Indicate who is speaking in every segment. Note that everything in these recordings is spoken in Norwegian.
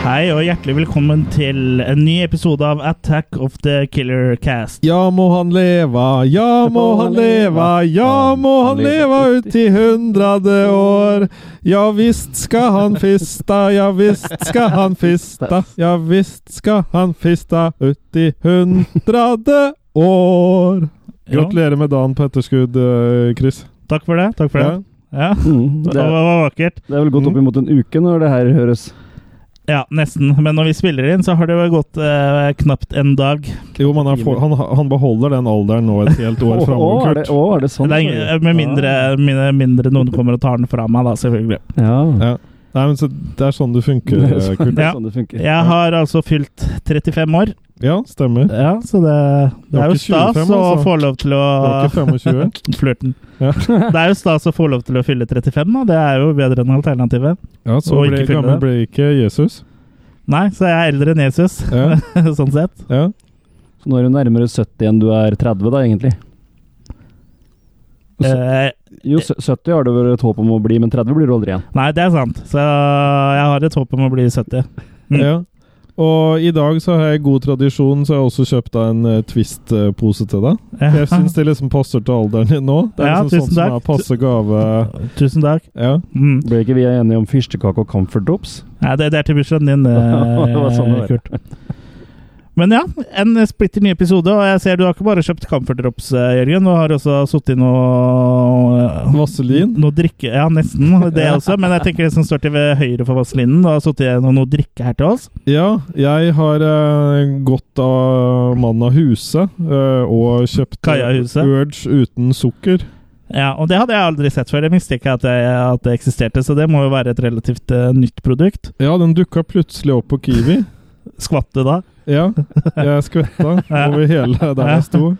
Speaker 1: Hei og hjertelig velkommen til en ny episode av Attack of the Killer Cast.
Speaker 2: Ja må han leva, ja må han leva, ja må han leva ut i hundrade år. Ja visst skal han fista, ja visst skal han fista, ja visst skal han fista ut i hundrade år.
Speaker 1: Jo,
Speaker 2: Gratulerer med dagen på etterskudd, eh, Chris.
Speaker 1: takk for det. takk for det. Ja,
Speaker 3: Mm,
Speaker 1: Det
Speaker 3: det, er,
Speaker 1: var vakkert.
Speaker 3: det er vel gått opp imot en uke når det her høres.
Speaker 1: Ja, nesten. Men når vi spiller inn, så har det vel gått eh, knapt en dag.
Speaker 2: Jo, men han, får, han, han beholder den alderen nå et helt år
Speaker 3: Å, er
Speaker 2: framover,
Speaker 3: det,
Speaker 2: Kurt.
Speaker 3: å, er det sånn?
Speaker 1: Det er, med mindre, mindre, mindre noen kommer og tar den fra meg, da, selvfølgelig.
Speaker 3: Ja.
Speaker 2: Ja. Nei, men så, det er sånn det funker,
Speaker 3: Det er
Speaker 2: eh,
Speaker 3: sånn,
Speaker 2: Kurt.
Speaker 3: det
Speaker 1: Ja.
Speaker 3: er sånn det funker.
Speaker 1: Jeg har altså fylt 35 år,
Speaker 2: Ja, stemmer.
Speaker 1: ja, så det, det
Speaker 2: var
Speaker 1: er jo
Speaker 2: ikke 25,
Speaker 1: stas å
Speaker 2: altså.
Speaker 1: få lov til å
Speaker 2: Det var ikke 25.
Speaker 1: Flørten.
Speaker 2: Ja.
Speaker 1: Det er jo stas å få lov til å fylle 35, da. Det er jo bedre enn alternativet.
Speaker 2: Ja, så
Speaker 1: Og
Speaker 2: ble,
Speaker 1: ikke fylle
Speaker 2: gammel
Speaker 1: det.
Speaker 2: ble ikke Jesus.
Speaker 1: Nei, så jeg er eldre enn Jesus,
Speaker 2: Ja,
Speaker 1: sånn sett.
Speaker 2: ja.
Speaker 3: Så nå er du nærmere 70 enn du er 30, da, egentlig. Og så-
Speaker 1: Eh,
Speaker 3: Jo, sø- 70 har du vel et håp om å bli, men 30 blir du aldri igjen.
Speaker 1: nei, det er sant. Så jeg har et håp om å bli 70. Mm.
Speaker 2: Ja. Og i dag så har jeg god tradisjon, så jeg har også kjøpt deg en eh, Twist-pose til deg. For Jeg syns det liksom passer til alderen din nå. Det er
Speaker 1: Ja,
Speaker 2: liksom
Speaker 1: tusen
Speaker 2: sånn som
Speaker 1: takk.
Speaker 2: er passe gave
Speaker 1: Tusen takk.
Speaker 2: Ja.
Speaker 1: Mm.
Speaker 3: Ble ikke vi enige om fyrstekake og comfort drops?
Speaker 1: Nei, det, det er til bursdagen din,
Speaker 3: Det var sånn
Speaker 1: eh,
Speaker 3: det var.
Speaker 1: Kurt. Men ja, en splitter ny episode. Og jeg ser du har ikke bare kjøpt Comfort Drops, eh, Jørgen. Du har også sittet i noe eh,
Speaker 2: Vaselin.
Speaker 1: Noe drikke Ja, nesten det også. Men jeg tenker det som står til ved høyre for vaselinen. Du har sittet i noe, noe drikke her til oss.
Speaker 2: Ja, jeg har eh, gått av mann av huset eh, og kjøpt
Speaker 1: Kajahuset.
Speaker 2: Urge uten sukker.
Speaker 1: Ja, Og det hadde jeg aldri sett før. Jeg visste ikke at det, at det eksisterte, så det må jo være et relativt eh, nytt produkt.
Speaker 2: Ja, den dukka plutselig opp på Kiwi.
Speaker 1: Skvatt du da?
Speaker 2: Ja, jeg skvetta over hele der jeg sto.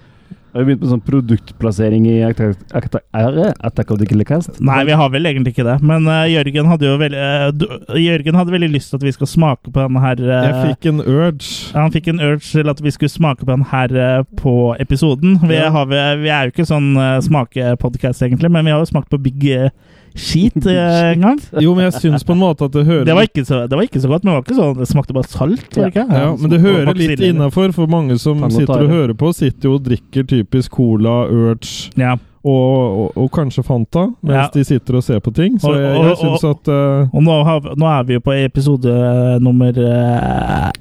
Speaker 3: Har vi begynt med sånn produktplassering i Attack- Attack er det Attack of the Killer Cast?
Speaker 1: Nei, vi har vel egentlig ikke det. Men eh, Jørgen hadde jo veldig eh, du- Jørgen hadde veldig lyst til at vi skal smake på den her eh,
Speaker 2: Jeg fikk en urge.
Speaker 1: Han fikk en urge til at vi skulle smake på den her eh, på episoden. Vi,
Speaker 2: Ja.
Speaker 1: har, vi, vi er jo ikke sånn eh, smakepodcast egentlig, men vi har jo smakt på Big eh, Shit eh, en gang.
Speaker 2: Jo, men jeg syns på en måte at det hører
Speaker 1: Det var, ikke så, det var ikke så godt, men det var ikke sånn Det smakte bare salt. var det ikke?
Speaker 2: Ja, men det hører litt innafor, for mange som
Speaker 3: Tang og
Speaker 2: sitter og
Speaker 3: tare.
Speaker 2: hører på, sitter jo og drikker typisk cola, urge
Speaker 1: Ja.
Speaker 2: og, og, og kanskje Fanta, mens
Speaker 1: Ja.
Speaker 2: de sitter og ser på ting. Så
Speaker 1: Og-
Speaker 2: jeg,
Speaker 1: og-
Speaker 2: jeg syns at eh,
Speaker 1: Og nå, har, nå er vi jo på episode nummer eh,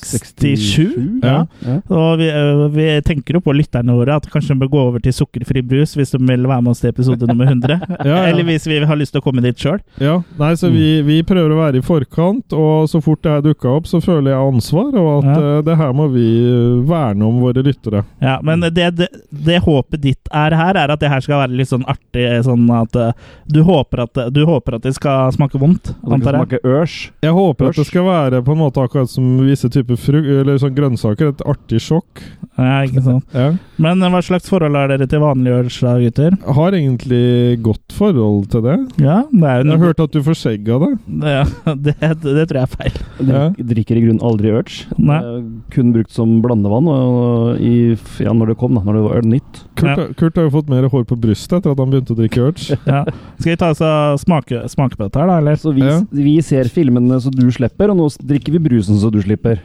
Speaker 1: 67.
Speaker 2: Ja.
Speaker 3: Ja.
Speaker 1: Og vi, ø, vi tenker jo på lytterne våre at kanskje de bør gå over til sukkerfri brus hvis de vil være med oss til episode nummer 100.
Speaker 2: ja,
Speaker 1: Eller
Speaker 2: ja.
Speaker 1: hvis vi har lyst til å komme dit sjøl.
Speaker 2: ja. Nei, så
Speaker 1: Mm.
Speaker 2: vi, vi prøver å være i forkant, og så fort det her dukka opp, så føler jeg ansvar, og at
Speaker 1: Ja.
Speaker 2: eh, det her må vi eh, verne om våre lyttere.
Speaker 1: Ja, men det, det, det håpet ditt er her, er at det her skal være litt sånn artig. Sånn at ø, du håper at, du håper at det skal smake vondt,
Speaker 3: At det
Speaker 1: antar
Speaker 3: kan
Speaker 1: jeg.
Speaker 3: smake ørs.
Speaker 2: Jeg håper at det
Speaker 3: Ørs.
Speaker 2: skal være på en måte akkurat som visse typer fru- eller sånn grønnsaker. Et artig sjokk.
Speaker 1: Ja, ikke sant.
Speaker 2: Ja.
Speaker 1: Men ø, hva slags forhold har dere til vanlig øl, da, gutter?
Speaker 2: Har egentlig godt forhold til det.
Speaker 1: Ja, det er jo
Speaker 2: Jeg har
Speaker 1: noe
Speaker 2: hørt at du får skjegg av det.
Speaker 1: Ja, det, det tror jeg er feil.
Speaker 2: Ja.
Speaker 3: Drik, Drikker i grunnen aldri urge.
Speaker 1: Nei.
Speaker 3: Det er Kun brukt som blandevann og i, ja, når det kom, da. Når det var nytt.
Speaker 2: Kurt, Kurt har jo fått mer hår på brystet etter at han begynte å drikke urge.
Speaker 1: Ja. Skal vi ta oss og smake, smake på dette her, da? Eller?
Speaker 3: Så vi,
Speaker 2: Ja.
Speaker 3: vi ser filmene så du slipper, og nå s- drikker vi brusen så du slipper.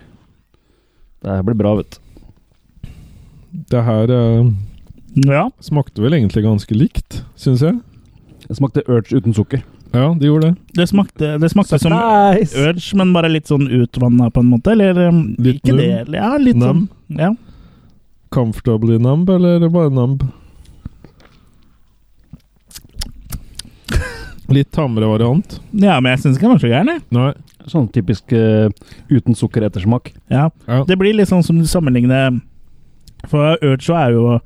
Speaker 3: Det her blir bra, vet du.
Speaker 2: Det her eh,
Speaker 1: Ja.
Speaker 2: smakte vel egentlig ganske likt, syns jeg.
Speaker 3: Det smakte urge uten sukker.
Speaker 2: Ja, de gjorde det.
Speaker 1: Det smakte, det smakte som
Speaker 3: Surprise!
Speaker 1: Urge, men bare litt sånn utvanna på en måte, eller um,
Speaker 2: Litt
Speaker 1: ikke
Speaker 2: num.
Speaker 1: det? eller- Ja, litt
Speaker 2: Num.
Speaker 1: sånn. Ja.
Speaker 2: Comfortably numb, eller bare numb? Litt tammere variant.
Speaker 1: ja, men jeg syns ikke den var så gæren, jeg.
Speaker 2: Nei.
Speaker 3: Sånn typisk eh, uten sukker ettersmak.
Speaker 1: Ja.
Speaker 2: Ja.
Speaker 1: Det blir litt sånn som du sammenligner For Urge er jo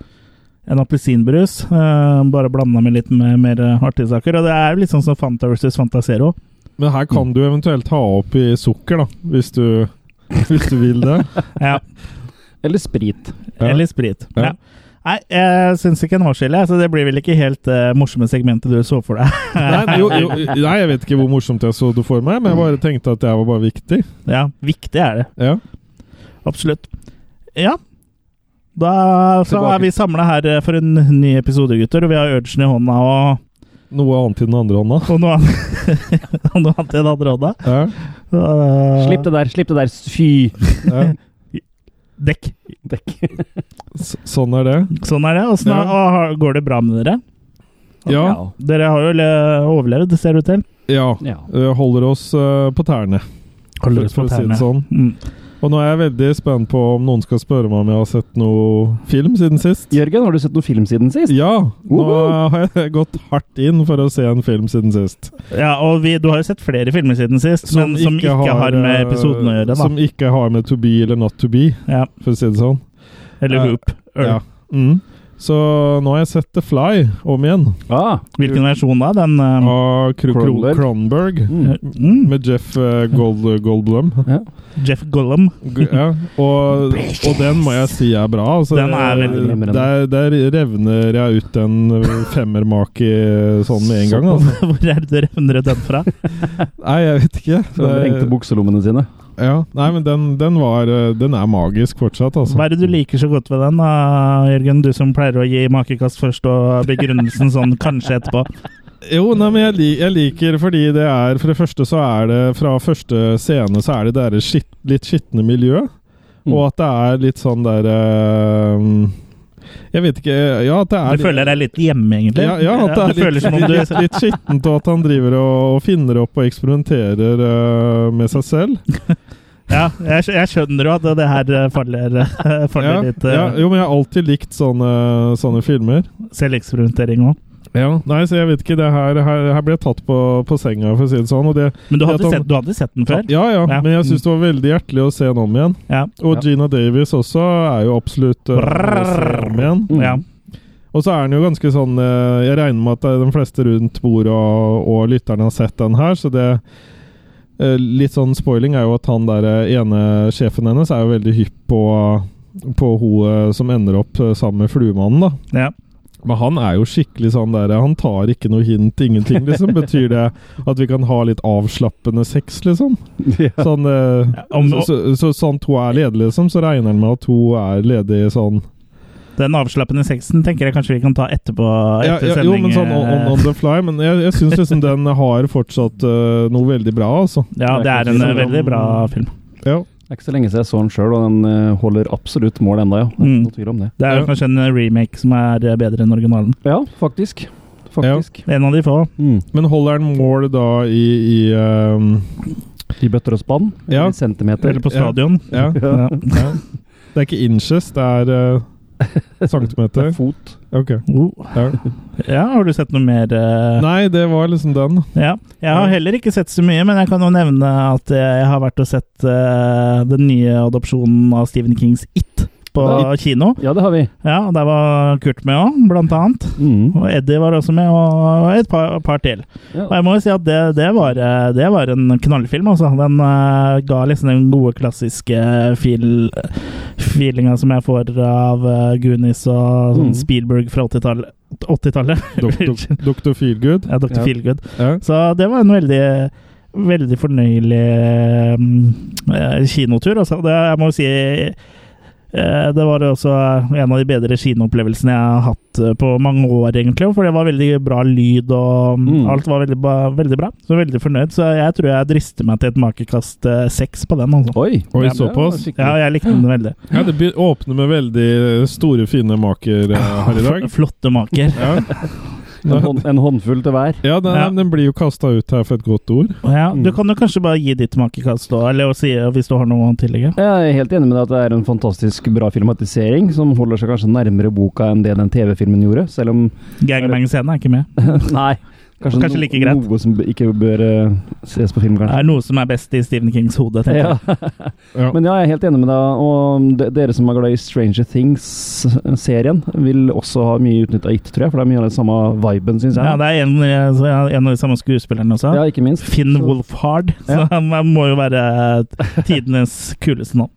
Speaker 1: en appelsinbrus, eh, bare blanda med litt med mer eh, artige saker. Og det er jo litt sånn som Fanta versus Fanta Zero.
Speaker 2: Men her kan du eventuelt ha opp i sukker, da, hvis du, hvis du vil det.
Speaker 1: Ja.
Speaker 3: Eller sprit.
Speaker 2: Ja.
Speaker 1: Eller sprit.
Speaker 2: Ja.
Speaker 1: Ja. Nei, jeg syns ikke en hårskille, så det blir vel ikke helt eh, morsomme segmentet du så for deg.
Speaker 2: Nei, jo, jo, nei, jeg vet ikke hvor morsomt jeg så det for meg, men jeg bare tenkte at det her var bare viktig.
Speaker 1: Ja, viktig er det.
Speaker 2: Ja.
Speaker 1: Absolutt. Ja. Da så
Speaker 3: Tilbake.
Speaker 1: er vi samla her eh, for en ny episode, gutter. Og vi har urgen i hånda og,
Speaker 2: Noe annet i den andre hånda.
Speaker 1: og noe annet, og noe annet i den andre hånda.
Speaker 2: Ja.
Speaker 1: Uh,
Speaker 3: Slipp det der, slipp det der, fy!
Speaker 2: Ja.
Speaker 1: Dekk.
Speaker 3: Dekk.
Speaker 2: S sånn er det.
Speaker 1: Sånn er det. Åssen er-
Speaker 2: Ja.
Speaker 1: og har- går det bra med dere?
Speaker 2: Ja.
Speaker 1: Dere har jo le- overlevd, ser det ut til.
Speaker 2: ja.
Speaker 3: ja.
Speaker 2: Eh, Holder oss eh, på tærne,
Speaker 1: Holder oss på
Speaker 2: for å si
Speaker 1: tærne.
Speaker 2: det sånn.
Speaker 1: Mm.
Speaker 2: Og nå er jeg veldig spent på om noen skal spørre meg om jeg har sett noe film siden sist.
Speaker 3: Jørgen, har du sett noen film siden sist?
Speaker 2: Ja! Nå
Speaker 3: Woho!
Speaker 2: har jeg gått hardt inn for å se en film siden sist.
Speaker 1: Ja, og vi, du har jo sett flere filmer siden sist, men som ikke har, med
Speaker 2: eh,
Speaker 1: episoden å gjøre. da.
Speaker 2: Som ikke har med to be eller not to be,
Speaker 1: ja.
Speaker 2: for å si det sånn.
Speaker 1: Eller
Speaker 2: Ja.
Speaker 1: Hoop. Øl.
Speaker 2: Ja. Mm. Så nå har jeg sett The Fly om igjen,
Speaker 3: Ah,
Speaker 1: Hvilken versjon da? Den um,
Speaker 2: av Kro- Kro-
Speaker 3: Cronenberg.
Speaker 2: Cronenberg.
Speaker 3: mm.
Speaker 1: mm,
Speaker 2: Med Jeff eh, Gold, Goldblum.
Speaker 1: Jeff Gollum.
Speaker 2: G- Ja. Og, og den må jeg si er bra. Altså,
Speaker 1: Den er veldig
Speaker 2: der,
Speaker 3: glimrende.
Speaker 2: der revner jeg ut en eh, femmermake eh, sånn med en gang. Altså.
Speaker 1: Hvor er det du revner den fra?
Speaker 2: Nei, jeg vet ikke.
Speaker 3: Så de
Speaker 2: Det-
Speaker 3: rengte bukselommene sine.
Speaker 2: ja. Nei, men den, den, var, eh, den er magisk fortsatt, altså.
Speaker 1: Hva er det du liker så godt ved den, da, Jørgen? Du som pleier å gi makekast først, og begrunnelsen sånn kanskje etterpå.
Speaker 2: Jo, nei, men jeg, li jeg liker fordi det er For det første så er det fra første scene så er det det derre skitt, litt skitne miljø.
Speaker 3: Mm.
Speaker 2: Og at det er litt sånn der eh, Jeg vet ikke Ja, at det er
Speaker 1: Du føler deg litt hjemme, egentlig?
Speaker 2: Ja, ja, at det er
Speaker 1: du føler
Speaker 2: litt,
Speaker 1: som om du
Speaker 2: litt, litt skittent, og at han driver og, og finner opp og eksperimenterer eh, med seg selv.
Speaker 1: Ja, jeg, skj- jeg skjønner jo at det her eh, faller, eh, faller
Speaker 2: Ja,
Speaker 1: litt
Speaker 2: ja, jo, men jeg har alltid likt sånne, sånne filmer.
Speaker 1: selveksperimentering òg.
Speaker 2: Nei, så jeg vet ikke. det Her, her, her ble jeg tatt på, på senga, for å si det sånn. Og det,
Speaker 1: Men du
Speaker 2: Ja,
Speaker 1: hadde,
Speaker 2: Tom-
Speaker 1: sett, du hadde sett den før?
Speaker 2: Ja, ja,
Speaker 1: Ja.
Speaker 2: men jeg syns det var veldig hjertelig å se den om igjen.
Speaker 1: Ja.
Speaker 2: Og
Speaker 3: Ja.
Speaker 2: Gina Davis også er jo absolutt eh, å se om igjen.
Speaker 3: Mm.
Speaker 1: ja.
Speaker 2: Og så er den jo ganske sånn eh, Jeg regner med at det er de fleste rundt bordet og, og lytterne har sett den her, så det eh, Litt sånn spoiling er jo at han der eh, ene sjefen hennes er jo veldig hypp på, på hun eh, som ender opp eh, sammen med fluemannen, da.
Speaker 1: ja.
Speaker 2: Men han er jo skikkelig sånn der Han tar ikke noe hint, ingenting, liksom. Betyr det at vi kan ha litt avslappende sex, liksom?
Speaker 3: Ja.
Speaker 2: Sånn eh,
Speaker 1: Ja, om-
Speaker 2: så, så, så sånn to er ledig, liksom, så regner han med at to er ledig sånn
Speaker 1: Den avslappende sexen tenker jeg kanskje vi kan ta etterpå.
Speaker 2: ja,
Speaker 1: Etter
Speaker 2: ja, Jo,
Speaker 1: sending.
Speaker 2: men sånn on, on,
Speaker 1: eh,
Speaker 2: on the fly. Men jeg, jeg syns liksom den har fortsatt eh, noe veldig bra, altså.
Speaker 1: ja, det er en eh, veldig bra film.
Speaker 2: Ja.
Speaker 3: Det er ikke så lenge siden jeg så den sjøl, og den eh, holder absolutt mål enda, ja. Det er
Speaker 1: Mm.
Speaker 3: ikke noe tvil om det.
Speaker 1: Det er
Speaker 2: Ja.
Speaker 1: jo kanskje en remake som er eh, bedre enn originalen.
Speaker 3: Ja, faktisk. Faktisk.
Speaker 1: En av de få.
Speaker 3: Mm.
Speaker 2: Men holder den mål da i, i eh,
Speaker 3: I bøtter og spann?
Speaker 2: Ja.
Speaker 3: I centimeter?
Speaker 1: Eller på
Speaker 2: Ja.
Speaker 1: stadion.
Speaker 2: ja,
Speaker 1: Ja.
Speaker 2: ja. Det er ikke inches, det er eh, centimeter.
Speaker 3: Fot.
Speaker 2: Ok.
Speaker 1: Oh.
Speaker 2: Ja.
Speaker 1: Ja, har du sett noe mer? eh,
Speaker 2: Nei, det var liksom den.
Speaker 1: Ja. Jeg har heller ikke sett så mye, men jeg kan jo nevne at jeg har vært og sett eh, den nye adopsjonen av Stephen Kings It på
Speaker 3: Ja,
Speaker 1: kino.
Speaker 3: Ja, det har vi.
Speaker 1: Ja, og Der var Kurt med òg, blant annet.
Speaker 3: Mm.
Speaker 1: Og Eddie var også med, og et par, par til. Og
Speaker 3: Ja.
Speaker 1: jeg må jo si at det, det, var, eh, det var en knallfilm, altså. Den eh, ga liksom den gode, klassiske feel, feelinga som jeg får av eh, Goonies og sånn
Speaker 3: Mm.
Speaker 1: Spielberg fra 80-tallet. 80-tallet.
Speaker 2: Doktor, Doktor Feelgood.
Speaker 1: ja, Dr.
Speaker 3: Ja.
Speaker 1: Feelgood.
Speaker 2: Ja.
Speaker 1: Så det var en veldig Veldig fornøyelig mm, eh, kinotur. Altså. Det, jeg må jo si eh, Det var også en av de bedre kinoopplevelsene jeg har hatt eh, på mange år, egentlig. For det var veldig bra lyd, og mm,
Speaker 3: Mm.
Speaker 1: alt var veldig, ba- veldig bra. Så veldig fornøyd. Så jeg tror jeg drister meg til et makekast eh, seks på den. Altså.
Speaker 3: Oi!
Speaker 2: Oi,
Speaker 1: Ja, men-
Speaker 2: såpass?
Speaker 1: Ja, jeg likte den veldig.
Speaker 2: Ja, det be- åpner med veldig store, fine maker eh, her i dag.
Speaker 1: Flotte maker.
Speaker 2: Ja,
Speaker 3: En, hånd, en håndfull til hver.
Speaker 2: ja den,
Speaker 1: Ja.
Speaker 2: den blir jo kasta ut her for et godt ord.
Speaker 1: Ja,
Speaker 3: Mm.
Speaker 1: du kan jo kanskje bare gi ditt makekast, da, eller si, hvis du har noe å tillegge.
Speaker 3: Jeg er helt enig med deg at det er en fantastisk bra filmatisering, som holder seg kanskje nærmere boka enn det den TV-filmen gjorde, selv om
Speaker 1: Gangbang-scenen er ikke med.
Speaker 3: Nei. Kanskje,
Speaker 1: Kanskje like greit.
Speaker 3: noe som b- ikke bør eh, ses på film,
Speaker 1: Det
Speaker 3: kanskje.
Speaker 1: er noe som er best i Stephen Kings hode, tenker jeg.
Speaker 3: Ja.
Speaker 2: Ja.
Speaker 3: Men ja, jeg er helt enig med deg. Og de- dere som er glad i Stranger Things-serien, vil også ha mye utnytta It, tror jeg. For det er mye av den samme viben, syns jeg.
Speaker 1: Ja, det er en, en av de samme skuespillerne også.
Speaker 3: Ja, ikke minst.
Speaker 1: Finn
Speaker 3: Så-
Speaker 1: Wolfhard. Så
Speaker 3: Ja.
Speaker 1: han må jo være tidenes kuleste navn.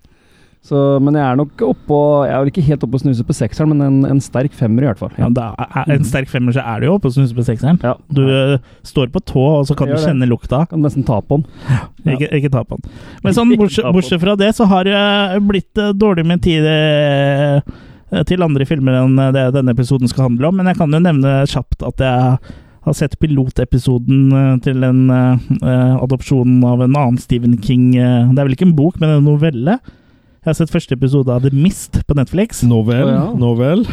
Speaker 3: Så, men jeg er nok oppå Jeg er vel ikke helt oppe og snuser på sekseren, men en, en sterk femmer i hvert fall.
Speaker 1: Ja, da er- en sterk femmer, så er du jo oppe og snuser på sekseren.
Speaker 3: Mhm. Ja.
Speaker 1: Du eh, står på tå, og så kan
Speaker 3: Jeg
Speaker 1: du
Speaker 3: gjør det.
Speaker 1: kjenne lukta.
Speaker 3: Kan nesten ta på den. Ja.
Speaker 1: Ikke, ikke ta på den. Men sånn,
Speaker 3: Ikke
Speaker 1: bortsett,
Speaker 3: ta på den.
Speaker 1: bortsett fra det, så har det blitt eh, dårlig med tid eh, til andre filmer enn det denne episoden skal handle om. Men jeg kan jo nevne kjapt at jeg har sett pilotepisoden eh, til en eh, eh, adopsjon av en annen Stephen King eh, Det er vel ikke en bok, men en novelle. Jeg har sett første episode av The Mist på Netflix.
Speaker 2: Nå vel,
Speaker 3: Å, ja.
Speaker 2: nå vel.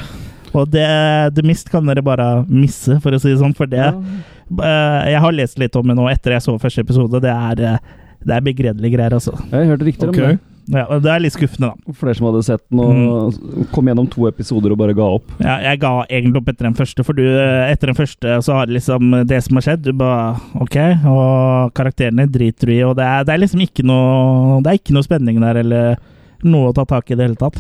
Speaker 1: Og det, The Mist kan dere bare misse, for å si det sånn, for det eh, Jeg har lest litt om det nå etter jeg så første episode. Det er, eh, det er begredelige greier, altså.
Speaker 3: Jeg hørte rykter
Speaker 2: Ok.
Speaker 3: om det.
Speaker 1: Ja, og det er litt skuffende, da.
Speaker 3: Flere som hadde sett den og
Speaker 1: Mm.
Speaker 3: kom gjennom to episoder og bare ga opp.
Speaker 1: Ja, jeg ga egentlig opp etter den første, for du, eh, etter den første så har det liksom det som har skjedd, du bare OK, og karakterene driter du i, og det er, det er liksom ikke noe Det er ikke noe spenning der, eller noe å ta tak i i det hele tatt.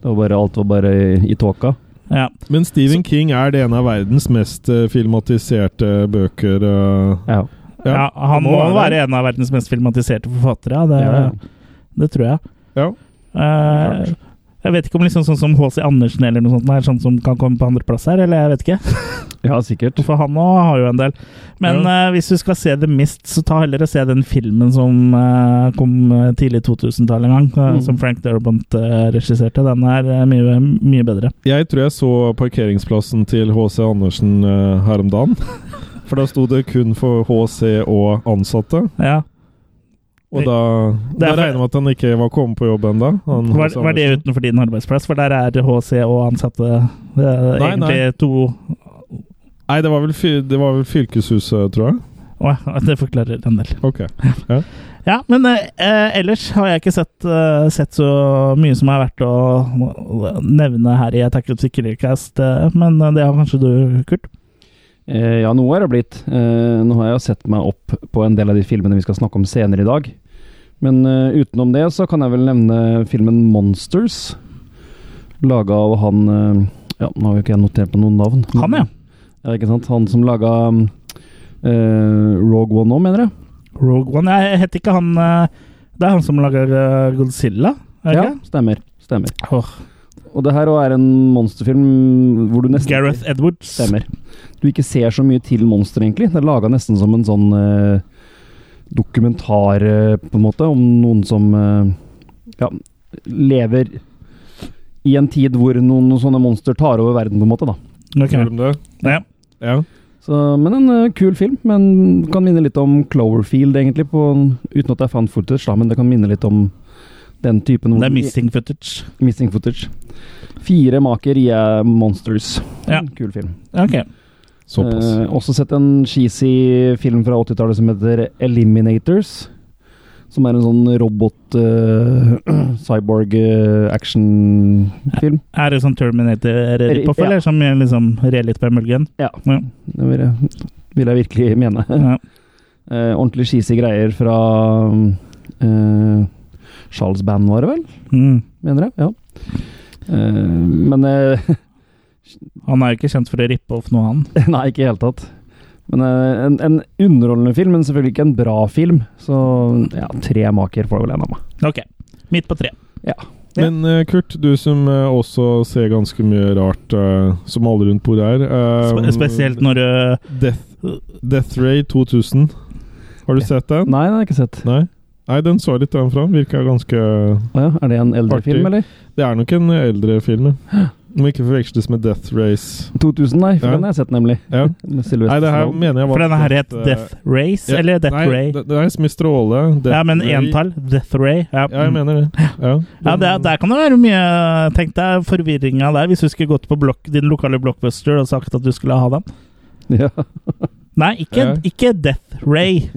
Speaker 3: Det var bare, alt var bare i, i tåka.
Speaker 1: Ja.
Speaker 2: Men Stephen King er det en av verdens mest eh, filmatiserte bøker. eh.
Speaker 3: Ja.
Speaker 1: Ja,
Speaker 2: Ja,
Speaker 1: han
Speaker 2: nå
Speaker 1: må
Speaker 2: er det-
Speaker 1: være en av verdens mest filmatiserte forfattere, ja. Det,
Speaker 3: Ja, ja.
Speaker 1: det tror jeg.
Speaker 2: Ja.
Speaker 1: Eh, jeg vet ikke om liksom sånn som H.C. Andersen eller noe sånt er sånn som kan komme på andreplass her, eller jeg vet ikke.
Speaker 3: ja, sikkert.
Speaker 1: For han òg har jo en del. Men eh, hvis du skal se The Mist, så ta heller og se den filmen som eh, kom eh, tidlig 2000-tallet en gang. eh,
Speaker 3: Mm.
Speaker 1: Som Frank Durbant eh, regisserte. Den er eh, mye, mye bedre.
Speaker 2: Jeg tror jeg så parkeringsplassen til H.C. Andersen eh, her om dagen. For da sto det kun for HC og ansatte.
Speaker 1: Ja.
Speaker 2: Og da,
Speaker 1: Det
Speaker 2: da
Speaker 1: er for-
Speaker 2: regner jeg med at han ikke var kommet på jobb ennå.
Speaker 1: Var, var det utenfor din arbeidsplass? For der er HC og ansatte eh,
Speaker 2: Nei,
Speaker 1: egentlig
Speaker 2: nei.
Speaker 1: to
Speaker 2: Nei, det var vel, fy- det var vel fylkeshuset, tror jeg.
Speaker 1: Å, ja, Det forklarer en del.
Speaker 2: Ok.
Speaker 1: Ja, men eh, eh, ellers har jeg ikke sett, eh, sett så mye som er verdt å nevne her i Attack of the Killer Cast, eh, men eh, det har kanskje du, Kurt?
Speaker 3: Eh, ja, noe er det blitt. Eh, nå har jeg jo sett meg opp på en del av de filmene vi skal snakke om senere i dag. Men eh, utenom det så kan jeg vel nevne filmen Monsters. Laga av han eh, Ja, nå har jo ikke jeg notert på noen navn.
Speaker 1: Han, ja.
Speaker 3: Ja, ikke sant? Han som laga mm, eh, Rogue One nå, mener jeg.
Speaker 1: Rogue One. Jeg heter ikke han eh, Det er han som lager eh, Godzilla? Er det
Speaker 3: Ja,
Speaker 1: ikke?
Speaker 3: stemmer. Stemmer.
Speaker 1: Åh,
Speaker 3: Og det her også er en monsterfilm hvor du nesten
Speaker 1: Gareth
Speaker 3: ikke,
Speaker 1: Edwards.
Speaker 3: Stemmer. Du ikke ser så mye til monster, egentlig. Det er laga nesten som en sånn eh, dokumentar, eh, på en måte, om noen som eh, ja, lever i en tid hvor noen sånne monster tar over verden, på en måte. da.
Speaker 1: Ok.
Speaker 2: Gjør de det?
Speaker 1: Ja.
Speaker 2: Ja.
Speaker 3: Så, men en eh, kul film. men Kan minne litt om Cloverfield, egentlig, på, uten at det er fan footage, da, men det kan minne litt om den typen
Speaker 1: Det er missing footage.
Speaker 3: missing footage. Fire maker i eh, Monsters.
Speaker 1: Ja.
Speaker 3: Kul film.
Speaker 1: Ok.
Speaker 2: Såpass.
Speaker 3: Eh, også sett en cheesy film fra 80-tallet som heter Eliminators. Som er en sånn robot eh, cyborg eh, actionfilm.
Speaker 1: Er det sånn Terminator-ripoff,
Speaker 3: Ja.
Speaker 1: eller som jeg liksom rer litt på mulgen?
Speaker 3: Ja.
Speaker 1: Ja.
Speaker 3: Det vil jeg, vil jeg virkelig mene.
Speaker 1: Ja.
Speaker 3: Eh, ordentlig cheesy greier fra eh, Charles Band, var det vel?
Speaker 1: Mm.
Speaker 3: Mener jeg. Ja. Eh, men eh,
Speaker 1: Han er jo ikke kjent for å rippe off noe, han.
Speaker 3: Nei, ikke i det hele tatt. Men eh, en, en underholdende film, men selvfølgelig ikke en bra film. Så ja, tre maker får vel en av meg.
Speaker 1: Ok. Midt på tre. Ja.
Speaker 2: Men eh, Kurt, du som eh, også ser ganske mye rart eh, som alle rundt bordet her eh,
Speaker 1: Spe spesielt når eh, du
Speaker 2: Death, Death Ray 2000. Har du
Speaker 3: Ja.
Speaker 2: sett den?
Speaker 3: Nei, den har jeg ikke sett.
Speaker 2: Nei? Nei, den så litt den fra. Virka ganske
Speaker 3: Å ja, er det en eldre
Speaker 2: Artig.
Speaker 3: film, eller?
Speaker 2: Det er nok en eldre film. ja. Må ikke forveksles med Death Race.
Speaker 3: 2000, nei. For
Speaker 2: Ja.
Speaker 3: den har jeg sett, nemlig.
Speaker 2: Ja.
Speaker 3: Med Sylvester
Speaker 2: Nei, det her
Speaker 3: Stallone.
Speaker 2: mener jeg var
Speaker 1: For denne her het
Speaker 2: eh,
Speaker 1: Death Race,
Speaker 2: ja,
Speaker 1: eller Death
Speaker 2: nei,
Speaker 1: Ray.
Speaker 2: Det, det er som i Stråle. Death
Speaker 1: Ja, men
Speaker 2: Ray.
Speaker 1: entall. Death Ray. Ja,
Speaker 2: Ja, jeg mener det. Ja,
Speaker 1: Ja, der, der kan det være mye Tenk deg forvirringa der, hvis du skulle gått på blokk, din lokale blockbuster og sagt at du skulle ha den.
Speaker 3: Ja.
Speaker 1: Nei, ikke,
Speaker 2: Ja.
Speaker 1: ikke Death Ray.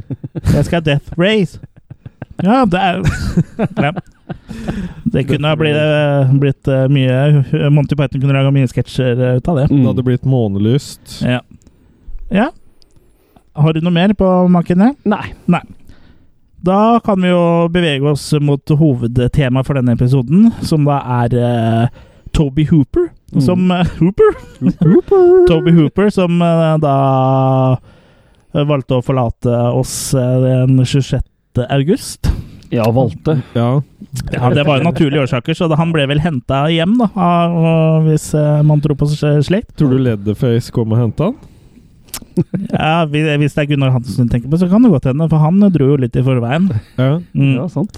Speaker 1: Jeg skal ha Death Rays. Ja, det er ja. Det kunne ha blitt, blitt eh, mye Monty Python kunne laga mye sketsjer eh, ut av det.
Speaker 2: Det
Speaker 3: Mm.
Speaker 2: hadde blitt månelyst.
Speaker 1: Ja. ja. Har du noe mer på maken her?
Speaker 3: Mm. Nei.
Speaker 1: Da kan vi jo bevege oss mot hovedtemaet for denne episoden, som da er eh, Toby Hooper.
Speaker 3: Mm.
Speaker 1: Som eh, Hooper? Toby Hooper, som eh, da eh, valgte å forlate oss eh, den 26. august.
Speaker 3: Ja, valgte.
Speaker 2: Ja.
Speaker 1: Ja, det var jo naturlige årsaker, så da- han ble vel henta hjem, da, av, eh, hvis eh, man tror på seg slikt.
Speaker 2: Tror du Leatherface kom og henta han?
Speaker 1: Ja, hvis- hvis det er Gunnar Hansen du tenker på, så kan det godt hende, for han eh, dro jo litt i forveien.
Speaker 2: Ja.
Speaker 1: Mm.
Speaker 3: Ja, sant.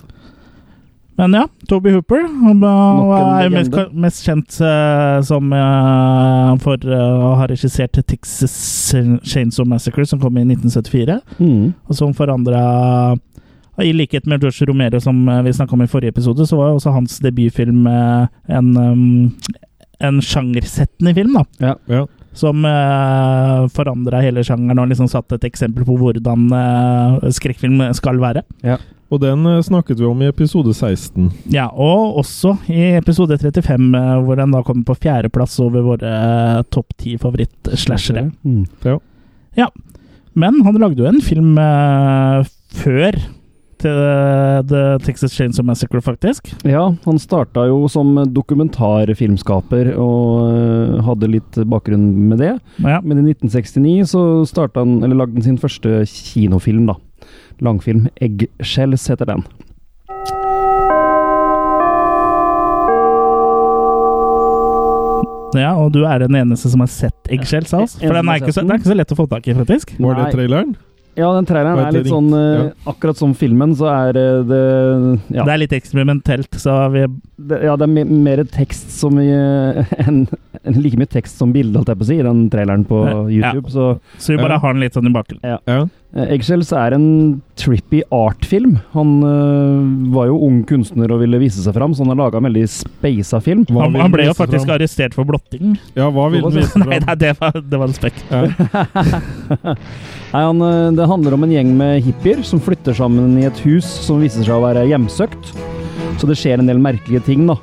Speaker 1: Men ja, Toby Hooper han
Speaker 3: Nok en
Speaker 1: er jo mest,
Speaker 3: legende.
Speaker 1: mest kjent eh, som eh, for eh, å ha regissert Texas Chainsaw Massacre, som kom i 1974.
Speaker 3: Mm.
Speaker 1: Og som forandra I likhet med George Romero, som eh, vi snakka om i forrige episode, så var jo også hans debutfilm eh, en, um, en sjangersettende film, da.
Speaker 2: Ja.
Speaker 1: Som eh, forandra hele sjangeren og liksom satte et eksempel på hvordan eh, skrekkfilm skal være.
Speaker 2: Og den eh, snakket vi om i episode 16.
Speaker 1: Ja, og også i episode 35, eh, hvor den da kommer på fjerdeplass over våre eh, topp ti favoritt-slashere.
Speaker 3: Mm.
Speaker 1: Men han lagde jo en film eh, før til eh, The Texas Chainsaw Massacre, faktisk.
Speaker 3: Ja, han starta jo som dokumentarfilmskaper og øh, hadde litt bakgrunn med det.
Speaker 1: Ja.
Speaker 3: Men i 1969 så starta han, eller lagde han sin første kinofilm, da. Langfilm. 'Eggshells' heter den.
Speaker 1: ja, og du er den eneste som har sett Eggshells House.
Speaker 3: Ja,
Speaker 1: For den
Speaker 3: eneste
Speaker 1: er, ikke så,
Speaker 3: som har sett den.
Speaker 1: den er ikke så lett å få tak i, faktisk.
Speaker 2: Var det
Speaker 3: Nei.
Speaker 2: traileren?
Speaker 3: Ja, den traileren
Speaker 2: Var
Speaker 3: er
Speaker 2: det
Speaker 3: litt sånn øh,
Speaker 2: ringt?
Speaker 3: Akkurat som filmen, så er øh, det ja.
Speaker 1: Det er litt eksperimentelt, så vi
Speaker 3: Det, ja, det er me- mer tekst som i eh, en, en, Like mye tekst som bilde, holdt jeg på å si, i den traileren på
Speaker 1: Ja.
Speaker 3: YouTube. Så
Speaker 1: Så vi bare
Speaker 2: Ja.
Speaker 1: har den litt sånn i bakgrunnen.
Speaker 2: Ja.
Speaker 3: eh, Eggshells er en trippy art-film. Han eh, var jo ung kunstner og ville vise seg fram, så han har laga en veldig speisa film.
Speaker 2: Hva
Speaker 1: Han,
Speaker 2: vil
Speaker 1: han
Speaker 2: den
Speaker 1: ble jo
Speaker 2: vise
Speaker 1: faktisk
Speaker 2: fram?
Speaker 1: arrestert for blotting.
Speaker 2: Ja, hva vil den vise
Speaker 1: Nei,
Speaker 2: fram?
Speaker 1: nei, det var, det var en spekk.
Speaker 2: Ja.
Speaker 3: Nei, han, eh, det handler om en gjeng med hippier som flytter sammen i et hus som viser seg å være hjemsøkt. Så det skjer en del merkelige ting, da.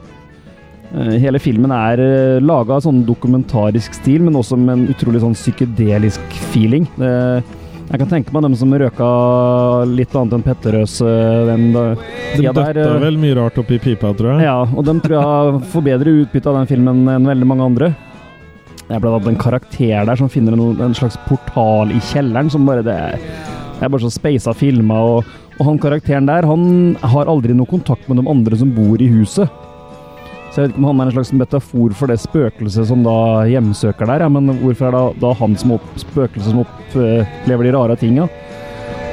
Speaker 3: Eh, Hele filmen er laga i sånn dokumentarisk stil, men også med en utrolig sånn psykedelisk feeling. Det, jeg kan tenke meg dem som røka litt annet enn Petterøes eh, den da-
Speaker 2: De
Speaker 3: tida der.
Speaker 2: døtta
Speaker 3: eh,
Speaker 2: vel mye rart oppi pipa, tror jeg.
Speaker 3: ja, og dem tror jeg har- får bedre utbytte av den filmen enn veldig mange andre. Det er blant annet en karakter der som finner en, en slags portal i kjelleren som bare Det er, det er bare så speisa filma, og, og han karakteren der, han har aldri noe kontakt med de andre som bor i huset. Så jeg vet ikke om han er en slags metafor for det spøkelset som da hjemsøker der, ja, men hvorfor er det da han som opp, spøkelset som opplever de rare tinga,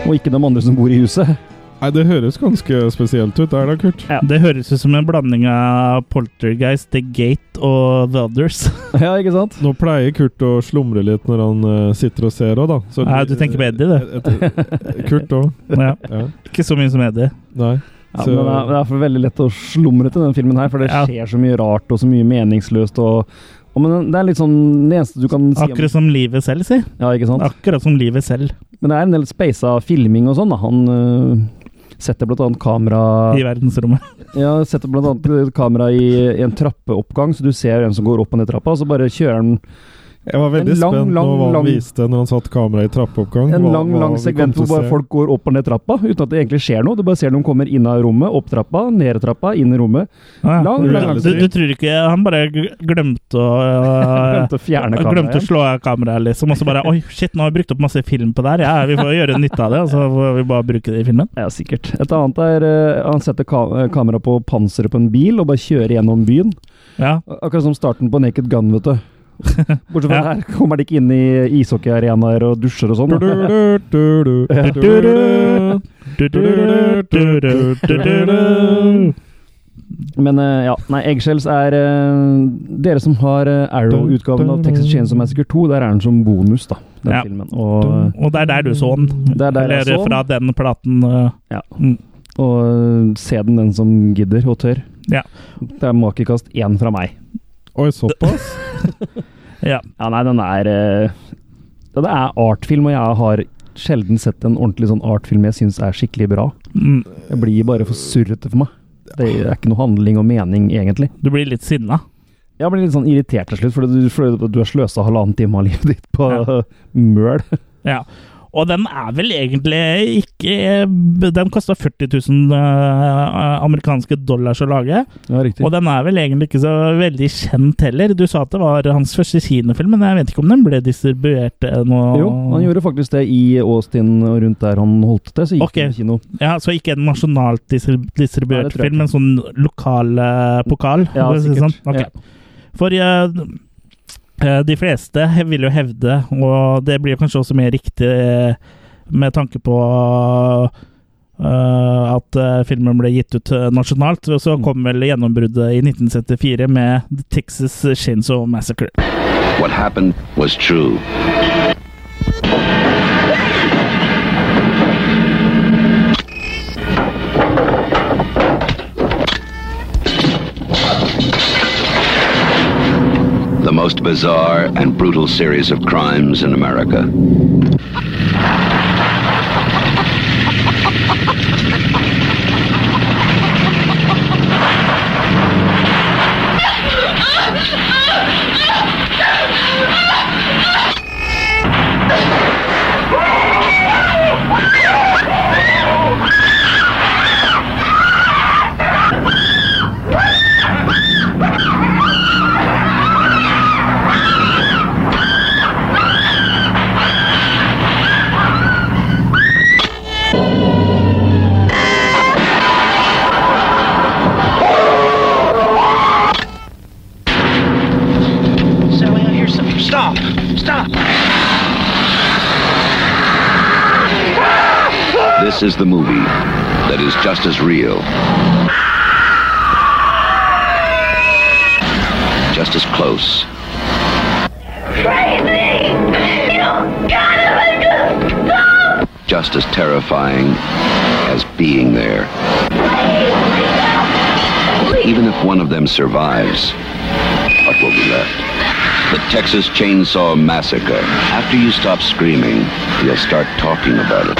Speaker 3: og ikke de andre som bor i huset?
Speaker 2: Nei, det høres ganske spesielt ut, er det, Kurt?
Speaker 3: Ja.
Speaker 1: Det høres ut som en blanding av Poltergeist, The Gate og The Others.
Speaker 3: ja, ikke sant?
Speaker 2: Nå pleier Kurt å slumre litt når han eh, sitter og ser òg, da. Så-
Speaker 1: Nei, du tenker på Eddie, du.
Speaker 2: Et- et- Kurt òg.
Speaker 1: Ja.
Speaker 2: Ja.
Speaker 1: Ikke så mye som Eddie.
Speaker 2: Nei.
Speaker 3: Ja,
Speaker 2: Så-
Speaker 3: men det er, det er for veldig lett å slumre til den filmen her, for det
Speaker 1: Ja.
Speaker 3: skjer så mye rart og så mye meningsløst. Og, og men det er litt sånn det eneste du kan si
Speaker 1: Akkurat som livet selv, si.
Speaker 3: om Ja, ikke sant?
Speaker 1: Akkurat som livet selv.
Speaker 3: Men det er en del speisa filming og sånn, da. Han øh, setter blant annet kamera
Speaker 1: I verdensrommet.
Speaker 3: Ja, setter blant annet øh, kamera i, i en trappeoppgang, så du ser hvem som går opp og ned trappa, og så bare kjører han
Speaker 2: Jeg var veldig
Speaker 3: En lang,
Speaker 2: spent
Speaker 3: lang,
Speaker 2: på hva han
Speaker 3: lang-
Speaker 2: viste når han satt kameraet i trappeoppgang.
Speaker 3: en
Speaker 2: hva-
Speaker 3: lang
Speaker 2: hva
Speaker 3: lang
Speaker 2: vi kom
Speaker 3: sekvens
Speaker 2: til
Speaker 3: hvor
Speaker 2: å
Speaker 3: bare
Speaker 2: se.
Speaker 3: folk går opp og ned trappa, uten at det egentlig skjer noe. Du bare ser noen kommer inn av rommet, opp trappa, ned trappa, inn i rommet.
Speaker 1: Ah, ja.
Speaker 3: Lang, lang,
Speaker 2: lang
Speaker 1: du, du tror ikke han bare g- glemte å
Speaker 3: Glemte å
Speaker 1: Han
Speaker 3: fjerne kameraet.
Speaker 1: Glemte å slå av kameraet, liksom. Og så bare Oi, shit, nå har vi brukt opp masse film på det her. Ja, vi får gjøre nytte av det. Og så får vi bare bruke det i filmen.
Speaker 3: Ja, sikkert. Et annet er eh, han setter ka eh, kamera på panseret på en bil og bare kjører gjennom byen.
Speaker 1: Ja.
Speaker 3: Ak- Akkurat som starten på Naked Gun, vet du. Bortsett fra
Speaker 1: Ja.
Speaker 3: her kommer de ikke inn i ishockeyarenaer og dusjer og sånn. da.
Speaker 2: Du-du-du-du-du, du-du-du-du.
Speaker 1: Du-du-du-du-du-du-du-du.
Speaker 3: Men eh, ja, nei, Eggshells er eh, Dere som har eh, Arrow-utgaven av Texas Chainsaw Massacre 2, der er den som bonus, da. Den
Speaker 1: Ja.
Speaker 3: filmen. Og,
Speaker 1: Og det er der du så den.
Speaker 3: Det er der jeg
Speaker 1: Eller
Speaker 3: så den.
Speaker 1: fra den platen. øh,
Speaker 3: og eh, se den, den som gidder og tør.
Speaker 1: Ja.
Speaker 3: Det er makekast én fra meg.
Speaker 2: Oi, såpass?
Speaker 1: Ja.
Speaker 3: Ja, nei, den er eh, ja, Det er artfilm, og jeg har sjelden sett en ordentlig sånn artfilm jeg syns er skikkelig bra.
Speaker 1: Mm.
Speaker 3: Det blir bare for surrete for meg. Det er ikke noe handling og mening, egentlig.
Speaker 1: Du blir litt sinna.
Speaker 3: Jeg blir litt sånn irritert til slutt, for du, for du har sløsa halvannen time av livet ditt på
Speaker 1: Ja.
Speaker 3: eh, møl.
Speaker 1: Ja. Og den er vel egentlig ikke Den kosta 40 000 øh, amerikanske dollars å lage.
Speaker 3: Ja, riktig.
Speaker 1: Og den er vel egentlig ikke så veldig kjent heller. Du sa at det var hans første kinofilm, men jeg vet ikke om den ble distribuert eh, nå?
Speaker 3: Jo, han gjorde faktisk det i Austin og rundt der han holdt til, så gikk
Speaker 1: Ok.
Speaker 3: han på kino.
Speaker 1: Ja, Så ikke en nasjonalt distrib-
Speaker 3: Nei, det
Speaker 1: distribuert
Speaker 3: tror jeg
Speaker 1: film, men sånn lokal eh, pokal?
Speaker 3: Ja,
Speaker 1: for å si det
Speaker 3: sikkert.
Speaker 1: sånn. Ok.
Speaker 3: Ja.
Speaker 1: For eh, eh, de fleste vil jo hevde, og det blir kanskje også mer riktig eh, med tanke på eh, at eh, filmen ble gitt ut eh, nasjonalt. Og
Speaker 3: Mm.
Speaker 1: så kom vel gjennombruddet i 1974 med The Texas Chainsaw Massacre.
Speaker 4: What happened was true. The most bizarre and brutal series of crimes in America.
Speaker 5: Sally, I hear something. Stop! Stop!
Speaker 4: This is the movie that is just as real, just as close.
Speaker 6: crazy. You gotta make us stop.
Speaker 4: just as terrifying as being there. Even if one of them survives, what will be left? The Texas Chainsaw Massacre. After you stop screaming, you'll start talking about it.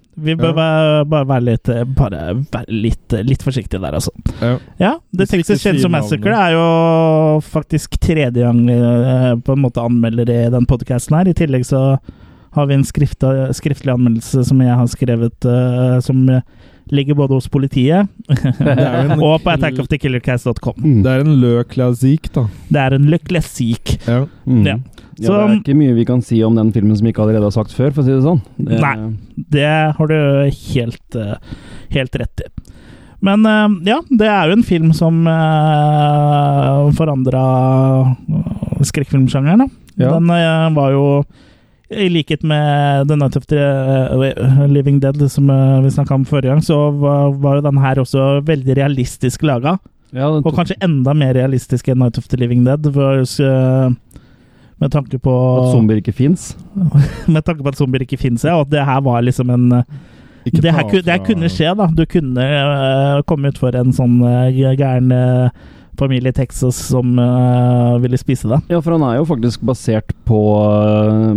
Speaker 1: Vi bør
Speaker 2: Ja.
Speaker 1: være- bare være litt, eh, bare være litt, eh, litt forsiktige der, altså.
Speaker 2: Ja.
Speaker 1: Ja, The
Speaker 2: Hvis vi ikke
Speaker 1: Texas
Speaker 2: sier
Speaker 1: Chainsaw
Speaker 2: navnet.
Speaker 1: Massacre er jo faktisk tredje gang vi eh, på en måte anmelder i den podkasten her. I tillegg så har vi en skrifta, skriftlig anmeldelse som jeg har skrevet, eh, som ligger både hos politiet
Speaker 2: Det er jo en,
Speaker 1: og på attackofthekillercast.com.
Speaker 3: Mm.
Speaker 2: det er en Le Classique, da.
Speaker 1: Det er en Le Classique.
Speaker 2: Ja.
Speaker 3: Mm.
Speaker 1: Ja.
Speaker 3: Ja.
Speaker 1: Så-
Speaker 3: det er ikke mye vi kan si om den filmen som vi ikke allerede har sagt før, for å si det sånn. Det,
Speaker 1: Nei. Det har du helt, eh, helt rett i. Men eh, ja, det er jo en film som uh, forandra eh, skrekkfilmsjangeren. da.
Speaker 3: Ja.
Speaker 1: Den eh, var jo i likhet med The Night of the eh, Living Dead, som eh, vi snakka om forrige gang, så var, var jo den her også veldig realistisk laga.
Speaker 3: Ja, den
Speaker 1: Og
Speaker 3: tok-
Speaker 1: kanskje enda mer realistisk enn Night of the Living Dead. For, eh, med tanke på
Speaker 3: At zombier ikke fins.
Speaker 1: med tanke på at zombier ikke finnes, ja, og at det her var liksom en
Speaker 2: Ikke
Speaker 1: det, her,
Speaker 2: ta
Speaker 1: ku- det her
Speaker 2: fra-
Speaker 1: kunne skje, da. Du kunne øh, komme utfor en sånn øh, gæren øh, familie i Texas som øh, ville spise deg.
Speaker 3: Ja, for han er jo faktisk basert på,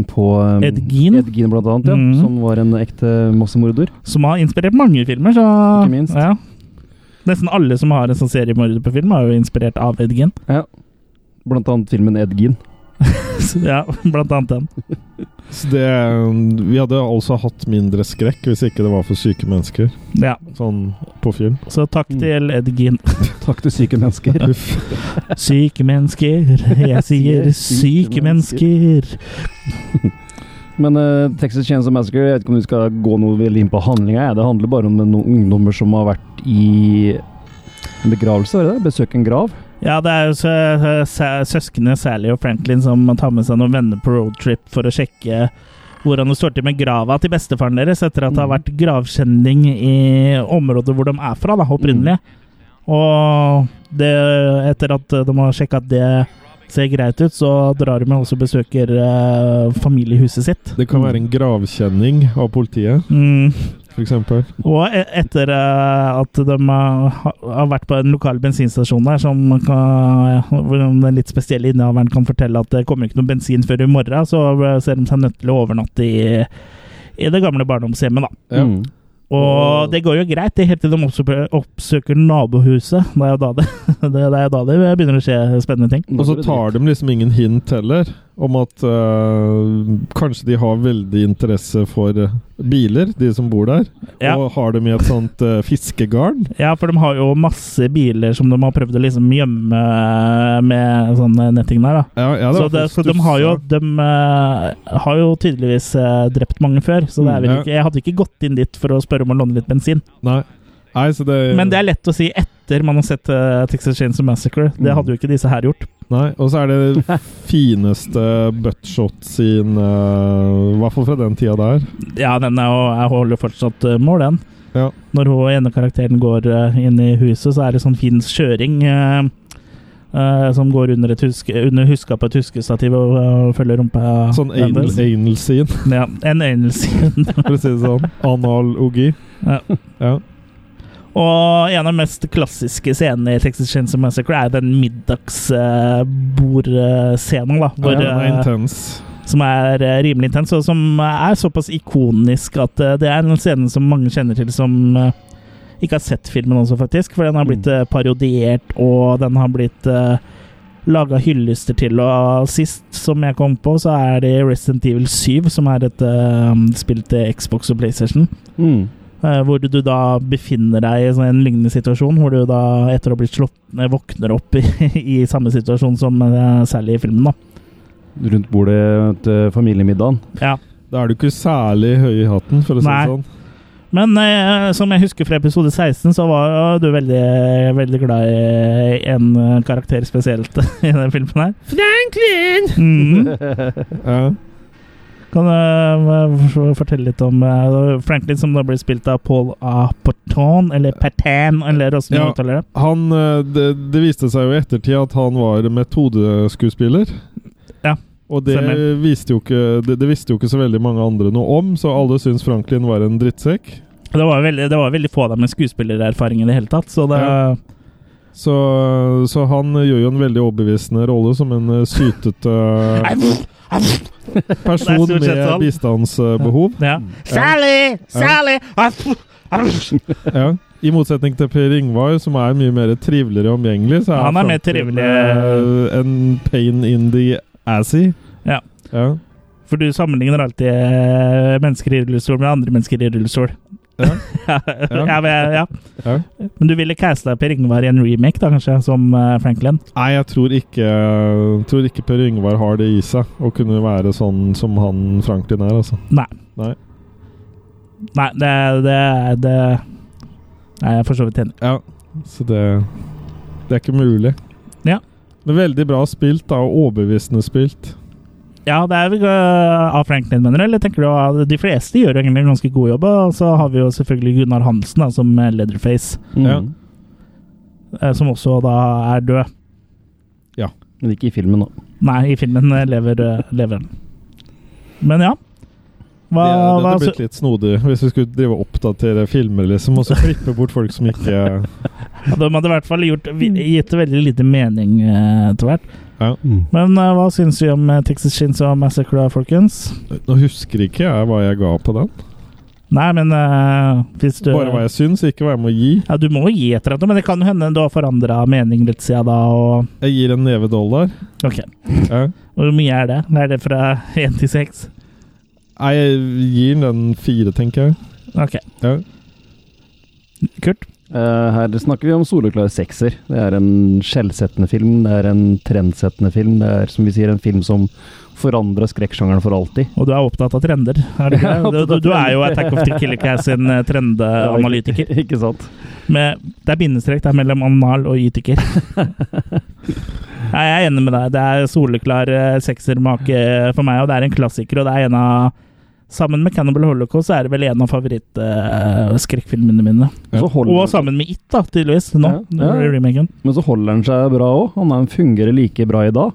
Speaker 3: på um,
Speaker 1: Ed Gein.
Speaker 3: Ed Gein blant annet, ja,
Speaker 1: Mhm.
Speaker 3: som var en ekte massemorder.
Speaker 1: Som har inspirert mange filmer, så
Speaker 3: Ikke minst.
Speaker 1: Ja. Nesten alle som har en sånn seriemorder på film, er jo inspirert av Ed Gein.
Speaker 3: Blant annet filmen Ed Gein.
Speaker 1: Så, ja, blant annet den.
Speaker 2: Så det, vi hadde altså hatt mindre skrekk hvis ikke det var for syke mennesker.
Speaker 1: Ja,
Speaker 2: Sånn på film.
Speaker 1: Så takk
Speaker 3: Mm.
Speaker 1: til Ed Gein.
Speaker 3: Takk til syke mennesker.
Speaker 2: Uff.
Speaker 1: Syke mennesker, jeg sier syke mennesker.
Speaker 3: Men eh, Texas Chainsaw Massacre, jeg vet ikke om vi skal gå noe veldig inn på handlinga. jeg. Det handler bare om noen ungdommer som har vært i en begravelse, er det det? Besøke en grav.
Speaker 1: Ja, det er jo sø sø- søskene Sally og Franklin som tar med seg noen venner på roadtrip for å sjekke hvordan det står til med grava til bestefaren deres etter at det har vært gravkjenning i området hvor de er fra, da, opprinnelig. Og det, etter at de har sjekka at det ser greit ut, så drar de med og også besøker eh, familiehuset sitt.
Speaker 2: Det kan være en gravkjenning av politiet,
Speaker 1: Mm.
Speaker 2: f.eks.
Speaker 1: Og e- etter eh, at de eh, ha- har vært på en lokal bensinstasjon der, som kan, hvor den litt spesielle innehaveren kan fortelle at det kommer ikke noe bensin før i morgen, så eh, ser de seg nødt til å overnatte i, i det gamle barndomshjemmet, da.
Speaker 2: Ja.
Speaker 3: Mm.
Speaker 1: Og det går jo greit, det helt til de oppsøker, oppsøker nabohuset. Det er jo da det, det, er jo da det begynner å skje spennende ting.
Speaker 2: Og så tar de liksom ingen hint heller om at eh, kanskje de har veldig interesse for eh, biler, de som bor der.
Speaker 1: Ja.
Speaker 2: Og har dem i et sånt eh, fiskegarn.
Speaker 1: Ja, for de har jo masse biler som de har prøvd å liksom gjemme med sånn netting der, da.
Speaker 2: Ja, ja, det
Speaker 1: Så,
Speaker 2: var
Speaker 1: det,
Speaker 2: faktisk
Speaker 1: så de har jo
Speaker 2: stussa.
Speaker 1: De eh, har jo tydeligvis eh, drept mange før, så det er vel
Speaker 2: Mm, ja.
Speaker 1: ikke Jeg hadde ikke gått inn dit for å spørre om å låne litt bensin.
Speaker 2: Nei. Nei, så det
Speaker 1: Men det er lett å si etter man har sett eh, Texas Chainsaw Massacre.
Speaker 2: Mm.
Speaker 1: Det hadde jo ikke disse her gjort.
Speaker 2: Nei, og så er det det fineste buttshot sin I hvert fall fra den tida der.
Speaker 1: Ja, den er jo Jeg holder fortsatt eh, mål, den.
Speaker 2: Ja.
Speaker 1: Når hun ene karakteren går eh, inn i huset, så er det sånn fin kjøring eh, eh, som går under, et huske, under huska på et huskestativ og eh, følger rumpa
Speaker 2: Sånn anal,
Speaker 1: hennes.
Speaker 2: anal scene,
Speaker 1: Ja, en anelse.
Speaker 2: for å si det sånn. Analogi.
Speaker 1: Ja.
Speaker 2: Ja.
Speaker 1: og en av de mest klassiske scenene i Texas Chainsaw Massacre er den middagsbordscenen, da. Hvor,
Speaker 2: ja, den er
Speaker 1: eh,
Speaker 2: intens.
Speaker 1: som er eh, rimelig intens, og som er såpass ikonisk at eh, det er en scene som mange kjenner til som eh, ikke har sett filmen også, faktisk. For den har
Speaker 2: Mm.
Speaker 1: blitt eh, parodiert, og den har blitt uh, laga hyllester til. Og sist som jeg kom på, så er det Resident Evil 7, som er et eh, spill til Xbox og PlayStation.
Speaker 3: Mm.
Speaker 1: eh, hvor du da befinner deg i sånn en lignende situasjon, hvor du da etter å ha blitt slått ned våkner opp i, i samme situasjon som eh, Sally i filmen. da.
Speaker 3: Rundt bordet til familiemiddagen.
Speaker 1: Ja.
Speaker 2: Da er du ikke særlig høy i hatten, for å si
Speaker 1: Nei.
Speaker 2: det sånn.
Speaker 1: Men eh, som jeg husker fra episode 16, så var jo du veldig, veldig glad i en eh, karakter spesielt i den filmen her. Franklin! Mm.
Speaker 2: Ja.
Speaker 1: Kan du eh, for- fortelle litt om eh, Franklin, som da blir spilt av Paul A. Porton, eller Pertan, eller åssen du
Speaker 2: Ja.
Speaker 1: uttaler det?
Speaker 2: Han, eh, det, det viste seg jo i ettertid at han var metodeskuespiller.
Speaker 1: Ja,
Speaker 2: Og det
Speaker 1: stemmer.
Speaker 2: visste, jo ikke, det, det visste jo ikke så veldig mange andre noe om, så alle syntes Franklin var en drittsekk.
Speaker 1: Det var veldig, det var veldig få av dem med skuespillererfaring i det hele tatt, så det
Speaker 2: Ja. Så, så han gjør jo en veldig overbevisende rolle som en eh, sytete person
Speaker 1: Det er stort sett
Speaker 2: med
Speaker 1: sånn.
Speaker 2: bistandsbehov.
Speaker 1: ja. Sally! Sally!
Speaker 2: Ja. I motsetning til Per Ingvar, som er mye mer triveligere og omgjengelig, så er
Speaker 1: Han er mer
Speaker 2: Franklin,
Speaker 1: trivelig.
Speaker 2: eh, en pain in the assy.
Speaker 1: Ja.
Speaker 2: Ja.
Speaker 1: For du sammenligner alltid eh, mennesker i rullestol med andre mennesker i rullestol.
Speaker 2: Ja.
Speaker 1: ja,
Speaker 2: Ja.
Speaker 1: men jeg- ja.
Speaker 2: Ja.
Speaker 1: Men du ville casta Per Ingvar i en remake, da, kanskje, som eh, Franklin?
Speaker 2: Nei, jeg tror ikke, tror ikke Per Yngvar har det i seg å kunne være sånn som han Franklin er, altså.
Speaker 1: Nei.
Speaker 2: Nei.
Speaker 1: Nei, det det, det Nei, jeg er for så vidt enig.
Speaker 2: Ja, så det Det er ikke mulig.
Speaker 1: Ja.
Speaker 2: Men veldig bra spilt, da. Og overbevisende spilt.
Speaker 1: Ja, det er vel eh, av Franklin, mener du? Eller tenker du at de fleste gjør egentlig en ganske god jobb? Og så har vi jo selvfølgelig Gunnar Hansen, da, som eh, Leatherface,
Speaker 3: Mm.
Speaker 2: Ja.
Speaker 1: eh, som også da er død.
Speaker 3: Men ikke i filmen, da.
Speaker 1: Nei, i filmen eh, lever, eh, lever han. Men ja. Hva,
Speaker 2: Det, det
Speaker 1: hva,
Speaker 2: hadde blitt litt snodig hvis vi skulle drive og oppdatere filmer, liksom, og så klippe bort folk som ikke
Speaker 1: ja, de hadde i hvert fall gjort,
Speaker 3: Mm.
Speaker 1: vi- gitt det veldig lite mening eh, etter hvert.
Speaker 3: Mm.
Speaker 1: Men eh, hva syns vi om eh, Texas Chainsaw Massacre, da, folkens?
Speaker 2: Nå husker ikke jeg hva jeg ga på den.
Speaker 1: Nei, men eh, hvis du
Speaker 2: Bare hva jeg syns, ikke hva jeg må gi.
Speaker 1: ja, Du må jo gi etter dette, men det kan jo hende du har forandra mening litt siden da. Og,
Speaker 2: Jeg gir en neve dollar.
Speaker 1: ok,
Speaker 2: Ja.
Speaker 1: Hvor mye er det? Er det fra én til seks?
Speaker 2: Nei, Jeg gir den fire, tenker jeg.
Speaker 1: Ok,
Speaker 2: Ja.
Speaker 1: Kurt?
Speaker 3: Eh, her snakker vi om soleklar sekser. Det er en skjellsettende film, det er en trendsettende film. Det er som vi sier, en film som forandra skrekksjangeren for alltid.
Speaker 1: Og du er opptatt av trender? Er du, ikke
Speaker 3: Jeg er
Speaker 1: det?
Speaker 3: opptatt
Speaker 1: du,
Speaker 3: av
Speaker 1: du er jo
Speaker 3: trender.
Speaker 1: Attack of the Killer Cats sin eh, trendeanalytiker.
Speaker 3: ikke sant?
Speaker 1: Med, det er bindestrek det er mellom anal og ytiker. Nei, jeg er enig med deg. Det er soleklar eh, seksermake for meg, og det er en klassiker. Og det er en av Sammen med Cannibal Holocaust så er det vel en av favorittskrekkfilmene mine.
Speaker 2: Ja.
Speaker 3: Så holder
Speaker 1: Og
Speaker 3: den-
Speaker 1: sammen med It, da, tydeligvis. Nå,
Speaker 3: Ja, ja.
Speaker 1: i remaken.
Speaker 3: Men så holder han seg bra òg. Han er- fungerer like bra i dag.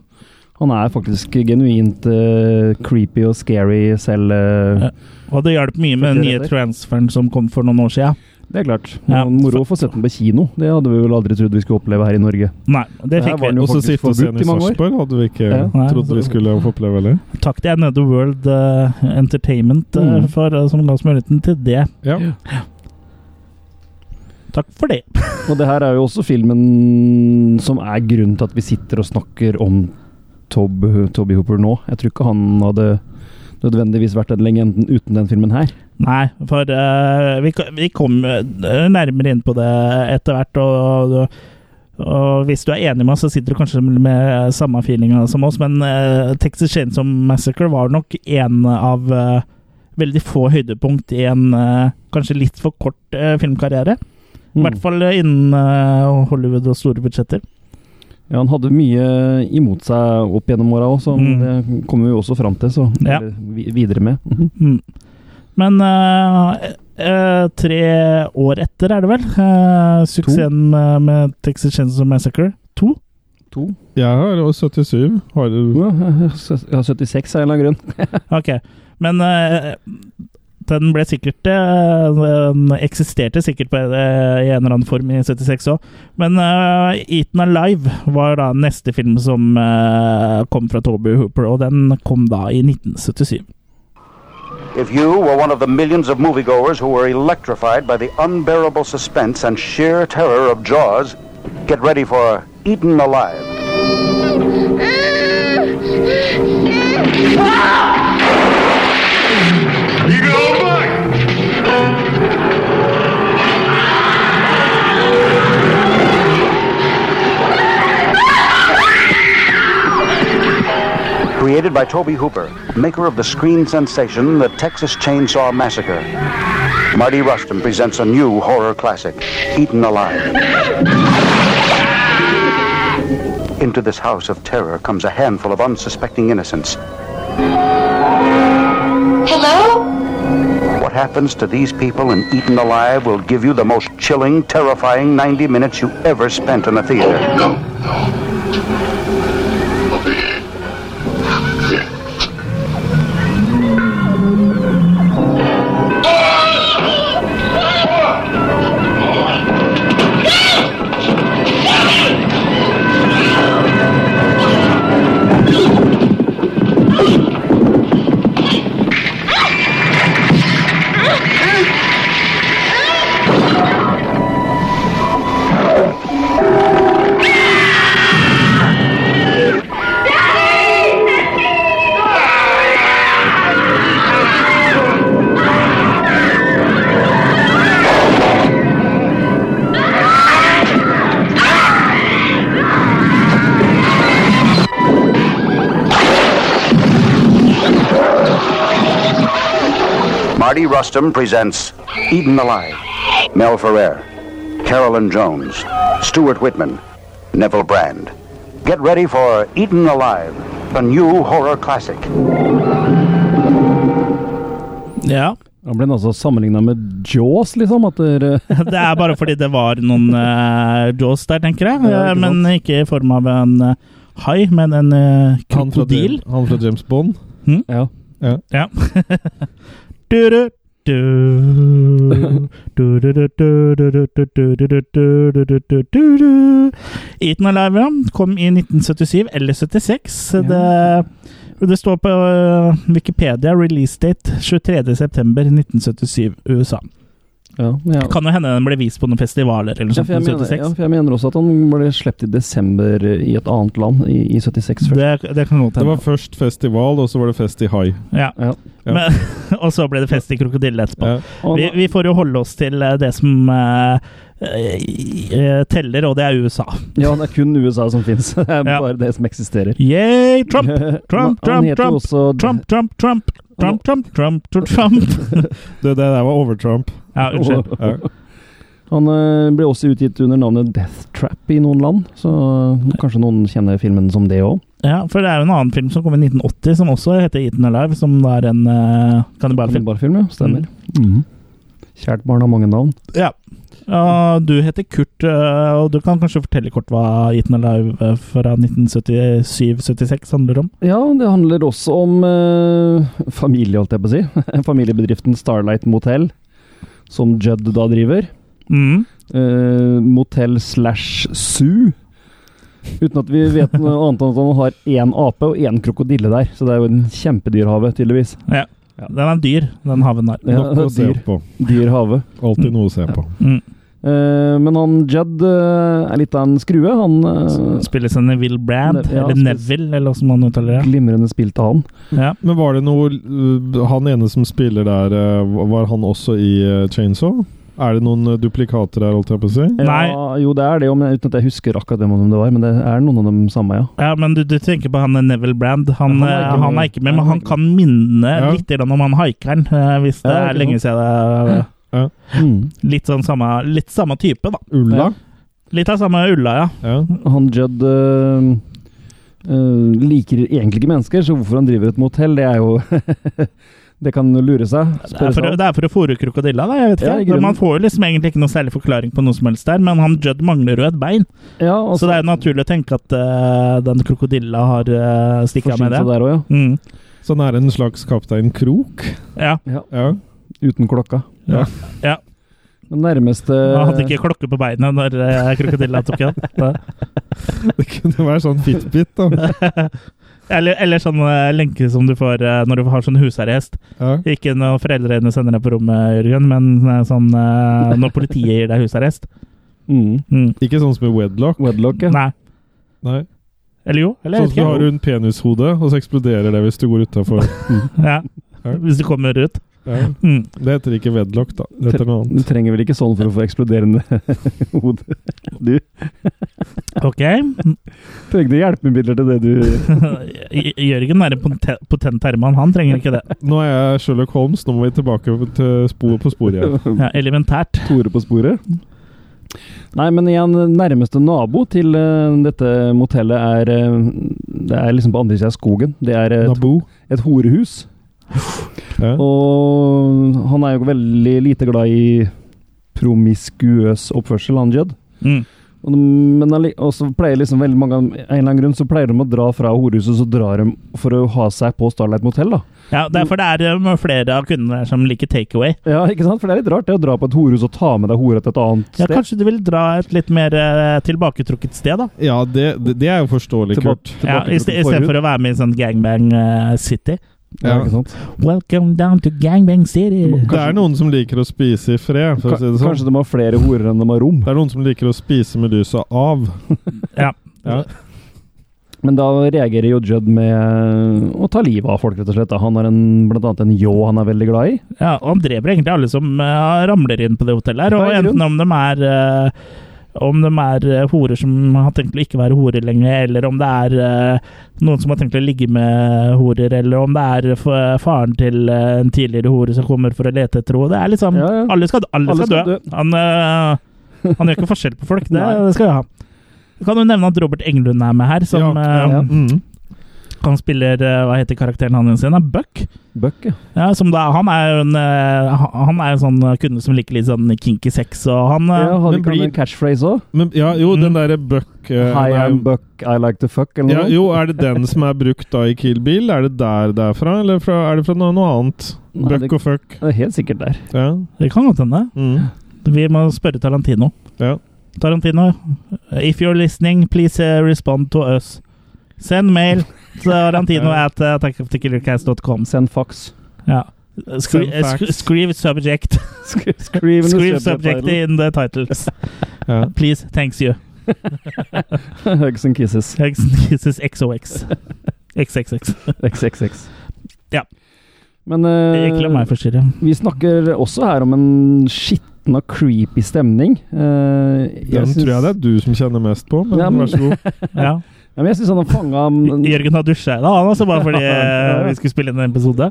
Speaker 3: Han er faktisk genuint eh, creepy og scary selv. eh,
Speaker 1: Ja. Og det hjalp mye med den nye transferen som kom for noen år siden.
Speaker 3: Det er klart.
Speaker 1: Ja.
Speaker 3: Og Moro å få sett den på kino. Det hadde vi vel aldri trodd vi skulle oppleve her i Norge.
Speaker 1: Nei, det
Speaker 3: Det her
Speaker 1: fikk vi.
Speaker 3: var den jo
Speaker 2: Og så
Speaker 3: faktisk
Speaker 2: sitte og
Speaker 3: forbudt
Speaker 2: se den i
Speaker 3: i mange år.
Speaker 2: Sarpsborg hadde vi ikke
Speaker 3: Ja.
Speaker 1: Nei,
Speaker 2: trodd
Speaker 1: så-
Speaker 2: vi skulle få oppleve heller.
Speaker 1: Takk til Another World eh, Entertainment eh,
Speaker 3: Mm.
Speaker 1: for, eh, som ga oss muligheten til det.
Speaker 2: Ja.
Speaker 1: Takk for det.
Speaker 3: Og det her er jo også filmen som er grunnen til at vi sitter og snakker om Tob, Toby Hooper nå. Jeg tror ikke han hadde nødvendigvis vært den legenden uten den filmen her.
Speaker 1: Nei, for eh, vi, ko- vi kom eh, nærmere inn på det etter hvert, og, og, og hvis du er enig med oss, så sitter du kanskje med samme feelinga som oss, men eh, Texas Chainsaw Massacre var nok en av eh, veldig få høydepunkt i en eh, kanskje litt for kort eh, filmkarriere. I
Speaker 3: Mm.
Speaker 1: hvert fall innen eh, Hollywood og store budsjetter.
Speaker 3: Ja, han hadde mye imot seg opp gjennom åra òg, så
Speaker 1: Mm.
Speaker 3: det kommer vi jo også fram til. Så
Speaker 1: Ja.
Speaker 3: eller vi- videre med. Mhm.
Speaker 1: Mm. Men eh, eh, tre år etter, er det vel? eh, suksessen med, med Texas Chainsaw Massacre 2.
Speaker 3: To?
Speaker 2: Jeg har også 77. Har du
Speaker 3: Ja, jeg har 76 av en eller annen grunn.
Speaker 1: Ok, men eh, den ble sikkert eh, Den eksisterte sikkert på, eh, i en eller annen form i 76 òg. Men eh, Eaten Alive var da neste film som eh, kom fra Toby Hooper, og den kom da i 1977.
Speaker 7: If you were one of the millions of moviegoers who were electrified by the unbearable suspense and sheer terror of Jaws, get ready for Eaten Alive. Created by Toby Hooper, maker of the screen sensation The Texas Chainsaw Massacre. Marty Rushton presents a new horror classic, Eaten Alive. Into this house of terror comes a handful of unsuspecting innocents.
Speaker 6: Hello?
Speaker 7: What happens to these people in Eaten Alive will give you the most chilling, terrifying 90 minutes you ever spent in a theater. Marty Rustum presents Eden Alive. Mel Ferrer, Carolyn Jones, Stuart Whitman, Neville Brand. Get ready for Eden Alive, a new horror classic.
Speaker 1: Ja.
Speaker 3: Han ble altså sammenligna med Jaws, liksom. At dere
Speaker 1: Det er bare fordi det var noen eh, jaws der, tenker jeg.
Speaker 3: Ja, ikke
Speaker 1: Eh,
Speaker 3: sant.
Speaker 1: men ikke i form av en eh, hai, men en eh,
Speaker 2: han fra,
Speaker 1: krokodil.
Speaker 2: han fra James Bond?
Speaker 3: ja.
Speaker 1: Ja. Du-du, du. Du-du-du, du-du-du, du-du-du, du-du-du, du-du. Eaten Alive ja, kom i 1977 eller 76. Det, det står på øh, Wikipedia release date 23.9.1977 USA.
Speaker 3: Ja, ja.
Speaker 1: Kan jo hende den ble vist på noen festivaler eller noe
Speaker 3: Ja,
Speaker 1: sånt
Speaker 3: for jeg,
Speaker 1: i
Speaker 3: mener,
Speaker 1: 76.
Speaker 3: ja, for jeg mener også at han ble sluppet i desember i et annet land, i, i 76 først.
Speaker 1: Det, det kan godt
Speaker 2: Det
Speaker 1: hende.
Speaker 2: var først festival, og så var det fest i hai.
Speaker 1: Ja.
Speaker 3: Ja.
Speaker 2: Ja.
Speaker 1: Men, og så ble det fest i krokodille etterpå.
Speaker 2: Ja.
Speaker 3: Og
Speaker 1: Vi,
Speaker 3: han-
Speaker 1: vi får jo holde oss til eh, det som eh, eh, teller, og det er USA.
Speaker 3: ja, det er kun USA som fins. Det er
Speaker 1: Ja.
Speaker 3: bare det som eksisterer.
Speaker 1: Yay, Trump! Trump,
Speaker 3: han
Speaker 1: Trump,
Speaker 3: heter
Speaker 1: Trump!
Speaker 3: også
Speaker 1: Trump, Trump, Trump!
Speaker 3: Oh.
Speaker 1: Trump, Trump, Trump, Trump, Trump.
Speaker 2: Det, det der var overtrump.
Speaker 1: Ja, unnskyld.
Speaker 2: Ja.
Speaker 3: Han eh, ble også utgitt under navnet Death Trap i noen land, så eh, kanskje noen kjenner filmen som det òg.
Speaker 1: Ja, for det er jo en annen film som kom i 1980, som også heter Eaten Alive, som da er en eh, kannibalfilm.
Speaker 3: Film, ja. Stemmer.
Speaker 1: Mm.
Speaker 3: Mhm. Kjært barn har mange navn.
Speaker 1: Ja. Og du heter Kurt, eh, og du kan kanskje fortelle kort hva Eaten Alive eh, fra 1977-76 handler om?
Speaker 3: Ja, det handler også om eh, familie, holdt jeg på å si. Familiebedriften Starlight Motel, som Judd da driver.
Speaker 1: Mm.
Speaker 3: Eh, motell slash zoo. Uten at vi vet noe annet enn at han har én ape og én krokodille der. Så det er jo en kjempedyrhave, tydeligvis.
Speaker 1: Ja. Den er dyr, den haven der.
Speaker 3: Ja,
Speaker 2: Nok å se
Speaker 3: dyr,
Speaker 2: på.
Speaker 3: dyr have.
Speaker 2: Alltid noe å se på.
Speaker 1: Mm.
Speaker 3: Eh, men han Judd eh, er litt av en skrue. Han eh,
Speaker 1: Spilles av Neville Brand,
Speaker 3: Ne- ja,
Speaker 1: eller
Speaker 3: spilles-
Speaker 1: Neville, eller hva man uttaler det.
Speaker 3: glimrende spilte han.
Speaker 1: Ja.
Speaker 2: Men var det noe uh, Han ene som spiller der, uh, var han også i uh, Chainsaw? Er det noen uh, duplikater her, holdt jeg på å si?
Speaker 1: Nei.
Speaker 3: Ja, jo, det er det, jo, men uten at jeg husker akkurat hvem av dem det var. Men det er noen av dem samme, ja.
Speaker 1: Ja, men du, du tenker på han eh, Neville Brand. Han,
Speaker 3: Ja,
Speaker 1: eh, han, er, ikke med, men
Speaker 3: Nei,
Speaker 1: han
Speaker 3: han er ikke
Speaker 1: kan minne
Speaker 2: Ja.
Speaker 1: litt grann om han haikeren, eh, hvis det
Speaker 3: Ja, ikke
Speaker 1: er lenge siden. det-
Speaker 3: Mm.
Speaker 1: Litt sånn samme, litt samme type, da.
Speaker 2: Ulla?
Speaker 1: Litt av samme ulla, ja.
Speaker 2: Ja.
Speaker 3: Han Judd øh, øh, liker egentlig ikke mennesker, så hvorfor han driver et motell, det er jo Det kan lure seg.
Speaker 1: Det er for, å-
Speaker 3: seg.
Speaker 1: det er for å fôre krokodilla, da. Jeg vet
Speaker 3: sånn. Ja, i
Speaker 1: ikke.
Speaker 3: grunnen.
Speaker 1: Man får jo liksom egentlig ikke noe særlig forklaring på noe som helst der, men han Judd mangler jo et bein.
Speaker 3: Ja, og
Speaker 1: Så det er jo naturlig å tenke at eh, den krokodilla har uh, stikket av med
Speaker 3: forsynt
Speaker 1: det.
Speaker 3: seg Der også,
Speaker 1: Mm.
Speaker 2: Så han er en slags kaptein Krok?
Speaker 1: Ja.
Speaker 2: Ja.
Speaker 3: ja. Uten klokka.
Speaker 2: Ja.
Speaker 1: Ja.
Speaker 3: Den nærmeste
Speaker 1: Han hadde
Speaker 3: Eh.
Speaker 1: ikke klokke på beinet når eh, krokodilla tok den. Så-
Speaker 2: Det kunne være sånn Fitbit, da.
Speaker 1: Eller, eller sånn eh, lenke som du får eh, når du har sånn husarrest.
Speaker 2: Ja.
Speaker 1: Ikke når foreldrene sender deg på rommet, Jørgen, men eh, sånn eh, når politiet gir deg husarrest.
Speaker 3: mm,
Speaker 1: Mm.
Speaker 2: Ikke sånn som i Wedlock.
Speaker 3: Wedlock, ja.
Speaker 1: Nei.
Speaker 2: Nei.
Speaker 1: Eller jo. Eller,
Speaker 2: Sånn
Speaker 1: jeg
Speaker 2: som du har
Speaker 1: vet ikke.
Speaker 2: rundt penishode, og så eksploderer det hvis du går utafor.
Speaker 1: Ja. Hvis du kommer ut.
Speaker 2: Ja.
Speaker 1: Mm.
Speaker 2: Det heter ikke Wedlock, da. Det heter noe
Speaker 3: Du
Speaker 2: annet.
Speaker 3: trenger vel ikke sånn for å få eksploderende hode? Du
Speaker 1: Ok.
Speaker 3: trengte hjelpemidler til det du
Speaker 1: J- Jørgen er en potent, potent herremann. Han trenger ikke det.
Speaker 2: Nå er jeg Sherlock Holmes, nå må vi tilbake til spor, på sporet igjen.
Speaker 1: Ja, elementært.
Speaker 3: Tore på sporet. Nei, men igjen, nærmeste nabo til eh, dette motellet er eh, Det er liksom på andre sida av skogen. Det er et,
Speaker 2: Naboo.
Speaker 3: et horehus.
Speaker 2: Ja.
Speaker 3: Og han er jo veldig lite glad i promiskuøs oppførsel, han Judd.
Speaker 1: Mm.
Speaker 3: Og de- Men alli- og så pleier liksom veldig mange av dem- en eller annen grunn så pleier de å dra fra horehuset, så drar de for å ha seg på Starlight Motel, da.
Speaker 1: Ja, derfor det er eh, flere av kundene der som liker takeaway.
Speaker 3: Ja, ikke sant? For det er litt rart det å dra på et horehus og ta med deg hore til et annet
Speaker 1: Ja,
Speaker 3: sted.
Speaker 1: kanskje du vil dra et litt mer eh, tilbaketrukket sted, da?
Speaker 2: Ja, det, det, det er jo forståelig,
Speaker 3: Tilba-
Speaker 2: Kurt.
Speaker 1: Ja,
Speaker 3: tilbaketrukket
Speaker 1: i ste- Istedenfor
Speaker 3: forhud.
Speaker 1: å være med i sånn Gangbang eh, City.
Speaker 3: Ja,
Speaker 2: Ja.
Speaker 3: ikke sant?
Speaker 1: Welcome down to Gangbang City.
Speaker 2: Det er noen som liker å spise i fred, for å si det sånn.
Speaker 3: Kanskje de har flere horer enn de har rom.
Speaker 2: Det er noen som liker å spise Medusa av.
Speaker 1: Ja.
Speaker 2: Ja.
Speaker 3: Men da reagerer jo Judd med eh, å ta livet av folk, rett og slett. da. Han har en, blant annet en ljå han er veldig glad i.
Speaker 1: Ja, og han dreper egentlig alle som eh, ramler inn på det hotellet. her,
Speaker 3: Ja,
Speaker 1: Og
Speaker 3: i
Speaker 1: enten om de er eh, om de er eh, horer som har tenkt å ikke være horer lenger, eller om det er eh, noen som har tenkt å ligge med horer, eller om det er f faren til eh, en tidligere hore som kommer for å lete etter henne. Det er liksom
Speaker 3: Ja, ja.
Speaker 1: Alle skal, alle skal, dø. Han, eh, han gjør ikke forskjell på folk. Det,
Speaker 3: Nei.
Speaker 1: det skal vi ha. Kan du nevne at Robert Englund er med her, som
Speaker 2: Ja,
Speaker 1: eh,
Speaker 3: ja.
Speaker 2: Mm.
Speaker 1: han spiller eh, Hva heter karakteren hans igjen? Er Buck?
Speaker 3: Buck, ja.
Speaker 1: Ja, som da, han er jo en, eh, ha- han er en sånn kunde som liker litt sånn kinky sex, og han eh,
Speaker 3: ja hadde
Speaker 2: men
Speaker 3: ikke han
Speaker 2: blir-
Speaker 3: en catchphrase òg?
Speaker 2: Men, ja, jo, den derre Buck eh,
Speaker 3: Hi,
Speaker 2: nei,
Speaker 3: I'm Mm. Buck, I like to fuck, eller
Speaker 2: ja,
Speaker 3: noe?
Speaker 2: Jo, er det den som er brukt da i Kill Bill? Er det der det er fra, eller fra, er det fra noe, noe annet?
Speaker 3: Nei,
Speaker 2: Buck
Speaker 3: det-
Speaker 2: og fuck.
Speaker 3: Det er helt sikkert der.
Speaker 2: Ja.
Speaker 1: Det kan godt hende.
Speaker 2: Mm.
Speaker 1: Vi må spørre Tarantino.
Speaker 2: ja.
Speaker 1: Tarantino, if you're listening, please eh, respond to us. Send mail til tarantino at eh, attackofthekillercast.com.
Speaker 3: Send fax.
Speaker 1: Ja. Skri,
Speaker 2: Send
Speaker 1: eh,
Speaker 2: facts.
Speaker 1: skri, skriv subject.
Speaker 3: Sk- Skriv under
Speaker 1: Skriv
Speaker 3: subtitle.
Speaker 1: subject in the titles.
Speaker 2: ja.
Speaker 1: Please, thanks you.
Speaker 3: Hugs and kisses.
Speaker 1: Thanks, This is XOX. XXX.
Speaker 3: XXX.
Speaker 1: Ja.
Speaker 3: Men eh,
Speaker 1: Ikke la meg forstyrre.
Speaker 3: vi snakker også her om en skitten og creepy stemning. Eh, jeg
Speaker 2: Den
Speaker 3: syns-
Speaker 2: tror jeg det er du som kjenner mest på, men,
Speaker 3: Ja, men-
Speaker 2: vær så god.
Speaker 1: Ja.
Speaker 3: Ja, men jeg syns han har fanga
Speaker 1: Jørgen har dusja i dag, han også, bare fordi eh, vi skulle spille inn en episode.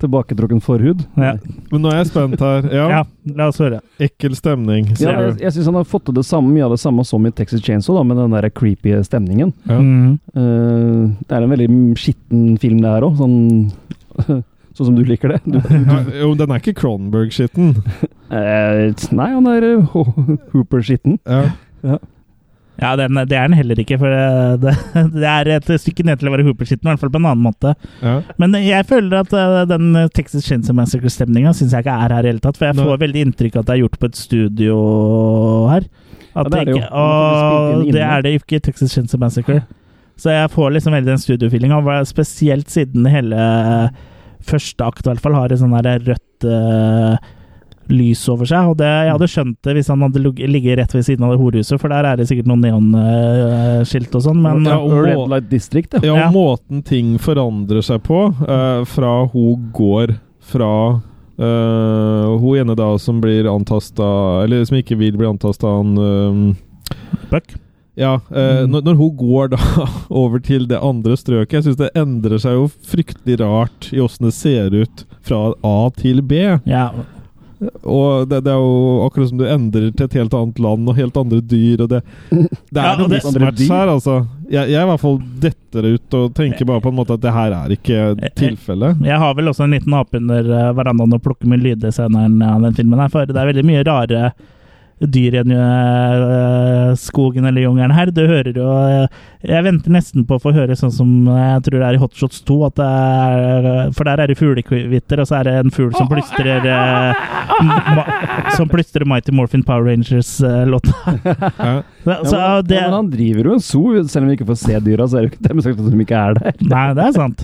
Speaker 3: Tilbaketrukken forhud.
Speaker 1: Ja.
Speaker 2: Men nå er jeg spent her. Ja,
Speaker 1: Ja, la oss høre.
Speaker 2: ekkel stemning,
Speaker 3: Ja,
Speaker 2: sier
Speaker 3: jeg
Speaker 2: du.
Speaker 3: jeg syns han har fått til det samme, mye av det samme som i Texas Chainsaw, da, med den der creepy stemningen.
Speaker 2: Ja.
Speaker 1: Mm.
Speaker 3: Eh, det er en veldig skitten film, det her òg. Sånn, sånn som du liker det. Du,
Speaker 2: Ja, jo, den er ikke Cronberg-skitten.
Speaker 3: eh, nei, han er eh, Ho- Hooper-skitten.
Speaker 2: Ja.
Speaker 1: Ja, den, det er den heller ikke, for eh, det, det, det er et stykke ned til å være hooperskitten, i hvert fall på en annen måte.
Speaker 2: Ja.
Speaker 1: Men jeg føler at eh, den Texas Chainsaw Massacre-stemninga syns jeg ikke er her i det hele tatt, for jeg
Speaker 2: Nei.
Speaker 1: får veldig inntrykk av at det er gjort på et studio her.
Speaker 3: Ja,
Speaker 1: At
Speaker 3: det er det jo.
Speaker 1: ikke, og
Speaker 3: Men det er spilt inn
Speaker 1: det
Speaker 3: inne.
Speaker 1: er det jo ikke i Texas Chainsaw Massacre. Så jeg får liksom veldig den studiofeelinga, spesielt siden hele første akt i hvert fall har et sånn der rødt eh, lys over seg. Og det, jeg hadde skjønt det hvis han hadde ligg- ligget rett ved siden av det horehuset, for der er det sikkert noen neonskilt og sånn, men
Speaker 2: Ja, og må-
Speaker 3: Red Light District, ja.
Speaker 2: Ja, og
Speaker 1: Ja.
Speaker 2: måten ting forandrer seg på eh, fra hun går fra eh, hun ene da som blir antasta Eller som ikke vil bli antasta av han eh,
Speaker 1: Buck.
Speaker 2: Ja, eh,
Speaker 1: Mm.
Speaker 2: når, når hun går da over til det andre strøket Jeg syns det endrer seg jo fryktelig rart i åssen det ser ut fra A til B.
Speaker 1: Ja,
Speaker 2: Og det, det er jo akkurat som du endrer til et helt annet land og helt andre dyr og det Det
Speaker 1: Ja,
Speaker 2: er
Speaker 1: og
Speaker 2: noe
Speaker 1: det-
Speaker 2: mismatch her, altså. Jeg, jeg i hvert fall detter ut og tenker bare på en måte at det her er
Speaker 1: Eh,
Speaker 2: ikke tilfellet.
Speaker 1: Jeg har vel også en liten ape under eh, verandaen og plukker med lyddesigneren av den filmen her, for det er veldig mye rare dyr i den eh, skogen eller jungelen her. Du hører jo eh, Jeg venter nesten på å få høre sånn som eh, jeg tror det er i Hot Shots 2, at det er, eh, for der er det fuglekvitter, og så er det en fugl som plystrer eh, ma- Som plystrer Mighty Morphin Power Rangers-låta.
Speaker 2: Ja.
Speaker 1: Så
Speaker 3: men,
Speaker 1: Altså, det
Speaker 3: ja, men han driver jo en zoo, selv om vi ikke får se dyra. Så er det jo ikke dem sagt at de ikke er der.
Speaker 1: Nei, det er sant.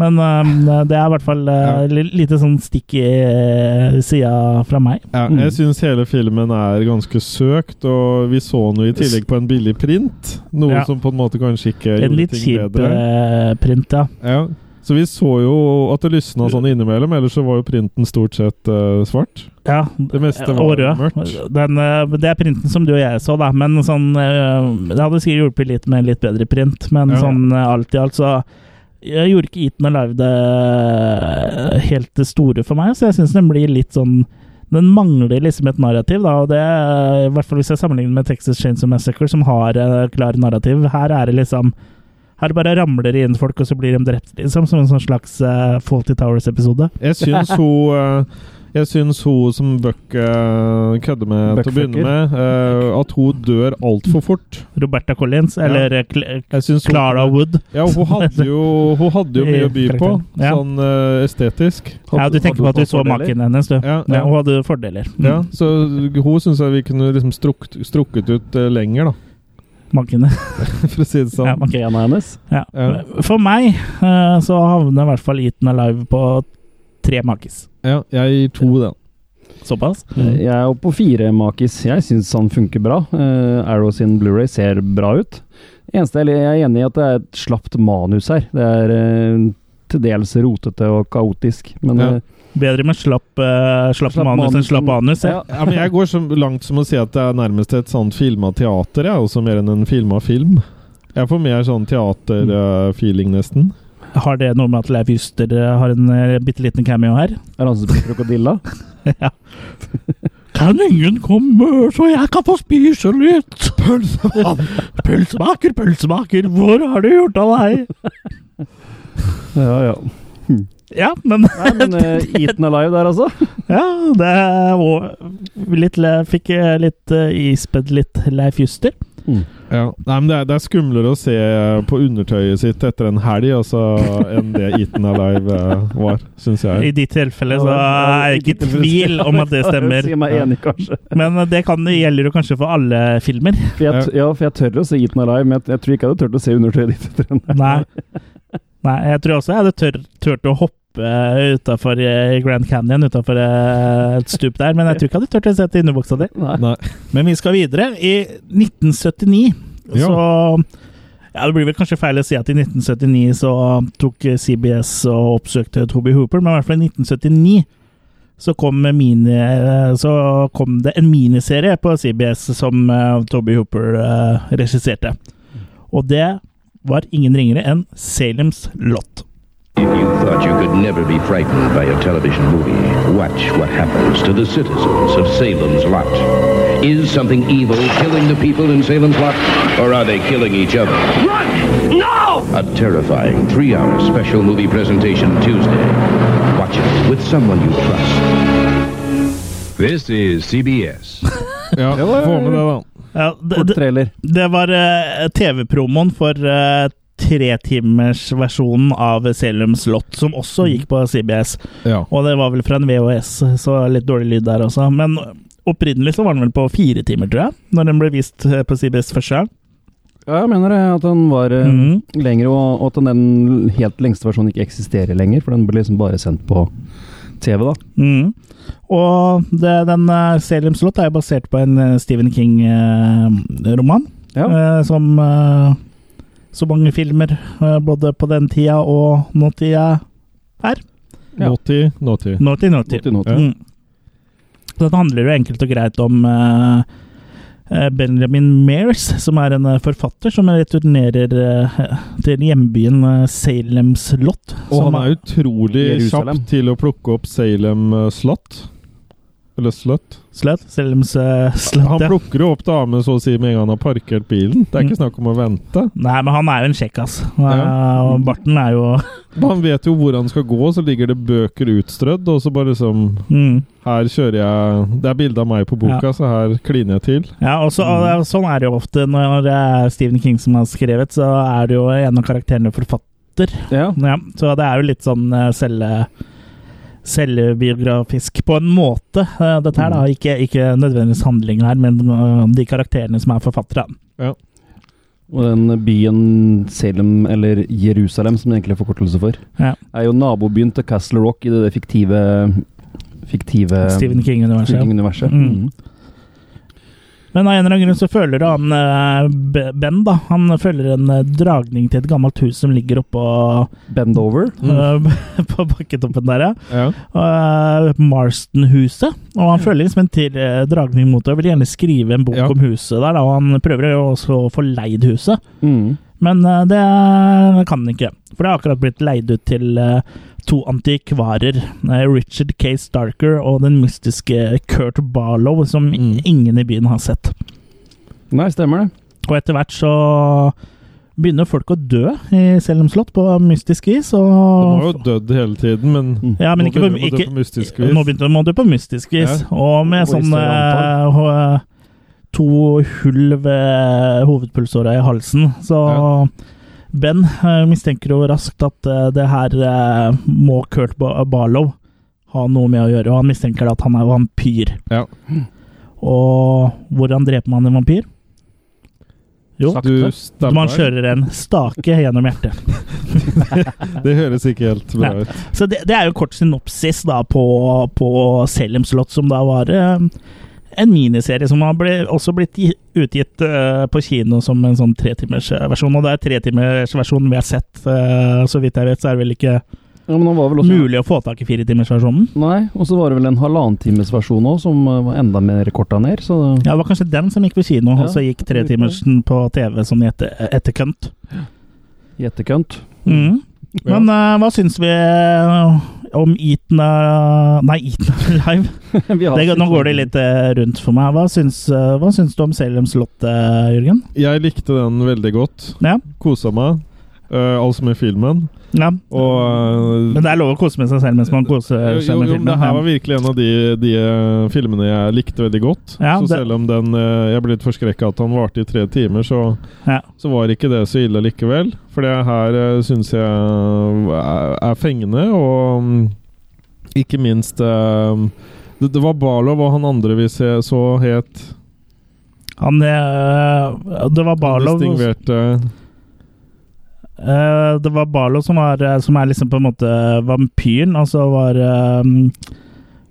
Speaker 1: Men øhm, det er i hvert fall uh, lite sånn stikk i øh, sida fra meg.
Speaker 2: Ja, jeg syns hele filmen er ganske søkt, og vi så den jo i tillegg på en billig print. Noe
Speaker 1: Ja.
Speaker 2: som på en måte kanskje ikke
Speaker 1: En
Speaker 2: gjorde
Speaker 1: litt
Speaker 2: ting
Speaker 1: kjip
Speaker 2: bedre.
Speaker 1: øh, print, ja.
Speaker 2: Ja. Så vi så jo at det lysna sånn innimellom, ellers så var jo printen stort sett eh, svart.
Speaker 1: ja.
Speaker 2: Det meste var
Speaker 1: Og rød.
Speaker 2: mørkt.
Speaker 1: Den, øh, det er printen som du og jeg så, da. Men sånn øh, Det hadde sikkert hjulpet litt med en litt bedre print, men
Speaker 2: Ja.
Speaker 1: sånn øh, alt i alt så jeg gjorde ikke Eaten Alive det øh, helt det store for meg, så jeg syns den blir litt sånn den mangler liksom et narrativ, da, og det er- i hvert fall hvis jeg sammenligner med Texas Chainsaw Massacre, som har et klart narrativ. Her er det liksom Her bare ramler det inn folk, og så blir de drept, liksom. Som en sånn slags uh, Faulty Towers-episode.
Speaker 2: Jeg syns hun eh, jeg syns hun som Buck eh, kødder med til å begynne
Speaker 3: Buckfucker.
Speaker 2: med, eh, at hun dør altfor fort.
Speaker 1: Roberta Collins, eller eh, Cl
Speaker 2: Jeg syns hun,
Speaker 1: Clara Wood.
Speaker 2: Ja, hun hadde jo, hun hadde jo mye å by på,
Speaker 1: Ja.
Speaker 2: sånn eh, estetisk.
Speaker 1: Ja, du tenker på at du så maken hennes, du.
Speaker 2: Ja,
Speaker 1: Ja,
Speaker 2: ja.
Speaker 1: hun hadde fordeler. Mm.
Speaker 2: Ja, så hun syns jeg vi kunne liksom strukket, strukket ut eh, lenger, da,
Speaker 1: Mankene.
Speaker 2: for å si det
Speaker 1: Ja,
Speaker 2: sånn.
Speaker 1: manken.
Speaker 3: Ena hennes.
Speaker 1: Ja.
Speaker 2: Ja.
Speaker 1: For meg eh, så havner i hvert fall Eaten Alive på tre makis.
Speaker 2: Ja, jeg gir to den.
Speaker 1: Såpass?
Speaker 3: Eh, Jeg er oppe på fire, Makis. Jeg syns han funker bra. Eh, Arrow sin Blu-ray ser bra ut. Eneste jeg jeg er enig i at det er et slapt manus her. Det er eh, til dels rotete og kaotisk, men
Speaker 2: Ja.
Speaker 3: eh,
Speaker 1: Bedre med slapp, eh, slapp,
Speaker 3: Slapp
Speaker 1: manus enn
Speaker 3: manus.
Speaker 1: slapp anus. Ja.
Speaker 3: ja,
Speaker 2: Ja, men jeg går så langt som å si at det er nærmest et sånt filma teater, jeg, også mer enn en filma film. Jeg får mer sånn teaterfeeling, nesten.
Speaker 1: Har det noe med at Leif Juster eh, har en eh, bitte liten cameo her?
Speaker 3: er han som blir krokodilla?
Speaker 1: ja. Kan ingen komme, så jeg kan få spise litt? Pølsemaker, pølsemaker, pølsemaker, hvor har du gjort av deg?
Speaker 3: Ja, ja.
Speaker 1: Ja, men
Speaker 3: Nei, men eh, Eaten Alive der, altså.
Speaker 1: Ja, det er og litt, le- Fikk eh, litt eh, ispedd litt Leif Juster.
Speaker 2: Ja. Nei, men det er, det er skumlere å se eh, på undertøyet sitt etter en helg altså, enn det Eaten Alive eh, var, syns
Speaker 1: I
Speaker 2: jeg.
Speaker 1: ditt tilfelle
Speaker 3: Ja,
Speaker 1: så
Speaker 3: ja,
Speaker 1: er jeg
Speaker 3: i
Speaker 1: ikke i
Speaker 3: ditt
Speaker 1: tvil om at det stemmer.
Speaker 3: Si meg enig, kanskje.
Speaker 1: Men eh, det kan, gjelder jo kanskje for alle filmer.
Speaker 3: For jeg, t- ja, for jeg tør å se Eaten Alive, men jeg, jeg tror ikke jeg hadde turt å se undertøyet ditt etter den.
Speaker 1: Nei. Nei, jeg tror også jeg hadde tør, tørt å hoppe utafor Grand Canyon, utafor et stup der, men jeg tror ikke jeg hadde tørt å sette innebuksa di.
Speaker 3: Nei.
Speaker 2: Nei.
Speaker 1: Men vi skal videre. I 1979
Speaker 2: Ja.
Speaker 1: så ja, Det blir vel kanskje feil å si at i 1979 så tok CBS og oppsøkte Toby Hooper, men i hvert fall i 1979 så kom, mini, så kom det en miniserie på CBS som eh, Toby Hooper eh, regisserte. Og det var ingen ringere enn Salems Lot.
Speaker 5: If you thought you could never be frightened by a television movie, watch what happens to the citizens of Salem's Lot. Is something evil killing the people in Salem's Lot, or are they killing each other? Run! No! A terrifying three-hour special movie presentation Tuesday. Watch it with someone you trust. This is CBS.
Speaker 2: Ja, få med det, da.
Speaker 1: Ja, det,
Speaker 3: Kort
Speaker 1: det,
Speaker 3: trailer.
Speaker 1: det var eh, TV-promoen for uh, tretimersversjonen av Salems Lot, som også gikk på CBS.
Speaker 2: Ja.
Speaker 1: Og det var vel fra en VHS, så litt dårlig lyd der også. Men opprinnelig så var den vel på fire timer, tror jeg, når den ble vist eh, på CBS første gang.
Speaker 3: Ja, jeg mener det, at han var eh,
Speaker 1: Mhm.
Speaker 3: lengre, og, og at den helt lengste versjonen ikke eksisterer lenger, for den ble liksom bare sendt på TV, da.
Speaker 1: Mm. Og det, den eh, Salem's Lot er jo basert på en eh, Stephen King-roman.
Speaker 3: Ja.
Speaker 1: som eh, så mange filmer, eh, både på den tida og nåtida, er.
Speaker 3: Ja.
Speaker 2: Naughty, naughty.
Speaker 1: Nåtid, nåtid.
Speaker 3: Naughty, naughty.
Speaker 1: Mm. Den handler jo enkelt og greit om eh, eh, Benjamin Mears, som er en eh, forfatter som returnerer eh, til hjembyen eh, Salem's Lot.
Speaker 2: Og
Speaker 1: som
Speaker 2: han er utrolig
Speaker 3: Jerusalem.
Speaker 2: kjapp til å plukke opp Salem eh, Slott. Eller Slott.
Speaker 1: Slot, Salem's eh, Slot,
Speaker 2: Han
Speaker 1: ja.
Speaker 2: plukker jo opp damen så å si med en gang han har parkert bilen. Det er ikke snakk om å vente.
Speaker 1: Nei, men han er jo en kjekkas.
Speaker 2: Ja. Mm.
Speaker 1: Eh, og Barten er jo
Speaker 2: Han vet jo hvor han skal gå, så ligger det bøker utstrødd, og så bare liksom
Speaker 1: mm.
Speaker 2: Her kjører jeg Det er bilde av meg på boka, så her kliner jeg til.
Speaker 1: Ja, og så, og
Speaker 2: Mm.
Speaker 1: det er- sånn er det jo ofte når det er Stephen King som har skrevet, så er det jo en av karakterene forfatter.
Speaker 3: Ja.
Speaker 1: Ja, så det er jo litt sånn eh, selve Selvbiografisk på en måte, eh, dette her. da Ikke, ikke nødvendigvis handlinga her, men eh, de karakterene som er forfattere.
Speaker 3: Og den byen Salem, eller Jerusalem som det egentlig er forkortelse for,
Speaker 1: Ja.
Speaker 3: er jo nabobyen til Castle Rock i det der fiktive Fiktive
Speaker 1: Stephen King-universet. ja.
Speaker 3: King-universet.
Speaker 1: Mm. Men av en eller annen grunn så føler han eh, B- Ben, da. Han føler en eh, dragning til et gammelt hus som ligger oppå
Speaker 3: Bend over.
Speaker 1: eh, På bakketoppen der, ja.
Speaker 2: Ja.
Speaker 1: Eh, Marston-huset. Og han føler liksom en til, eh, dragning mot det. og Vil gjerne skrive en bok
Speaker 2: Ja.
Speaker 1: om huset der, da. Og han prøver jo også å få leid huset,
Speaker 3: Mm.
Speaker 1: men eh, det kan han ikke. For det har akkurat blitt leid ut til eh, to antikvarer. eh, Richard K. Starker og den mystiske Kurt Barlow, som
Speaker 2: Mm.
Speaker 1: ingen i byen har sett.
Speaker 3: Nei, stemmer det.
Speaker 1: Og etter hvert så begynner folk å dø i Selm slott på mystisk vis.
Speaker 2: Den var jo
Speaker 1: Og
Speaker 2: dødd hele tiden, men
Speaker 1: ja, men
Speaker 2: nå
Speaker 1: ikke på,
Speaker 2: begynner man å dø
Speaker 1: ikke,
Speaker 2: på mystisk
Speaker 1: nå
Speaker 2: vis.
Speaker 1: begynte man å dø på mystisk vis,
Speaker 2: Ja.
Speaker 1: og med
Speaker 3: Og i
Speaker 1: sånn
Speaker 3: større antall.
Speaker 1: eh, ho- to hull ved hovedpulsåra i halsen. Så Ben eh, mistenker jo raskt at eh, det her eh, må Kurt Ba- Barlow ha noe med å gjøre, og han mistenker at han er vampyr.
Speaker 2: Ja.
Speaker 1: Og hvordan dreper man en vampyr? Jo,
Speaker 3: Sakte.
Speaker 2: Du
Speaker 1: man
Speaker 2: stemmer.
Speaker 1: kjører en stake gjennom hjertet.
Speaker 2: Det høres ikke helt bra
Speaker 1: Nei.
Speaker 2: ut.
Speaker 1: Så det, det er jo kort synopsis da på, på Selim Slott, som da var eh, en miniserie som har ble, også blitt gi- utgitt eh, på kino som en sånn tretimersversjon. Og det er tretimersversjonen vi har sett. eh, så vidt jeg vet, så er det vel ikke
Speaker 3: Ja, men han var vel også
Speaker 1: mulig å få tak i firetimersversjonen.
Speaker 3: Nei, og så var det vel en halvannentimersversjon òg, som eh, var enda mer korta ned. Så
Speaker 1: Ja, det var kanskje den som gikk på kino,
Speaker 3: Ja,
Speaker 1: og så gikk tretimersen på TV sånn i etter, etterkant.
Speaker 3: i etterkant
Speaker 1: Mm.
Speaker 2: Ja.
Speaker 1: Men eh, hva syns vi eh, om Eaten eh, Nei, Eaten Live.
Speaker 3: Vi har-
Speaker 1: Det, nå går det litt eh, rundt for meg. Hva syns, eh, hva syns du om Salems slott, eh, Jørgen?
Speaker 2: Jeg likte den veldig godt.
Speaker 1: Ja.
Speaker 2: Kosa meg. Uh, altså med filmen.
Speaker 1: ja.
Speaker 2: Og eh,
Speaker 1: Men det er lov å kose med seg selv mens man koser
Speaker 2: jo,
Speaker 1: seg
Speaker 2: jo,
Speaker 1: med
Speaker 2: jo, men det her var
Speaker 1: filmen.
Speaker 2: virkelig en av de, de eh, filmene jeg likte veldig godt.
Speaker 1: Ja,
Speaker 2: så
Speaker 1: det-
Speaker 2: selv om den, eh, jeg ble litt forskrekka at han varte i tre timer, så,
Speaker 1: Ja.
Speaker 2: så var ikke det så ille likevel. For det her syns jeg er, er fengende, og mm, ikke minst eh, det, det var Barlow og han andre vi se, så het
Speaker 1: Han, eh, det var Barlow
Speaker 2: Distingverte
Speaker 1: eh, Det var Barlow som, var, eh, som er liksom på en måte vampyren, og så var eh,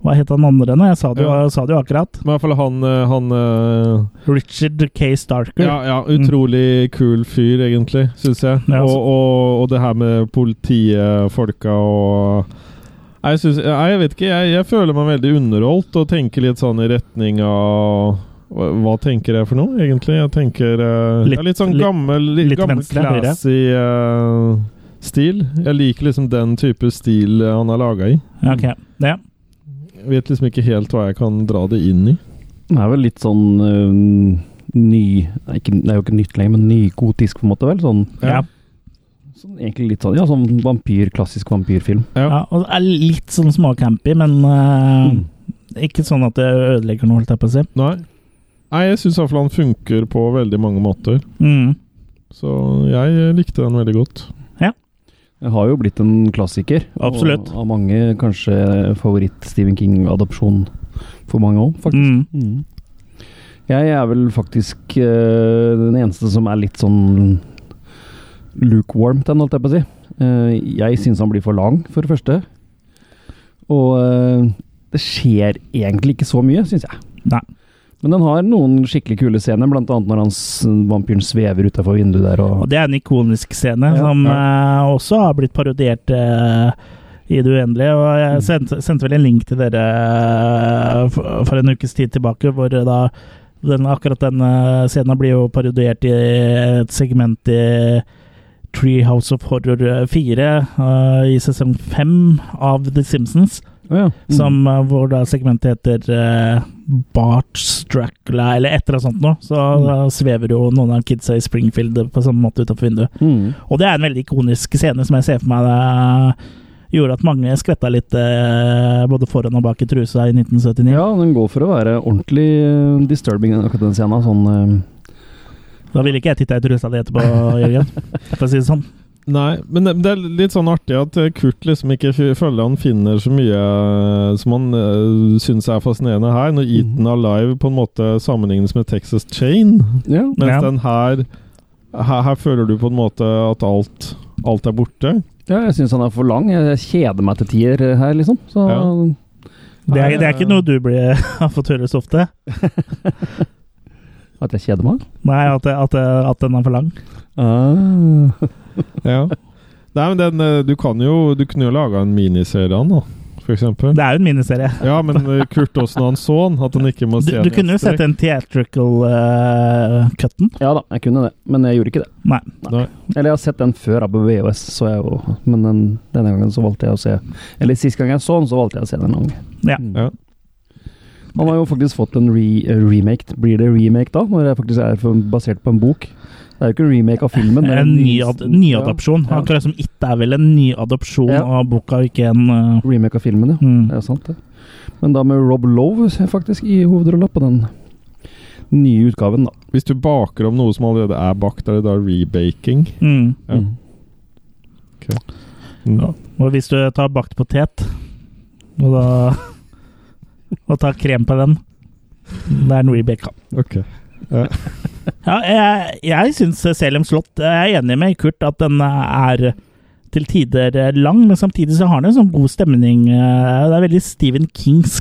Speaker 1: Hva het han andre nå? Jeg sa det, jo,
Speaker 2: Ja.
Speaker 1: jeg sa det jo akkurat.
Speaker 2: Men i hvert fall han, eh, han eh,
Speaker 1: Richard K. Starker.
Speaker 2: Ja, ja, utrolig kul fyr, egentlig, syns jeg.
Speaker 1: Mm. Ja, altså.
Speaker 2: og, og, og det her med politifolka og Nei, jeg, synes, nei, jeg vet ikke. Jeg, jeg føler meg veldig underholdt og tenker litt sånn i retning av hva hva tenker jeg for noe, egentlig? Jeg tenker eh,
Speaker 1: Litt-
Speaker 2: ja, litt sånn
Speaker 1: litt-
Speaker 2: gammel, litt,
Speaker 1: litt
Speaker 2: gammel
Speaker 1: venstre, høyre.
Speaker 2: classy eh, stil. Jeg liker liksom den type stil eh, han har laga i.
Speaker 1: Ja, ok. Ja.
Speaker 2: Jeg vet liksom ikke helt hva jeg kan dra det inn i.
Speaker 3: Det er vel litt sånn eh, ny nei, ikke, Det er jo ikke nytt lenger, men nygotisk, på en måte. vel? Sånn,
Speaker 1: Ja.
Speaker 3: sånn egentlig litt sånn Ja, sånn vampyr, klassisk vampyrfilm.
Speaker 2: Ja.
Speaker 1: Ja, og det er litt sånn småcampy, men eh,
Speaker 3: Mm.
Speaker 1: ikke sånn at det ødelegger noe, holdt jeg på å si.
Speaker 2: Nei, nei jeg syns iallfall han funker på veldig mange måter.
Speaker 1: Mm.
Speaker 2: Så jeg likte den veldig godt.
Speaker 3: Det har jo blitt en klassiker. og
Speaker 1: Absolutt.
Speaker 3: Av mange kanskje favoritt-Stephen King-adopsjon for mange òg, faktisk.
Speaker 1: Mm.
Speaker 3: Mm. Jeg er vel faktisk eh, den eneste som er litt sånn lukewarm til den, holdt jeg Mm. på å si. Eh, jeg syns han blir for lang, for det første. Og eh, det skjer egentlig ikke så mye, syns jeg.
Speaker 1: Nei.
Speaker 3: Men den har noen skikkelig kule scener, blant annet når han, s- vampyren svever utafor vinduet der. Og,
Speaker 1: Og det er en ikonisk scene
Speaker 3: Ja,
Speaker 1: som eh, også har blitt parodiert eh, i det uendelige. Og
Speaker 3: Mm.
Speaker 1: jeg sendte, sendte vel en link til dere eh, for, for en ukes tid tilbake, hvor eh, da den, akkurat den eh, scenen blir jo parodiert i et segment i Treehouse of Horror 4 eh, i sesong 5 av The Simpsons,
Speaker 3: Å ja. Mm.
Speaker 1: som, eh, hvor da segmentet heter eh, Bart's Dracula, eller et eller annet sånt noe. Så da svever jo noen av kidsa i Springfield på samme måte utafor vinduet.
Speaker 3: mm.
Speaker 1: Og det er en veldig ikonisk scene som jeg ser for meg eh, gjorde at mange skvetta litt eh, både foran og bak i trusa i 1979.
Speaker 3: Ja, den går for å være ordentlig eh, disturbing, den- akkurat den scenen. Sånn eh,
Speaker 1: Da ville ikke jeg titta i trusa di etterpå, Jørgen. For å si det sånn.
Speaker 2: Nei, men det- det er litt sånn artig at eh, Kurt liksom ikke fy- føler han finner så mye eh, som han uh, syns er fascinerende her,
Speaker 1: Mhm.
Speaker 2: når Eaten Alive på en måte sammenlignes med Texas Chain.
Speaker 3: ja.
Speaker 2: Mens
Speaker 1: Ja.
Speaker 2: den her, her Her føler du på en måte at alt, alt er borte.
Speaker 3: ja, jeg syns han er for lang. Jeg kjeder meg til tier eh, her, liksom. Så
Speaker 2: Ja.
Speaker 1: Det er, det er ikke noe du blir, har fått høre så ofte.
Speaker 3: at jeg kjeder meg.
Speaker 1: Nei, at, at, at den er for lang. Ah.
Speaker 2: Ja. Nei, men den, eh, du kan jo Du kunne jo laga en miniserie av den, da, for eksempel.
Speaker 1: Det er jo en miniserie.
Speaker 2: Ja, men eh, Kurt Åsen og han så den, at han ikke må
Speaker 1: Du,
Speaker 2: se
Speaker 1: du kunne jo sett den theatrical eh, cutten.
Speaker 3: Ja da, jeg kunne det, men jeg gjorde ikke det.
Speaker 1: Nei.
Speaker 2: Nei.
Speaker 3: Eller jeg har sett den før da, på VHS, så jeg jo, men den, denne gangen så valgte jeg å se Eller sist gang jeg så den, så valgte jeg å se den lang.
Speaker 1: Ja.
Speaker 3: Mm.
Speaker 2: Ja.
Speaker 3: Han har jo faktisk fått en re, eh, remake. Blir det remake da, når det faktisk er for, basert på en bok? Det er jo ikke en remake av filmen. det er
Speaker 1: En ny,
Speaker 3: ny-
Speaker 1: ad, nyadopsjon.
Speaker 3: Ja.
Speaker 1: Akkurat som It er vel en nyadopsjon
Speaker 3: Ja.
Speaker 1: av boka, ikke en eh,
Speaker 3: Ja, remake av filmen, ja.
Speaker 1: mm.
Speaker 3: Det er sant, det. Men da med Rob Lowe ser jeg faktisk i hovedrolla på den nye utgaven, da.
Speaker 2: Hvis du baker om noe som allerede er bakt, er det da rebaking?
Speaker 1: Mm.
Speaker 2: Ja.
Speaker 3: Mm.
Speaker 2: Ja.
Speaker 1: Og hvis du tar bakt potet, og da Og tar krem på den Det er en rebake.
Speaker 2: Ok.
Speaker 1: Ja, jeg jeg syns Selem Slott Jeg er enig med Kurt at den er til tider lang, men samtidig så har den en sånn god stemning. eh, Det er veldig Stephen Kings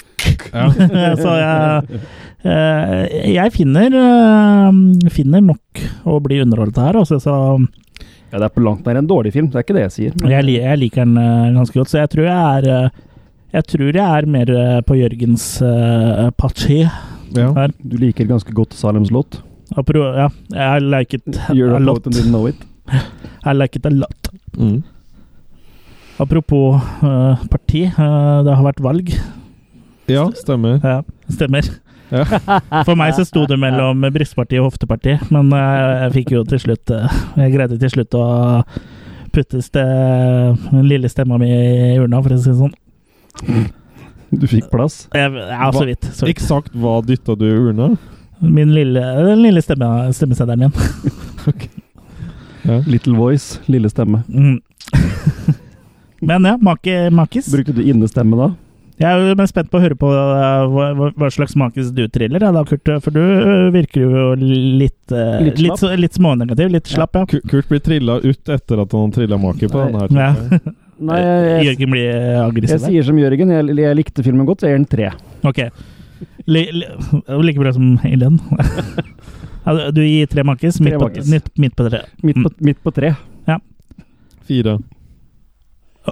Speaker 2: Ja.
Speaker 1: så jeg, eh, jeg finner, eh, finner nok å bli underholdt her. Altså, så
Speaker 3: Ja, det er på langt nær en dårlig film, det er ikke det jeg sier.
Speaker 1: jeg, li- jeg liker den eh, ganske godt, så jeg tror jeg er eh, jeg tror jeg er mer eh, på Jørgens eh, parti.
Speaker 2: Ja.
Speaker 3: Du liker ganske godt Salems låt.
Speaker 1: Apro- Ja, I like it
Speaker 3: You're
Speaker 1: a
Speaker 3: a poet
Speaker 1: lot.
Speaker 3: and didn't know it.
Speaker 1: I like it a lot.
Speaker 2: Mm.
Speaker 1: Apropos eh, parti, eh, det har vært valg.
Speaker 2: ja, stemmer.
Speaker 1: Ja, stemmer.
Speaker 2: Ja.
Speaker 1: For meg så sto det mellom brystparti og hofteparti, men eh, jeg fikk jo til slutt eh, Jeg greide til slutt å putte ste, den lille stemma mi i urna, for å si det sånn.
Speaker 3: Du fikk plass.
Speaker 1: Jeg, ja, så vidt. Så vidt.
Speaker 2: Eksakt hva dytta du i urna?
Speaker 1: Min lille, den lille stemme, stemmeseddelen min.
Speaker 3: Little voice, lille stemme.
Speaker 1: Mm. Men ja, make, makis.
Speaker 3: Brukte du innestemme da?
Speaker 1: Jeg er jo mest spent på å høre på eh, hva, hva- hva slags makis du triller, ja, da, Kurt. For du eh, virker jo litt eh,
Speaker 3: Litt
Speaker 1: Litt,
Speaker 3: slapp.
Speaker 1: så- litt smånegativ. Litt slapp, ja.
Speaker 2: Ku- Kurt blir trilla ut etter at han har trilla maker på
Speaker 3: Nei.
Speaker 2: den her.
Speaker 1: Ja.
Speaker 2: tenker jeg.
Speaker 3: Nei, jeg, jeg,
Speaker 1: Jørgen blir eh,
Speaker 3: jeg
Speaker 1: aggressiv. her.
Speaker 3: sier som Jørgen, jeg, jeg likte filmen godt, så jeg gir den tre.
Speaker 1: Ok. Li, li, like bra som Helen. Ja, du gir tre makis, midt,
Speaker 3: Tre
Speaker 1: på-
Speaker 3: makis.
Speaker 1: midt, midt på tre.
Speaker 3: Midt på, midt på tre.
Speaker 2: Fire.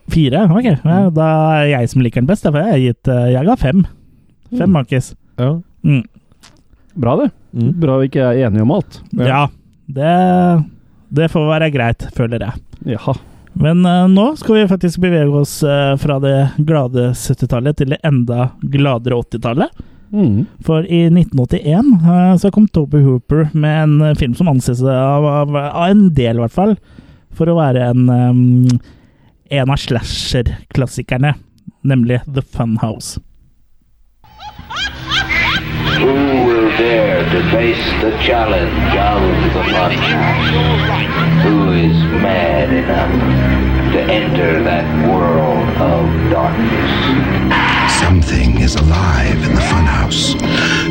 Speaker 1: Fire? Ok.
Speaker 3: Mm.
Speaker 1: Ja, da er jeg som liker den best. da, For jeg har gitt eh, Jeg ga fem. Fem
Speaker 2: Mm.
Speaker 1: makis.
Speaker 2: Ja.
Speaker 1: Mm.
Speaker 3: Bra det.
Speaker 2: Mm.
Speaker 3: Bra vi ikke er enige om alt.
Speaker 2: Ja.
Speaker 1: Ja. Det, det får være greit, føler jeg.
Speaker 3: Jaha.
Speaker 1: Men eh, nå skal vi faktisk bevege oss eh, fra det glade 70-tallet til det enda gladere 80-tallet.
Speaker 3: Mm.
Speaker 1: For i 1981 eh, så kom Toby Hooper med en eh, film som anses av, av, av en del, i hvert fall, for å være en, eh, en av slasher-klassikerne. Nemlig The Fun House.
Speaker 4: Who will dare debase the challenge of the fun? Who is mad enough to enter that world of darkness?
Speaker 8: Something is alive in the funhouse.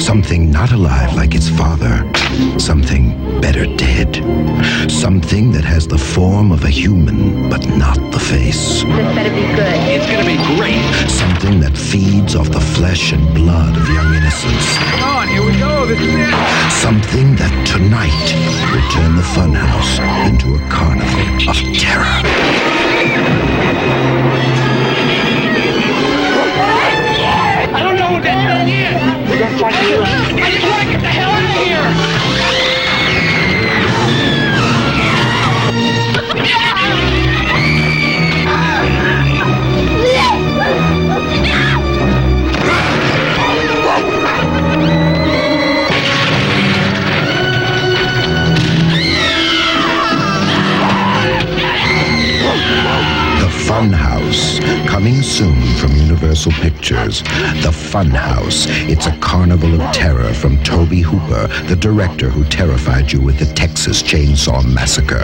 Speaker 8: Something not alive like its father. Something better dead. Something that has the form of a human, but not the
Speaker 6: This
Speaker 8: face.
Speaker 6: better be good.
Speaker 5: It's gonna be great.
Speaker 8: Something that feeds off the flesh and blood of young innocence.
Speaker 5: Come on, here we go. This is it.
Speaker 8: Something that tonight will turn the funhouse into a carnival of terror.
Speaker 6: I don't know what that thing is. I just want to get the hell out of here.
Speaker 8: The Funhouse, coming soon from Universal Pictures. The Funhouse. It's a carnival of terror from Toby Hooper, the director who terrified you with the Texas Chainsaw Massacre.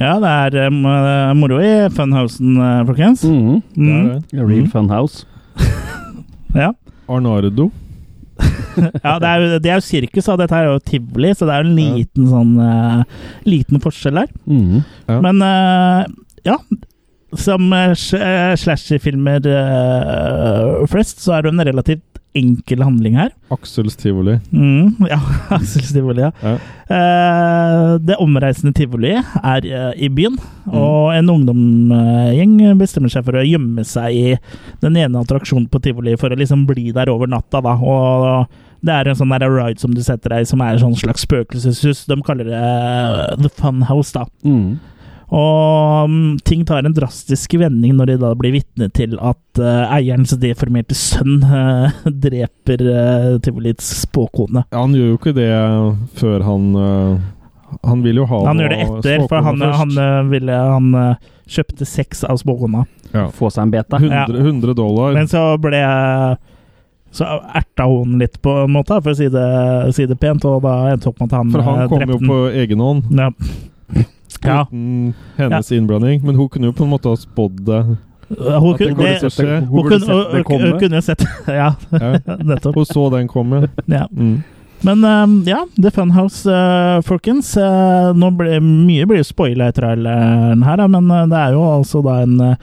Speaker 1: Ja, det er um, eh, moro i Funhousen, eh, folkens.
Speaker 3: Mhm.
Speaker 1: Mm.
Speaker 3: A real fun house.
Speaker 1: Ja.
Speaker 2: Arnardo.
Speaker 1: ja, det er, jo- det er jo sirkus, og dette er jo tivoli, så det er jo en liten, sånn, eh, liten forskjell her.
Speaker 3: Mhm.
Speaker 2: Ja.
Speaker 1: Mm. Men eh, ja, som eh, sl- eh, slasherfilmer eh, flest, så er det jo en relativt enkel handling her.
Speaker 2: Aksels tivoli.
Speaker 1: Mm, ja, Aksels tivoli, ja.
Speaker 2: Ja.
Speaker 1: Eh, det omreisende tivoliet er eh, i byen, og en ungdomsgjeng bestemmer seg for å gjemme seg i den ene attraksjonen på tivoliet for å liksom bli der over natta, da. Og det er en sånn der ride som du setter deg i, som er en sånn slags spøkelseshus. De kaller det eh, The Fun House, da.
Speaker 3: Mhm.
Speaker 1: Og mm, ting tar en drastisk vending når de da blir vitne til at eh, eierens deformerte sønn eh, dreper eh, tivoliets spåkone.
Speaker 2: Ja, han gjør jo ikke det før han øh, Han vil jo ha
Speaker 1: Han
Speaker 2: noe
Speaker 1: gjør det etter, for
Speaker 2: småkone
Speaker 1: han,
Speaker 2: først.
Speaker 1: han, eh, ville, han eh, kjøpte sex av spåkona.
Speaker 3: Få seg en beta.
Speaker 2: 100, 100 dollar.
Speaker 1: Men så ble eh, Så erta hun litt, på en måte, for å si det, si det pent, og da endte opp med at han,
Speaker 2: for
Speaker 1: eh,
Speaker 2: han kom jo
Speaker 1: drepte
Speaker 2: på egen hånd
Speaker 1: den. Ja. Ja,
Speaker 2: uten hennes innblanding. Men hun kunne jo på en måte ha spådd det.
Speaker 1: hun
Speaker 2: At det
Speaker 1: kunne,
Speaker 2: kom til
Speaker 1: det,
Speaker 2: å skje.
Speaker 1: hun kunne, hun, hun kunne jo sett Ja,
Speaker 2: Ja.
Speaker 1: nettopp.
Speaker 2: Hun så den komme.
Speaker 1: Ja.
Speaker 2: Mm.
Speaker 1: Men ehm, ja, The Funhouse, eh, folkens. eh, nå ble, mye blir jo spoila i traileren her, da, men eh, det er jo altså da en eh,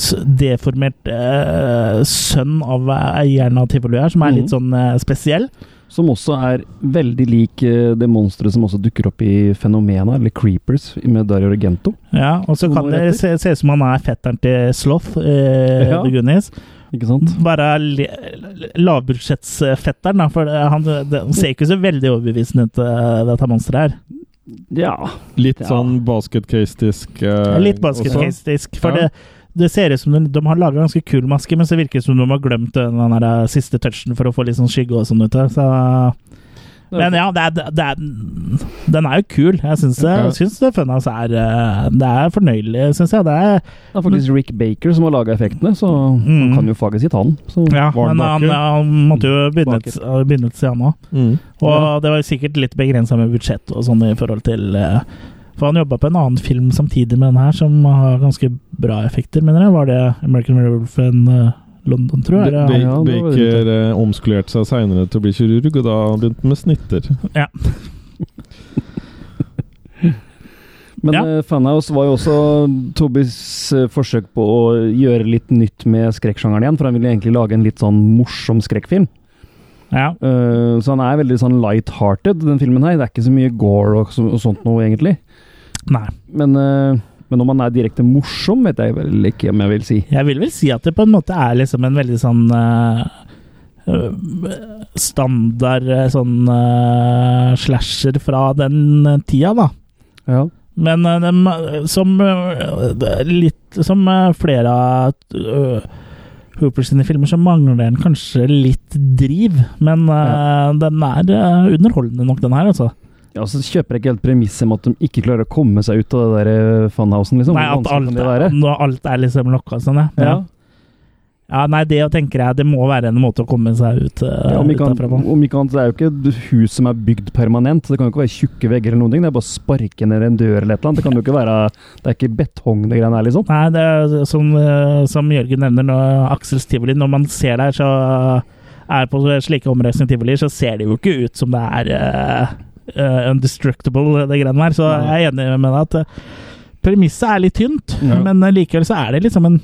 Speaker 1: s- deformert eh, sønn av eieren av tivoli her, som er
Speaker 3: Mhm.
Speaker 1: litt sånn eh, spesiell.
Speaker 3: Som også er veldig lik eh, det monsteret som også dukker opp i Fenomena, eller Creepers, med Dario Argento.
Speaker 1: Ja, Og så
Speaker 3: To
Speaker 1: kan
Speaker 3: år
Speaker 1: det
Speaker 3: etter.
Speaker 1: se, se ut som han er fetteren til Sloth, eh,
Speaker 3: Ja.
Speaker 1: The Goonies.
Speaker 3: Ikke sant?
Speaker 1: Bare le- lavbudsjettsfetteren, da, for eh, han det ser ikke så veldig overbevisende ut, eh, dette monsteret her.
Speaker 3: Ja.
Speaker 2: Litt
Speaker 3: Ja.
Speaker 2: sånn basket case-tisk.
Speaker 1: Ja,
Speaker 2: eh,
Speaker 1: Litt
Speaker 2: også.
Speaker 1: basketcastisk. For
Speaker 2: Ja.
Speaker 1: det, det ser ut som de, de har laga ganske kul maske, men så virker det som de har glemt den der eh, siste touchen for å få litt sånn skygge og sånn ut. eh, Så, men ja, det er, det er, den er jo kul. Jeg syns det.
Speaker 2: Ja.
Speaker 1: Jeg syns det Funhouse er eh, Det er fornøyelig, syns jeg. Det er,
Speaker 3: Det er faktisk Rick Baker som har laga effektene, så han
Speaker 1: Mm.
Speaker 3: kan jo faget sitt, han. Så
Speaker 1: ja,
Speaker 2: Var den
Speaker 1: men han, eh,
Speaker 2: baker?
Speaker 1: han måtte jo begynne et- begynne et sted, han òg.
Speaker 2: Mm.
Speaker 1: Og det var jo sikkert litt begrensa med budsjett og sånn i forhold til eh, For han jobba på en annen film samtidig med den her, som har ganske bra effekter, mener jeg. Var det American Werewolf in eh, London, tror jeg?
Speaker 2: Ba-
Speaker 1: Eller-
Speaker 3: ja, det var jo
Speaker 2: Baker eh, omskolerte seg seinere til å bli kirurg, og da begynte han med snitter.
Speaker 3: Men
Speaker 1: Ja.
Speaker 3: eh, Funhouse var jo også Tobys eh, forsøk på å gjøre litt nytt med skrekksjangeren igjen, for han ville egentlig lage en litt sånn morsom skrekkfilm.
Speaker 1: Ja.
Speaker 3: Eh, så han er veldig sånn light-hearted, den filmen her. Det er ikke så mye gore og, så, og sånt noe, egentlig.
Speaker 1: Nei.
Speaker 3: Men, eh, men om han er direkte morsom, vet jeg vel ikke om jeg vil si.
Speaker 1: Jeg vil vel si at det på en måte er liksom en veldig sånn eh, eh, standard eh, sånn eh, slasher fra den eh, tida, da.
Speaker 3: Ja.
Speaker 1: Men eh, dem, eh, som eh, det er litt Som eh, flere av eh, Hooper sine filmer, så mangler den kanskje litt driv. Men eh, den er eh, underholdende nok, den her, altså.
Speaker 3: Ja, så kjøper jeg ikke helt premisset med at de ikke klarer å komme seg ut av det der eh, funhousen, liksom.
Speaker 1: Nei,
Speaker 3: Hvor
Speaker 1: at
Speaker 3: vanskelig
Speaker 1: alt,
Speaker 3: kan det
Speaker 1: er-
Speaker 3: være?
Speaker 1: når alt er liksom lokka sånn, ja.
Speaker 3: Ja.
Speaker 1: ja. Ja, nei, det tenker jeg det må være en måte å komme seg ut, eh,
Speaker 3: Ja, om,
Speaker 1: ut
Speaker 3: ikke
Speaker 1: derfra
Speaker 3: han,
Speaker 1: på.
Speaker 3: om ikke annet, Det er jo ikke et hus som er bygd permanent. Det kan jo ikke være tjukke vegger eller noen ting. Det er bare å sparke ned en dør eller et eller annet. Det kan jo ikke være Det er ikke betong, det greiene her, liksom.
Speaker 1: Nei, det er som, eh, som Jørgen nevner, nå, Aksels tivoli, når man ser der, så er på slike omreisende tivolier, så ser det jo ikke ut som det er eh, eh, undestructible, det greiene der. Så jeg er enig med deg at eh, premisset er litt tynt,
Speaker 2: Ja.
Speaker 1: men eh, likevel så er det liksom en,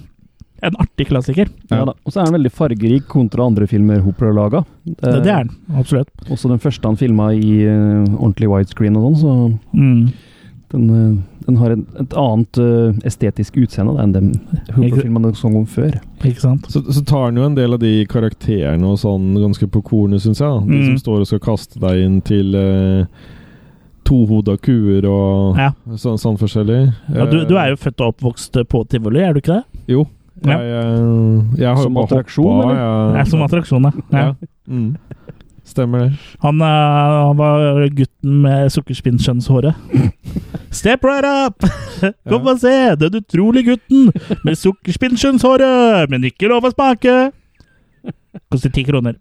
Speaker 1: en artig klassiker.
Speaker 2: Ja.
Speaker 3: Ja da. Og så er den veldig fargerik kontra andre filmer Hopper har laga.
Speaker 1: Det, det er den, absolutt.
Speaker 3: Også den første han filma i eh, ordentlig widescreen og sånn, så
Speaker 1: Mm.
Speaker 3: den, eh, den har en, et annet eh, estetisk utseende da, enn den Hooper-filmen som kom før.
Speaker 1: Ikke sant?
Speaker 2: Så, så tar han jo en del av de karakterene og sånn ganske på kornet, syns jeg. da. De
Speaker 1: Mm.
Speaker 2: som står og skal kaste deg inn til uh, tohoda kuer og
Speaker 1: Ja.
Speaker 2: sånn, sånn forskjellig.
Speaker 1: Ja, du, du er jo født og oppvokst på tivoli, er du ikke det?
Speaker 2: Jo.
Speaker 1: Ja.
Speaker 2: Jeg, eh, jeg har
Speaker 3: Som
Speaker 2: jo bare
Speaker 3: attraksjon,
Speaker 2: hoppa,
Speaker 3: eller?
Speaker 2: jeg-
Speaker 1: Ja. Som attraksjon, ja. ja.
Speaker 2: Ja. Mm. Stemmer det.
Speaker 1: Han, eh, han var gutten med sukkerspinnskjønnshåret. Step right up! Kom og se den utrolige gutten med sukkerspinnskjønnshåret, men ikke lov å smake! Koster ti kroner.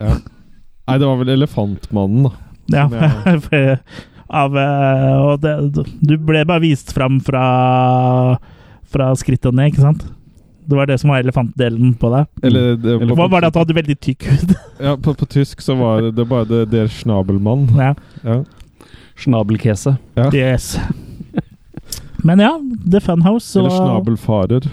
Speaker 2: Nei, det var vel Elefantmannen, da.
Speaker 1: Ja.
Speaker 2: Som
Speaker 1: for- Av, eh, og det, du ble bare vist fram fra, fra skritt og ned, ikke sant? Det var det som var elefantdelen på deg.
Speaker 2: Eller, det,
Speaker 1: Det var bare det at du hadde veldig tykk hud.
Speaker 2: Ja, på, på tysk så var det, det bare det, Der Schnabelmann.
Speaker 1: Ja.
Speaker 2: Ja.
Speaker 3: Schnabelkese.
Speaker 1: Yes. Men ja, The Funhouse
Speaker 2: Eller
Speaker 1: og-
Speaker 2: Schnabelfarer.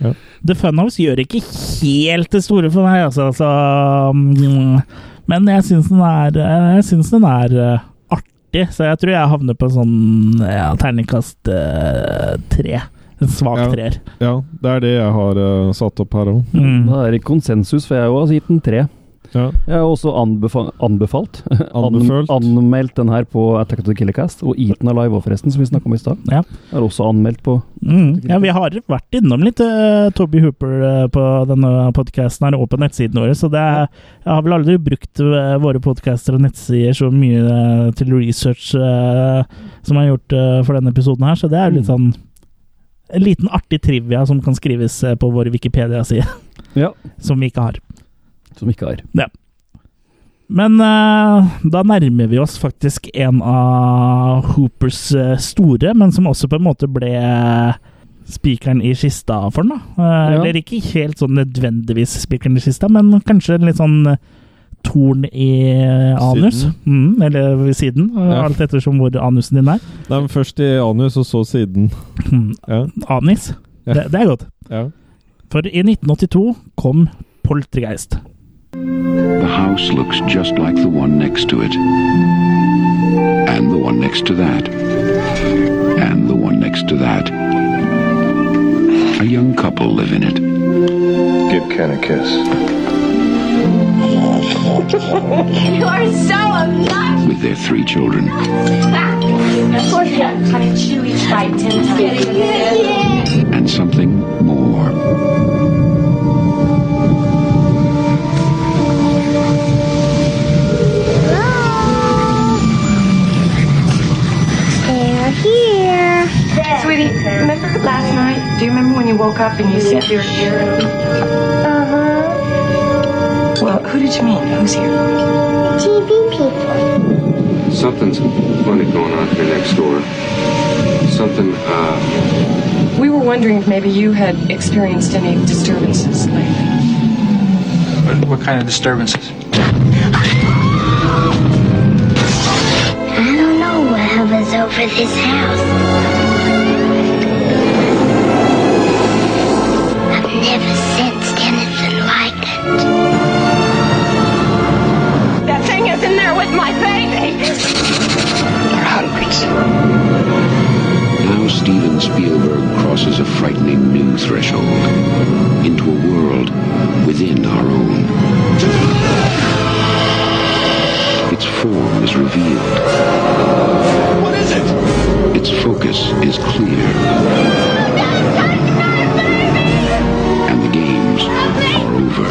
Speaker 1: The Funhouse gjør ikke helt det store for meg, altså. altså mm, men jeg syns den er Jeg synes den er eh, artig, så jeg tror jeg havner på sånn ja, terningkast eh, tre. En svak
Speaker 2: Ja.
Speaker 1: treer.
Speaker 2: Ja, det er det jeg har eh, satt opp her òg.
Speaker 1: Mm.
Speaker 3: Da er det konsensus, for jeg har også gitt den tre.
Speaker 2: Ja.
Speaker 3: Jeg har også anbefa anbefalt eh,
Speaker 2: Anbefølt.
Speaker 3: An anmeldt den her på Attack of the Killer Cast, og Eaten Alive òg, forresten, som vi snakka om i stad.
Speaker 1: Ja.
Speaker 3: Jeg har også anmeldt på
Speaker 1: Mm. ja, vi har vært innom litt eh, Toby Hooper eh, på denne podkasten her og på nettsidene våre, så det er, jeg har vel aldri brukt eh, våre podkaster og nettsider så mye eh, til research eh, som jeg har gjort eh, for denne episoden her, så det er jo litt sånn en liten artig trivia som kan skrives eh, på vår Wikipedia-side,
Speaker 3: Ja,
Speaker 1: som vi ikke har.
Speaker 3: som ikke har.
Speaker 1: Men eh, da nærmer vi oss faktisk en av Hoopers eh, store, men som også på en måte ble eh, spikeren i kista for den. da. Eh,
Speaker 3: Ja.
Speaker 1: Eller ikke helt sånn nødvendigvis spikeren i kista, men kanskje en litt sånn eh, torn i anus. Mm, eller ved siden, eh,
Speaker 2: Ja.
Speaker 1: alt ettersom hvor anusen din er.
Speaker 2: Nei, men først i anus, og så siden.
Speaker 1: Mm,
Speaker 2: Ja.
Speaker 1: anis.
Speaker 2: Ja.
Speaker 1: Det, det er godt.
Speaker 2: ja.
Speaker 1: For i 1982 kom Poltergeist.
Speaker 4: The house looks just like the one next to it. And the one next to that. And the one next to that. A young couple live in it.
Speaker 5: Give Ken a kiss.
Speaker 9: You are so obnoxious.
Speaker 4: with their three children.
Speaker 9: Of course, you have to kind of chew each bite ten times.
Speaker 4: and something more.
Speaker 9: They're here.
Speaker 10: Sweetie, remember last night? Do you remember when you woke up and you said you're here?
Speaker 9: Uh huh.
Speaker 10: Well, who did you mean? Who's here?
Speaker 9: TV people.
Speaker 5: Something's funny going on here next door. Something, uh,
Speaker 10: We were wondering if maybe you had experienced any disturbances lately.
Speaker 5: what kind of disturbances?
Speaker 9: I don't know what hovers over this house. I've never sensed anything like it.
Speaker 6: That thing is in there with my baby.
Speaker 4: There are hundreds. Now Steven Spielberg crosses a frightening new threshold into a world within our own. Its form is revealed. What is it? Its focus is clear. And the games are over.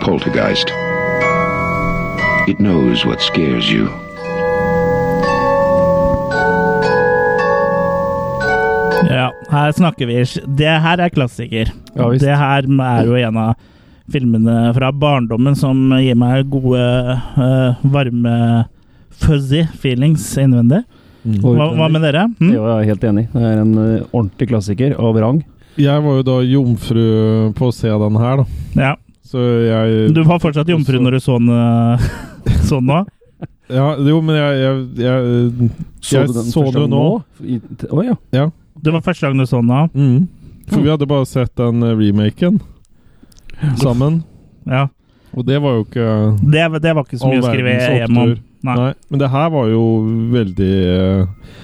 Speaker 4: Poltergeist. It knows what scares you.
Speaker 1: Ja, Her snakker vi Det her er klassiker.
Speaker 3: Ja, visst.
Speaker 1: det her er jo en av filmene fra barndommen som gir meg gode, eh, varme, fuzzy feelings innvendig. Hva, hva med dere? Hm?
Speaker 3: Jo, jeg er helt enig. Det er en eh, ordentlig klassiker av rang.
Speaker 2: Jeg var jo da jomfru på å se den her, da.
Speaker 1: Ja.
Speaker 2: Så jeg
Speaker 1: Du var fortsatt jomfru når du så den eh, sånn nå?
Speaker 2: ja, Jo, men jeg Jeg, jeg, jeg så
Speaker 3: første
Speaker 2: det jo
Speaker 3: gang
Speaker 2: nå.
Speaker 3: I- t- Å ja.
Speaker 1: Det var første gang du så den nå?
Speaker 2: Mm. For vi hadde bare sett den eh, remaken sammen.
Speaker 1: Ja.
Speaker 2: Og det var jo ikke
Speaker 1: Det, det var ikke så
Speaker 2: all
Speaker 1: mye å skrive
Speaker 2: verdens
Speaker 1: hjem om.
Speaker 2: opptur.
Speaker 1: Nei.
Speaker 2: Nei. Men det her var jo veldig eh,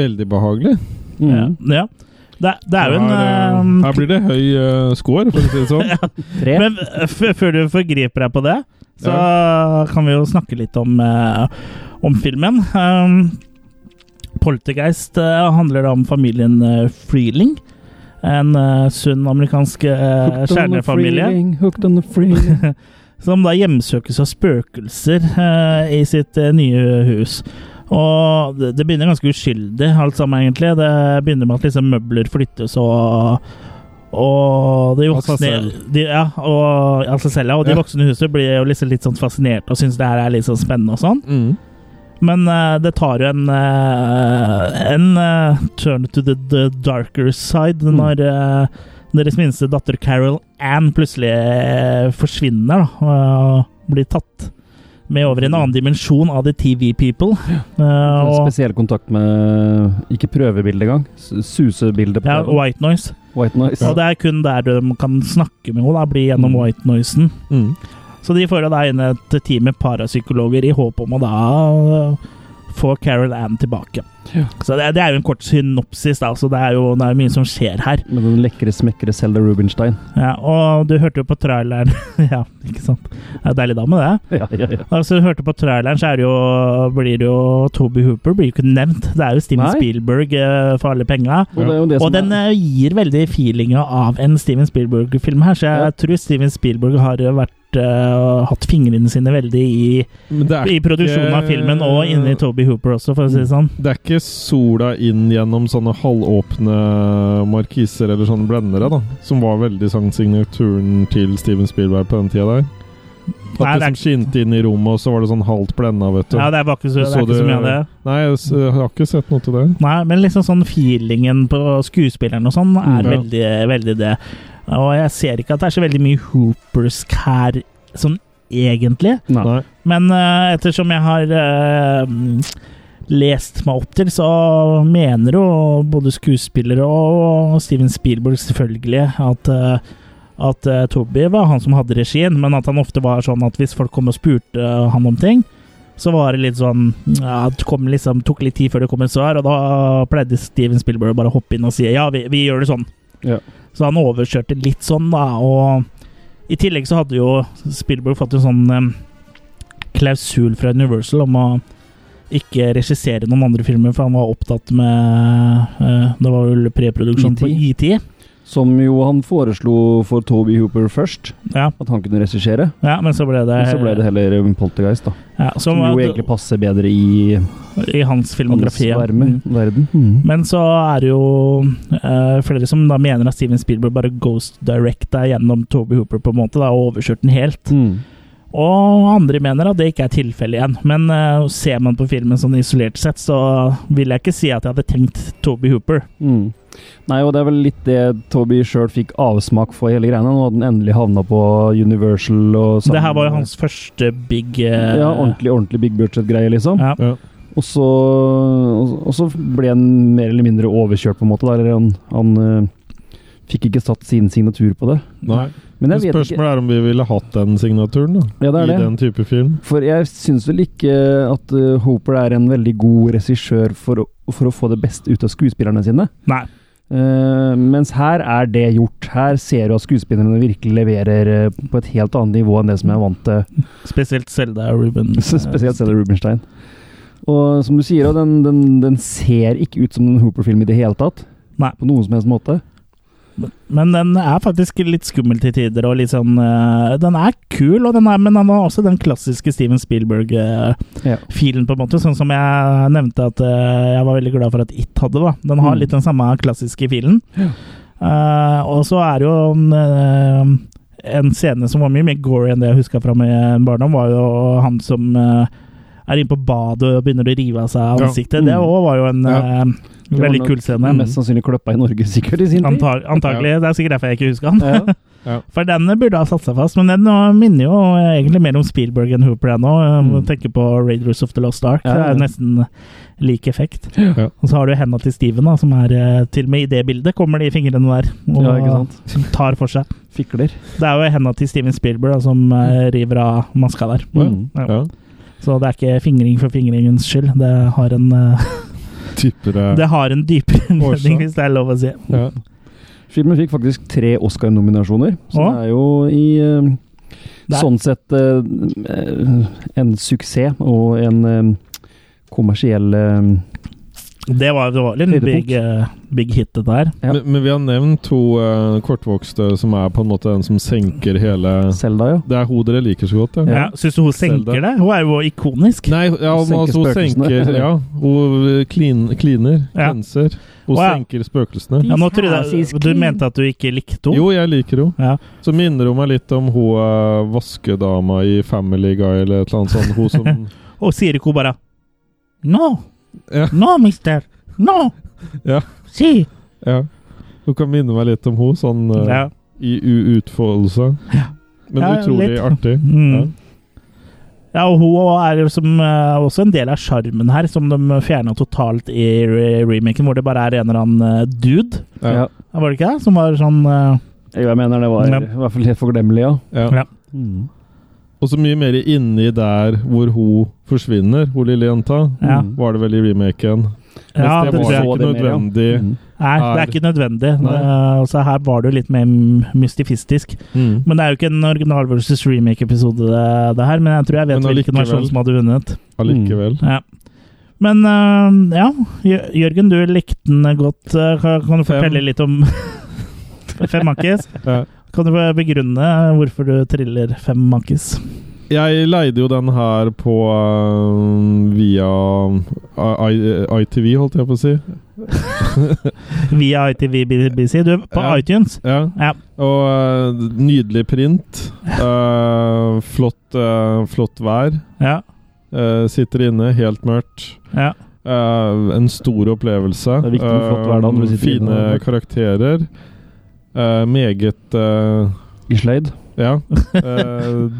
Speaker 2: Veldig behagelig.
Speaker 3: Mm.
Speaker 1: Ja. Det, det er jo en
Speaker 2: her, eh, her blir det høy eh, score, for å si det sånn.
Speaker 3: Tre.
Speaker 1: eh, Men f før du forgriper deg på det, så kan vi jo snakke litt om, eh, om filmen. Um, Poltergeist eh, handler da om familien eh, Freeling. En eh, sunn amerikansk eh,
Speaker 3: Hooked on the
Speaker 1: kjernefamilie.
Speaker 3: feeling, Hooked on the feeling.
Speaker 1: som da hjemsøkes av spøkelser eh, i sitt eh, nye hus. Og det, det begynner ganske uskyldig, alt sammen, egentlig. Det begynner med at liksom møbler flyttes og og de
Speaker 2: Av seg
Speaker 1: voksne
Speaker 2: selv.
Speaker 1: de, ja, og, av seg selv, ja. Og de
Speaker 2: Ja.
Speaker 1: voksne i huset blir jo liksom litt sånn fascinert og syns det her er litt sånn spennende og sånn. Men eh, det tar jo en eh, En eh, turn to the, the darker side
Speaker 3: Mm.
Speaker 1: når eh, deres minste datter Carol Ann plutselig eh, forsvinner da, og blir tatt med over i en annen dimensjon av The TV People. Eh,
Speaker 3: En
Speaker 1: og,
Speaker 3: Spesiell kontakt med Ikke prøvebilde engang. s- Susebilde på
Speaker 1: ja,
Speaker 3: telefonen.
Speaker 1: white noise.
Speaker 3: White noise.
Speaker 1: Og det er kun der de kan snakke med henne, da, bli gjennom
Speaker 3: Mm.
Speaker 1: white noisen.
Speaker 2: Mm.
Speaker 1: Så de får jo da inn et team med parapsykologer i håp om å da øh, få Carol Ann tilbake.
Speaker 3: Ja.
Speaker 1: Så det, det er jo en kort synopsis, da, så det er jo det er jo mye som skjer her.
Speaker 3: Med den lekre, smekre Selda Rubinstein.
Speaker 1: Ja, og du hørte jo på traileren Ja, ikke sant? Det er deilig dame, det.
Speaker 3: Ja, ja, ja.
Speaker 1: Altså, du hørte på traileren, så er det jo, blir det jo Toby Hooper blir jo ikke nevnt. Det er jo Steven
Speaker 3: Nei.
Speaker 1: Spielberg øh, for alle penga.
Speaker 3: Og det er jo det
Speaker 1: Og
Speaker 3: som
Speaker 1: den
Speaker 3: er
Speaker 1: eh, gir veldig feelinga av en Steven Spielberg-film her, så jeg
Speaker 3: Ja.
Speaker 1: tror Steven Spielberg har vært eh, hatt fingrene sine veldig i,
Speaker 2: Men det er,
Speaker 1: i produksjonen av filmen og inni Toby Hooper også, for å si det sånn.
Speaker 2: det er ikke sola inn gjennom sånne halvåpne markiser eller sånne blendere, da. Som var veldig sånn signaturen til Steven Spielberg på den tida der. At
Speaker 1: Nei, det
Speaker 2: det
Speaker 1: er-
Speaker 2: liksom skinte inn i rommet, og så var det sånn halvt blenda, vet du.
Speaker 1: Ja, det er bare ikke så,
Speaker 2: Du
Speaker 1: det
Speaker 2: så
Speaker 1: er ikke
Speaker 2: det-
Speaker 1: så mye av det.
Speaker 2: Nei, jeg, s jeg har ikke sett noe til det.
Speaker 1: Nei, men liksom sånn feelingen på skuespilleren og sånn er
Speaker 2: Mm, ja.
Speaker 1: veldig, veldig det. Og jeg ser ikke at det er så veldig mye Hoopersk her sånn egentlig.
Speaker 3: Nei.
Speaker 2: Nei.
Speaker 1: Men eh, ettersom jeg har eh, lest meg opp til, så mener jo både skuespillere og Steven Spielberg selvfølgelig at eh, at eh, Toby var han som hadde regien, men at han ofte var sånn at hvis folk kom og spurte eh, han om ting, så var det litt sånn ja, Det kom liksom, tok litt tid før det kom et svar, og da pleide Steven Spielberg bare å hoppe inn og si ja, vi, vi gjør det sånn.
Speaker 3: Ja.
Speaker 1: Så han overkjørte litt sånn, da, og i tillegg så hadde jo Spielberg fått en sånn eh, klausul fra Universal om å ikke regissere noen andre filmer, for han var opptatt med eh, Det var vel preproduksjon på
Speaker 3: E
Speaker 1: E ET.
Speaker 3: Som jo han foreslo for Toby Hooper først,
Speaker 1: Ja,
Speaker 3: at han kunne regissere.
Speaker 1: ja, men så ble det,
Speaker 3: Men så ble det heller eh, Poltergeist, da.
Speaker 1: ja, så,
Speaker 3: Som jo egentlig passer bedre i
Speaker 1: i hans
Speaker 3: hans
Speaker 1: filmografi. ja.
Speaker 3: varme
Speaker 1: Mm.
Speaker 3: verden. Mm.
Speaker 1: Men så er det jo eh, flere som da mener at Steven Spielberg bare ghost directa gjennom Toby Hooper på en måte, da, og overkjørt den helt.
Speaker 3: Mm.
Speaker 1: Og andre mener at det ikke er tilfellet igjen. Men eh, ser man på filmen sånn isolert sett, så vil jeg ikke si at jeg hadde tenkt Toby Hooper.
Speaker 3: Mm. Nei, og det er vel litt det Toby sjøl fikk avsmak for hele greia, nå hadde han endelig havna på Universal og sammen-
Speaker 1: Det her var jo hans første big eh,
Speaker 3: Ja, ordentlig, ordentlig big budget-greie, liksom.
Speaker 1: Ja.
Speaker 2: Ja.
Speaker 3: Og så, og så ble han mer eller mindre overkjørt, på en måte. Da. Eller han, han eh, fikk ikke satt sin signatur på det.
Speaker 2: Nei.
Speaker 3: Men
Speaker 2: Men
Speaker 3: jeg vet ikke
Speaker 2: spørsmålet er om vi ville hatt den signaturen, da.
Speaker 3: ja, det er
Speaker 2: I
Speaker 3: det.
Speaker 2: den type film.
Speaker 3: For jeg syns vel ikke at eh, Hooper er en veldig god regissør for, å- for å få det beste ut av skuespillerne sine.
Speaker 1: Nei.
Speaker 3: Eh, mens her er det gjort. Her ser du at skuespillerne virkelig leverer eh, på et helt annet nivå enn det som jeg er vant til
Speaker 1: Spesielt eh, Selda og Ruben.
Speaker 3: Så Spesielt Stella Rubinstein. Og som du sier, den, den, den ser ikke ut som en Hooper-film i det hele tatt.
Speaker 1: Nei.
Speaker 3: På noen som helst måte.
Speaker 1: Men den er faktisk litt skummel til tider, og litt sånn eh, Den er kul, og den er, men den har også den klassiske Steven Spielberg-filen,
Speaker 3: Ja.
Speaker 1: på en måte. Sånn som jeg nevnte at eh, jeg var veldig glad for at It hadde, da. Den har
Speaker 3: Mm.
Speaker 1: litt den samme klassiske filen.
Speaker 3: Ja.
Speaker 1: Eh, og så er det jo en, eh, en scene som var mye mer gory enn det jeg huska fra min barndom, var jo han som eh, er inne på badet og begynner å rive av seg
Speaker 2: Ja.
Speaker 1: ansiktet. Det
Speaker 3: Mm.
Speaker 1: òg var jo en
Speaker 2: Ja.
Speaker 1: eh,
Speaker 3: Det var
Speaker 1: veldig
Speaker 3: nok
Speaker 1: kul scene.
Speaker 3: Mest sannsynlig kløppa i Norge, sikkert, i sin tid.
Speaker 1: Antag antagelig. Det er sikkert derfor jeg ikke husker han.
Speaker 3: Ja.
Speaker 1: For den burde ha satt seg fast, men den eh, minner jo egentlig mer om Spielberg enn Hooper ennå. Mm.
Speaker 3: Mm.
Speaker 1: Tenker på Raiders of the Lost Ark.
Speaker 3: Ja,
Speaker 1: Det er
Speaker 3: ja.
Speaker 1: jo nesten lik effekt.
Speaker 2: Ja.
Speaker 1: Og så har du henda til Steven, da, som er eh, til og med i det bildet kommer de fingrene der og
Speaker 3: Ja, ikke sant?
Speaker 1: tar for seg.
Speaker 3: Fikler.
Speaker 1: Det er jo henda til Steven Spielberg da, som eh, river av maska der.
Speaker 3: Mm.
Speaker 1: Ja.
Speaker 2: Ja.
Speaker 1: Så det er ikke fingring for fingringens skyld. Det har en, eh,
Speaker 2: Typere
Speaker 1: det har en dypere
Speaker 2: Årsak.
Speaker 1: mening, hvis det er lov å si.
Speaker 2: ja.
Speaker 3: Filmen fikk faktisk tre Oscar-nominasjoner, så
Speaker 1: Å.
Speaker 3: det er jo i eh,
Speaker 1: Det er-
Speaker 3: sånn sett eh, eh, en suksess og en eh, kommersiell eh,
Speaker 1: Det var, det var en
Speaker 3: Høydepunkt.
Speaker 1: big, eh, big hit, dette her.
Speaker 3: Ja.
Speaker 2: Men, men vi har nevnt to eh, kortvokste som er på en måte den som senker hele
Speaker 3: Selda, ja.
Speaker 2: Det er hun dere liker så godt, ja.
Speaker 1: Ja. Syns du hun senker
Speaker 2: Zelda.
Speaker 1: det? Hun er jo ikonisk.
Speaker 2: Nei, ja,
Speaker 3: Hun
Speaker 2: men
Speaker 3: senker
Speaker 2: altså, hun
Speaker 3: spøkelsene.
Speaker 2: senker Ja, hun eh, klin, kliner.
Speaker 1: Ja.
Speaker 2: Renser.
Speaker 1: Å,
Speaker 2: Hun
Speaker 1: ja.
Speaker 2: senker spøkelsene.
Speaker 1: Ja, nå trodde jeg Du mente at du ikke likte henne?
Speaker 2: Jo, jeg liker henne.
Speaker 1: Ja.
Speaker 2: Så minner hun meg litt om hun eh, vaskedama i Family Guy eller et eller annet sånt. Hun som
Speaker 1: Og sier ikke hun bare No!
Speaker 2: Ja.
Speaker 1: No, mister! No!
Speaker 2: Ja.
Speaker 1: Si!
Speaker 2: Ja. Hun kan minne meg litt om henne, sånn eh,
Speaker 1: Ja.
Speaker 2: i u- utfoldelse.
Speaker 1: Ja.
Speaker 2: Men
Speaker 1: Ja,
Speaker 2: utrolig
Speaker 1: litt.
Speaker 2: artig.
Speaker 1: Mm. Ja, og hun er jo som, eh, også en del av sjarmen her, som de fjerna totalt i re remaken, hvor det bare er en eller annen eh, dude,
Speaker 2: Ja.
Speaker 3: Ja.
Speaker 1: var det ikke det? Som var sånn eh,
Speaker 3: Jo, jeg mener det var
Speaker 1: Ja.
Speaker 3: i hvert fall helt forglemmelig, ja.
Speaker 2: Ja.
Speaker 1: Ja.
Speaker 3: Mm.
Speaker 2: Og så mye mer inni der hvor hun forsvinner, hun lille jenta,
Speaker 1: Ja.
Speaker 3: Mm.
Speaker 2: var det vel i remaken. Mens
Speaker 1: Ja,
Speaker 2: det,
Speaker 1: det
Speaker 2: var
Speaker 1: tror jeg.
Speaker 2: ikke
Speaker 3: Så det mer, ja.
Speaker 2: nødvendig.
Speaker 3: Mm.
Speaker 1: Nei, det er
Speaker 2: Er-
Speaker 1: ikke nødvendig.
Speaker 2: Nei.
Speaker 1: Eh, Så her var det jo litt mer mystifistisk.
Speaker 2: Mm.
Speaker 1: Men det er jo ikke en original versus remake-episode, det, det her. Men jeg tror jeg vet
Speaker 2: Men
Speaker 1: hvilken
Speaker 2: allikevel.
Speaker 1: versjon som hadde vunnet.
Speaker 2: Allikevel.
Speaker 1: Ja. Men eh, ja, Jø- Jørgen, du likte den godt. Eh, Kan kan du
Speaker 2: Fem.
Speaker 1: fortelle litt om Fem mankis?
Speaker 2: Ja.
Speaker 1: Kan du begrunne hvorfor du triller fem mankis?
Speaker 2: Jeg leide jo den her på øh, via eh, I- I- ITV, holdt jeg på å si.
Speaker 1: Via ITVBC? Du, på
Speaker 2: Ja.
Speaker 1: iTunes?
Speaker 2: Ja.
Speaker 1: Ja.
Speaker 2: Og øh, nydelig print. Øh, flott, øh, flott vær.
Speaker 1: Ja.
Speaker 2: Øh, sitter inne, helt mørkt.
Speaker 1: ja.
Speaker 2: Eh, en stor opplevelse.
Speaker 3: Det er viktig med flott hverdag når du
Speaker 2: Eh,
Speaker 3: sitter
Speaker 2: fine
Speaker 3: inne og-
Speaker 2: karakterer. Eh, meget eh,
Speaker 3: I sløyd.
Speaker 2: Ja. Eh,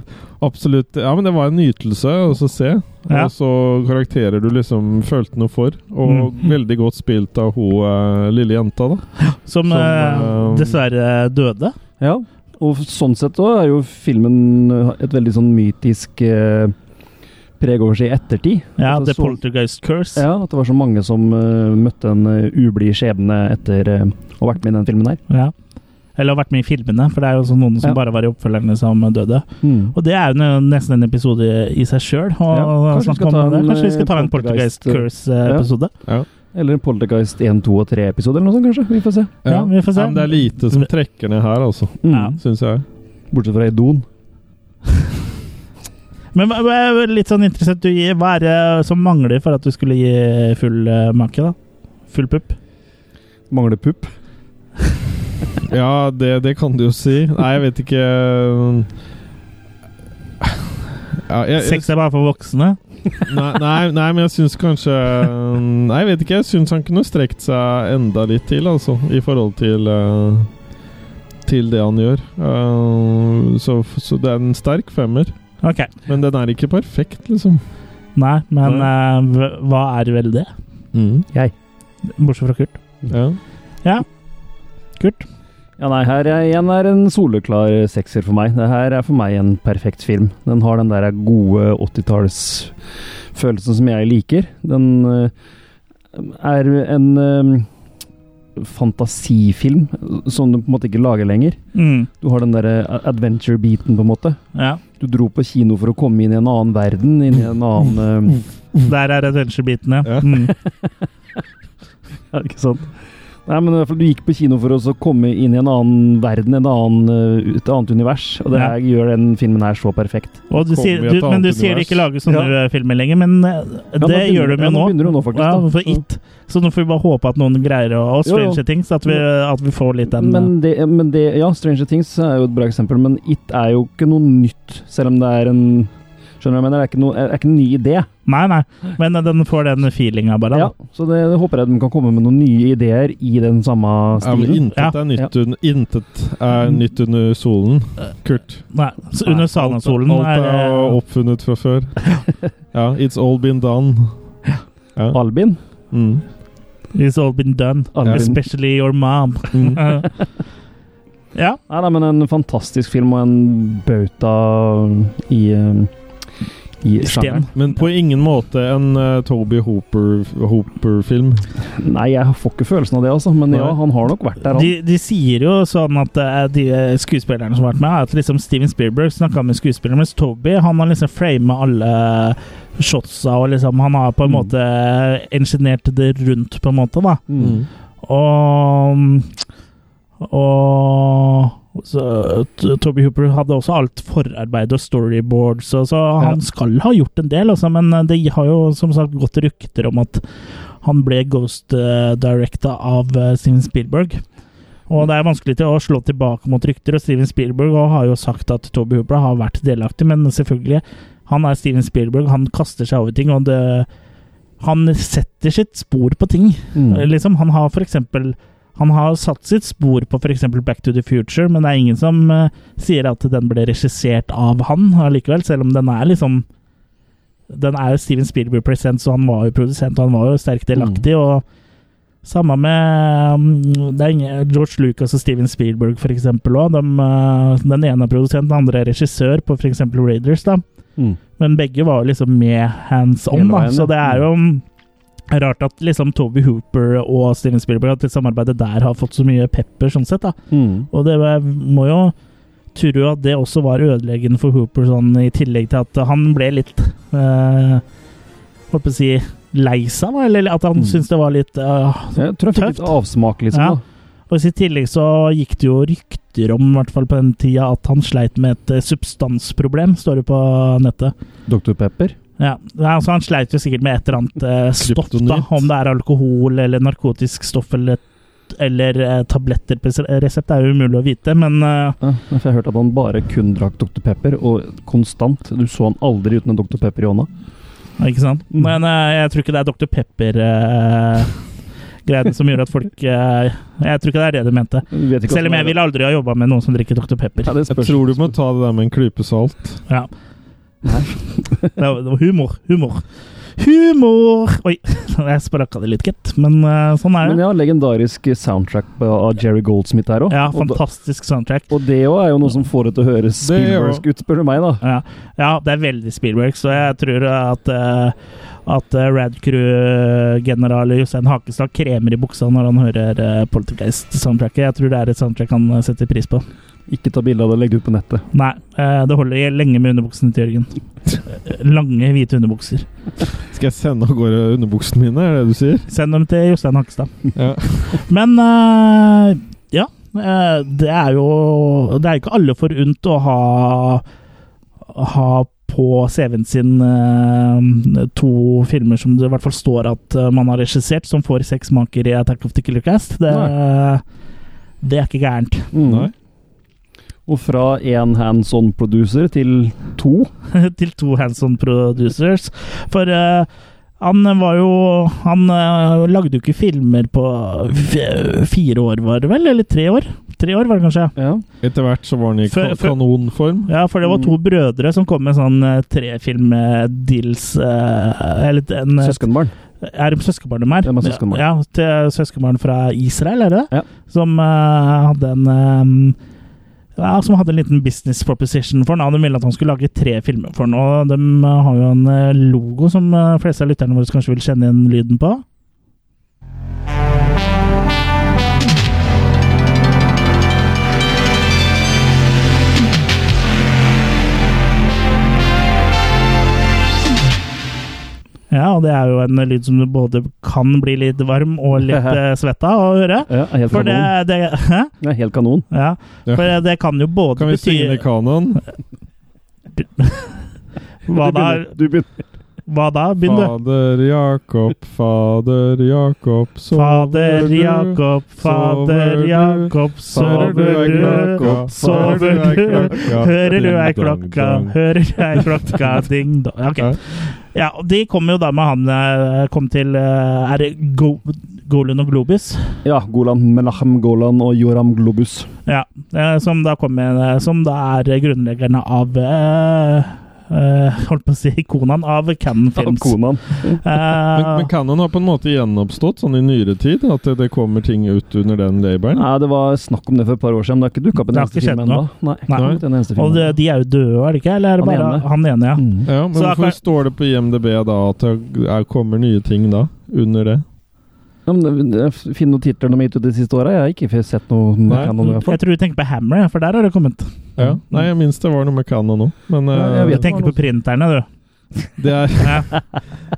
Speaker 2: absolutt. Ja, men det var en nytelse å så se.
Speaker 1: Ja.
Speaker 2: Og så karakterer du liksom følte noe for. Og
Speaker 1: Mm.
Speaker 2: veldig godt spilt av hun eh, lille jenta, da.
Speaker 1: Som,
Speaker 2: Som,
Speaker 1: eh,
Speaker 2: eh,
Speaker 1: dessverre døde.
Speaker 3: Ja. Og sånn sett da er jo filmen et veldig sånn mytisk eh, preg over seg i ettertid.
Speaker 1: Ja,
Speaker 3: At
Speaker 1: The
Speaker 3: det så-
Speaker 1: Poltergeist Curse.
Speaker 3: Ja, at det var så mange som eh, møtte en eh, ublid skjebne etter eh, å ha vært med i den filmen her.
Speaker 1: Ja. Eller har vært med i filmene, for det er jo sånn noen som
Speaker 3: Ja.
Speaker 1: bare var i oppfølgerne som døde. Og det er jo ne- nesten en episode i seg sjøl.
Speaker 3: Ja, kanskje vi skal ta en,
Speaker 1: Kanskje vi skal ta en
Speaker 3: eh, Poltergeist-
Speaker 1: Poltergeist Curse-episode?
Speaker 3: Eller en Poltergeist 1, 2 og 3-episode eller noe sånt, kanskje. Vi får se.
Speaker 1: Ja, vi får se.
Speaker 2: men det er lite som trekker ned her, altså.
Speaker 1: Ja.
Speaker 2: Syns jeg.
Speaker 3: Mm. Bortsett fra Idon.
Speaker 1: Men hva- hva er litt sånn interessant, du, gir- hva er det som mangler for at du skulle gi full eh, make, da? Full pupp?
Speaker 3: Mangler pupp.
Speaker 2: Ja, det, det kan du jo si. Nei, jeg vet ikke eh, ja, jeg,
Speaker 1: Sex er bare for voksne?
Speaker 2: nei, nei, nei, men jeg syns kanskje Nei, jeg vet ikke. Jeg syns han kunne strekt seg enda litt til, altså. I forhold til eh, Til det han gjør. Eh, så, så det er en sterk femmer.
Speaker 1: Ok.
Speaker 2: Men den er ikke perfekt, liksom.
Speaker 1: Nei, men eh, hv- hva er vel det?
Speaker 2: Mm.
Speaker 1: Bortsett fra Kurt.
Speaker 2: Ja.
Speaker 1: Kurt?
Speaker 3: Ja, nei, her er, igjen er en soleklar sekser for meg. Det her er for meg en perfekt film. Den har den der gode 80-tallsfølelsen som jeg liker. Den eh, er en eh, fantasifilm som du på en måte ikke lager lenger.
Speaker 1: Mm.
Speaker 3: Du har den derre adventure-biten, på en måte.
Speaker 1: Ja.
Speaker 3: Du dro på kino for å komme inn i en annen verden, inn i en annen eh,
Speaker 1: Mm. Der er adventure-bitene.
Speaker 2: Ja.
Speaker 1: Mm.
Speaker 3: Ja, ikke sant? Nei, men i hvert fall, Du gikk på kino for å så komme inn i en annen verden, en annen, eh, et annet univers. Og det
Speaker 1: Ja.
Speaker 3: er- gjør den filmen her så perfekt.
Speaker 1: Og du
Speaker 2: Kommer
Speaker 1: sier,
Speaker 2: vi
Speaker 1: du,
Speaker 2: et
Speaker 1: men du
Speaker 2: annet
Speaker 1: sier det ikke
Speaker 2: univers?
Speaker 1: lages sånne eh, filmer lenger, men eh,
Speaker 3: nå
Speaker 1: det
Speaker 3: begynner-
Speaker 1: gjør de jo
Speaker 3: ja, nå
Speaker 1: nå.
Speaker 3: begynner de nå, faktisk,
Speaker 1: Ja,
Speaker 3: da.
Speaker 1: for
Speaker 3: Ja.
Speaker 1: It. Så nå får vi bare håpe at noen greier å og
Speaker 3: Jo, jo.
Speaker 1: Stranger Things, at vi, at vi får litt den eh,
Speaker 3: men det, men det, ja, Stranger Things er jo et bra eksempel, men It er jo ikke noe nytt. Selv om det er en Skjønner du hva jeg mener? Det er ikke, noe, er ikke en ny idé.
Speaker 1: Nei, nei, men eh, den får den feelinga, bare.
Speaker 3: Ja,
Speaker 1: da.
Speaker 3: så det, det håper jeg de kan komme med noen nye ideer i den samme
Speaker 2: Ja, men
Speaker 3: stilen.
Speaker 2: intet, er nytt un, intet er nytt under solen, Kurt.
Speaker 1: Nei, så under Sanasolen
Speaker 2: Alt
Speaker 1: er
Speaker 2: er
Speaker 1: eh,
Speaker 2: oppfunnet fra før. Ja, it's all been done. Ja.
Speaker 3: Albin?
Speaker 2: Mm.
Speaker 1: It's all been done.
Speaker 3: Albin.
Speaker 1: Especially your mom.
Speaker 2: Mm.
Speaker 1: ja.
Speaker 3: Nei, nei, men en fantastisk film og en bauta i, eh, i
Speaker 1: Sten.
Speaker 3: sjangeren.
Speaker 2: Men på ingen måte en eh, Toby Hooper- Hooper-film.
Speaker 3: Nei, jeg får ikke følelsen av det, altså. Men ja,
Speaker 2: Nei.
Speaker 3: han har nok vært der, han.
Speaker 1: De, de sier jo sånn at eh, de eh, skuespillerne som har vært med, at liksom Steven Spielberg snakka med skuespillerne, mens Toby han har liksom frama alle shotsa og liksom Han har på en
Speaker 3: Mm.
Speaker 1: måte eh, engineert det rundt, på en måte, da.
Speaker 3: Mm.
Speaker 1: Og Og så, T- Toby Hooper hadde også alt forarbeid og storyboards, og så han skal ha gjort en del, altså, men det har jo som sagt gått rykter om at han ble ghost-directa av eh, Steven Spielberg. Og det er vanskelig til å slå tilbake mot rykter, og Steven Spielberg og har jo sagt at Toby Hooper har vært delaktig, men selvfølgelig, han er Steven Spielberg, han kaster seg over ting, og det, han setter sitt spor på ting.
Speaker 3: Mm.
Speaker 1: Liksom, han har for eksempel han har satt sitt spor på f.eks. Back to the Future, men det er ingen som eh, sier at den ble regissert av han allikevel, selv om den er liksom Den er jo Steven Spielberg present, så han var jo produsent, og han var jo sterkt delaktig, og samme med mm, det er ingen, George Lucas og Steven Spielberg, f.eks. òg. De, eh, den ene er produsent, den andre er regissør på f.eks. Raiders, da.
Speaker 3: Mm.
Speaker 1: Men begge var jo liksom med hands on,
Speaker 3: Hele
Speaker 1: da.
Speaker 3: veien,
Speaker 1: Så
Speaker 3: ja.
Speaker 1: det er jo mm, rart at liksom Toby Hooper og Steven Spielberg At det samarbeidet der har fått så mye pepper, sånn sett. da
Speaker 3: Mm.
Speaker 1: Og det var- må jo tro at det også var ødeleggende for Hooper, sånn i tillegg til at han ble litt eh, Holdt på å si lei seg, da. Eller at han
Speaker 3: Mm.
Speaker 1: syntes det var litt eh,
Speaker 3: Jeg tror jeg fikk litt
Speaker 1: Tøft.
Speaker 3: avsmak, liksom.
Speaker 1: Ja.
Speaker 3: da.
Speaker 1: og I tillegg så gikk det jo rykter om, i hvert fall på den tida, at han sleit med et eh, substansproblem, står det på nettet.
Speaker 3: Dr. Pepper.
Speaker 1: Ja, Nei, altså Han sleit jo sikkert med et eller annet eh, stoff, da.
Speaker 2: Kryptonitt.
Speaker 1: Om det er alkohol eller narkotisk stoff eller, eller eh, tabletter på res- resept, det er jo umulig å vite. Men eh,
Speaker 3: Ja, for jeg hørte at han bare kun drakk Dr. Pepper, og konstant. Du så han aldri uten en Dr. Pepper i hånda.
Speaker 1: ikke sant?
Speaker 3: Mm.
Speaker 1: Men eh, jeg tror ikke det er Dr. Pepper-greien som gjorde at folk eh, Jeg tror ikke det er det de mente.
Speaker 3: Du vet ikke
Speaker 1: Selv om jeg
Speaker 3: hvordan det er.
Speaker 1: ville aldri ha jobba med noen som drikker Dr. Pepper.
Speaker 3: ja, det
Speaker 2: Jeg
Speaker 3: spørs.
Speaker 2: tror du må ta det der med en klype salt.
Speaker 1: Ja. Det var det var humor. Humor. Humor! Oi, jeg sprakka det litt, gitt. Men eh, sånn er
Speaker 3: Men
Speaker 1: det.
Speaker 3: ja, legendarisk soundtrack av Jerry Goldsmith her òg.
Speaker 1: Ja,
Speaker 3: og, da-
Speaker 1: fantastisk soundtrack.
Speaker 3: og det òg er jo noe som får det til å høres
Speaker 2: Det er jo-
Speaker 3: Spielbergsk ut, spør du meg, da.
Speaker 1: Ja. ja, det er veldig Spielberg, så jeg tror at eh, at eh, Rad Crew-general Jostein Hakestad kremer i buksa når han hører eh, Poltergeist-soundtracket. Jeg tror det er et soundtrack han eh, setter pris på.
Speaker 3: Ikke ta bilde av det og legge det ut på nettet.
Speaker 1: Nei, eh, det holder lenge med underbuksene til Jørgen. Lange, hvite underbukser.
Speaker 2: Skal jeg sende av gårde underbuksene mine, er det det du sier?
Speaker 1: Send dem til Jostein Hakestad.
Speaker 2: Ja.
Speaker 1: Men eh, ja, eh, det er jo Det er jo ikke alle forunt å ha, ha på CV-en sin eh, to filmer som det i hvert fall står at eh, man har regissert, som får seks maker i Attack of the Killer Cast. Det, det er ikke gærent.
Speaker 3: Mm.
Speaker 2: Nei.
Speaker 3: Og fra én hands on-producer til to.
Speaker 1: til to hands-on producers. For eh, han var jo Han eh, lagde jo ikke filmer på f fire år, var det vel? Eller tre år? Tre år var det kanskje.
Speaker 3: Ja.
Speaker 2: Etter hvert så var den i
Speaker 1: Før-
Speaker 2: ka-
Speaker 1: før-
Speaker 2: kanonform.
Speaker 1: Ja, for det var
Speaker 3: Mm.
Speaker 1: to brødre som kom med sånn eh, trefilm-deals eh, Eller en eh,
Speaker 3: Søskenbarn.
Speaker 1: Er det søskenbarn de er?
Speaker 3: Ja, men søskenbarn.
Speaker 1: Ja, til søskenbarn fra Israel, er det det?
Speaker 3: Ja.
Speaker 1: Som eh, hadde en eh, ja, som hadde en liten business proposition for ham. De ville at han skulle lage tre filmer for ham. Og de eh, har jo en eh, logo som eh, fleste av lytterne våre kanskje vil kjenne igjen lyden på. Ja, og det er jo en lyd som du både kan bli litt varm og litt eh, svetta av å høre.
Speaker 3: Ja, helt
Speaker 1: For det,
Speaker 3: kanon.
Speaker 1: det, hæ?
Speaker 3: Ja, helt kanon.
Speaker 1: Ja,
Speaker 2: Ja.
Speaker 1: for eh, det kan jo både
Speaker 2: Kan vi
Speaker 1: bety
Speaker 2: synge kanon?
Speaker 1: Hva da?
Speaker 3: Du begynner.
Speaker 1: Hva da? Begynn, du.
Speaker 2: Fader Jakob, fader Jakob, sover
Speaker 1: Fader
Speaker 2: du?
Speaker 1: Jakob,
Speaker 2: Sover
Speaker 1: fader
Speaker 2: du?
Speaker 1: Jakob, sover
Speaker 2: Hører du ei
Speaker 1: du?
Speaker 2: klokka?
Speaker 1: Sover
Speaker 2: ei
Speaker 1: du?
Speaker 2: klokka?
Speaker 1: Hører du ei
Speaker 2: Ding, dong,
Speaker 1: klokka,
Speaker 2: dong.
Speaker 1: hører du ei klokka, ding dong. Ja,
Speaker 2: Ja.
Speaker 1: Ok. Ja, og de kom jo da med han eh, Kom til eh, Er det Go Golan og Globus?
Speaker 3: Ja, Golan Menachem Golan og Joram Globus.
Speaker 1: Ja. eh, Som da kom med eh, Som da er grunnleggerne av eh, eh, Holdt på å si ikonene av Cannon Films.
Speaker 3: Konan.
Speaker 1: Eh,
Speaker 2: Men, men kanon har på en måte gjenoppstått sånn i nyere tid? At det, det kommer ting ut under den labelen?
Speaker 3: Nei, det var snakk om det for et par år siden, men det har ikke dukka opp en
Speaker 1: Det har
Speaker 3: eneste
Speaker 1: ikke
Speaker 3: film
Speaker 1: skjedd
Speaker 3: ennå. Nei.
Speaker 1: Nei.
Speaker 3: ikke en eneste film
Speaker 1: og de,
Speaker 3: ennå.
Speaker 1: de er jo døde, er de ikke? Eller er det
Speaker 3: Han
Speaker 1: bare
Speaker 3: ene.
Speaker 1: han ene, ja.
Speaker 3: Mm.
Speaker 2: Ja, men
Speaker 1: Så
Speaker 2: hvorfor
Speaker 1: akkurat-
Speaker 2: står det på IMDb da at det er, kommer nye ting da? Under det?
Speaker 3: Ja, men det- det- Finn noen titler de har gitt ut de siste åra. Jeg har ikke f- sett noe med
Speaker 2: Nei.
Speaker 3: Canon. i hvert fall.
Speaker 1: Mm. Jeg tror du tenker på Hammer, ja, for der har det kommet.
Speaker 2: Ja.
Speaker 1: Mm.
Speaker 2: Nei, jeg minst det var noe med kanon nå. Men
Speaker 3: Ja,
Speaker 1: Du
Speaker 3: jeg
Speaker 2: eh,
Speaker 3: vet
Speaker 1: tenker på printerne, du.
Speaker 2: det er
Speaker 1: Ja.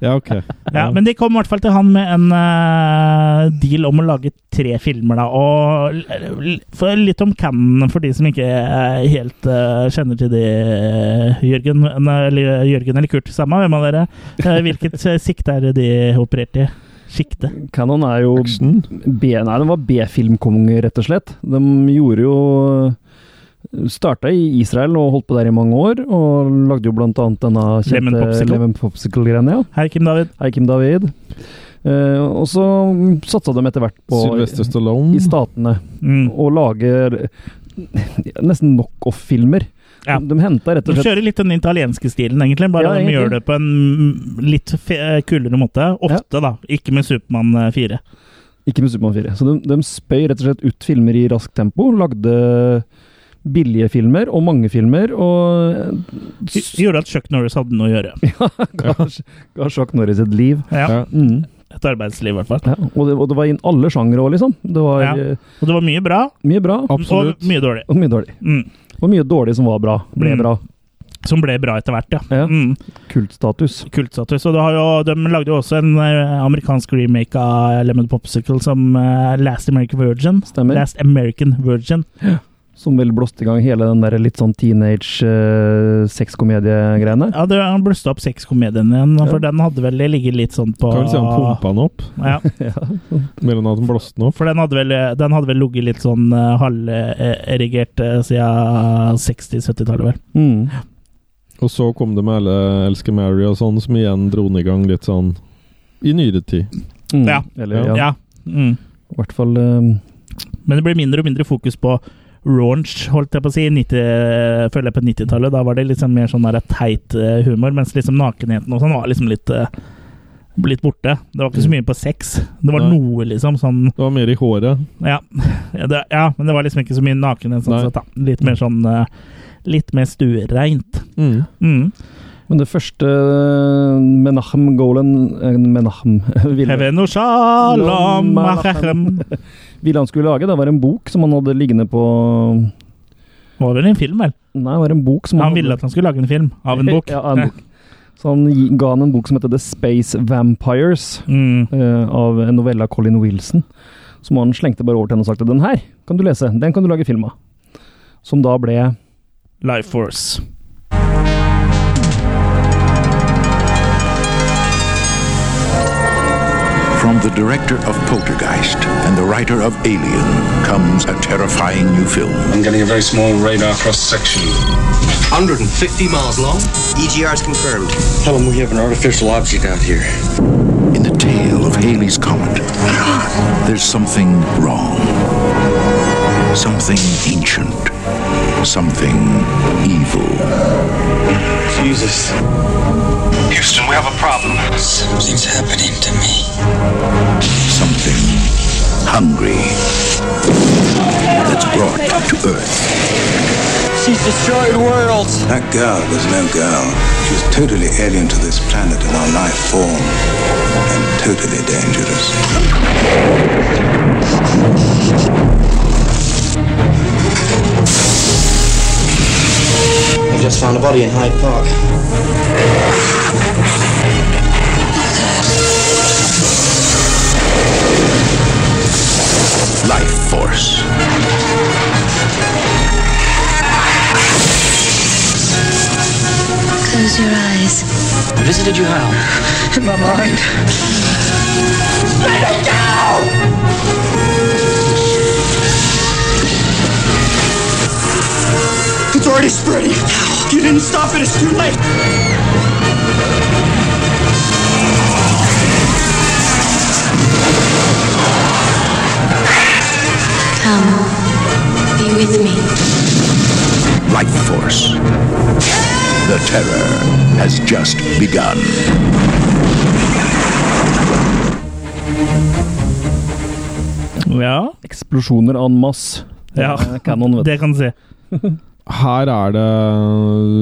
Speaker 2: Ja, ok.
Speaker 1: Ja, men de kom i hvert fall til han med en eh, deal om å lage tre filmer, da. Og l- l- for litt om Cannon, for de som ikke eh, helt eh, kjenner til det, eh, Jørgen, men, eh, eller, Jørgen eller Kurt, samme hvem av dere. Eh, hvilket eh, sikte er det de opererte i? Sikte?
Speaker 3: Canon er jo
Speaker 2: Action.
Speaker 3: B, nei, den var B-filmkonge, rett og slett. De gjorde jo Starta i Israel og holdt på der i mange år, og lagde jo blant annet denne
Speaker 1: Lemon
Speaker 3: kjente
Speaker 1: Popsicle.
Speaker 3: Lemon Popsicle-greia. Ja.
Speaker 1: Hei, Kim David.
Speaker 3: Hei, Kim David. Eh, og så satsa de etter hvert på
Speaker 2: Sylvester Stallone.
Speaker 3: i statene
Speaker 1: Mm.
Speaker 3: og lager nesten knockoff-filmer.
Speaker 1: Ja.
Speaker 3: De, de henta rett
Speaker 1: De
Speaker 3: og slett
Speaker 1: kjører litt den italienske stilen, egentlig. Bare
Speaker 3: Ja,
Speaker 1: de
Speaker 3: egentlig.
Speaker 1: gjør det på en mm, litt fe kulere måte. Ofte, da. Ikke med Supermann eh, 4.
Speaker 3: Ikke med Supermann 4. Så de, de spøy rett og slett ut filmer i raskt tempo. Lagde billige filmer og mange filmer, og
Speaker 1: Det Gjorde at Chuck Norris hadde noe å gjøre.
Speaker 3: ga, ga Chuck Norris et liv.
Speaker 1: Ja,
Speaker 2: Ja.
Speaker 3: Mm.
Speaker 1: Et arbeidsliv, i hvert fall.
Speaker 3: Ja, og, det, og det var inn alle sjangere òg, liksom. Det var
Speaker 1: Ja.
Speaker 3: eh,
Speaker 1: Og det var mye bra,
Speaker 3: mye bra,
Speaker 2: Absolutt.
Speaker 1: og mye dårlig.
Speaker 3: og mye dårlig.
Speaker 1: Mm.
Speaker 3: Og mye dårlig som var bra. Ble
Speaker 1: Mm.
Speaker 3: bra.
Speaker 1: Som ble bra etter hvert, ja.
Speaker 3: Ja.
Speaker 1: Mm.
Speaker 3: Kultstatus.
Speaker 1: Kultstatus. Og du har jo, de lagde jo også en eh, amerikansk remake av Lemon Popsicle som eh, Last American Virgin.
Speaker 3: Stemmer.
Speaker 1: Last American Virgin.
Speaker 3: Som vel blåste i gang hele den der litt sånn teenage uh, sexkomediegreiene.
Speaker 1: Ja, det han blusta opp sexkomedien igjen, for den hadde vel ligget litt sånn på
Speaker 2: Kan vel si han pumpa den opp,
Speaker 1: Ja,
Speaker 2: mer enn at han blåste den opp.
Speaker 1: for den hadde vel, den hadde vel ligget litt sånn eh, halverigert eh, siden 60-70-tallet, vel.
Speaker 3: Mm.
Speaker 2: Og så kom det med alle Elsker Mary og sånn, som igjen dro den i gang litt sånn i nyere tid.
Speaker 3: Mm.
Speaker 1: Ja.
Speaker 3: Eller,
Speaker 1: Ja.
Speaker 3: ja.
Speaker 1: Mm.
Speaker 3: I hvert fall eh,
Speaker 1: Men det blir mindre og mindre fokus på raunch, holdt jeg på å si, i 90, føler jeg på 90-tallet. Da var det liksom mer sånn der teit eh, humor, mens liksom nakenheten og sånn var liksom litt eh, blitt borte. Det var ikke så mye på sex. Det var
Speaker 2: Mm. Nei.
Speaker 1: noe, liksom, sånn
Speaker 2: Det var mer i håret.
Speaker 1: ja. Ja, det, ja, men det var liksom ikke så mye nakenhet sånn
Speaker 2: Nei.
Speaker 1: sett, da. Litt mer sånn eh, Litt mer stuereint.
Speaker 2: Mm.
Speaker 1: Mm.
Speaker 3: Men det første eh, Menachem Golan eh, Menachem ville,
Speaker 1: Hevenu shalom achachem.
Speaker 3: ville han skulle lage, det var en bok som han hadde liggende på
Speaker 1: Var vel en film, vel?
Speaker 3: Nei, det var en bok som
Speaker 1: Han ville
Speaker 3: hadde-
Speaker 1: at han skulle lage en film av en bok.
Speaker 3: ja, av en bok. Så han gi- ga han en bok som heter The Space Vampires,
Speaker 1: Mm.
Speaker 3: eh, av en novelle av Colin Wilson. Som han slengte bare over til henne og sagte 'Den her kan du lese, den kan du lage film av'. Som da ble
Speaker 1: Life Force.
Speaker 4: From the director of Poltergeist and the writer of Alien comes a terrifying new film.
Speaker 5: I'm getting a very small radar cross section. 150 miles long? E EGR's confirmed. Tell them we have an artificial object out here.
Speaker 4: In the tail of Halley's Comet, there's something wrong. Something ancient. Something evil.
Speaker 5: Jesus. Houston, we have a problem. Something's happening to me.
Speaker 4: Something hungry. That's brought to Earth.
Speaker 5: She's destroyed worlds.
Speaker 4: That girl was no girl. She was totally alien to this planet and our life form. And totally dangerous.
Speaker 5: We just found a body in Hyde Park.
Speaker 4: Life force.
Speaker 9: Close your eyes.
Speaker 6: Visited you how? In my mind. Let it go! It's already spreading. If you didn't stop it, it's too late.
Speaker 9: Come. Be with me.
Speaker 4: Life force. The terror has just begun.
Speaker 1: Ja.
Speaker 3: Eksplosjoner en masse.
Speaker 1: ja.
Speaker 3: Det er Canon, vet du.
Speaker 1: Det kan du si.
Speaker 2: Her er det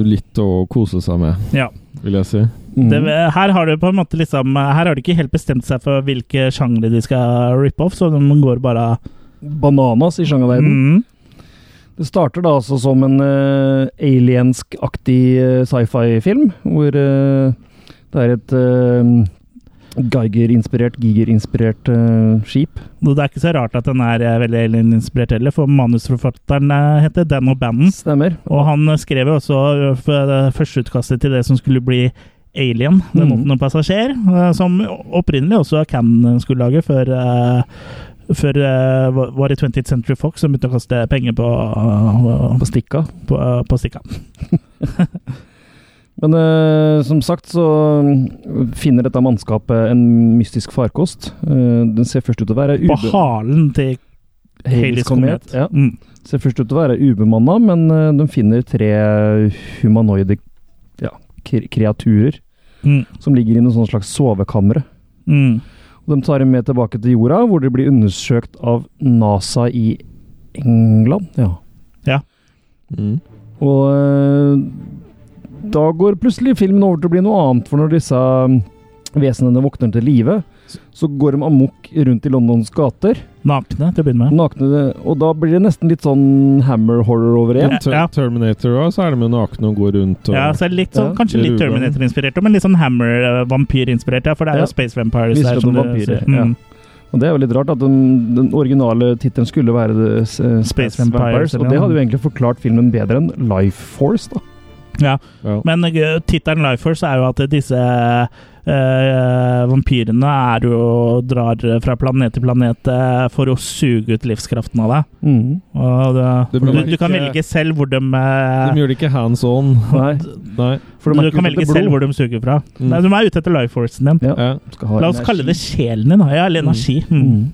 Speaker 2: litt å kose seg med,
Speaker 1: Ja.
Speaker 2: vil jeg si.
Speaker 3: Mm.
Speaker 1: Det, her har du på en måte liksom Her har de ikke helt bestemt seg for hvilke sjangre de skal rippe off, så de går bare
Speaker 3: Bananas i sjangerverdenen.
Speaker 1: mm.
Speaker 3: Det starter da altså som en eh, aliensk-aktig eh, sci-fi-film, hvor eh, det er et eh, Geiger-inspirert, Giger-inspirert eh, skip.
Speaker 1: Og Det er ikke så rart at den er eh, veldig alien-inspirert heller, for manusforfatteren eh, heter Dan O'Bannon.
Speaker 3: Stemmer.
Speaker 1: Og han eh, skrev jo også eh, f- eh, førsteutkastet til det som skulle bli Alien, Den
Speaker 3: Mhm.
Speaker 1: måten å passasjer, eh, som opprinnelig også Cannon skulle lage før eh, før eh, var- var det 20th Century Fox som begynte å kaste penger på, eh,
Speaker 3: på stikka.
Speaker 1: på, på stikka.
Speaker 3: Men eh, som sagt så mm, finner dette mannskapet en mystisk farkost. Eh, den ser først ut til å være
Speaker 1: På
Speaker 3: ube-
Speaker 1: halen til Halley's
Speaker 3: Halley's
Speaker 1: Comet.
Speaker 3: Ja.
Speaker 1: Mm.
Speaker 3: Ser først ut til å være ubemanna, men eh, de finner tre humanoide ja, kre- kreaturer
Speaker 1: Mm.
Speaker 3: som ligger i noen sånne slags sovekamre.
Speaker 1: Mm.
Speaker 3: Og De tar dem med tilbake til jorda, hvor de blir undersøkt av NASA i England. Ja.
Speaker 2: Mm.
Speaker 3: Og eh, da går plutselig filmen over til å bli noe annet, for når disse mm, vesenene våkner til live, så går de amok rundt i Londons gater,
Speaker 1: Nakne, til å begynne med.
Speaker 3: nakne, og da blir det nesten litt sånn hammer-horror over igjen.
Speaker 1: Ja.
Speaker 2: Ter Terminator òg, så er de jo nakne og går rundt og
Speaker 1: Ja, så er det litt sånn,
Speaker 3: Ja.
Speaker 1: Kanskje litt
Speaker 2: Ruben.
Speaker 1: Terminator-inspirert, men litt sånn Hammer-vampyr-inspirert. Ja, for det er
Speaker 3: Ja.
Speaker 1: jo Space Vampires
Speaker 3: Visste
Speaker 1: der.
Speaker 3: at
Speaker 1: som
Speaker 3: det var
Speaker 1: du
Speaker 3: vampyrer,
Speaker 1: sier. Mm.
Speaker 3: Og det er jo litt rart at den, den originale tittelen skulle være The S- eh, Space
Speaker 1: Vampires,
Speaker 3: Vampires, og
Speaker 1: eller
Speaker 3: det
Speaker 1: noe.
Speaker 3: hadde jo egentlig forklart filmen bedre enn Life Force, da.
Speaker 2: ja.
Speaker 1: Men eh, tittelen Life Force er jo at disse eh, vampyrene er jo drar fra planet til planet eh, for å suge ut livskraften av deg. Og det,
Speaker 2: Det
Speaker 1: du,
Speaker 2: blir
Speaker 1: du kan
Speaker 2: ikke-
Speaker 1: velge selv hvor de, eh,
Speaker 2: De gjør det ikke hands on.
Speaker 3: Nei,
Speaker 2: Nei.
Speaker 3: for de er
Speaker 1: Du
Speaker 3: ikke
Speaker 1: kan
Speaker 3: ute etter
Speaker 1: velge selv
Speaker 3: blod.
Speaker 1: hvor de suger fra.
Speaker 2: Mm.
Speaker 1: Nei, de er ute etter life forcen din.
Speaker 3: Ja.
Speaker 2: Ja.
Speaker 3: Skal ha
Speaker 1: La oss
Speaker 3: energi.
Speaker 1: kalle det sjelen din, da. Ja, eller
Speaker 2: Mm.
Speaker 1: energi. Mm.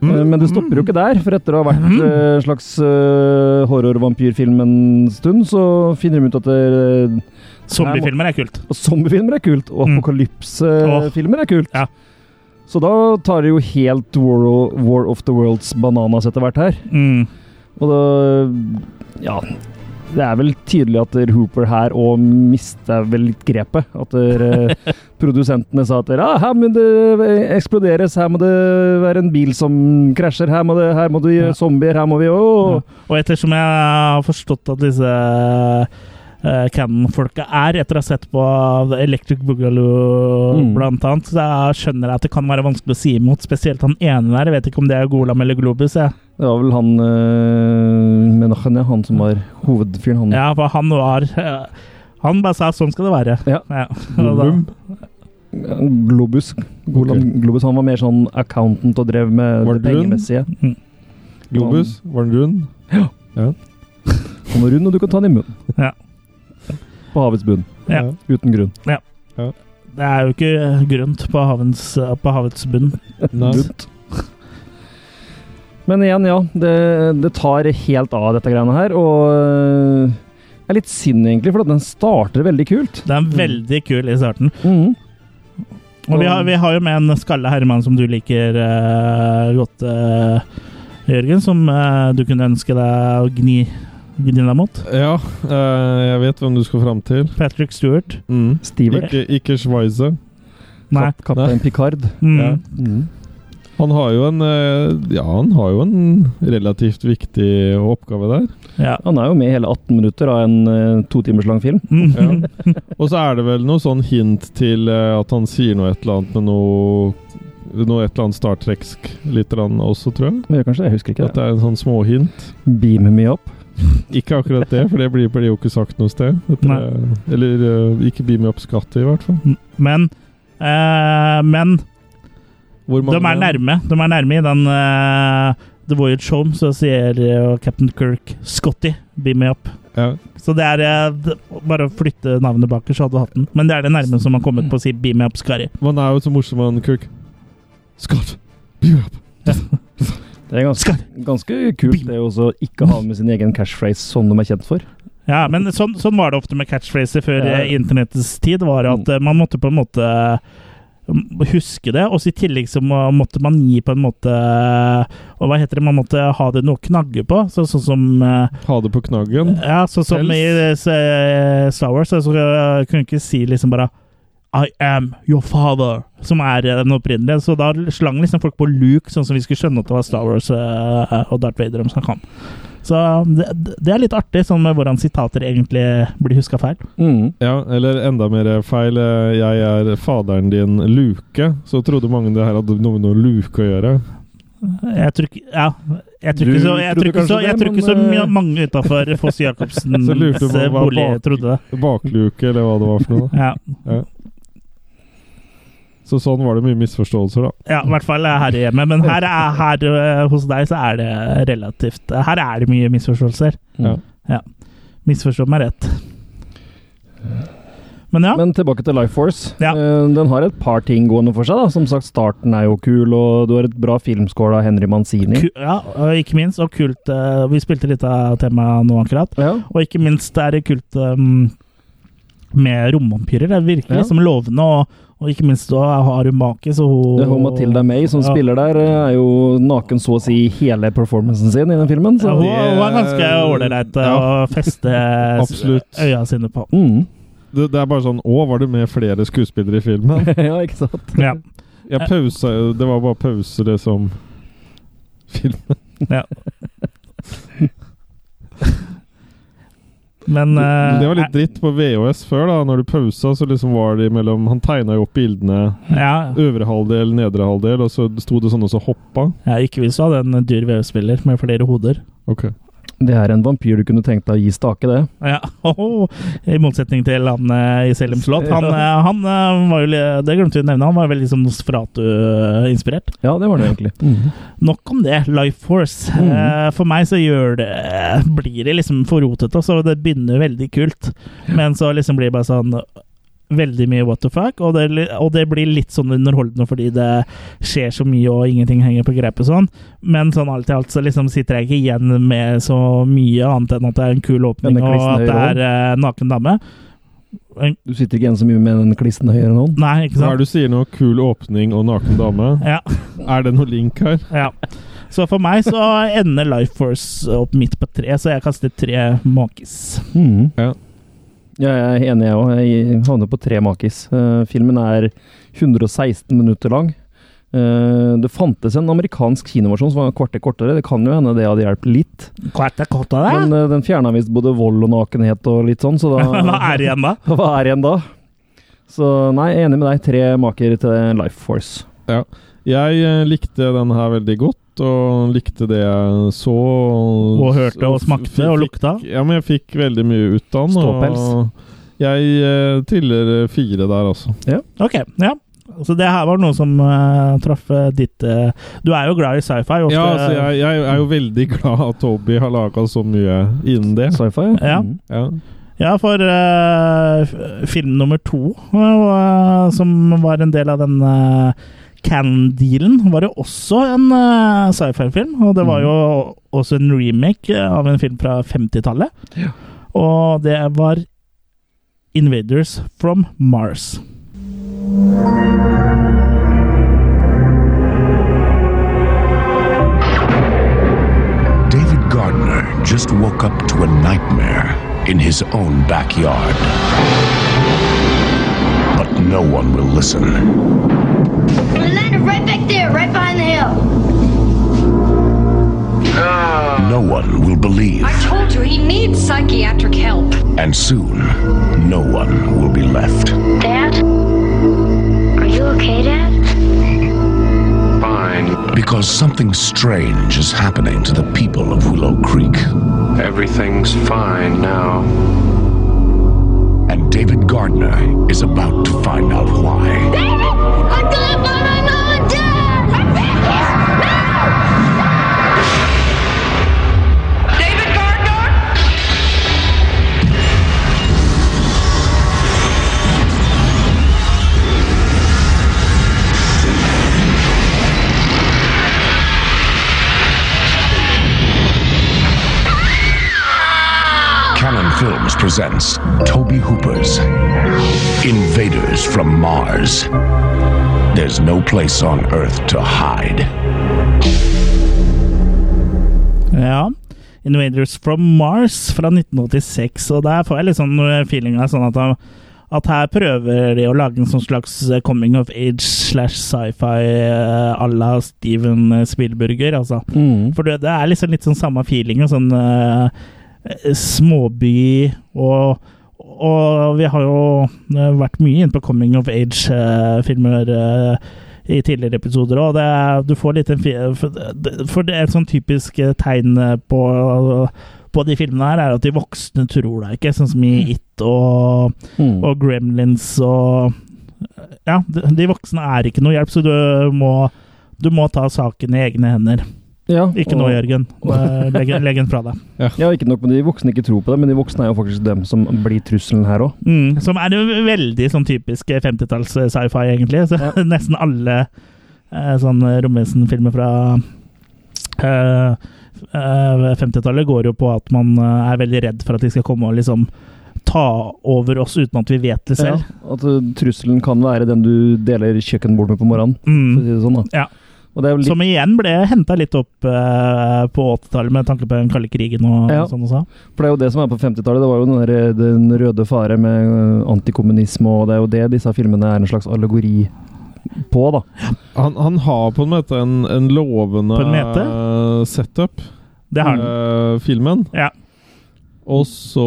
Speaker 3: Mm. Eh, Men det stopper jo ikke der, for etter å ha vært
Speaker 1: Mm.
Speaker 3: en slags eh, horror-vampyrfilm en stund, så finner de ut at det-
Speaker 1: Zombiefilmer er kult.
Speaker 3: og zombiefilmer er kult, og
Speaker 1: Mm.
Speaker 3: apokalypsefilmer er kult.
Speaker 1: Ja.
Speaker 3: Så da tar det jo helt War, o- War of the Worlds bananas etter hvert her.
Speaker 1: Mm.
Speaker 3: Og da Ja. Det er vel tydelig at Hooper her òg mista vel litt grepet. At der, eh, produsentene sa at der, ah, her må det eksploderes, her må det være en bil som krasjer, her må det, her må det
Speaker 1: Ja.
Speaker 3: gjøre zombier, her må vi
Speaker 1: Ja.
Speaker 3: åh.
Speaker 1: Og ettersom jeg har forstått at disse uh, Canon-folka er, etter å ha sett på Electric Boogaloo
Speaker 3: Mm.
Speaker 1: blant annet, så jeg skjønner jeg at det kan være vanskelig å si imot. Spesielt han ene der. Jeg vet ikke om det er Golam eller Globus. Jeg.
Speaker 3: Det var vel han eh, Menachem, ja, han som var hovedfyren, han.
Speaker 1: Ja, for han var eh, Han bare sa 'sånn skal det være'.
Speaker 3: Ja.
Speaker 1: Og da-
Speaker 2: Gollum?
Speaker 3: Globus. Golan Globus. Han var mer sånn accountant og drev med
Speaker 2: Var
Speaker 3: det
Speaker 2: det rund?
Speaker 3: pengemessige.
Speaker 2: Globus? Var den rund?
Speaker 3: Han var rund, og du kan ta den i munnen.
Speaker 1: Ja.
Speaker 3: På havets bunn.
Speaker 1: Ja.
Speaker 3: Uten grunn.
Speaker 1: Det er jo ikke grønt på, havens, på havets bunn.
Speaker 2: Nei.
Speaker 3: Dumt. Men igjen, ja. Det, det tar helt av, dette greiene her. Og øh, det er litt synd, egentlig, for at den starter veldig kult.
Speaker 1: Det er
Speaker 3: Mm.
Speaker 1: veldig kul i starten. Og vi har, vi har jo med en skalle herremann som du liker eh, godt, eh, Jørgen. Som eh, du kunne ønske deg å gni, gni deg mot.
Speaker 2: Ja, eh, jeg vet hvem du skal fram til.
Speaker 1: Patrick Stewart.
Speaker 2: Mm.
Speaker 3: Stivert.
Speaker 2: Ikke, ikke Schweizer.
Speaker 1: Nei.
Speaker 3: Kap, Kaptein Picard.
Speaker 1: Mm.
Speaker 2: Ja. Han har jo en eh, Ja, han har jo en relativt viktig oppgave der.
Speaker 1: Ja.
Speaker 3: Han er jo med i hele 18 minutter av en øh, to timers lang film.
Speaker 1: Mm.
Speaker 2: Ja. Og så er det vel noe sånn hint til eh, at han sier noe et eller annet med noe Noe et eller annet Star Trek-sk litt eller annet også, tror jeg.
Speaker 3: Men jeg, kanskje, jeg husker ikke
Speaker 2: At
Speaker 3: det.
Speaker 2: det er en sånn småhint.
Speaker 3: Beam me up.
Speaker 2: Ikke akkurat det, for det blir, blir jo ikke sagt noe sted. Dette
Speaker 1: Nei.
Speaker 2: er- eller eh, ikke Beam Me Up Skattet, i hvert fall.
Speaker 1: Men eh, Men
Speaker 2: Hvor
Speaker 1: de er nærme. De er nærme i den eh, The Voyage Home, så sier eh, Captain Kirk 'Scotty, beam me up'.
Speaker 2: Ja.
Speaker 1: Så det er eh, d- bare å flytte navnet baker, så hadde du hatt den. Men det er det nærme som har kommet på å si 'beam me up, Skari'.
Speaker 2: Man er jo så morsom, han Kirk. Scott, beam up!
Speaker 3: Det er ganske, ganske kult det er jo også å ikke ha med sin egen catchphrase som de er kjent for.
Speaker 1: Ja, men sånn, sånn var det ofte med catchphraser før
Speaker 3: Ja. Mm.
Speaker 1: eh, internettets tid. var at eh, Man måtte på en måte eh, huske det, og så i tillegg så må, måtte man gi på en måte Og hva heter det? Man måtte ha det noe å knagge på, så, sånn som eh,
Speaker 2: Ha det på knaggen.
Speaker 1: Ja, sånn som i eh, s- eh, Star Wars, så, så eh, kunne du ikke si liksom bare I am your father, som er eh, den opprinnelige. Så da slang liksom folk på Luke, sånn som vi skulle skjønne at det var Star Wars eh, og Darth Vader de snakka om. Så det, det er litt artig, sånn med hvordan sitater egentlig blir huska feil.
Speaker 3: Mm.
Speaker 2: Ja, eller enda mer feil. eh, Jeg er faderen din, Luke. Så trodde mange det her hadde noe med noe luke å gjøre.
Speaker 1: Jeg tror ikke Ja. Jeg tror
Speaker 3: Du
Speaker 1: ikke så, jeg tror
Speaker 3: trodde
Speaker 1: ikke så,
Speaker 3: kanskje
Speaker 1: jeg
Speaker 3: det,
Speaker 1: tror ikke så
Speaker 3: men,
Speaker 1: mye-
Speaker 3: eh,
Speaker 1: mange utafor Foss Jacobsens
Speaker 2: Så lurte du på
Speaker 1: eh,
Speaker 2: hva
Speaker 1: bolig
Speaker 2: bak-
Speaker 1: trodde det.
Speaker 2: Bakluke, eller hva det var for noe. da.
Speaker 1: Ja.
Speaker 2: Så sånn var det mye misforståelser, da.
Speaker 1: Ja, i hvert fall her hjemme. Men her, er, her eh, hos deg så er det relativt eh, Her er det mye misforståelser.
Speaker 3: Mm.
Speaker 2: Ja.
Speaker 1: Misforstå meg rett. Men ja.
Speaker 3: Men tilbake til Life Force.
Speaker 1: Ja.
Speaker 3: Eh, Den har et par ting gående for seg. da. Som sagt, starten er jo kul, og du har et bra filmscore av Henry Manzini.
Speaker 1: Ku, ja, og ikke minst, og kult eh, Vi spilte litt av temaet nå akkurat.
Speaker 3: Ja.
Speaker 1: Og ikke minst er det kult eh, med romvampyrer. Det virker
Speaker 3: Ja.
Speaker 1: som lovende, og, og ikke minst da har hun make, så hun
Speaker 3: Det er hun Matilda May som
Speaker 1: Ja.
Speaker 3: spiller der, eh, er jo naken så å si hele performancen sin i den filmen.
Speaker 1: Ja,
Speaker 3: Så.
Speaker 1: hun,
Speaker 2: Det-
Speaker 1: hun er ganske ålreit eh,
Speaker 2: Ja.
Speaker 1: å feste
Speaker 2: Absolutt.
Speaker 1: øya sine på.
Speaker 3: Mm.
Speaker 2: Det, det er bare sånn Å, var det med flere skuespillere i filmen?
Speaker 3: ja, ikke sant?
Speaker 1: Ja.
Speaker 2: Jeg pausa jo Det var bare pause, det som Filmen.
Speaker 1: Men eh,
Speaker 2: Det var litt dritt på VHS før, da. Når du pausa, så liksom var det imellom Han tegna jo opp bildene.
Speaker 1: Ja,
Speaker 2: Øvre halvdel, nedre halvdel, og så sto det sånn og så hoppa.
Speaker 1: jeg ikke vil så ha den dyr vev-spiller med flere hoder.
Speaker 2: Ok.
Speaker 3: Det er en vampyr du kunne tenkt deg å gi stake, det.
Speaker 1: Ja, hoho. I motsetning til han eh, i Selim Slott. Han, eh, han eh, var jo, li- det glemte vi å nevne, han var veldig liksom eh, Nosferatu-inspirert.
Speaker 3: Ja, det var det egentlig.
Speaker 1: Nok om det, Life Force.
Speaker 3: Mhm.
Speaker 1: Eh, For meg så gjør det blir det liksom for rotete, så det begynner veldig kult. Men så liksom blir det bare sånn Veldig mye what the fuck, og det, er li- og det blir litt sånn underholdende fordi det skjer så mye og ingenting henger på grepet sånn. Men sånn alt i alt så liksom sitter jeg ikke igjen med så mye annet enn at det er en kul åpning
Speaker 3: Men det er
Speaker 1: og
Speaker 3: klissen
Speaker 1: at det
Speaker 3: høyere
Speaker 1: er eh, naken dame.
Speaker 3: Du sitter ikke igjen så mye med den klissen høyere enn hånd.
Speaker 1: Nei, ikke
Speaker 2: Hva er
Speaker 1: sant?
Speaker 2: det du sier nå? Kul åpning og naken dame?
Speaker 1: Ja,
Speaker 2: Er det noe link her?
Speaker 1: ja. Så for meg så ender Life Force opp midt på tre, så jeg kaster tre makis.
Speaker 3: Mhm.
Speaker 2: Ja.
Speaker 3: Ja, jeg er enig, jeg òg. Jeg havner på tre makis. Eh, filmen er 116 minutter lang. Eh, det fantes en amerikansk kinoversjon som var et kvarter kortere. Det kan jo hende det hadde hjulpet litt.
Speaker 1: Kvart er kort av
Speaker 3: Men
Speaker 1: det.
Speaker 3: eh, den fjerna visst både vold og nakenhet og litt sånn, så da
Speaker 1: Hva er det igjen da?
Speaker 3: Hva er igjen da? Så nei, jeg er enig med deg. Tre maker til Life Force.
Speaker 2: Jeg eh, likte den her veldig godt, og likte det jeg så. Og,
Speaker 1: Og hørte og smakte og
Speaker 2: fikk-
Speaker 1: lukta.
Speaker 2: Ja, men jeg fikk veldig mye ut av den.
Speaker 3: Ståpels.
Speaker 2: Og jeg eh, triller eh, fire der, altså.
Speaker 1: Ok, ja. Så det her var noe som eh, traff eh, ditt eh, Du er jo glad i sci-fi. ofte-
Speaker 2: Ja, altså, jeg, jeg er jo veldig glad at Toby har laga så mye innen det.
Speaker 3: Sci-fi?
Speaker 1: Ja.
Speaker 3: Mm.
Speaker 2: Ja.
Speaker 1: Ja, for eh, f- film nummer to, eh, som var en del av den uh, Can-dealen, var jo også en eh, sci-fi-film. Og det var jo
Speaker 2: Mm.
Speaker 1: også en remake eh, av en film fra 50-tallet. Og det var Invaders from Mars.
Speaker 4: David Gardner just woke up to a nightmare in his own backyard. But no one will listen.
Speaker 9: They landed right back there, right behind the hill.
Speaker 4: No one will believe.
Speaker 9: I told you he needs psychiatric help.
Speaker 4: And soon, no one will be left.
Speaker 9: Dad? Are you okay, Dad?
Speaker 8: because something strange is happening to the people of Willow Creek.
Speaker 11: Everything's fine now.
Speaker 8: And David Gardner is about to find out why. Canon Films presents Toby Hooper's Invaders from Mars. There's no place on Earth to hide.
Speaker 1: Ja. Invaders from Mars fra 1986, og der får jeg litt sånn eh, feeling av sånn at, han- at her prøver de å lage en sånn slags eh, coming of age slash sci-fi eh, à la Steven eh, Spielberger, altså.
Speaker 3: Mm.
Speaker 1: For det, det er liksom litt sånn samme feeling, og sånn eh, eh, småby og og vi har jo eh, vært mye inne på coming of age-filmer eh, i tidligere episoder òg. Du får litt en fi- For det- for det er et sånn typisk eh, tegn eh, på, på de filmene her, er at de voksne tror deg ikke. Sånn som i It og,
Speaker 3: Mm.
Speaker 1: og Gremlins og Ja, de de voksne er ikke noe hjelp, så du eh, må, du må ta saken i egne hender.
Speaker 3: ja,
Speaker 1: Ikke
Speaker 3: og-
Speaker 1: nå, Jørgen. Eh, Legg, legg den fra deg.
Speaker 3: Ja, ikke nok med de voksne ikke tror på det, men de voksne er jo faktisk dem som blir trusselen her òg.
Speaker 1: Mm, som er en veldig sånn typisk 50-talls eh, sci-fi, egentlig. Så
Speaker 3: Ja.
Speaker 1: nesten alle eh, sånne romvesenfilmer fra eh, eh, 50-tallet går jo på at man eh, er veldig redd for at de skal komme og liksom ta over oss uten at vi vet det selv.
Speaker 3: At uh, trusselen kan være den du deler kjøkkenbord med på morgenen. For å
Speaker 1: Mm.
Speaker 3: si det sånn, da.
Speaker 1: Ja.
Speaker 3: Og det er jo litt,
Speaker 1: Som igjen ble henta litt opp eh, på 80-tallet med tanke på den kalde krigen og
Speaker 3: Ja.
Speaker 1: sånn også.
Speaker 3: for det er jo det som er på 50-tallet. Det var jo den, der, uh, den røde fare med uh, antikommunisme, og det er jo det disse filmene er en slags allegori på, da.
Speaker 2: Han, han har på en måte en, en lovende
Speaker 1: På en måte?
Speaker 2: eh, setup,
Speaker 1: Det har den.
Speaker 2: eh, filmen.
Speaker 1: Ja.
Speaker 2: Og så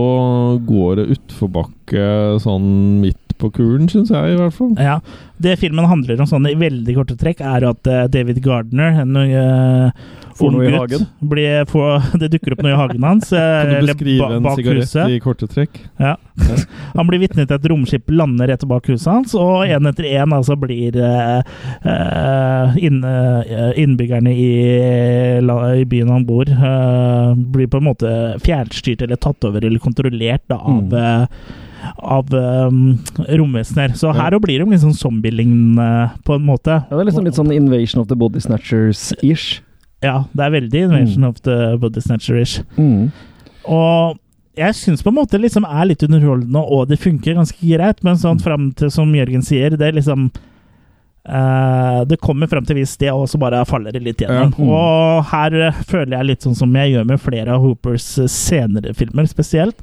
Speaker 2: går det utforbakke sånn midt på kulen, syns jeg i hvert fall.
Speaker 1: Ja. Det filmen handler om sånn i veldig korte trekk, er at eh, David Gardner, en eh,
Speaker 3: Får
Speaker 1: ung
Speaker 3: noe i
Speaker 1: gutt,
Speaker 3: hagen.
Speaker 1: blir- får- det dukker opp noe i hagen hans. eh,
Speaker 2: Kan du
Speaker 1: eller
Speaker 2: beskrive
Speaker 1: ba-
Speaker 2: en
Speaker 1: bak
Speaker 2: sigarett
Speaker 1: huset.
Speaker 2: i korte trekk?
Speaker 1: Ja. Han blir vitne til at et romskip lander rett bak huset hans, og én etter én altså blir eh, eh, inn- eh, innbyggerne i, la- i byen han bor, eh, blir på en måte fjernstyrt eller tatt over eller kontrollert da, av,
Speaker 3: Mm.
Speaker 1: eh, av eh, romvesener. Så her òg blir de litt sånn zombielignende, på en måte.
Speaker 3: Ja, det er liksom litt sånn Invasion of the Body Snatchers-ish.
Speaker 1: Ja, det er veldig Invention of the Body Snatcher-ish.
Speaker 3: Mm.
Speaker 1: Og jeg syns på en måte liksom er litt underholdende, og det funker ganske greit, men sånn
Speaker 3: Mm.
Speaker 1: fram til, som Jørgen sier, det er liksom eh, Det kommer fram til et visst sted, og så bare faller det litt gjennom.
Speaker 3: Ja. Mm.
Speaker 1: Og her eh, føler jeg litt sånn som jeg gjør med flere av Hoopers eh, senere filmer, spesielt,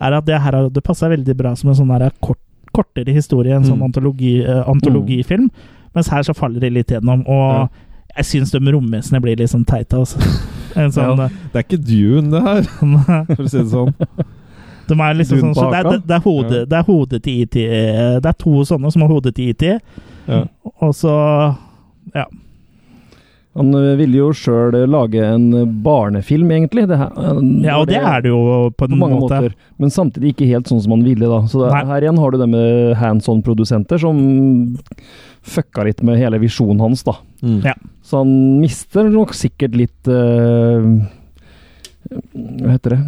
Speaker 1: er at det her har- det passer veldig bra som en sånn her kort, kortere historie, en sånn
Speaker 3: Mm.
Speaker 1: antologi, eh, antologifilm, mens her så faller det litt gjennom. Og jeg syns de romvesenene blir litt sånn teite, altså. En sånn,
Speaker 3: Ja.
Speaker 2: Det er ikke Dune, det her, for å si det sånn.
Speaker 1: De er liksom sånn,
Speaker 3: Dun
Speaker 1: så det, er,
Speaker 3: baka.
Speaker 1: det, det, er hodet, det er hodet til IT. eh, Det er to sånne som har hodet til IT,
Speaker 2: Ja.
Speaker 1: og så
Speaker 3: Han ø, ville jo sjøl lage en ø, barnefilm, egentlig. Det her, ø,
Speaker 1: Ja, og det er det jo på en
Speaker 3: på mange
Speaker 1: måte.
Speaker 3: måter, men samtidig ikke helt sånn som han ville. da. Så det,
Speaker 1: Nei.
Speaker 3: her igjen har du det med hands on-produsenter som fucka litt med hele visjonen hans. da.
Speaker 2: Mm.
Speaker 1: Ja.
Speaker 3: Så han mister nok sikkert litt eh, Hva heter det?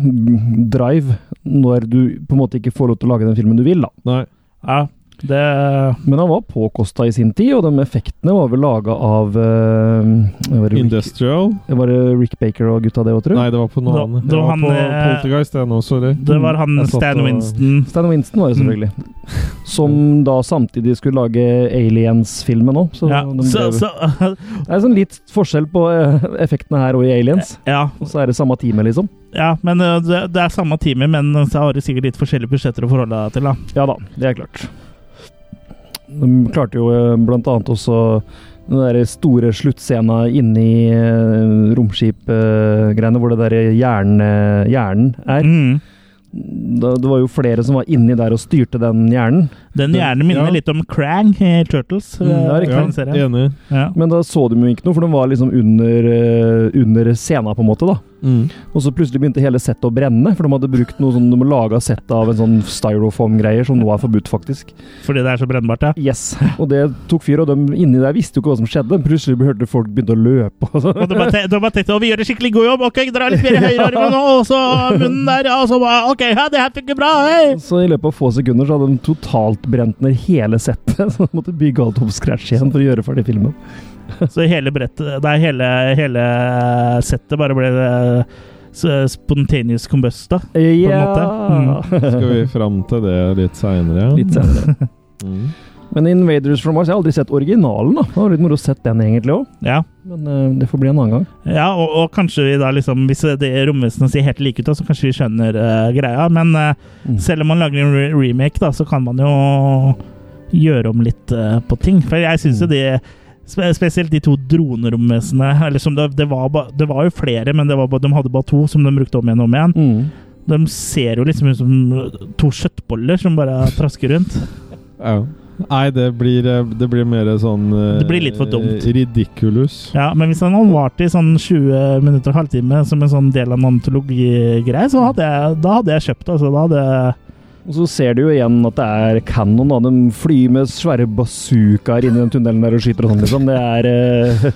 Speaker 3: Drive. Når du på en måte ikke får lov til å lage den filmen du vil, da.
Speaker 2: Nei.
Speaker 1: Ja, det
Speaker 3: Men han var påkosta i sin tid, og de effektene var vel laga av eh, var, det Rick,
Speaker 2: Industrial?
Speaker 3: var det Rick Baker og gutta det òg, tror du?
Speaker 2: Nei, det var på noe
Speaker 1: Da-
Speaker 2: annet.
Speaker 1: da
Speaker 2: Det var
Speaker 1: han,
Speaker 2: på
Speaker 1: eh,
Speaker 2: Poltergeist, det nå, sorry.
Speaker 1: Det var han
Speaker 2: Jeg satt
Speaker 1: Stan
Speaker 3: eh,
Speaker 2: og-
Speaker 1: Winston.
Speaker 3: Stan Winston var det selvfølgelig. Som da samtidig skulle lage Aliens-filmen òg. Så,
Speaker 1: Ja,
Speaker 3: de
Speaker 1: så,
Speaker 3: drev-
Speaker 1: så,
Speaker 3: det er sånn litt forskjell på eh, effektene her og i Aliens.
Speaker 1: ja,
Speaker 3: Og så er det samme teamet, liksom.
Speaker 1: ja, men eh, det, det er samme time, men så har du sikkert litt forskjellige budsjetter å forholde deg til. da.
Speaker 3: Ja da, det er klart. De klarte jo eh, blant annet også den der store sluttscena eh, inni romskipgreiene, hvor det der hjernen, hjernen er.
Speaker 1: Mm.
Speaker 3: da, Det var jo flere som var inni der og styrte den hjernen.
Speaker 1: Den hjernen minner
Speaker 3: Ja.
Speaker 1: litt om Krang i Turtles.
Speaker 3: Ja,
Speaker 1: eh,
Speaker 3: riktig.
Speaker 1: tegneserien.
Speaker 2: Enig.
Speaker 1: Ja.
Speaker 3: Men da så de jo ikke noe, for de var liksom under, eh, under scena, på en måte. da.
Speaker 2: Mm.
Speaker 3: Og så plutselig begynte hele settet å brenne, for de hadde brukt noe sånn, de laga settet av en sånn styrofoam-greier, som nå er forbudt, faktisk.
Speaker 1: Fordi det er så brennbart, ja.
Speaker 3: Yes. Og det tok fyr, og de inni der visste jo ikke hva som skjedde. Plutselig hørte folk begynne å løpe. Og sånn.
Speaker 1: Og
Speaker 3: så.
Speaker 1: du bare, te du bare tenkte å, vi gjør en skikkelig god jobb. Ok, dra litt mer i høyrearmen, og så munnen der. Og så bare, ok, ja, det her funker bra. Hei.
Speaker 3: så i løpet av få sekunder så hadde de totalt brent ned hele settet. Så de måtte bygge alt opp scratch igjen for å gjøre ferdig filmen.
Speaker 1: Så hele brettet Nei, hele, hele settet bare ble eh, s- spontaneous combusta.
Speaker 3: Ja.
Speaker 1: måte.
Speaker 2: Skal vi fram til det litt seinere?
Speaker 3: Litt senere.
Speaker 2: Mm.
Speaker 3: Men Invaders from Mars, jeg har aldri sett originalen. da. Det var litt moro å sett den egentlig òg,
Speaker 1: Ja.
Speaker 3: men eh, det får bli en annen gang.
Speaker 1: Ja, og, og kanskje vi da liksom Hvis det romvesenet ser helt like ut, da, så kanskje vi skjønner eh, greia. Men eh,
Speaker 2: Mm.
Speaker 1: selv om man lager en re remake, da, så kan man jo gjøre om litt eh, på ting. For jeg syns jo de spe Spesielt de to droneromvesenene eller som det, det, var ba, det var jo flere, men det var ba, de hadde bare to som de brukte om igjen og om igjen.
Speaker 2: Mm.
Speaker 1: De ser jo liksom ut som to kjøttboller som bare trasker rundt.
Speaker 2: Ja. Nei, det blir, eh, det blir mer sånn eh,
Speaker 1: Det blir litt for dumt.
Speaker 2: Ridiculous.
Speaker 1: Ja, Men hvis han varte i sånn 20 minutter og halvtime som en sånn del av en antologigreie, så hadde jeg, da hadde jeg kjøpt det. Altså, da hadde jeg
Speaker 3: Og så ser du jo igjen at det er canon. Da. De flyr med svære bazookaer inn i den tunnelen der og skyter og sånn, liksom. Det er eh,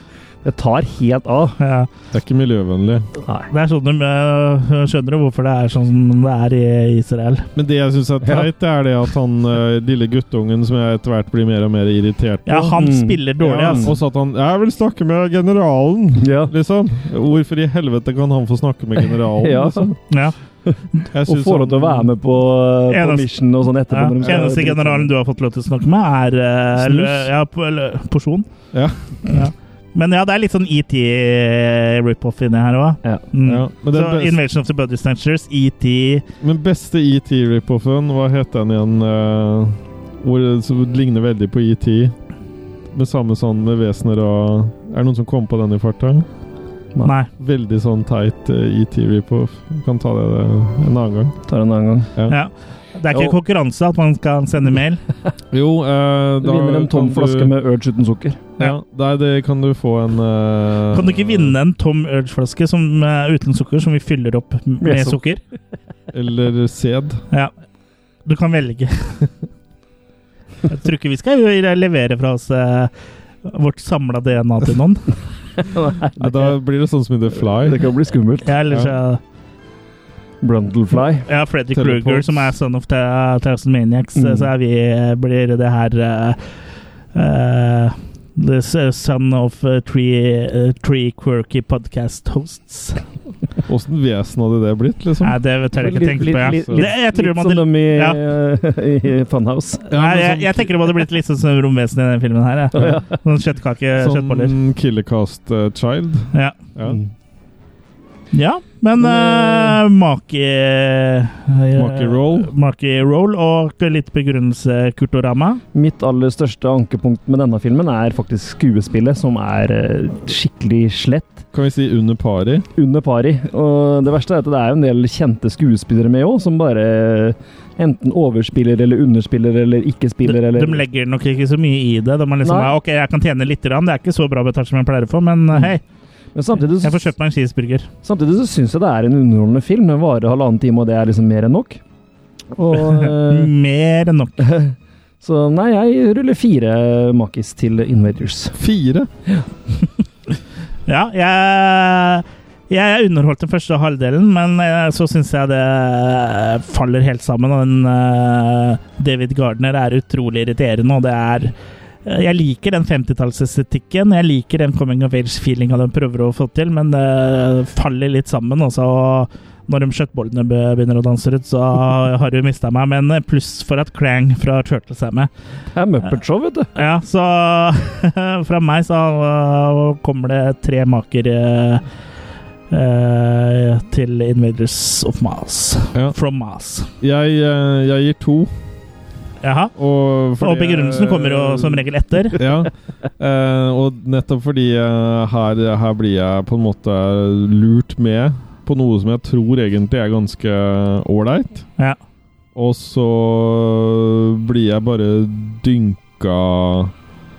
Speaker 3: Det tar helt av.
Speaker 1: Ja.
Speaker 2: Det er ikke miljøvennlig.
Speaker 3: Nei.
Speaker 1: Det er sånn de øh, skjønner jo hvorfor det er sånn som det er i Israel.
Speaker 2: Men det jeg syns er teit, det er det at han eh, lille guttungen som jeg etter hvert blir mer og mer irritert på
Speaker 1: Ja, han
Speaker 3: Mm.
Speaker 1: spiller dårlig,
Speaker 2: Ja,
Speaker 1: altså.
Speaker 2: Og så at han 'Jeg vil snakke med generalen',
Speaker 3: Ja.
Speaker 2: liksom. Hvorfor i helvete kan han få snakke med generalen?
Speaker 3: Ja.
Speaker 2: liksom?
Speaker 1: Ja.
Speaker 2: Jeg
Speaker 3: Og
Speaker 2: synes
Speaker 3: får lov til å
Speaker 2: han-
Speaker 3: være med på, eh, på
Speaker 1: Eneste-
Speaker 3: mission og sånn etterpå.
Speaker 1: Ja.
Speaker 3: når de skal-
Speaker 1: Eneste generalen du har fått lov til å snakke med, er øh,
Speaker 2: Snus.
Speaker 1: lø- ja, p- lø- porsjon.
Speaker 2: Ja.
Speaker 1: Ja. Men ja, det er litt sånn ET-rip-off inni her òg.
Speaker 3: Ja.
Speaker 1: Mm.
Speaker 2: Ja, men,
Speaker 1: Så
Speaker 2: den best,
Speaker 1: Invasion of the Body Snatchers, E ET
Speaker 2: men beste ET-ripoffen, hva het den igjen? eh, hvor det så ligner veldig på ET. Med samme sånn med vesener og Er det noen som kom på den i farta?
Speaker 1: Nei.
Speaker 2: Veldig sånn teit eh, ET-ripoff. Vi Kan ta det eh, en annen gang.
Speaker 3: Tar en annen gang.
Speaker 1: Ja. Det er ikke
Speaker 3: Jo.
Speaker 1: konkurranse at man skal sende mail.
Speaker 2: Jo, eh,
Speaker 3: Du vinner en tom
Speaker 2: kan
Speaker 3: flaske
Speaker 2: du,
Speaker 3: med Urge uten sukker.
Speaker 2: Ja, Nei, det kan du få en eh,
Speaker 1: Kan du ikke vinne en tom Urge-flaske som, øh, uten sukker som vi fyller opp m- med
Speaker 3: Med sukker.
Speaker 1: sukker?
Speaker 2: Eller sæd.
Speaker 1: Ja. Du kan velge. Jeg tror ikke vi skal jo levere fra oss eh, vårt samla DNA til noen.
Speaker 2: Ja, da blir det sånn som i The Fly.
Speaker 3: Det kan bli skummelt.
Speaker 1: Ja, ellers, ja.
Speaker 3: Brundlefly.
Speaker 1: ja Freddy
Speaker 2: Teleports.
Speaker 1: Kruger, som er son of the Thousand Maniacs, eh, så er vi, eh, blir det her eh, eh, The s- son of eh, three, eh, three quirky podcast hosts.
Speaker 2: Åssen vesen hadde det blitt, liksom?
Speaker 1: Nei, det tør jeg ikke tenke på. Ja.
Speaker 3: litt,
Speaker 2: Det-
Speaker 1: jeg tror
Speaker 3: litt sånn
Speaker 1: man-
Speaker 3: som dem i,
Speaker 1: ja.
Speaker 3: i Funhouse.
Speaker 1: Nei, jeg, jeg tenker det hadde blitt litt sånn som romvesenet i denne filmen her. Ja. Sånn kjøttkake, kjøttboller.
Speaker 2: Sånn Killercast eh, Child.
Speaker 1: Ja.
Speaker 2: Ja.
Speaker 3: Mm.
Speaker 1: Ja, men uh, make...
Speaker 2: Make roll.
Speaker 1: Make roll, og litt begrunnelse Kurtorama.
Speaker 3: Mitt aller største ankepunkt med denne filmen er faktisk skuespillet, som er eh, skikkelig slett.
Speaker 2: Kan vi si under pari?
Speaker 3: Under pari. Og det verste er at det er jo en del kjente skuespillere med òg, som bare eh, enten overspiller eller underspiller eller ikke
Speaker 1: De,
Speaker 3: spiller eller
Speaker 1: de legger nok ikke så mye i det. De er liksom,
Speaker 3: Nei. Mm.
Speaker 1: ja, ok, jeg kan tjene litt, grann. det er ikke så bra betalt som jeg pleier å få, men eh, hei,
Speaker 3: Men samtidig,
Speaker 1: jeg får
Speaker 3: så-
Speaker 1: kjøpt meg en cheeseburger.
Speaker 3: samtidig så syns jeg det er en underholdende film. Den varer halvannen time, og det er liksom mer enn nok. Og eh,
Speaker 1: Mer enn nok.
Speaker 3: Så nei, jeg ruller fire makis til Invaders.
Speaker 2: Fire.
Speaker 1: Ja, jeg, jeg er underholdt den første halvdelen, men eh, så syns jeg det eh, faller helt sammen. Og den, eh, David Gardner er utrolig irriterende, og det er eh, jeg liker den 50-tallsestetikken, jeg liker den coming of age-feelinga de prøver å få til, men det faller litt sammen. Også, og når de kjøttbollene be- begynner å danse ut, så har du mista meg. Men eh, pluss for at Krang fra Turtles er med.
Speaker 3: Det er Muppet Show, vet du.
Speaker 1: Ja, så fra meg så uh, kommer det tre maker uh, uh, til Invaders of Mars.
Speaker 2: Ja.
Speaker 1: From Mars.
Speaker 2: Jeg, eh, jeg gir to.
Speaker 1: Jaha.
Speaker 2: Og, fordi-
Speaker 1: Og begrunnelsen kommer jo som regel etter.
Speaker 2: Ja. Eh, og nettopp fordi eh, her, her blir jeg på en måte lurt med på noe som jeg tror egentlig er ganske ålreit.
Speaker 1: Ja.
Speaker 2: Og så blir jeg bare dynka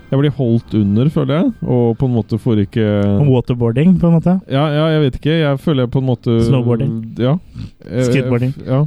Speaker 2: Jeg blir holdt under, føler jeg, og på en måte får ikke
Speaker 1: Waterboarding, på en måte.
Speaker 2: ja, ja, jeg vet ikke. Jeg føler jeg på en måte
Speaker 1: Snowboarding.
Speaker 2: Ja. Jeg- jeg-
Speaker 1: Skateboarding.
Speaker 2: Ja.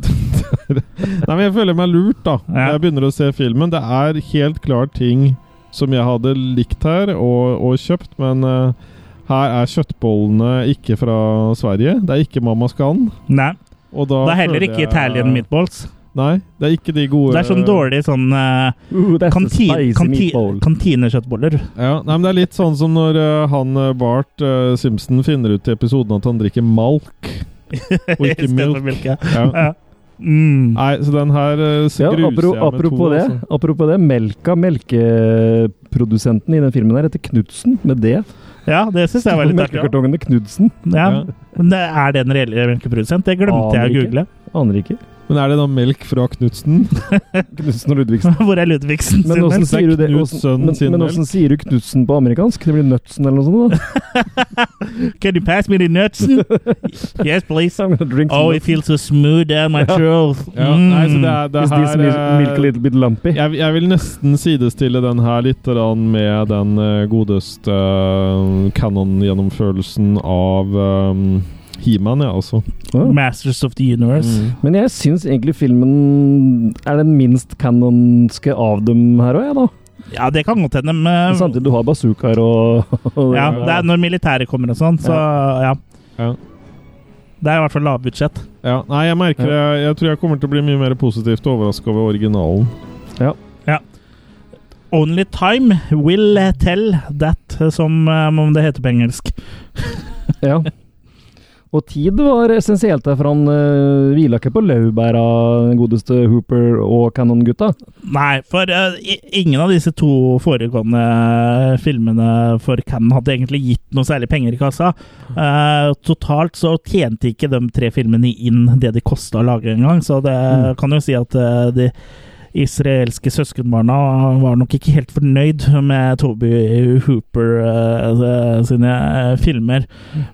Speaker 2: Nei, men jeg føler meg lurt, da. Når
Speaker 1: Ja.
Speaker 2: jeg begynner å se filmen. Det er helt klart ting som jeg hadde likt her, og, og kjøpt, men eh, her er kjøttbollene ikke fra Sverige. Det er ikke Mamma Skan.
Speaker 1: Nei.
Speaker 2: Og da
Speaker 1: Det er heller
Speaker 2: føler
Speaker 1: ikke
Speaker 2: jeg-
Speaker 1: Italian meatballs.
Speaker 2: Nei, det er ikke de gode
Speaker 1: Det er sånn dårlig sånn eh,
Speaker 3: Ooh, that's a
Speaker 1: kanti-
Speaker 3: spicy
Speaker 1: kanti-
Speaker 3: meatball.
Speaker 1: kantinekjøttboller.
Speaker 2: Ja, nei, men Det er litt sånn som når eh, han eh, Bart eh, Simpson finner ut i episoden at han drikker malk. Og
Speaker 1: I
Speaker 2: ikke
Speaker 1: stedet for
Speaker 2: milk. Ah.
Speaker 1: melk, ja.
Speaker 2: Ja.
Speaker 1: Ja. Mm.
Speaker 2: Nei, så den her eh, s-
Speaker 3: Ja,
Speaker 2: gruser jeg med
Speaker 3: apro,
Speaker 2: to.
Speaker 3: apropos, det,
Speaker 2: altså.
Speaker 3: apropos det, melka, melkeprodusenten i den filmen her heter Knudsen, med det.
Speaker 1: ja, det syns jeg var litt artig.
Speaker 3: Melkekartongene Knudsen.
Speaker 1: Ja.
Speaker 2: Ja.
Speaker 1: Men det er det en reell melkeprodusent? Det glemte
Speaker 3: Aner
Speaker 1: jeg å
Speaker 3: ikke.
Speaker 1: google.
Speaker 3: Aner ikke.
Speaker 2: Men er det da melk fra Knutsen?
Speaker 3: Knudsen og Ludvigsen.
Speaker 1: Hvor er Ludvigsen
Speaker 3: Men
Speaker 1: sin
Speaker 3: åssen
Speaker 1: melk?
Speaker 3: sier du det?
Speaker 2: Knut
Speaker 3: åssen-
Speaker 2: sønnen
Speaker 3: men,
Speaker 2: sin
Speaker 3: men
Speaker 2: melk.
Speaker 3: åssen sier du Knudsen på amerikansk? Det blir Nutsen eller noe sånt? da
Speaker 1: Can you pass me the nuts? yes, please.
Speaker 3: So I'm gonna drink some
Speaker 1: Oh, it
Speaker 3: nuts.
Speaker 1: feels so smooth down my throat.
Speaker 2: Ja, nei, så det
Speaker 1: Mm.
Speaker 2: er, det
Speaker 3: Is this
Speaker 2: her
Speaker 3: mi- milk a
Speaker 2: eh,
Speaker 3: little bit lumpy?
Speaker 2: jeg, jeg vil nesten sidestille den her litt grann med den eh, godeste eh, canon-gjennomfølelsen av eh, He-Man, ja, altså.
Speaker 3: Ja.
Speaker 1: Masters of the
Speaker 2: Mm.
Speaker 1: Universe.
Speaker 3: Men jeg syns egentlig filmen er den minst kanonske av dem her òg, jeg, da.
Speaker 1: Ja, det kan godt hende.
Speaker 3: Men
Speaker 1: Men eh,
Speaker 3: Samtidig du har bazookaer og, og
Speaker 1: ja, det er når militæret kommer og sånn, så ja.
Speaker 2: Ja.
Speaker 1: Det er i hvert fall lavbudsjett.
Speaker 2: Ja, nei, jeg merker det. Jeg, jeg tror jeg kommer til å bli mye mer positivt overraska over originalen.
Speaker 1: Only time will tell that, som eh, om det heter på engelsk.
Speaker 3: Ja. Og tid var essensielt der, for han uh, hvila ikke på laurbæra, den godeste Hooper og Cannon-gutta.
Speaker 1: Nei, for eh, i- ingen av disse to foregående filmene for Cannon hadde egentlig gitt noe særlig penger i kassa. Eh, totalt så tjente ikke de tre filmene inn det de kosta å lage engang, så det kan jo si at eh, de israelske søskenbarna var nok ikke helt fornøyd med Toby Hooper eh, sine eh, filmer.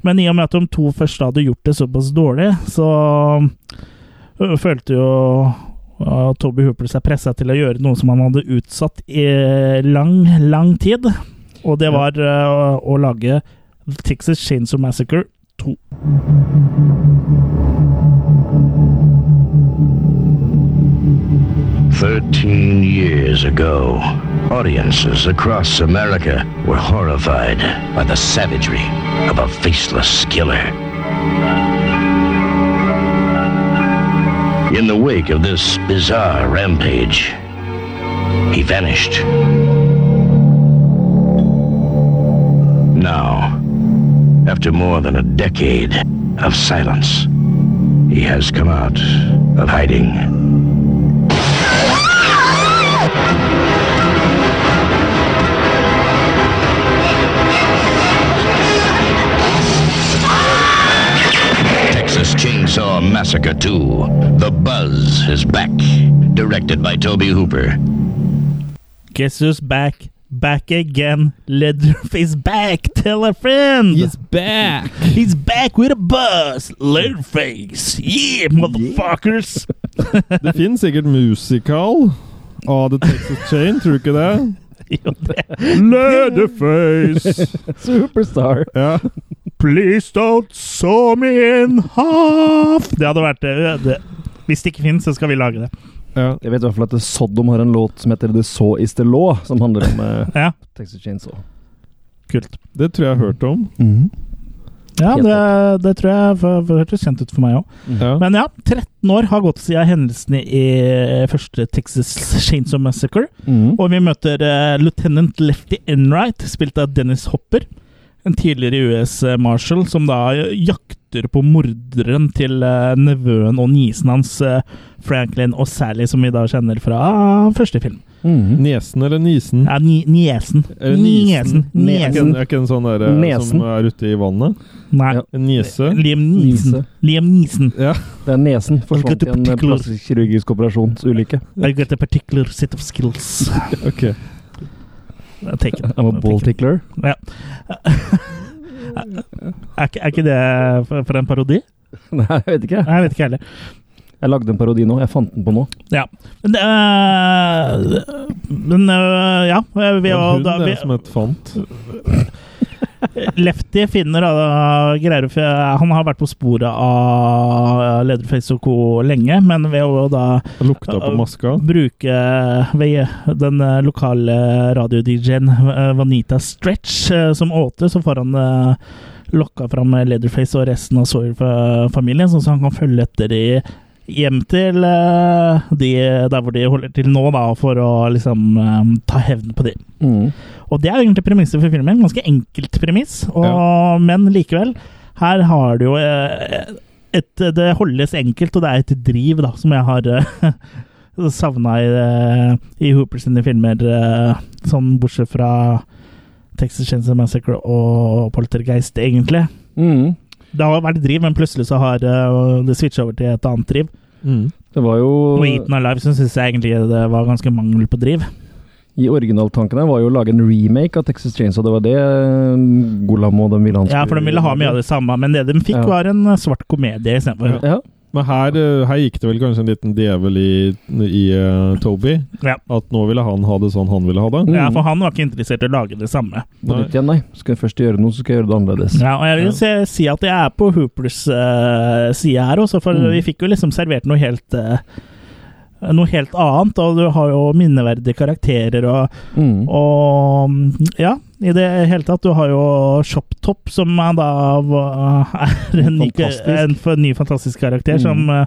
Speaker 1: Men i og med at de to først hadde gjort det såpass dårlig, så eh, følte jo eh, Toby Hooper seg pressa til å gjøre noe som han hadde utsatt i lang, lang tid. Og det var eh, å, å lage Texas Chainsaw Massacre 2.
Speaker 4: Thirteen years ago, audiences across America were horrified by the savagery of a faceless killer. In the wake of this bizarre rampage, he vanished. Now, after more than a decade of silence, he has come out of hiding. Texas Chainsaw Massacre 2. The Buzz is back. Directed by Toby Hooper.
Speaker 1: Guess who's back? Back again. Leatherface back. Tell a friend. He's,
Speaker 2: back!
Speaker 1: back with a buzz. Leatherface. Yeah, motherfuckers.
Speaker 2: Det finnes sikkert musikal av The Texas Chain, tror du ikke det?
Speaker 1: Jo, det-
Speaker 2: Leatherface!
Speaker 3: Superstar!
Speaker 2: Ja.
Speaker 1: Please don't saw me in half. Det hadde vært det. det. Hvis det ikke finnes, så skal vi lage det.
Speaker 2: ja.
Speaker 3: Jeg vet i hvert fall at Sodom har en låt som heter The Saw Is The Law, som handler om eh,
Speaker 1: Ja,
Speaker 3: Texas Chainsaw.
Speaker 1: kult.
Speaker 2: Det tror jeg jeg har hørt om.
Speaker 1: Mhm. Ja, det, det tror jeg for- for det hørtes kjent ut for meg òg.
Speaker 2: Ja.
Speaker 1: Men ja, 13 år har gått siden hendelsene i første Texas Chainsaw Massacre.
Speaker 3: Mhm.
Speaker 1: Og vi møter eh, lieutenant Lefty Enright, spilt av Dennis Hopper. En tidligere US marshal som da jakter på morderen til eh, nevøen og niesen hans, eh, Franklin og Sally, som vi da kjenner fra første film.
Speaker 3: Mhm.
Speaker 1: Mm.
Speaker 2: Nesen eller nisen?
Speaker 1: Ja, ni niesen.
Speaker 2: Eller nisen.
Speaker 1: Niesen.
Speaker 2: Er ikke Eh,
Speaker 1: niesen.
Speaker 2: en- Er ikke en sånn derre
Speaker 3: Nesen.
Speaker 2: som er ute i vannet?
Speaker 1: Nei.
Speaker 3: Ja.
Speaker 2: En niese?
Speaker 1: Liam Niesen.
Speaker 3: Nise.
Speaker 1: Liam Niesen.
Speaker 2: Ja.
Speaker 3: Det er nesen. Forsvant i en eh,
Speaker 1: particular-
Speaker 3: plastisk kirurgisk operasjonsulykke.
Speaker 1: I got a particular set of skills.
Speaker 2: Ok.
Speaker 1: Take it.
Speaker 3: I'm a ball tickler.
Speaker 1: Ja. Er, ikke- er ikke det for, for en parodi?
Speaker 3: Nei, jeg vet ikke.
Speaker 1: Nei, jeg vet ikke heller.
Speaker 3: Jeg lagde en parodi nå. Jeg fant den på nå.
Speaker 1: Ja. Men, eh, men eh, ja vi,
Speaker 2: En
Speaker 1: har-
Speaker 2: hund
Speaker 1: da,
Speaker 2: er
Speaker 1: vi,
Speaker 2: det som et font.
Speaker 1: Lefty finner da, eh, greier, å fi- Han har vært på sporet av eh, Lederface og co. lenge, men ved å da
Speaker 2: Det Lukta på maska.
Speaker 1: bruke ved den eh, lokale radio-DJ-en eh, Vanita Stretch eh, som åte, så får han eh, lokka fram Leatherface og resten av Sawyer-familien, sånn at han kan følge etter de hjem til eh, de der hvor de holder til nå, da, for å liksom eh, ta hevn på de.
Speaker 3: Mm.
Speaker 1: Og det er egentlig premisset for filmen. Ganske enkelt premiss, og, men likevel. Her har du jo eh, et Det holdes enkelt, og det er et driv da, som jeg har savna i, eh, i Hooper sine filmer. eh, Sånn bortsett fra Texas Chainsaw Massacre og Poltergeist, egentlig.
Speaker 3: Mm.
Speaker 1: Det har vært driv, men plutselig så har eh, det switcha over til et annet driv.
Speaker 2: Mm.
Speaker 3: Det var jo
Speaker 1: Og Eaten Alive syns jeg egentlig det var ganske mangel på driv.
Speaker 3: I originaltankene var jo å lage en remake av Texas Chainsaw. Det var det eh, Golam og de ville han
Speaker 1: Ja, For de ville ha mye av det samme, men det de fikk,
Speaker 3: Ja.
Speaker 1: var en eh, svart komedie istedenfor.
Speaker 3: Ja.
Speaker 2: Men her, eh, her gikk det vel kanskje en liten djevel i, i eh, Toby.
Speaker 1: Ja.
Speaker 2: At nå ville han ha det sånn han ville ha det.
Speaker 1: Ja, for han var ikke interessert i å lage det samme.
Speaker 3: På nytt igjen, nei. Skal jeg først gjøre noe, så skal jeg gjøre det annerledes.
Speaker 1: Ja, og jeg vil
Speaker 2: Ja.
Speaker 1: se, si at jeg er på Hoopers eh, side her også, for
Speaker 3: Mm.
Speaker 1: vi fikk jo liksom servert noe helt eh, noe helt annet, og du har jo minneverdige karakterer og,
Speaker 3: Mm.
Speaker 1: og mm, Ja, i det hele tatt. Du har jo Shop Top, som er da var- er en ny,
Speaker 3: Fantastisk.
Speaker 1: en f- ny fantastisk karakter
Speaker 3: Mm.
Speaker 1: som eh,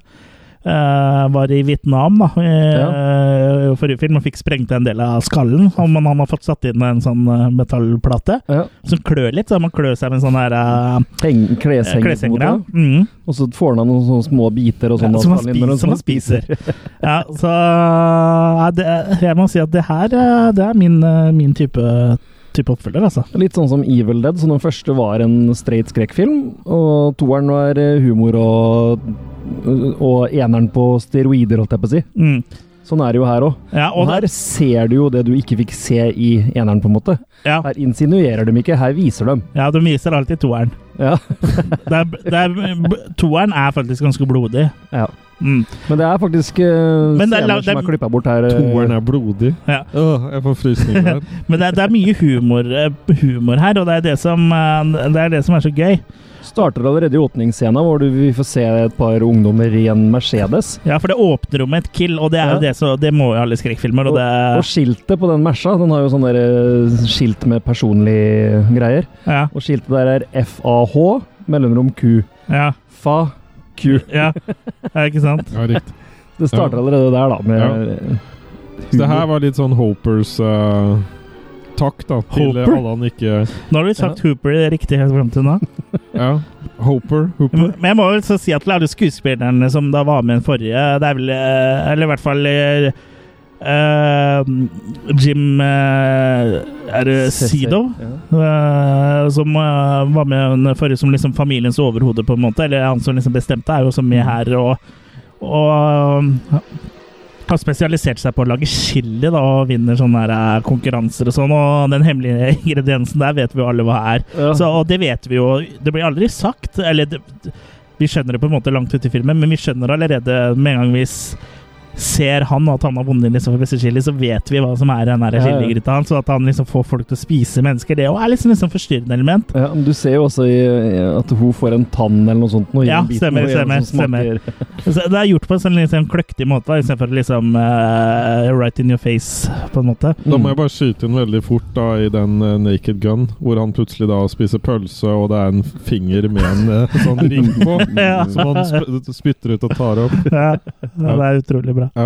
Speaker 1: eh, var i Vietnam da, i eh, forrige film og fikk sprengt en del av skallen. og- Men han har fått satt inn en sånn eh, metallplate
Speaker 3: Ja.
Speaker 1: som klør litt. Så man klør seg med en sånn her eh,
Speaker 3: Heng, kleshenger, på en
Speaker 1: kleshenger. ja.
Speaker 3: måte.
Speaker 1: Mm.
Speaker 3: Og så får han av noen sånne små biter og sånn.
Speaker 1: Ja,
Speaker 3: at
Speaker 1: som man
Speaker 3: han innimellom-
Speaker 1: spiser. Som man spiser. ja, så ja, det, jeg må si at det her eh, det er min, eh, min type, type oppfølger, altså.
Speaker 3: Litt sånn som Evil Dead, som den første var en straight skrekkfilm. Og toeren var eh, humor og, eh, og eneren på steroider, holdt jeg på å si.
Speaker 1: Mm.
Speaker 3: Sånn er det jo her òg.
Speaker 1: Ja,
Speaker 3: Og
Speaker 1: og
Speaker 3: her ser du jo det du ikke fikk se i eneren, på en måte.
Speaker 1: ja,
Speaker 3: Her insinuerer de ikke, her viser de.
Speaker 1: ja, de viser alltid toeren.
Speaker 3: Ja.
Speaker 1: Det er, det er, b- toeren er faktisk ganske blodig.
Speaker 3: Ja.
Speaker 1: Mm.
Speaker 3: Men det er faktisk eh,
Speaker 1: Men det er
Speaker 3: scener
Speaker 1: la- det er-
Speaker 3: som er klippa bort her. eh,
Speaker 2: Toeren er blodig.
Speaker 1: Ja.
Speaker 2: Åh, jeg får frysninger der.
Speaker 1: Men det er, det er mye humor, eh, humor her, og det er det, som, eh, det er det som er så gøy.
Speaker 3: Starter allerede i åpningsscena, hvor du vi får se et par ungdommer i en Mercedes.
Speaker 1: Ja, for det åpner jo med et kill, og det er jo
Speaker 3: Ja.
Speaker 1: det så Det må jo alle skrekkfilmer, og det
Speaker 3: Og skiltet på den Merca, den har jo sånn der eh, skilt med personlige greier.
Speaker 1: Ja.
Speaker 3: Og skiltet der er FAH, mellomrom Q.
Speaker 1: Ja.
Speaker 3: Fa Q.
Speaker 1: ja. ja ikke sant?
Speaker 2: Ja, riktig.
Speaker 3: Det starter allerede der, da. Med
Speaker 2: Så det her var litt sånn Hopers eh, takk, da, til
Speaker 1: Hoper?
Speaker 2: alle han ikke
Speaker 1: Nå har du sagt Hooper riktig helt frem til nå.
Speaker 2: Ja. Hoper. Hooper.
Speaker 1: Men jeg må vel så si at alle skuespillerne som da var med i den forrige Det er vel eh, Eller i hvert fall eh, eh, Jim eh, Er det Seedow?
Speaker 3: Ja.
Speaker 1: Eh, som eh, var med den forrige som liksom familiens overhode, på en måte. Eller han som liksom bestemte, er jo så mye her og, og eh, har spesialisert seg på å lage chili da, og vinner sånne her, eh, konkurranser og sånn. Og den hemmelige ingrediensen der vet vi jo alle hva er.
Speaker 3: Ja.
Speaker 1: Så, og det vet vi jo. Det blir aldri sagt. Eller det, vi skjønner det på en måte langt ute i filmen, men vi skjønner allerede med en gang vi s- ser han og at han har vunnet liksom for beste chili, så vet vi hva som er i den der
Speaker 3: Ja, ja.
Speaker 1: chiligryta hans. Og at han liksom får folk til å spise mennesker, det også er liksom, liksom forstyrrende element.
Speaker 3: Ja, men du ser jo også i, at hun får en tann eller noe sånt. nå i
Speaker 1: Ja,
Speaker 3: den biten,
Speaker 1: stemmer,
Speaker 3: og en
Speaker 1: stemmer,
Speaker 3: som smaker-
Speaker 1: Så det er gjort på en sånn liksom kløktig måte, da, istedenfor liksom eh, right in your face, på en måte.
Speaker 3: Mm.
Speaker 2: Da må jeg bare skyte inn veldig fort da i den eh, Naked Gun, hvor han plutselig da spiser pølse, og det er en finger med en eh, sånn ring på,
Speaker 1: Ja.
Speaker 2: som han sp spytter ut og tar opp.
Speaker 1: Ja, ja, det er utrolig bra.
Speaker 2: Ja.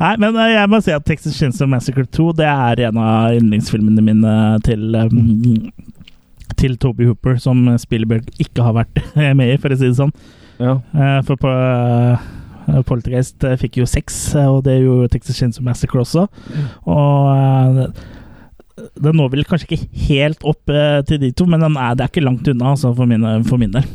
Speaker 1: Nei, men eh, jeg må si at Texas Chainsaw Massacre 2 det er en av yndlingsfilmene mine eh, til um, til Toby Hooper, som Spielberg ikke har vært med i, for å si det sånn.
Speaker 3: Ja.
Speaker 1: Eh, For på eh, Poltergeist eh, fikk jo seks, eh, og det gjorde Texas Chainsaw Massacre også. Og eh, den når vel kanskje ikke helt opp eh, til de to, men den er, det er ikke langt unna, altså, for min, for min del.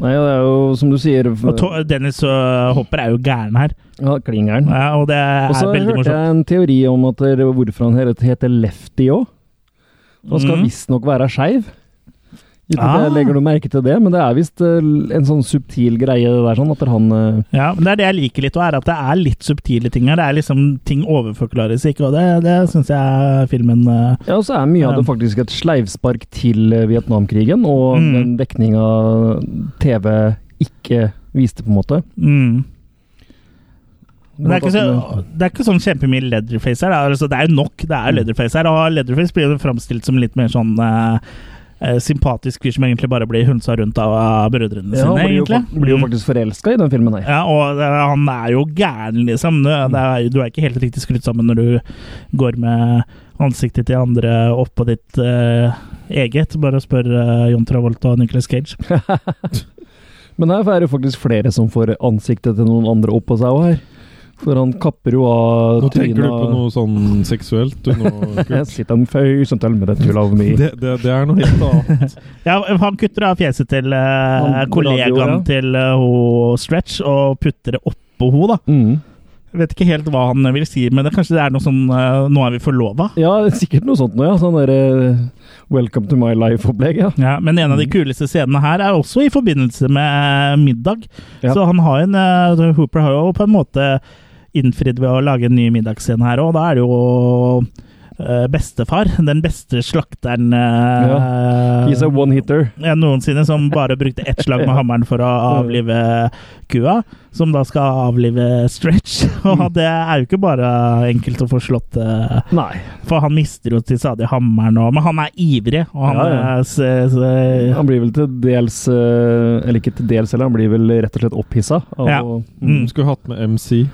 Speaker 3: Nei, det er jo som du sier
Speaker 1: Og to- Dennis eh, Hopper er jo gæren her,
Speaker 3: ja, Klingeren.
Speaker 1: ja, og det
Speaker 3: Og så
Speaker 1: er veldig
Speaker 3: hørte
Speaker 1: morsomt.
Speaker 3: jeg en teori om at det- hvorfor han heter heter Lefty òg. Han skal
Speaker 1: Mhm.
Speaker 3: visstnok være skeiv. Uten at jeg
Speaker 1: Ah.
Speaker 3: legger noe merke til det, men det er visst eh, en sånn subtil greie det der, sånn at han eh,
Speaker 1: Ja, men Det er det jeg liker litt, og er at det er litt subtile ting her. Det er liksom Ting overforklares ikke, og det, det syns jeg filmen eh,
Speaker 3: Ja, og så er mye av det faktisk et sleivspark til eh, Vietnamkrigen, og
Speaker 1: Mm.
Speaker 3: den dekninga TV ikke viste, på en måte.
Speaker 1: mm. Men det er, ikke så, det er ikke sånn kjempemye Leatherface her. da. Altså, det er jo nok det
Speaker 3: Mm.
Speaker 1: er Leatherface her. Og Leatherface blir jo framstilt som litt mer sånn eh, eh, sympatisk fyr som egentlig bare blir hunsa rundt av, av brødrene
Speaker 3: Ja, han
Speaker 1: sine,
Speaker 3: blir jo,
Speaker 1: egentlig. Mm.
Speaker 3: fak- blir jo faktisk forelska i den filmen her.
Speaker 1: Ja, og det, han er jo gæren, liksom. Det, det er, du er ikke helt riktig skrudd sammen når du går med ansiktet til andre oppå ditt eh, eget. Bare spør eh, John Travolta og Nicolas Cage.
Speaker 3: Men her er det jo faktisk flere som får ansiktet til noen andre oppå seg òg her. For han kapper jo av
Speaker 2: Nå tenker du på
Speaker 3: trynet-
Speaker 2: noe sånn seksuelt, du nå,
Speaker 3: Jeg
Speaker 2: Kurt.
Speaker 3: sitter en føy som teller med det tullet av meg.
Speaker 2: Det, det, det er noe helt annet.
Speaker 1: Ja, han kutter av fjeset til eh,
Speaker 3: Han-
Speaker 1: kollegaen
Speaker 3: radio, ja.
Speaker 1: til eh, ho Stretch og putter det oppå ho, da.
Speaker 3: Mm.
Speaker 1: Jeg vet ikke helt hva han vil si, men det, kanskje det er noe sånn eh, Nå er vi forlova?
Speaker 3: Ja, det er sikkert noe sånt noe, ja. Sånn derre Welcome to my life-opplegg, ja.
Speaker 1: Ja, men en av
Speaker 3: Mm.
Speaker 1: de kuleste scenene her er også i forbindelse med eh, middag.
Speaker 3: Ja.
Speaker 1: Så han har en, eh, Hooper har jo på en måte innfridd ved å lage en ny middagsscene her òg. Da er det jo eh, bestefar, den beste slakteren eh,
Speaker 3: He's a one-hitter.
Speaker 1: ja, noensinne, som bare brukte ett slag med hammeren for å avlive kua. Som da skal avlive Stretch. Og
Speaker 3: Mm.
Speaker 1: det er jo ikke bare enkelt å få slått eh,
Speaker 3: Nei.
Speaker 1: for han mister jo til stadig hammeren, og, men han er ivrig. Og han
Speaker 3: Ja, ja.
Speaker 1: er s- s-
Speaker 3: Han blir vel til dels eh, Eller ikke til dels heller, han blir vel rett og slett opphissa av
Speaker 1: Ja.
Speaker 3: å-
Speaker 1: Mm.
Speaker 2: Skulle hatt med MC.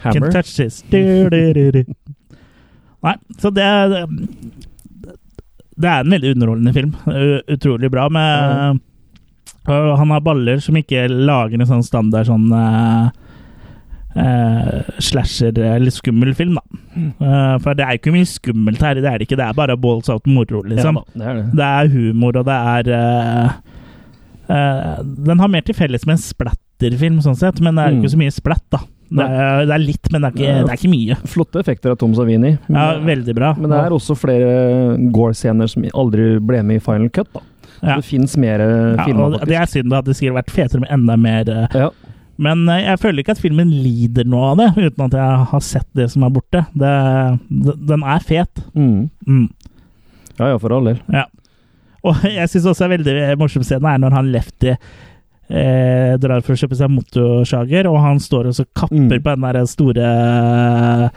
Speaker 1: Can
Speaker 3: Hammer.
Speaker 1: touch this. Du, du, du, du. Nei, så det Det er en veldig underholdende film. U- Utrolig bra med og Han har baller som ikke lager en sånn standard sånn eh, eh, slasher eller skummel film, da.
Speaker 3: Mm.
Speaker 1: Eh, for det er jo ikke mye skummelt her. Det er det ikke. Det er bare balls out moro, liksom.
Speaker 3: Ja, da, det er det.
Speaker 1: Det er humor, og det er eh, eh, Den har mer til felles med en splatterfilm, sånn sett, men det er jo
Speaker 3: Mm.
Speaker 1: ikke så mye splatt, da. Det er, det er litt, men det er ikke, det er ikke mye.
Speaker 3: Flotte effekter av Tom Savini. Men, eh,
Speaker 1: Ja, veldig bra.
Speaker 3: men det er også flere gore-scener som aldri ble med i Final Cut. da.
Speaker 1: Ja.
Speaker 3: Det fins mer eh,
Speaker 1: ja,
Speaker 3: filmer,
Speaker 1: og Det
Speaker 3: faktisk.
Speaker 1: er synd at det skulle vært fetere med enda mer eh,
Speaker 3: Ja.
Speaker 1: Men eh, jeg føler ikke at filmen lider noe av det, uten at jeg har sett det som er borte. Det, d- den er fet.
Speaker 3: Mm.
Speaker 1: Mm.
Speaker 3: ja ja, for all del.
Speaker 1: Ja. Og jeg syns også en veldig eh, morsom scene er når han Lefty eh, drar for å kjøpe seg motorsager, og han står og så kapper
Speaker 3: Mm.
Speaker 1: på den der store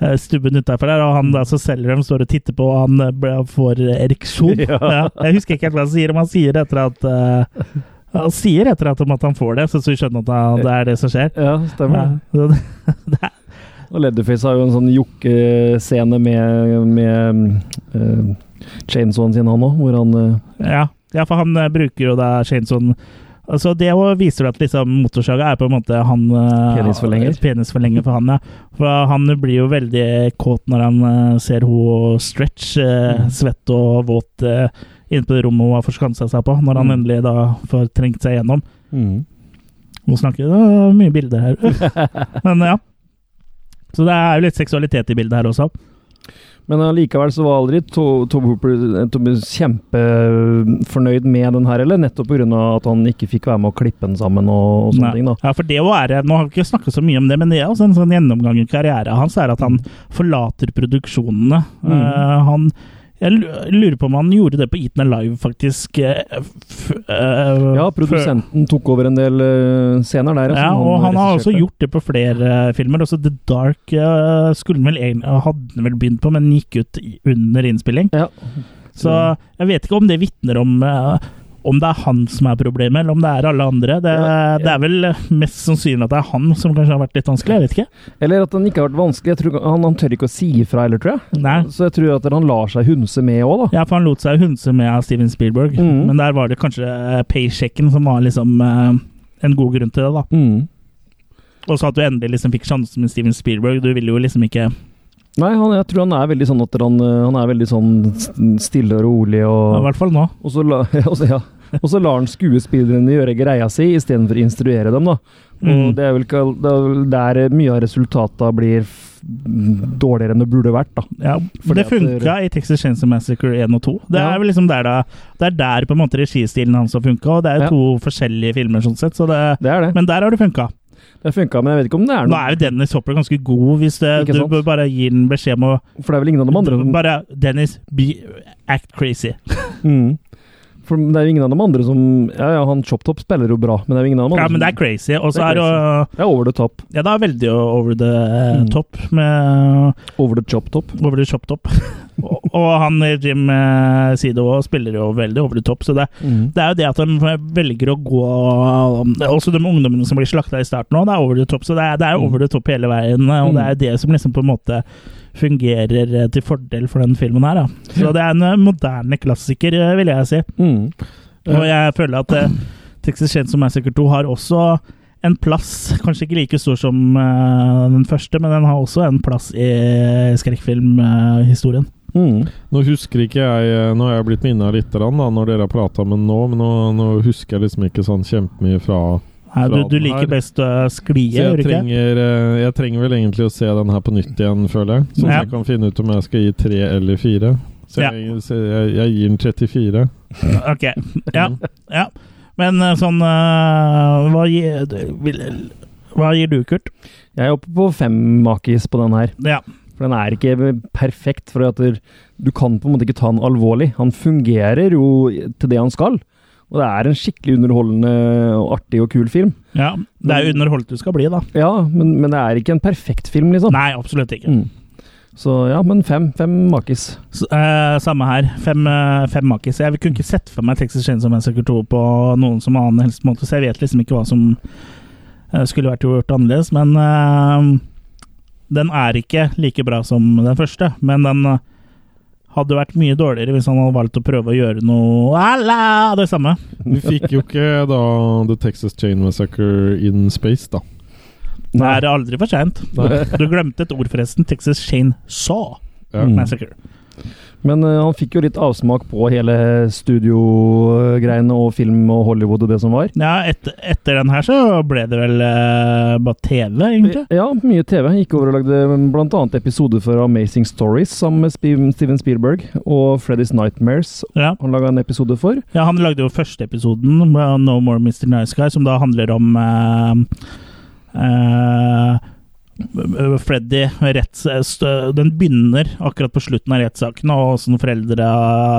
Speaker 1: eh, stubben utafor der, og han da så selger dem, står og titter på, og han eh, ble- får ereksjon.
Speaker 3: Ja.
Speaker 1: Ja. Jeg husker ikke helt hva han sier, men han sier etter at eh, han sier etter at, om at han får det, så så vi skjønner at han, det er det som skjer.
Speaker 3: Ja, stemmer.
Speaker 1: Ja.
Speaker 3: det.
Speaker 1: Så det- det er-
Speaker 3: Og Leatherface har jo en sånn jokkescene med, med eh, chainsawen sin, han òg, hvor han eh,
Speaker 1: Ja, ja for han eh, bruker jo da Shaneson Altså det å viser at liksom motorsaga er på en måte han eh,
Speaker 3: Penisforlenger.
Speaker 1: penisforlenger for han, ja. For han blir jo veldig kåt når han eh, ser ho stretch,
Speaker 3: Mm.
Speaker 1: eh, svett og våt, eh, inne på det rommet hun har forskansa seg på, når han
Speaker 3: Mm.
Speaker 1: endelig da får trengt seg gjennom.
Speaker 3: mm.
Speaker 1: Hun snakker det er mye bilder her. Men ja. Så det er jo litt seksualitet i bildet her også.
Speaker 3: Men allikevel så var aldri To- Tom Hooper eh, Tom kjempefornøyd med den her, eller? Nettopp pga. at han ikke fikk være med å klippe den sammen og, og sånne
Speaker 1: Nei.
Speaker 3: ting, da.
Speaker 1: Ja, for det å være, Nå har vi ikke snakket så mye om det, men det er også en sånn gjennomgang i karrieren hans er at han forlater produksjonene.
Speaker 3: Mm.
Speaker 1: Eh, han, jeg lu- lurer på om han gjorde det på Eaten Alive, faktisk. eh, f- eh,
Speaker 3: Ja,
Speaker 1: før-
Speaker 3: produsenten tok over en del eh, scener der.
Speaker 1: Ja,
Speaker 3: som
Speaker 1: og han har også
Speaker 3: regisserte.
Speaker 1: gjort det på flere eh, filmer. Også The Dark eh, skulle han vel egentlig, hadde han vel begynt på, men gikk ut i- under innspilling.
Speaker 3: Ja.
Speaker 1: Så jeg vet ikke om det vitner om eh, om det er han som er problemet, eller om det er alle andre. Det,
Speaker 3: Ja, jeg-
Speaker 1: det er vel eh, mest sannsynlig at det er han som kanskje har vært litt vanskelig. Jeg vet ikke.
Speaker 3: Eller at han ikke har vært vanskelig. Jeg tror, ikke- han, han tør ikke å si ifra heller, tror jeg.
Speaker 1: Nei.
Speaker 3: Så jeg tror at han lar seg hunse med òg, da.
Speaker 1: Ja, for han lot seg hundse med av Steven Spielberg,
Speaker 3: Mhm.
Speaker 1: men der var det kanskje eh, paychecken som var liksom eh, en god grunn til det. da.
Speaker 3: Mm.
Speaker 1: Og så at du endelig liksom fikk sjansen med Steven Spielberg. Du ville jo liksom ikke
Speaker 3: Nei, han, jeg tror han er veldig sånn at han, eh, han er veldig sånn st- stille og rolig
Speaker 1: I
Speaker 3: og
Speaker 1: hvert fall nå.
Speaker 3: Og så la, og så- ja. Og så lar han skuespillerne gjøre greia si istedenfor å instruere dem, da. Og
Speaker 1: Mm.
Speaker 3: det er vel ikke det er vel der eh, mye av resultata blir f- dårligere enn det burde vært, da.
Speaker 1: Ja, det
Speaker 3: Fordi at det-
Speaker 1: funka i Texas Chainsaw Massacre 1 og 2. Det
Speaker 3: Ja.
Speaker 1: er vel liksom der da Det er der på en måte registilen hans har funka, og det er jo
Speaker 3: Ja.
Speaker 1: to forskjellige filmer sånn sett, så det,
Speaker 3: Det er det.
Speaker 1: men der har det funka.
Speaker 3: Det funka, men jeg vet ikke om det er
Speaker 1: Nå
Speaker 3: noe
Speaker 1: er jo Dennis Hopper ganske god, hvis det,
Speaker 3: Ikke
Speaker 1: du
Speaker 3: sant?
Speaker 1: bør bare gir den beskjed om å
Speaker 3: For det er vel ingen av de andre som
Speaker 1: Bare Dennis, be, act crazy.
Speaker 3: mm. For det er jo ingen av de andre som Ja, ja, han Chop Top spiller jo bra, men det er jo ingen av de andre
Speaker 1: Ja, men det er
Speaker 3: som
Speaker 1: crazy. Og
Speaker 3: Det
Speaker 1: så
Speaker 3: er
Speaker 1: er det jo
Speaker 3: Det er over the top.
Speaker 1: Ja, det er veldig over the eh,
Speaker 3: Mm.
Speaker 1: top med
Speaker 3: Over the chop top.
Speaker 1: Over the shop top. og, og han eh, Jim eh, Sido også spiller jo veldig over the top, så det, det er jo det at de velger å gå det er Også de ungdommene som blir slakta i starten òg, det er over the top. Så det er, det
Speaker 2: Mm.
Speaker 1: er over the top hele veien, eh, og det er det som liksom på en måte fungerer eh, til fordel for den filmen her. Da. Så det er en eh, moderne klassiker, eh, vil jeg si.
Speaker 3: Mm.
Speaker 1: Og jeg føler at eh, Texas Chainsaw Massacre 2 har også en plass, kanskje ikke like stor som eh, den første, men den har også en plass i skrekkfilmhistorien.
Speaker 3: Mm.
Speaker 2: Nå husker ikke jeg eh, Nå har jeg blitt minna litt da, når dere har prata med nå, men nå, nå husker jeg liksom ikke sånn kjempemye fra
Speaker 1: Nei, du,
Speaker 2: Fra
Speaker 1: du
Speaker 2: den her.
Speaker 1: liker best uh, sklie,
Speaker 2: Så
Speaker 1: gjør
Speaker 2: jeg
Speaker 1: du ikke?
Speaker 2: trenger, eh, jeg trenger vel egentlig å se den her på nytt igjen, føler jeg. Sånn at
Speaker 1: Ja.
Speaker 2: jeg kan finne ut om jeg skal gi tre eller fire. Så
Speaker 1: Ja.
Speaker 2: jeg, så jeg, jeg gir den 34.
Speaker 1: Ok, ja. ja. Men eh, sånn eh, hva, gir, du- vil- hva gir du, Kurt?
Speaker 3: Jeg er oppe på fem makis på den her.
Speaker 1: Ja.
Speaker 3: For den er ikke perfekt, for at der- du kan på en måte ikke ta den alvorlig. Han fungerer jo til det han skal. Og det er en skikkelig underholdende og artig og kul film.
Speaker 1: ja. Det er jo underholdt du skal bli, da.
Speaker 3: Ja, men, men det er ikke en perfekt film, liksom.
Speaker 1: Nei, absolutt ikke.
Speaker 3: Mm. Så ja, men fem. Fem makis.
Speaker 1: S eh, samme her. Fem, eh, fem makis. Jeg kunne ikke sett for meg Texas Chainsaw Massacre 2 på noen som annen helst måte, så jeg vet liksom ikke hva som eh, skulle vært gjort annerledes. Men eh, den er ikke like bra som den første. Men den eh, hadde vært mye dårligere hvis han hadde valgt å prøve å gjøre noe Alla! Det samme.
Speaker 2: Vi fikk jo ikke da The Texas Chain Massacre in Space, da.
Speaker 1: Det er aldri for seint. Du glemte et ord, forresten. Texas Chainsaw
Speaker 2: Ja.
Speaker 3: Mm.
Speaker 1: Massacre.
Speaker 3: Men eh, han fikk jo litt avsmak på hele studiogreiene og film og Hollywood og det som var.
Speaker 1: Ja, et, etter den her så ble det vel eh, bare TV, egentlig.
Speaker 3: Ja, mye TV. Gikk over og lagde bl.a. episoder for Amazing Stories sammen med Spi- Steven Spielberg og Freddy's Nightmares.
Speaker 1: Ja.
Speaker 3: Han laga en episode for.
Speaker 1: Ja, han lagde jo første episoden, med No More Mr. Nice Guy, som da handler om eh, eh, Freddy retts, eh, st- Den begynner akkurat på slutten av rettssaken, og åssen foreldre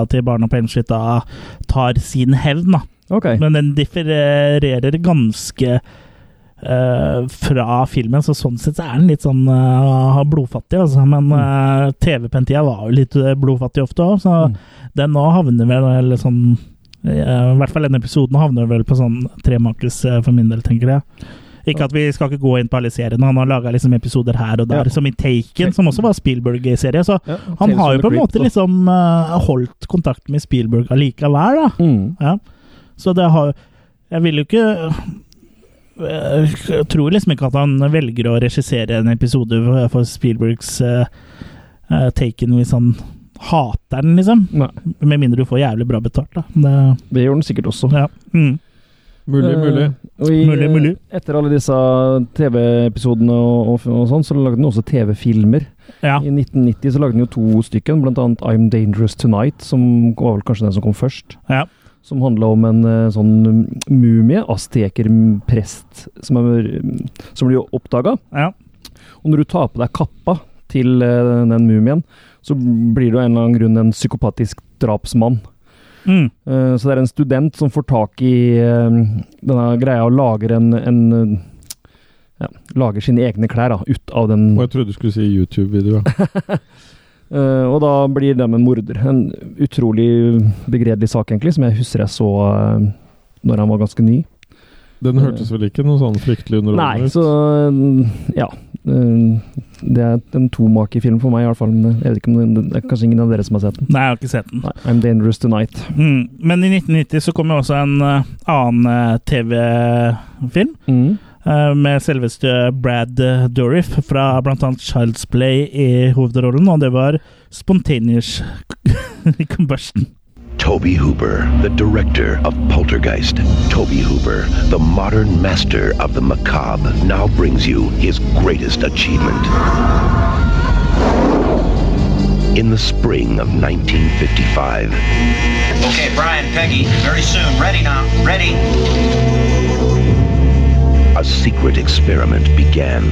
Speaker 1: til barna på Elmshytta tar sin hevn. da.
Speaker 3: Ok.
Speaker 1: Men den differerer ganske eh, fra filmen, så sånn sett så er den litt sånn eh, blodfattig, altså.
Speaker 3: Mm.
Speaker 1: Men eh, TV-pentida var jo litt eh, blodfattig ofte òg, så
Speaker 3: Mm.
Speaker 1: den nå havner vel eller sånn eh, I hvert fall denne episoden havner vel på sånn tremakers eh, for min del, tenker jeg. Ikke at vi skal ikke gå inn på alle seriene. Han har laga liksom episoder her og der,
Speaker 3: Ja.
Speaker 1: som i Taken, som også var Spielberg-serie. Så
Speaker 3: Ja,
Speaker 1: han
Speaker 3: Tales
Speaker 1: har jo
Speaker 3: from the
Speaker 1: på en
Speaker 3: Crypt,
Speaker 1: måte
Speaker 3: da.
Speaker 1: liksom eh, holdt kontakt med Spielberg allikevel, da.
Speaker 3: Mm.
Speaker 1: Ja. Så det har Jeg vil jo ikke Jeg tror liksom ikke at han velger å regissere en episode for Spielbergs eh, eh, Taken hvis han hater den, liksom.
Speaker 3: Nei,
Speaker 1: Med mindre du får jævlig bra betalt, da. Det,
Speaker 3: det gjorde han sikkert også.
Speaker 1: ja. mm.
Speaker 2: Mulig,
Speaker 3: Eh,
Speaker 2: mulig.
Speaker 3: Og i,
Speaker 1: Mulig, mulig.
Speaker 3: Etter alle disse TV-episodene og, og, og sånn, så lagde han også TV-filmer.
Speaker 1: ja.
Speaker 3: I 1990 så lagde han jo to stykken, blant annet I'm Dangerous Tonight, som var vel kanskje den som kom først.
Speaker 1: Ja.
Speaker 3: Som handla om en eh, sånn mm, mumie, astekerprest, som, er, mm, som blir oppdaga.
Speaker 1: ja.
Speaker 3: Og når du tar på deg kappa til eh, den mumien, så blir du av en eller annen grunn en psykopatisk drapsmann.
Speaker 1: Mm.
Speaker 3: Eh, Så det er en student som får tak i eh, denne greia og lager en, en eh, ja, Lager sine egne klær da, ut av den
Speaker 2: Og jeg trodde du skulle si YouTube-video. ja.
Speaker 3: Eh, og da blir de en morder. En utrolig begredelig sak, egentlig, som jeg husker jeg så uh, når han var ganske ny.
Speaker 2: Den hørtes vel ikke noe sånn fryktelig
Speaker 3: Nei,
Speaker 2: underholdende ut?
Speaker 3: så eh, ja. Eh, det er en tomakerfilm for meg, i hvert fall. Men jeg vet ikke om det, det er kanskje ingen av dere som har sett den.
Speaker 1: Nei, jeg har ikke sett den.
Speaker 3: Nei, I'm Dangerous Tonight.
Speaker 1: Mm. Men i 1990 så kom jo også en eh, annen eh, TV-film.
Speaker 3: Mm.
Speaker 1: eh, Med selveste Brad eh, Dourif fra bl.a. Child's Play i hovedrollen, og det var Spontaneous Combustion.
Speaker 12: Toby Hooper, the director of Poltergeist. Toby Hooper, the modern master of the macabre, now brings you his greatest achievement. In the spring of 1955,
Speaker 13: Okay, Brian, Peggy, very soon. Ready now. Ready.
Speaker 12: a secret experiment began.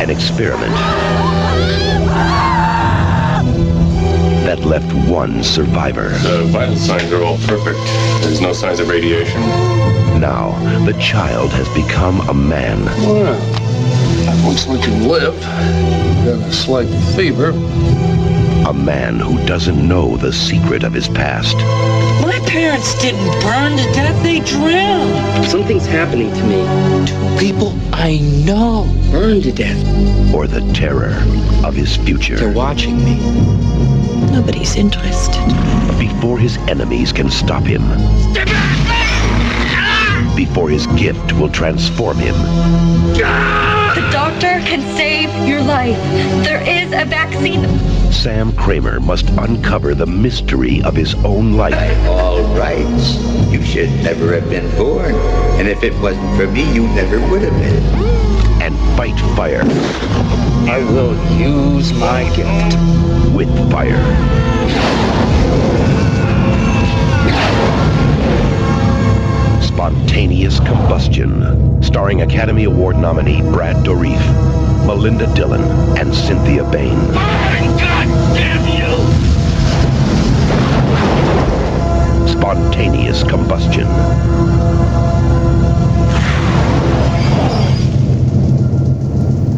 Speaker 12: An experiment that left one survivor.
Speaker 14: The vital signs are all perfect. There's no signs of radiation.
Speaker 12: Now, the child has become a man.
Speaker 15: I once let you live, got a slight fever.
Speaker 12: A man who doesn't know the secret of his past.
Speaker 9: My parents didn't burn to death, they drowned. Something's happening to me. Two people I know burned to death.
Speaker 12: or the terror of his future. They're watching me. Nobody's interested. Before his enemies can stop him. Before his gift will transform him.
Speaker 16: The doctor can save your life. There is a vaccine.
Speaker 12: Sam Kramer must uncover the mystery of his own life. By all rights, you should never have been born. And if it wasn't for me, you never would have been. And fight fire. I will use my gift. With fire. Spontaneous Combustion, starring Academy Award nominee Brad Dourif, Melinda Dillon, and Cynthia Bain. spontaneous combustion.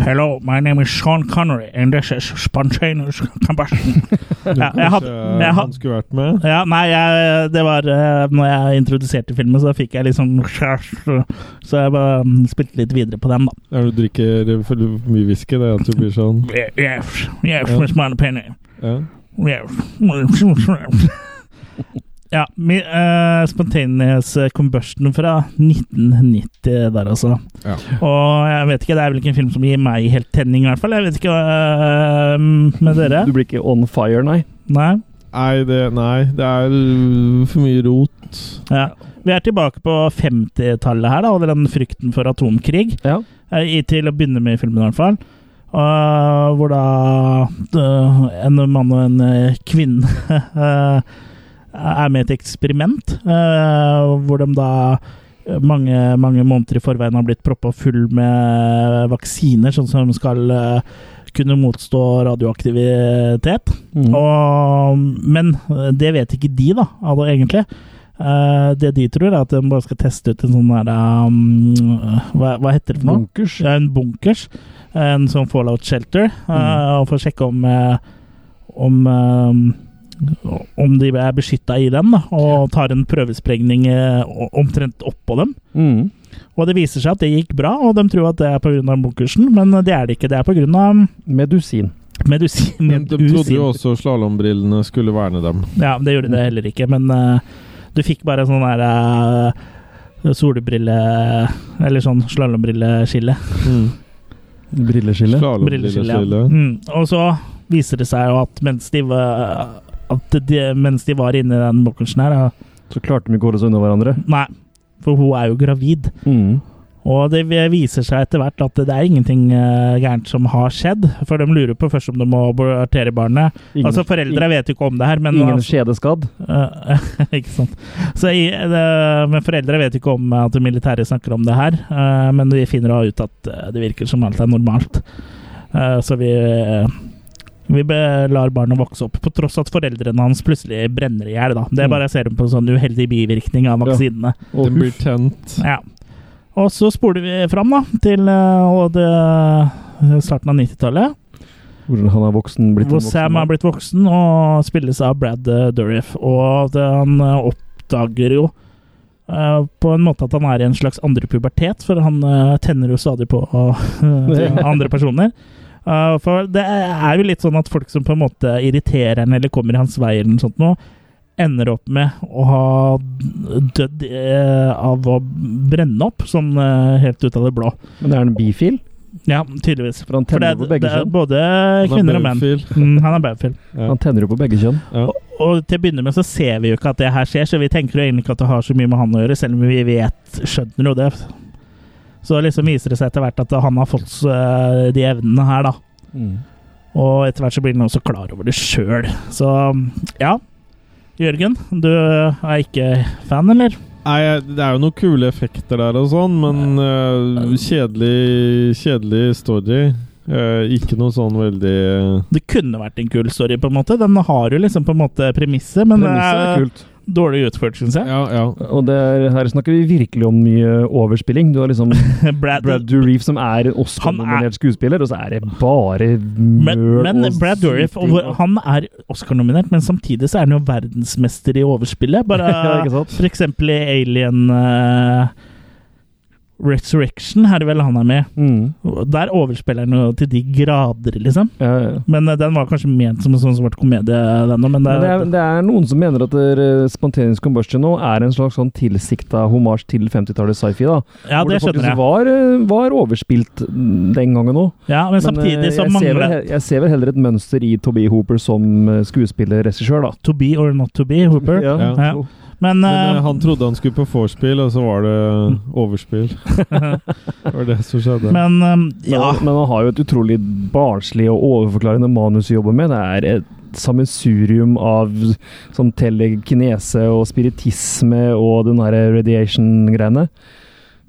Speaker 1: Hello, my name is Sean Connery, and this is Spontaneous Combustion. ja, jeg hadde,
Speaker 2: Kanskje
Speaker 1: jeg
Speaker 2: han
Speaker 1: hadde,
Speaker 2: skulle vært med?
Speaker 1: ja, nei, jeg, det var eh, Når jeg introduserte filmen, så fikk jeg liksom Så jeg bare mm, spilte litt videre på den, da.
Speaker 2: Er det du drikker for mye whisky, det er at du blir sånn
Speaker 1: Yes, yes,
Speaker 2: Ja.
Speaker 1: Miss Moneypenny.
Speaker 2: Ja.
Speaker 1: Yes. Ja, mi- eh, Spontaneous Combustion fra 1990 der, altså.
Speaker 2: Ja.
Speaker 1: Og jeg vet ikke, det er vel ikke en film som gir meg helt tenning, i hvert fall. Jeg vet ikke eh, med dere.
Speaker 3: Du blir ikke on fire, nei?
Speaker 1: Nei.
Speaker 2: Nei, det, nei, det er øh, for mye rot.
Speaker 1: Ja. Vi er tilbake på 50-tallet her, da, og den frykten for atomkrig. Eh, I, til å begynne med i filmen, i hvert fall. Og hvor da eh, en mann og en eh, kvinne eh, er med i et eksperiment, eh, hvor de da eh, mange, mange måneder i forveien har blitt proppa full med vaksiner, sånn som skal eh, kunne motstå radioaktivitet.
Speaker 3: Mm.
Speaker 2: Mm.
Speaker 1: Og, men eh, det vet ikke de, da, altså, egentlig. Eh, det de tror, er at de bare skal teste ut en sånn der um, hva, hva heter det for noe?
Speaker 3: Bunkers.
Speaker 1: Ja, en bunkers. En sånn fallout shelter. eh,
Speaker 2: Mm.
Speaker 1: Og for å sjekke om eh, om, eh, om de er beskytta i den, da, og tar en prøvesprengning eh, o- omtrent oppå dem.
Speaker 3: Mm.
Speaker 1: Og det viser seg at det gikk bra, og de tror at det er pga. bunkersen, men det er det ikke. Det er pga.
Speaker 3: Medusin.
Speaker 1: Medusin.
Speaker 2: Men de trodde
Speaker 1: Medusin.
Speaker 2: jo også slalåmbrillene skulle verne dem.
Speaker 1: Ja, det gjorde det heller ikke, men eh, du fikk bare sånn der eh, Solebrille Eller sånn slalåmbrilleskille.
Speaker 3: Brilleskille.
Speaker 1: Brilleskille. Ja. Mm. Og så viser det seg jo at mens de var, at de, mens de var inne i den bunkersen her da-
Speaker 3: Så klarte de ikke å holde seg unna hverandre.
Speaker 1: Nei, for hun er jo gravid. Og det viser seg etter hvert at det er ingenting eh, gærent som har skjedd. For de lurer på først om de må abortere barnet.
Speaker 3: Ingen-
Speaker 1: altså Foreldre
Speaker 3: ingen-
Speaker 1: vet jo ikke om det her, men
Speaker 3: Ingen
Speaker 1: altså,
Speaker 3: skjedeskadd.
Speaker 1: Eh, ikke sant. Så i, det, men foreldre vet ikke om at det militære snakker om det her, eh, men vi finner da ut at eh, det virker som alt er normalt. Eh, så vi vi be- lar barnet vokse opp, på tross at foreldrene hans plutselig brenner i hjel. da. Det
Speaker 2: Mm.
Speaker 1: bare ser de på en sånn uheldig bivirkning av vaksinene.
Speaker 2: Den blir tent.
Speaker 1: Ja. Og så spoler vi fram da, til eh, og det, eh, starten av 90-tallet.
Speaker 3: Hvordan han er voksen, blitt
Speaker 1: Hvor
Speaker 3: en voksen
Speaker 1: Sam
Speaker 3: mann.
Speaker 1: er blitt voksen og spilles av Brad eh, Dourif. Og det, han eh, oppdager jo eh, på en måte at han er i en slags andre pubertet, for han eh, tenner jo stadig på eh, andre personer. Eh, for det er jo litt sånn at folk som på en måte irriterer han eller kommer i hans vei, eller noe sånt nå, ender opp med å ha dødd eh, av å brenne opp, sånn eh, helt ut av det blå.
Speaker 3: Men er han bifil?
Speaker 1: Ja, tydeligvis.
Speaker 3: For han tenner
Speaker 1: det,
Speaker 3: på begge
Speaker 1: det er
Speaker 3: kjønn.
Speaker 1: Både
Speaker 3: Han er
Speaker 1: kvinner og menn.
Speaker 3: baufil.
Speaker 1: Mm, han er baufil.
Speaker 3: Han tenner jo på begge kjønn.
Speaker 1: Og, og til å begynne med så ser vi jo ikke at det her skjer, så vi tenker jo egentlig ikke at det har så mye med han å gjøre, selv om vi vet, skjønner jo det. Så liksom viser det seg etter hvert at han har fått eh, de evnene her, da. Mm. Og etter hvert så blir han også klar over det sjøl. Så ja. Jørgen, du er ikke fan, eller?
Speaker 2: Nei, det er jo noen kule effekter der og sånn, men øh, kjedelig, kjedelig story. Øh, ikke noe sånn veldig
Speaker 1: Det kunne vært en kul story, på en måte. Den har jo liksom på en måte premisset, men eh,
Speaker 3: Premisset er
Speaker 1: det er
Speaker 3: kult.
Speaker 1: dårlig utført, syns jeg.
Speaker 3: Og det er, her snakker vi virkelig om mye overspilling. Du har liksom
Speaker 1: Brad,
Speaker 3: Brad Dourif som er en Oscar-nominert skuespiller, og så er det bare
Speaker 1: Men,
Speaker 3: møl
Speaker 1: men
Speaker 3: og
Speaker 1: Brad Dourif
Speaker 3: syting
Speaker 1: hvor-
Speaker 3: og-
Speaker 1: han er Oscar-nominert, men samtidig så er han jo verdensmester i overspillet.
Speaker 3: Ja,
Speaker 1: Bare
Speaker 3: ikke sant?
Speaker 1: for eksempel i Alien eh, Resurrection er det vel han er med.
Speaker 3: Mm.
Speaker 1: Der overspiller han jo til de grader, liksom. Men eh, den var kanskje ment som en sånn svart komedie, den òg, men det
Speaker 3: Men det, er, det er noen som mener at eh, Spontaneous Combustion nå er en slags sånn tilsikta homasj til 50-tallets sci-fi. da.
Speaker 1: Ja,
Speaker 3: Hvor
Speaker 1: det skjønner
Speaker 3: faktisk
Speaker 1: jeg.
Speaker 3: Var, eh, var overspilt mm, den gangen òg.
Speaker 1: Ja, men samtidig så
Speaker 3: eh, jeg, ser
Speaker 1: mangler
Speaker 3: vel,
Speaker 1: det-
Speaker 3: he- jeg ser vel heller et mønster i Toby Hooper som eh, skuespillerregissør, da.
Speaker 1: To be or not to be, Hooper.
Speaker 3: Ja.
Speaker 1: Ja. Men,
Speaker 2: Men øh,
Speaker 1: eh, Mm.
Speaker 2: han trodde han skulle på vorspiel, og så var det overspill. det var det som skjedde.
Speaker 1: Men, eh,
Speaker 3: ja. men han har jo et utrolig barnslig og overforklarende manus å jobbe med. Det er et sammensurium av sånn telekinese og spiritisme og den derre radiation-greiene.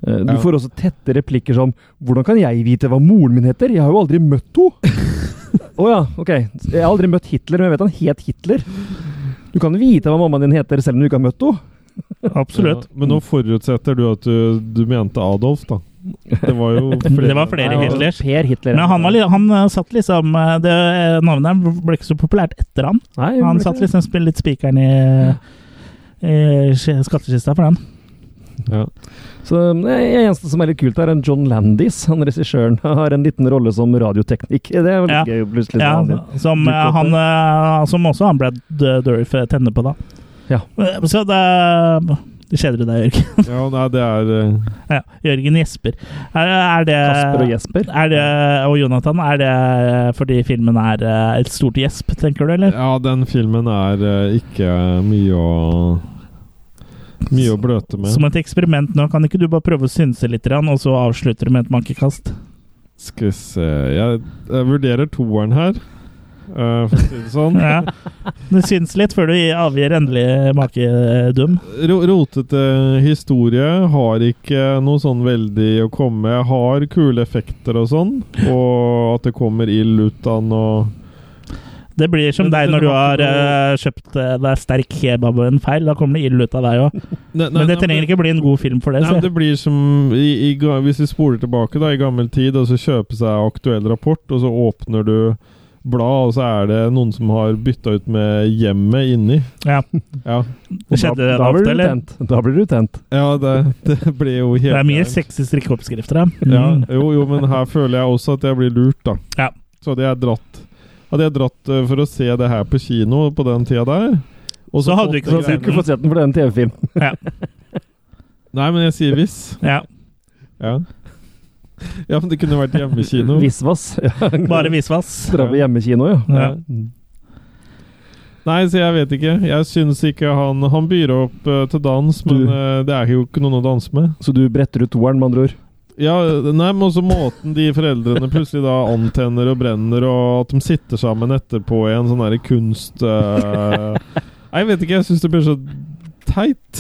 Speaker 3: Eh, Du
Speaker 2: Ja.
Speaker 3: får også tette replikker som 'Hvordan kan jeg vite hva moren min heter? Jeg har jo aldri møtt henne!' Å ja, ok. Jeg har aldri møtt Hitler, men jeg vet han het Hitler. Du kan vite hva mammaen din heter selv om du ikke har møtt henne.
Speaker 1: Absolutt.
Speaker 2: Ja, men nå forutsetter du at du, du mente Adolf, da. Det var jo flere.
Speaker 1: Det var flere
Speaker 3: Ja,
Speaker 1: Hitlers.
Speaker 3: Per Hitler.
Speaker 1: Men han, var, li- han eh, satt liksom eh, det, eh, Navnet her ble ikke så populært etter han.
Speaker 3: Nei, det
Speaker 1: han
Speaker 3: ble
Speaker 1: satt
Speaker 3: ikke det.
Speaker 1: liksom spill- litt spikeren i, i sk- skattkista for den.
Speaker 2: Ja.
Speaker 3: Så det eneste som er litt kult, er en John Landis. Han regissøren har en liten rolle som radioteknikk. Det er
Speaker 1: Ja.
Speaker 3: veldig gøy. Plutselig.
Speaker 1: Ja,
Speaker 3: så han-
Speaker 1: som, eh,
Speaker 3: dukker opp
Speaker 1: han,
Speaker 3: der.
Speaker 1: eh, som også han Brad eh, Dourif eh, tenner på, da.
Speaker 3: Ja.
Speaker 1: Eh, Så det, det kjeder deg, Jørgen.
Speaker 2: Ja, nei, det er eh,
Speaker 1: ja, Jørgen gjesper. Er, er det,
Speaker 2: Kasper og Jesper?
Speaker 1: eh, Er det, og Jonathan. Er det fordi filmen er eh, et stort gjesp, tenker du, eller?
Speaker 2: Ja, den filmen er eh, ikke mye å Mye å bløte med.
Speaker 1: Som et eksperiment nå, kan ikke du bare prøve å synse litt, grann, og så avslutter du med et mankekast?
Speaker 2: Skal vi se Jeg, jeg vurderer toeren her, eh, for å si det sånn.
Speaker 1: Ja. Det syns litt før du avgir endelig makedum.
Speaker 2: Ro- Rotete historie. Har ikke noe sånn veldig å komme med. Har kule effekter og sånn, og at det kommer ild ut av den og
Speaker 1: Det blir som
Speaker 2: Men
Speaker 1: deg
Speaker 2: den
Speaker 1: når du
Speaker 2: har
Speaker 1: har
Speaker 2: ikke
Speaker 1: eh, kjøpt eh, deg sterk kebab og en feil. Da kommer det ild ut av deg òg.
Speaker 2: Nei, nei,
Speaker 1: Men det
Speaker 2: nei,
Speaker 1: trenger ikke bli en god film for det.
Speaker 2: Nei, men
Speaker 1: Så.
Speaker 2: det blir som i, i, ga- Hvis vi spoler tilbake da, i gammel tid, og så kjøper seg aktuell rapport, og så åpner du blad, og så er det noen som har bytta ut med hjemmet inni.
Speaker 1: Ja.
Speaker 2: Ja,
Speaker 1: Det skjedde
Speaker 3: da, da
Speaker 1: ofte,
Speaker 3: blir du
Speaker 1: eller?
Speaker 3: tent. Da blir du tent.
Speaker 2: ja det, det blir jo helt
Speaker 1: Det er mye
Speaker 2: gærent.
Speaker 1: sexy strikkeoppskrifter her. Mm.
Speaker 2: ja, jo, jo, men her føler jeg også at jeg blir lurt, da.
Speaker 1: Ja.
Speaker 2: Så hadde jeg dratt Hadde jeg dratt eh, for å se det her på kino på den tida der og
Speaker 1: Så hadde
Speaker 2: fått
Speaker 1: du ikke
Speaker 2: det
Speaker 1: fått
Speaker 3: Du
Speaker 1: sett
Speaker 2: greiene-
Speaker 3: kunne fått sett den for den TV-filmen.
Speaker 1: Ja.
Speaker 2: Nei, men jeg sier hvis.
Speaker 1: Ja.
Speaker 2: Ja. ja, men det kunne vært hjemmekino.
Speaker 3: Visvas.
Speaker 1: Bare visvas.
Speaker 3: Dra på hjemmekino, ja.
Speaker 1: Ja.
Speaker 2: Nei, så jeg vet ikke. Jeg syns ikke han Han byr opp eh, til dans, men eh, det er jo ikke noen å danse med.
Speaker 3: Så du bretter ut toeren, med andre ord?
Speaker 2: Ja, nei, men også måten de foreldrene plutselig da antenner og brenner, og at de sitter sammen etterpå i en sånn derre kunst... eh, Nei, jeg vet ikke. Jeg syns det blir så teit.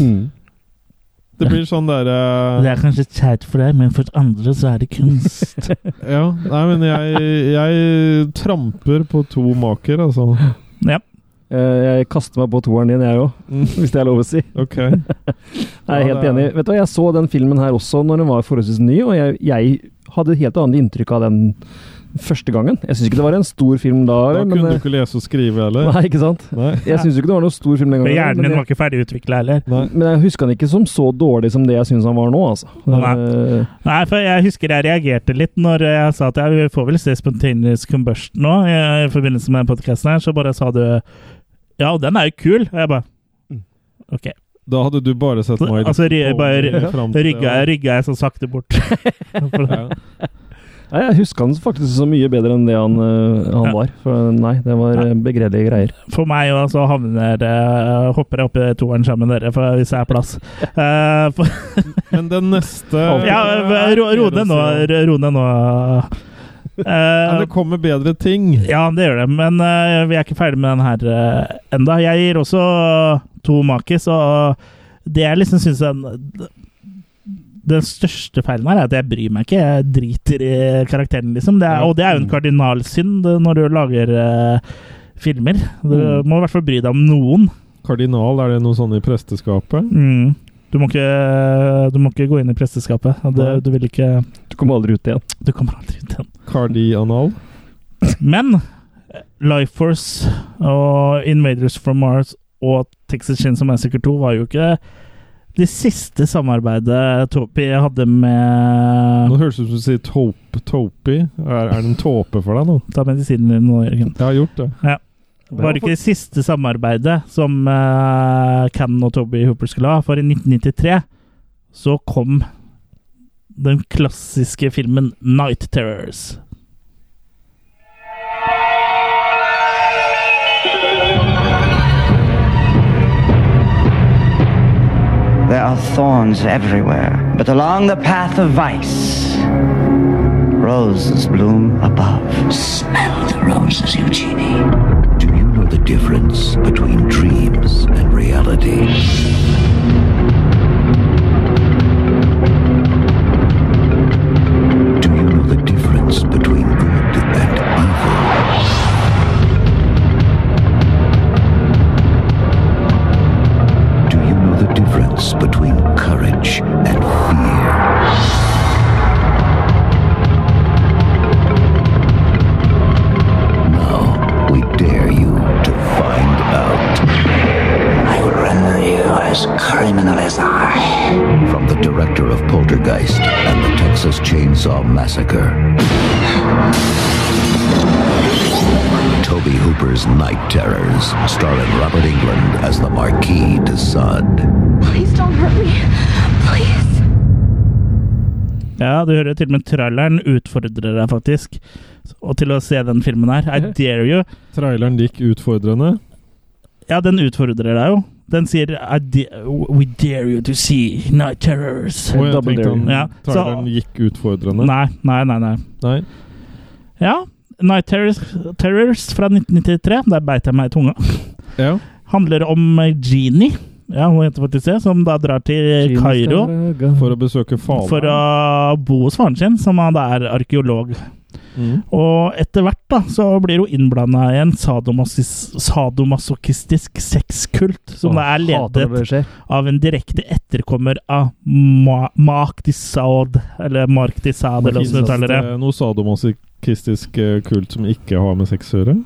Speaker 2: Det blir sånn derre
Speaker 1: Det er kanskje teit for deg, men for andre så er det kunst.
Speaker 2: Ja. Nei, men jeg, jeg tramper på to maker, altså.
Speaker 1: ja.
Speaker 3: Eh, Jeg kaster meg på toeren din, jeg òg, hvis det er lov å si.
Speaker 2: Ok.
Speaker 3: Jeg er helt
Speaker 2: Ja, det
Speaker 3: enig.
Speaker 2: er-
Speaker 3: Vet du, hva, Jeg så den filmen her også når den var forholdsvis ny, og jeg, jeg hadde et helt annet inntrykk av den første gangen. Jeg syns ikke det var en stor film da.
Speaker 2: Da
Speaker 3: men,
Speaker 2: kunne du
Speaker 3: eh,
Speaker 2: ikke lese og skrive heller.
Speaker 3: Nei, ikke sant?
Speaker 2: Nei.
Speaker 3: Jeg syns ikke det var noen stor film den
Speaker 1: Men
Speaker 3: gangen.
Speaker 1: hjernen
Speaker 3: men
Speaker 1: din
Speaker 3: jeg-
Speaker 1: var ikke ferdig utvikla heller.
Speaker 3: Men jeg husker han ikke som så dårlig som det jeg syns han var nå, altså.
Speaker 1: Nei. Nei, for jeg husker jeg reagerte litt når jeg sa at jeg får vel se Spontaneous Combustion nå, i i forbindelse med podkasten her, så bare sa du Ja, og den er jo kul. Og jeg bare
Speaker 3: Mm.
Speaker 1: OK.
Speaker 2: Da hadde du bare sett Miley
Speaker 1: Altså, ry-
Speaker 2: Cyrus
Speaker 1: bare
Speaker 2: fram til-
Speaker 1: rygga, rygga jeg så sakte bort. For-
Speaker 2: Ja.
Speaker 3: Nei, jeg husker han faktisk så mye bedre enn det han, eh, han
Speaker 1: Ja.
Speaker 3: var. For nei, det var eh, begredelige greier.
Speaker 1: For meg òg, så havner det Hopper jeg oppi toeren sammen med dere, for hvis det er plass. Eh, for,
Speaker 2: Men den neste
Speaker 1: ja, eh, ro, ro ned nå. ro- Ro ned nå. Eh,
Speaker 2: Men det kommer bedre ting.
Speaker 1: Ja, det gjør det, men eh, vi er ikke ferdig med den her eh, enda. Jeg gir også to makis, og det jeg liksom syns den, den største feilen her, er at jeg bryr meg ikke. Jeg driter i karakteren, liksom. Det er, og det er jo en kardinalsynd eh, når du lager eh, filmer. Du
Speaker 2: Mm.
Speaker 1: må i hvert fall bry deg om noen.
Speaker 2: Kardinal, er det noe sånn i presteskapet?
Speaker 1: Mm. Du, må ikke, du må ikke gå inn i presteskapet. og Det, du vil ikke
Speaker 3: Du kommer aldri ut igjen.
Speaker 1: Du kommer aldri ut igjen.
Speaker 2: Kardianal?
Speaker 1: Men Life Force og Invaders from Mars og Texas Chainsaw Massacre 2 var jo ikke det siste samarbeidet Topi hadde med
Speaker 2: Nå høres det ut som du sier taupe, taupi. Er, er det en tåpe for deg nå?
Speaker 1: Ta medisinen din nå, Jørgen.
Speaker 2: Jeg har gjort det.
Speaker 1: Ja. Var det ikke det siste samarbeidet som uh, Cannon og Toby Hooper skulle ha? For i 1993 så kom den klassiske filmen Night Terrors.
Speaker 17: There are thorns everywhere, but along the path of vice, roses bloom above. Smell the roses, Eugenie.
Speaker 12: Do you know the difference between dreams and reality? Do you know the difference between good and evil? Do you know the difference between courage and fear? Now, we dare you to find out. I will render you as criminal as I. From the director of Poltergeist and the Texas Chainsaw Massacre. Toby Hooper's Night Terrors, starring Robert England as the Marquis de Sade.
Speaker 18: Please don't hurt me. Please.
Speaker 1: Ja, du hører til og med traileren utfordrer deg faktisk. Og til å se den filmen her. I dare you.
Speaker 2: Traileren gikk utfordrende.
Speaker 1: Ja, den utfordrer deg jo. Den sier I da- We dare you to see Night Terrors.
Speaker 2: Og jeg tenkte han,
Speaker 1: ja,
Speaker 2: traileren
Speaker 1: så,
Speaker 2: gikk utfordrende.
Speaker 1: nei, nei, nei, nei.
Speaker 2: Nei.
Speaker 1: Ja, Night Terrors, Terrors fra 1993, der beit jeg meg i tunga,
Speaker 2: Ja.
Speaker 1: handler om Genie. Ja, hun heter faktisk det, som da drar til Kairo.
Speaker 2: For å besøke faderen.
Speaker 1: for å bo hos faren sin, som han da er arkeolog.
Speaker 2: Mm.
Speaker 1: Og etter hvert da, så blir hun innblanda i en sadomasis- sadomasochistisk sexkult som
Speaker 3: Åh,
Speaker 1: da er
Speaker 3: hater når det
Speaker 1: ledet
Speaker 3: skjer.
Speaker 1: av en direkte etterkommer av Ma Mark de Sade, eller Mark de Sade, eller hvordan du uttaler det.
Speaker 2: Finnes det noe sadomasochistisk eh, kult som ikke har med sex å gjøre?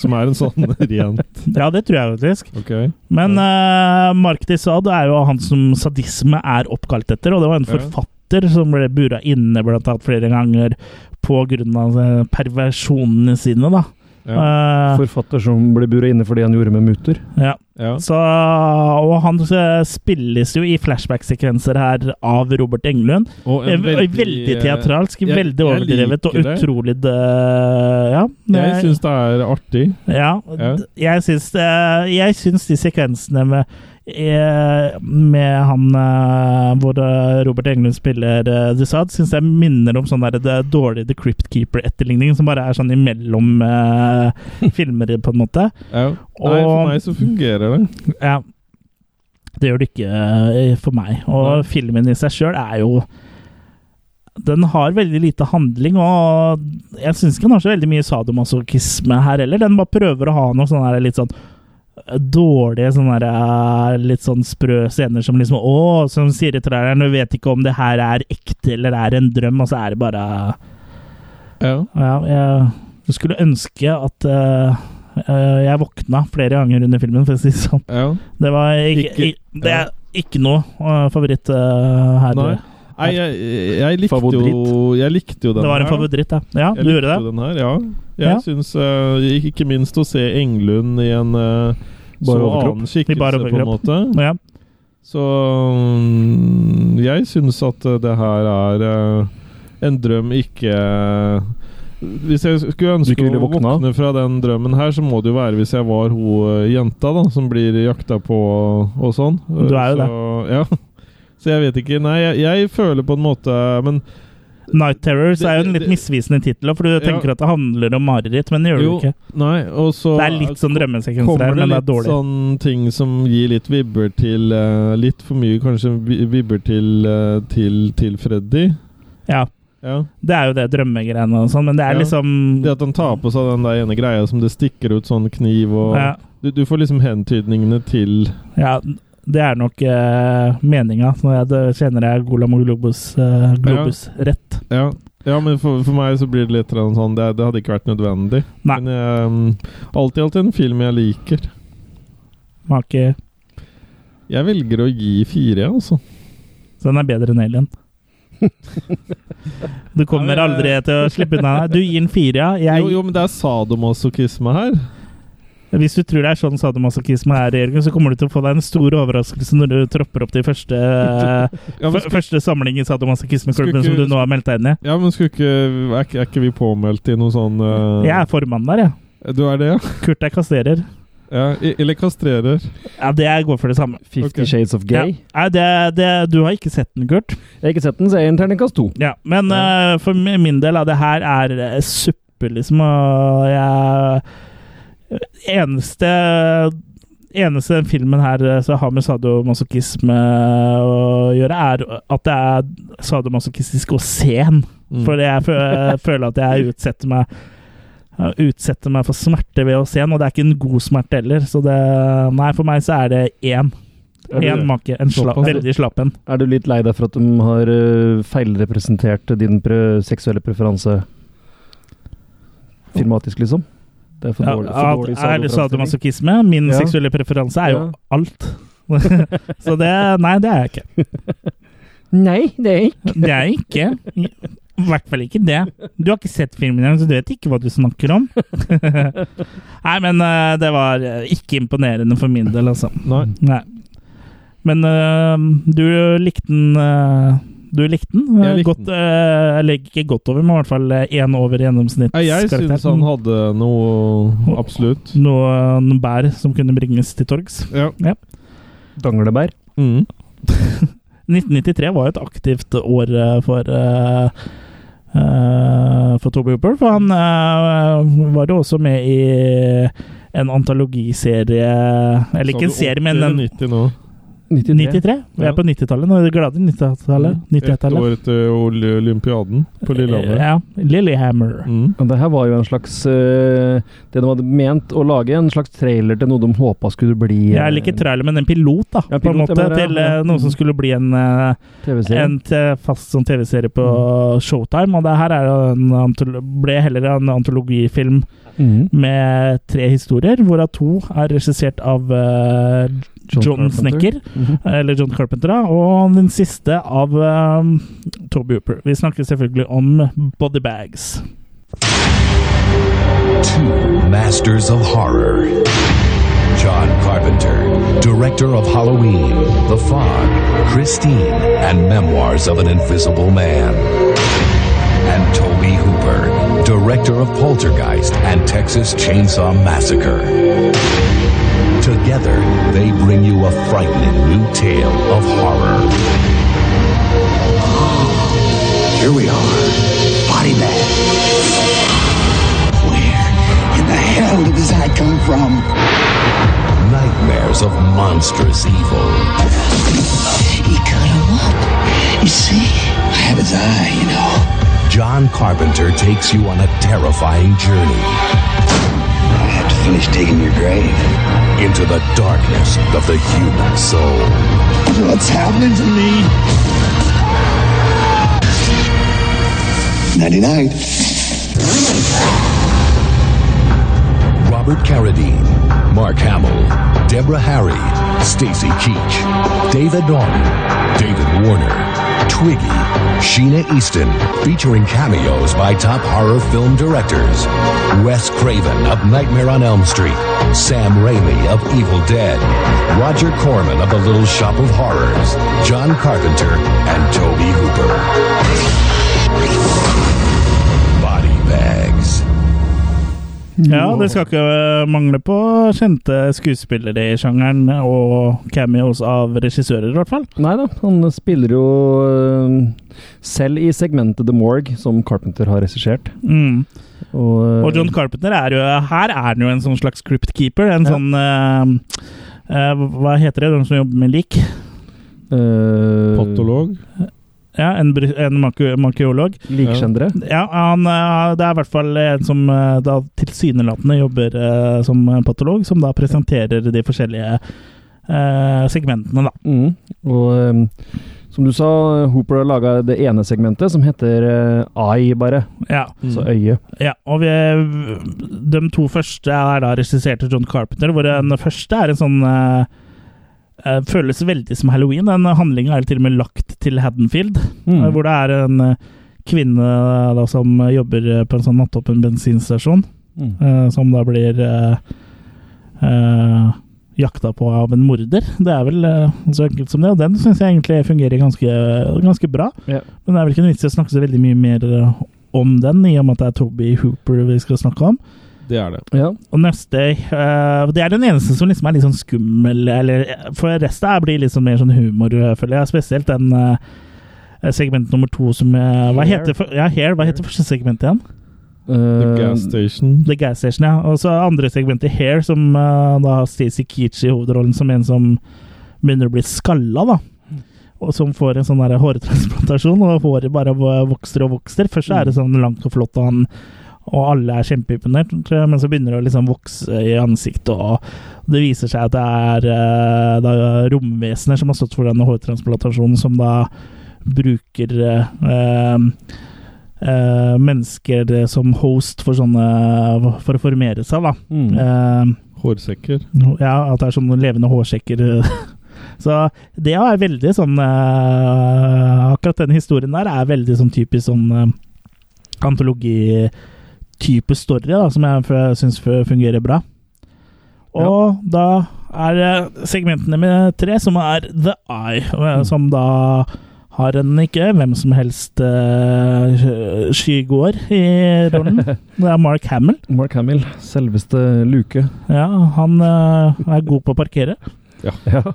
Speaker 2: Som er en sånn rent
Speaker 1: Ja, det tror jeg faktisk.
Speaker 2: Ok.
Speaker 1: Men eh, Mark de Sade er jo han som sadisme er oppkalt etter, og det var en
Speaker 2: Ja.
Speaker 1: forfatter som ble bura inne blant annet flere ganger på grunn av eh, perversjonene sine, da. Eh,
Speaker 3: Forfatter som ble bura inne for det han gjorde med muter.
Speaker 1: ja. Så, og han eh, spilles jo i flashback-sekvenser her av Robert Englund.
Speaker 2: Og en
Speaker 1: veldig,
Speaker 2: veldig,
Speaker 1: veldig
Speaker 2: eh,
Speaker 1: teatralsk,
Speaker 2: jeg-
Speaker 1: veldig
Speaker 2: jeg
Speaker 1: overdrevet og
Speaker 2: liker det.
Speaker 1: utrolig eh, Ja.
Speaker 2: Jeg syns det er artig.
Speaker 1: Ja,
Speaker 2: Ja.
Speaker 1: d- Jeg, syns, det- jeg syns de sekvensene med eh, med han eh, hvor eh, Robert Englund spiller eh, Dusad, syns jeg minner om sånn der, det dårlige The Crypt Keeper-etterligning, som bare er sånn imellom eh, filmer, på en måte.
Speaker 2: Ja. Nei, for meg så fungerer det.
Speaker 1: Ja. Det gjør det ikke eh, for meg. Og filmen i seg sjøl er jo Den har veldig lite handling, og jeg syns ikke den har så veldig mye sadomasochisme her heller. Den bare prøver å ha noe sånn her litt sånn eh, Dårlige, sånne her, eh, litt sånn sprø scener som liksom Å, som sier i traileren, du vet ikke om det her er ekte eller er en drøm, og så er det bare
Speaker 2: Ja.
Speaker 1: jeg, jeg skulle ønske at eh, eh, jeg våkna flere ganger under filmen, for å si det sånn. Det var ikke,
Speaker 2: Ikke-
Speaker 1: i, Det er ikke noe eh, favoritt eh, her.
Speaker 2: Nei. Nei, jeg, jeg, likte jo, jeg likte jo den
Speaker 1: Det var en
Speaker 2: her, da.
Speaker 1: favoritt, ja. Ja,
Speaker 2: Jeg
Speaker 1: du
Speaker 2: likte
Speaker 1: gjorde det?
Speaker 2: jo Den her, ja. Jeg
Speaker 1: Ja.
Speaker 2: syns eh, ikke- ikke minst å se Englund i en eh,
Speaker 1: Bare
Speaker 2: så
Speaker 1: overkropp. I
Speaker 2: annen
Speaker 1: bare
Speaker 2: skikkelse, på en
Speaker 1: overkropp.
Speaker 2: måte.
Speaker 1: Ja.
Speaker 2: Så mm, jeg syns at eh, det her er eh, en drøm ikke Hvis jeg skulle
Speaker 3: Du
Speaker 2: ønske
Speaker 3: ikke ville
Speaker 2: å
Speaker 3: våkne av?
Speaker 2: våkne fra den drømmen her, så må det jo være hvis jeg var hun eh, jenta da som blir jakta på og, og sånn.
Speaker 1: Du er jo
Speaker 2: så, det. Ja. Så jeg vet ikke. Nei, jeg, jeg føler på en måte Men
Speaker 1: Night Terrors er jo en litt misvisende tittel, for du tenker at det handler om mareritt, men det gjør det jo ikke.
Speaker 2: Nei, og så
Speaker 1: Det er litt sånn drømmesekvenser
Speaker 2: kommer
Speaker 1: der,
Speaker 2: det
Speaker 1: men det er
Speaker 2: litt
Speaker 1: dårlig.
Speaker 2: sånn ting som gir litt vibber til eh, Litt for mye kanskje vi- vibber til, eh, til, til Freddy.
Speaker 1: Ja. Det er jo det drømmegreiene og sånn, men det er
Speaker 2: Ja.
Speaker 1: liksom
Speaker 2: Det at han tar på seg den der ene greia som det stikker ut sånn kniv og
Speaker 1: Ja.
Speaker 2: du, du får liksom hentydningene til
Speaker 1: Ja, det er nok uh, meninga. Når jeg det kjenner jeg Golam og Globus, eh, Globus rett.
Speaker 2: Ja, ja men for, for meg så blir det litt grann sånn Det, det hadde ikke vært nødvendig. Men ehm, alt i alt en film jeg liker.
Speaker 1: Make
Speaker 2: Jeg velger å gi fire, jeg, altså.
Speaker 1: Så den er bedre enn Alien. Du kommer aldri til å slippe unna. Du gir den fire, ja. Jeg,
Speaker 2: eh, Jo, jo, men det er sadomasochisme her.
Speaker 1: Hvis du tror det er sånn sadomasochisme er, Jørgen, så kommer du til å få deg en stor overraskelse når du tropper opp til første, eh,
Speaker 2: Ja, men
Speaker 1: f- første samling i sadomasochismeklubben
Speaker 2: Skulle
Speaker 1: som
Speaker 2: ikke-
Speaker 1: du nå har meldt deg inn i.
Speaker 2: Ja, men skulle ikke Er, ikke- er ikke vi påmeldt i noe sånn eh,
Speaker 1: Jeg er formann der, jeg.
Speaker 2: Du er det, ja?
Speaker 1: Kurt er kastrerer.
Speaker 2: Ja, i- eller kastrerer.
Speaker 1: Ja, det går for det samme.
Speaker 3: Fifty Shades of Gay.
Speaker 1: Ja. Nei, det, det, du har ikke sett den, Kurt?
Speaker 3: Jeg har ikke sett den, så jeg gir den terningkast to.
Speaker 1: Ja, men eh, for mi- min del av det her er eh, suppe, liksom, og jeg Eneste Eneste den filmen her eh, som har med sadomasochisme å gjøre, er at det er sadomasochistisk og sen.
Speaker 2: Mm.
Speaker 1: For jeg fø føler at jeg utsetter meg jeg Utsetter meg for smerte ved å se den, og det er ikke en god smerte heller. Så det Nei, for meg så er det én.
Speaker 3: Er du-
Speaker 1: Én make. En slapp,
Speaker 3: Såpass.
Speaker 1: veldig slapp en.
Speaker 3: Er du litt lei deg for at de har øh, feilrepresentert din pre seksuelle preferanse filmatisk, liksom? Det er for
Speaker 1: Ja,
Speaker 3: dårlig,
Speaker 1: at-
Speaker 3: for dårlig
Speaker 1: er det
Speaker 3: sadomasochisme.
Speaker 1: sadomasochisme? Min
Speaker 3: Ja.
Speaker 1: seksuelle preferanse er jo
Speaker 3: Ja.
Speaker 1: alt. så det Nei, det er jeg ikke.
Speaker 3: Nei, det er ikke.
Speaker 1: Det er jeg ikke. I hvert fall ikke det. Du har ikke sett filmen engang, så du vet ikke hva du snakker om. nei, men eh, det var eh, ikke imponerende for min del, altså.
Speaker 2: Nei.
Speaker 1: Nei. Men eh, du likte den eh, Du likte den?
Speaker 2: Jeg likte
Speaker 1: godt, eh, eller ikke godt over, men i hvert fall eh, én over
Speaker 2: Nei, Jeg syns han
Speaker 1: gjennomsnittskarakteren.
Speaker 2: hadde noe Absolutt.
Speaker 1: Noen bær som kunne bringes til torgs.
Speaker 2: Ja. Mm.
Speaker 1: Ja.
Speaker 3: Danglebær.
Speaker 1: 1993 var jo et aktivt år eh, for eh, eh, for Toby Hooper, for han eh, var jo også med i en antologiserie Eller ikke en serie, men en
Speaker 2: 90 nå.
Speaker 1: 93? Vi
Speaker 2: Ja.
Speaker 1: er på 90-tallet nå. er det Glade 90-tallet.
Speaker 2: Ett
Speaker 1: 91-tallet.
Speaker 2: år etter Oli- olympiaden på
Speaker 1: Eh,
Speaker 2: Lillehammer. Mm.
Speaker 1: Ja. Lillehammer.
Speaker 3: Og det her var jo en slags øh, Det de hadde ment å lage, en slags trailer til noe de håpa skulle bli eh,
Speaker 1: Jeg liker trailer, men en pilot, da.
Speaker 3: Ja,
Speaker 1: på en
Speaker 3: pilot,
Speaker 1: måte,
Speaker 3: jeg mener, ja.
Speaker 1: til eh, noe
Speaker 2: Mm.
Speaker 1: som skulle bli en, eh,
Speaker 3: TV-serie.
Speaker 1: en te- fast sånn TV-serie på
Speaker 2: Mm.
Speaker 1: Showtime. Og det her er jo en antolo ble heller en antologifilm
Speaker 3: Mhm.
Speaker 1: med tre historier, hvorav to er regissert av eh,
Speaker 3: John
Speaker 1: John,
Speaker 3: Carpenter.
Speaker 1: Snekker,
Speaker 3: Mhm.
Speaker 1: eller John Carpenter, da, og den siste av eh, Toby Hooper. Vi snakker selvfølgelig om Bodybags.
Speaker 19: Two masters of horror. John Carpenter, director of Halloween, The Fog, Christine, and Memoirs of an Invisible Man. And Toby Hooper, director of Poltergeist and Texas Chainsaw Massacre. Together, they bring you a frightening new tale of horror.
Speaker 12: Here we are. Body bag.
Speaker 19: In the hell did this eye come from? Nightmares of monstrous evil.
Speaker 12: He cut him up. You see?
Speaker 19: I have his eye, you know. John Carpenter takes you on a terrifying journey. I have to finish digging your grave. Into the darkness of the human soul.
Speaker 12: What's happening to me?
Speaker 19: Nighty night. Robert Carradine, Mark Hamill, Deborah Harry, Stacy Keach, David Norton, David Warner, Twiggy, Sheena Easton, featuring cameos by top horror film directors Wes Craven of Nightmare on Elm Street, Sam Raimi of Evil Dead, Roger Corman of The Little Shop of Horrors, John Carpenter, and Toby Hooper.
Speaker 1: Ja, det skal ikke eh, mangle på kjente skuespillere i sjangeren, og cameos av regissører, i hvert fall.
Speaker 3: Nei da, han spiller jo øh, selv i segmentet The Morgue, som Carpenter har regissert.
Speaker 1: Mm.
Speaker 3: Og, øh,
Speaker 1: Og John Carpenter er jo Her er han jo en sånn slags cryptkeeper. En sånn eh, eh, Hva heter det, de som jobber med lik?
Speaker 3: øh,
Speaker 2: Patolog?
Speaker 1: Ja, en, bry- en maki- makiolog.
Speaker 3: Likskjendere?
Speaker 1: Ja, han, eh, det er i hvert fall en som eh, da tilsynelatende jobber eh, som patolog, som da presenterer de forskjellige eh, segmentene, da.
Speaker 3: Mm. Og øhm, som du sa, Hooper har laga det ene segmentet, som heter øh, Eye, bare.
Speaker 1: Ja.
Speaker 3: Altså
Speaker 2: Mm.
Speaker 3: øye.
Speaker 1: Ja, og vi, de to første er da regissert av John Carpenter, hvor den første er en sånn eh, eh, Føles veldig som halloween. Den handlinga er til og med lagt til Haddonfield,
Speaker 3: Mm.
Speaker 1: eh, hvor det er en eh, kvinne eh, da, som jobber eh, på en sånn nattåpen bensinstasjon,
Speaker 3: Mm.
Speaker 1: eh, som da blir eh, eh, jakta på av en morder. Det er vel eh, så enkelt som det, og den syns jeg egentlig fungerer ganske, ganske bra.
Speaker 3: Ja.
Speaker 1: Men det er vel ikke noe vits i å snakke så veldig mye mer eh, om den, i og med at det er Toby Hooper vi skal snakke om.
Speaker 2: Det er det.
Speaker 3: Ja.
Speaker 1: Og neste eh, Det er den eneste som liksom er litt sånn skummel, eller eh, For resten her blir liksom mer sånn humor, eh, føler jeg. Spesielt den eh, segment nummer to som eh, Hva
Speaker 3: Hair.
Speaker 1: heter for, Ja, Hair. Hva heter første segment igjen?
Speaker 2: The
Speaker 3: Øh,
Speaker 2: Gas Station.
Speaker 1: The Gas Station, ja. Og så andre segmentet Hair, som eh, da har Stacey Keach i hovedrollen som en som begynner å bli skalla, da. Og som får en sånn der hårtransplantasjon, og håret bare v- vokser og vokser. Først så er det sånn langt og flott, og, han, og alle er kjempeimponert, tror jeg, men så begynner det å liksom vokse i ansiktet, og det viser seg at det er, eh, det er romvesener som har stått for denne hårtransplantasjonen, som da bruker eh, eh, mennesker som host for sånne For å formere seg, da.
Speaker 3: Mm.
Speaker 1: Eh,
Speaker 2: Hårsekker.
Speaker 1: ja, at det er sånne levende hårsekker. Så det er veldig sånn eh, Akkurat den historien der er veldig sånn typisk sånn eh, antologitype story, da, som jeg f- syns f- fungerer bra. Og da er det segmentene med tre, som er The Eye, og, eh, som da har en ikke hvem som helst eh, sky- skygård i rollen. Det er Mark Hamill.
Speaker 3: Mark Hamill, selveste luke.
Speaker 1: Ja, han eh, er god på å parkere.
Speaker 3: Ja.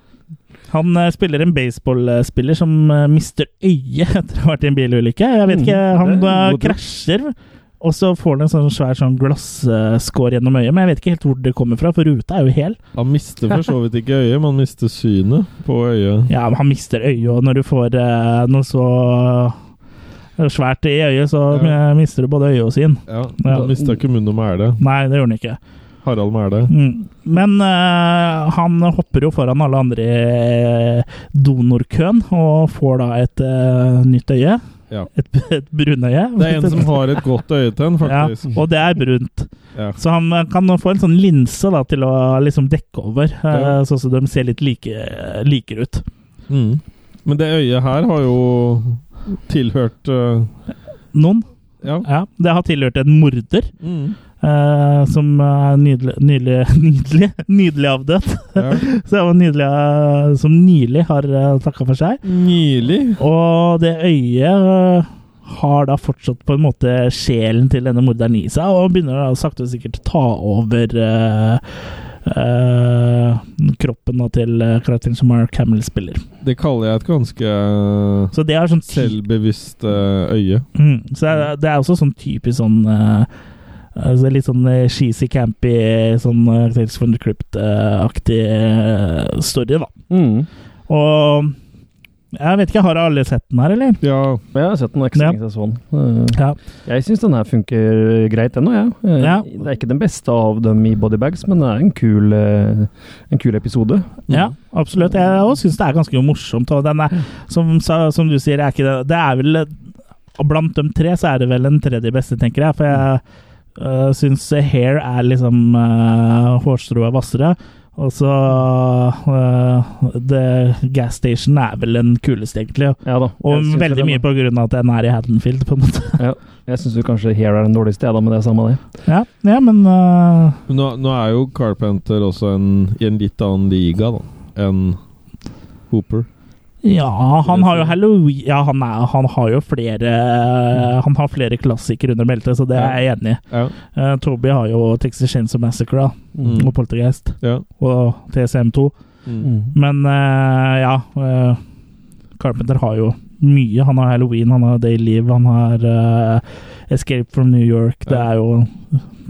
Speaker 1: Han eh, spiller en baseballspiller som eh, mister øyet etter å ha vært i en bilulykke. Jeg vet
Speaker 3: Mm,
Speaker 1: ikke, Han
Speaker 3: det er
Speaker 1: eh,
Speaker 3: godt gjort.
Speaker 1: krasjer, og så får han en sånn svær sånn glasskår gjennom øyet. Men jeg vet ikke helt hvor det kommer fra, for ruta er jo hel.
Speaker 2: Han mister for så vidt ikke øyet, men han mister synet på øyet.
Speaker 1: Ja, men han mister øyet, og når du får eh, noe så eh, svært i øyet, så
Speaker 2: Ja.
Speaker 1: eh, mister du både øye og syn.
Speaker 2: Ja,
Speaker 1: Ja.
Speaker 2: Han mista ikke munn og mæle.
Speaker 1: Nei, det gjorde han ikke.
Speaker 2: Harald Mæle.
Speaker 1: Mm. Men eh, han hopper jo foran alle andre i eh, donorkøen og får da et eh, nytt øye.
Speaker 2: Ja.
Speaker 1: Et, et brunøye.
Speaker 2: Det er en som har et godt øye til en,
Speaker 1: ja,
Speaker 2: faktisk.
Speaker 1: og det er brunt.
Speaker 2: Ja.
Speaker 1: Så han kan få en sånn linse da, til å liksom dekke over, eh,
Speaker 2: Ja.
Speaker 1: sånn at de ser litt like, likere ut.
Speaker 2: Mm. Men det øyet her har jo tilhørt eh,
Speaker 1: Noen.
Speaker 2: Ja.
Speaker 1: Ja, det har tilhørt en morder,
Speaker 2: Mm.
Speaker 1: eh, som er nydelig, nydelig, nydelig, nydelig avdød.
Speaker 2: ja.
Speaker 1: Så det var nydelig, eh, som nylig har uh, takka for seg.
Speaker 2: Nylig.
Speaker 1: Og det øyet øh, har da fortsatt på en måte sjelen til denne morderen i seg, og begynner da sakte og sikkert å ta over øh, øh, kroppen da til øh, karakteren som Mark Hamill spiller.
Speaker 2: Det kaller jeg et ganske eh,
Speaker 1: Så det er sånn ty-
Speaker 2: selvbevisst eh, øye.
Speaker 1: mm, Så det er, det er også sånn typisk sånn øh, altså Litt sånn øh, cheesy, campy, sånn øh, Tales from the Crypt-aktig øh, story, da.
Speaker 3: Mm.
Speaker 1: Og jeg vet ikke, har alle sett den her, eller?
Speaker 2: Ja.
Speaker 3: Jeg har sett den ekstra
Speaker 1: Ja.
Speaker 3: lenge siden jeg så den. Øh,
Speaker 1: Ja.
Speaker 3: Jeg syns den her funker greit ennå, jeg. Øh,
Speaker 1: Ja.
Speaker 3: Det er ikke den beste av dem i bodybags, men det er en kul, øh, en kul episode.
Speaker 1: Ja, absolutt. Jeg òg syns det er ganske morsomt. Og den er, som, sa- som du sier, er ikke det, det er vel og Blant de tre så er det vel den tredje beste, tenker jeg. For jeg øh, syns hair er liksom øh, hårstrået hvassere. Og så øh, The Gas Station er vel den kuleste, egentlig.
Speaker 3: Ja da.
Speaker 1: Og
Speaker 3: jeg syns
Speaker 1: veldig
Speaker 3: den-
Speaker 1: mye på grunn av at den er i Haddonfield, på en måte.
Speaker 3: Ja. Jeg syns kanskje Hair er den dårligste, jeg, da, men det er samme det.
Speaker 1: Ja, ja men øh,
Speaker 2: Men Nå, nå er jo Carpenter også en, i en litt annen liga da enn Hooper.
Speaker 1: Ja, han har jo Halloween Ja, han, er, han har jo flere Han har flere klassikere under beltet, så det er jeg enig i. Eh, Toby har jo Texas Chainsaw Massacre da,
Speaker 2: Mm.
Speaker 1: og Poltergeist
Speaker 2: Ja.
Speaker 1: og TCM2.
Speaker 2: Mm.
Speaker 1: Men eh, ja eh, Carpenter har jo mye. Han har Halloween, han har Day Live, han har eh, Escape from New York. Det er jo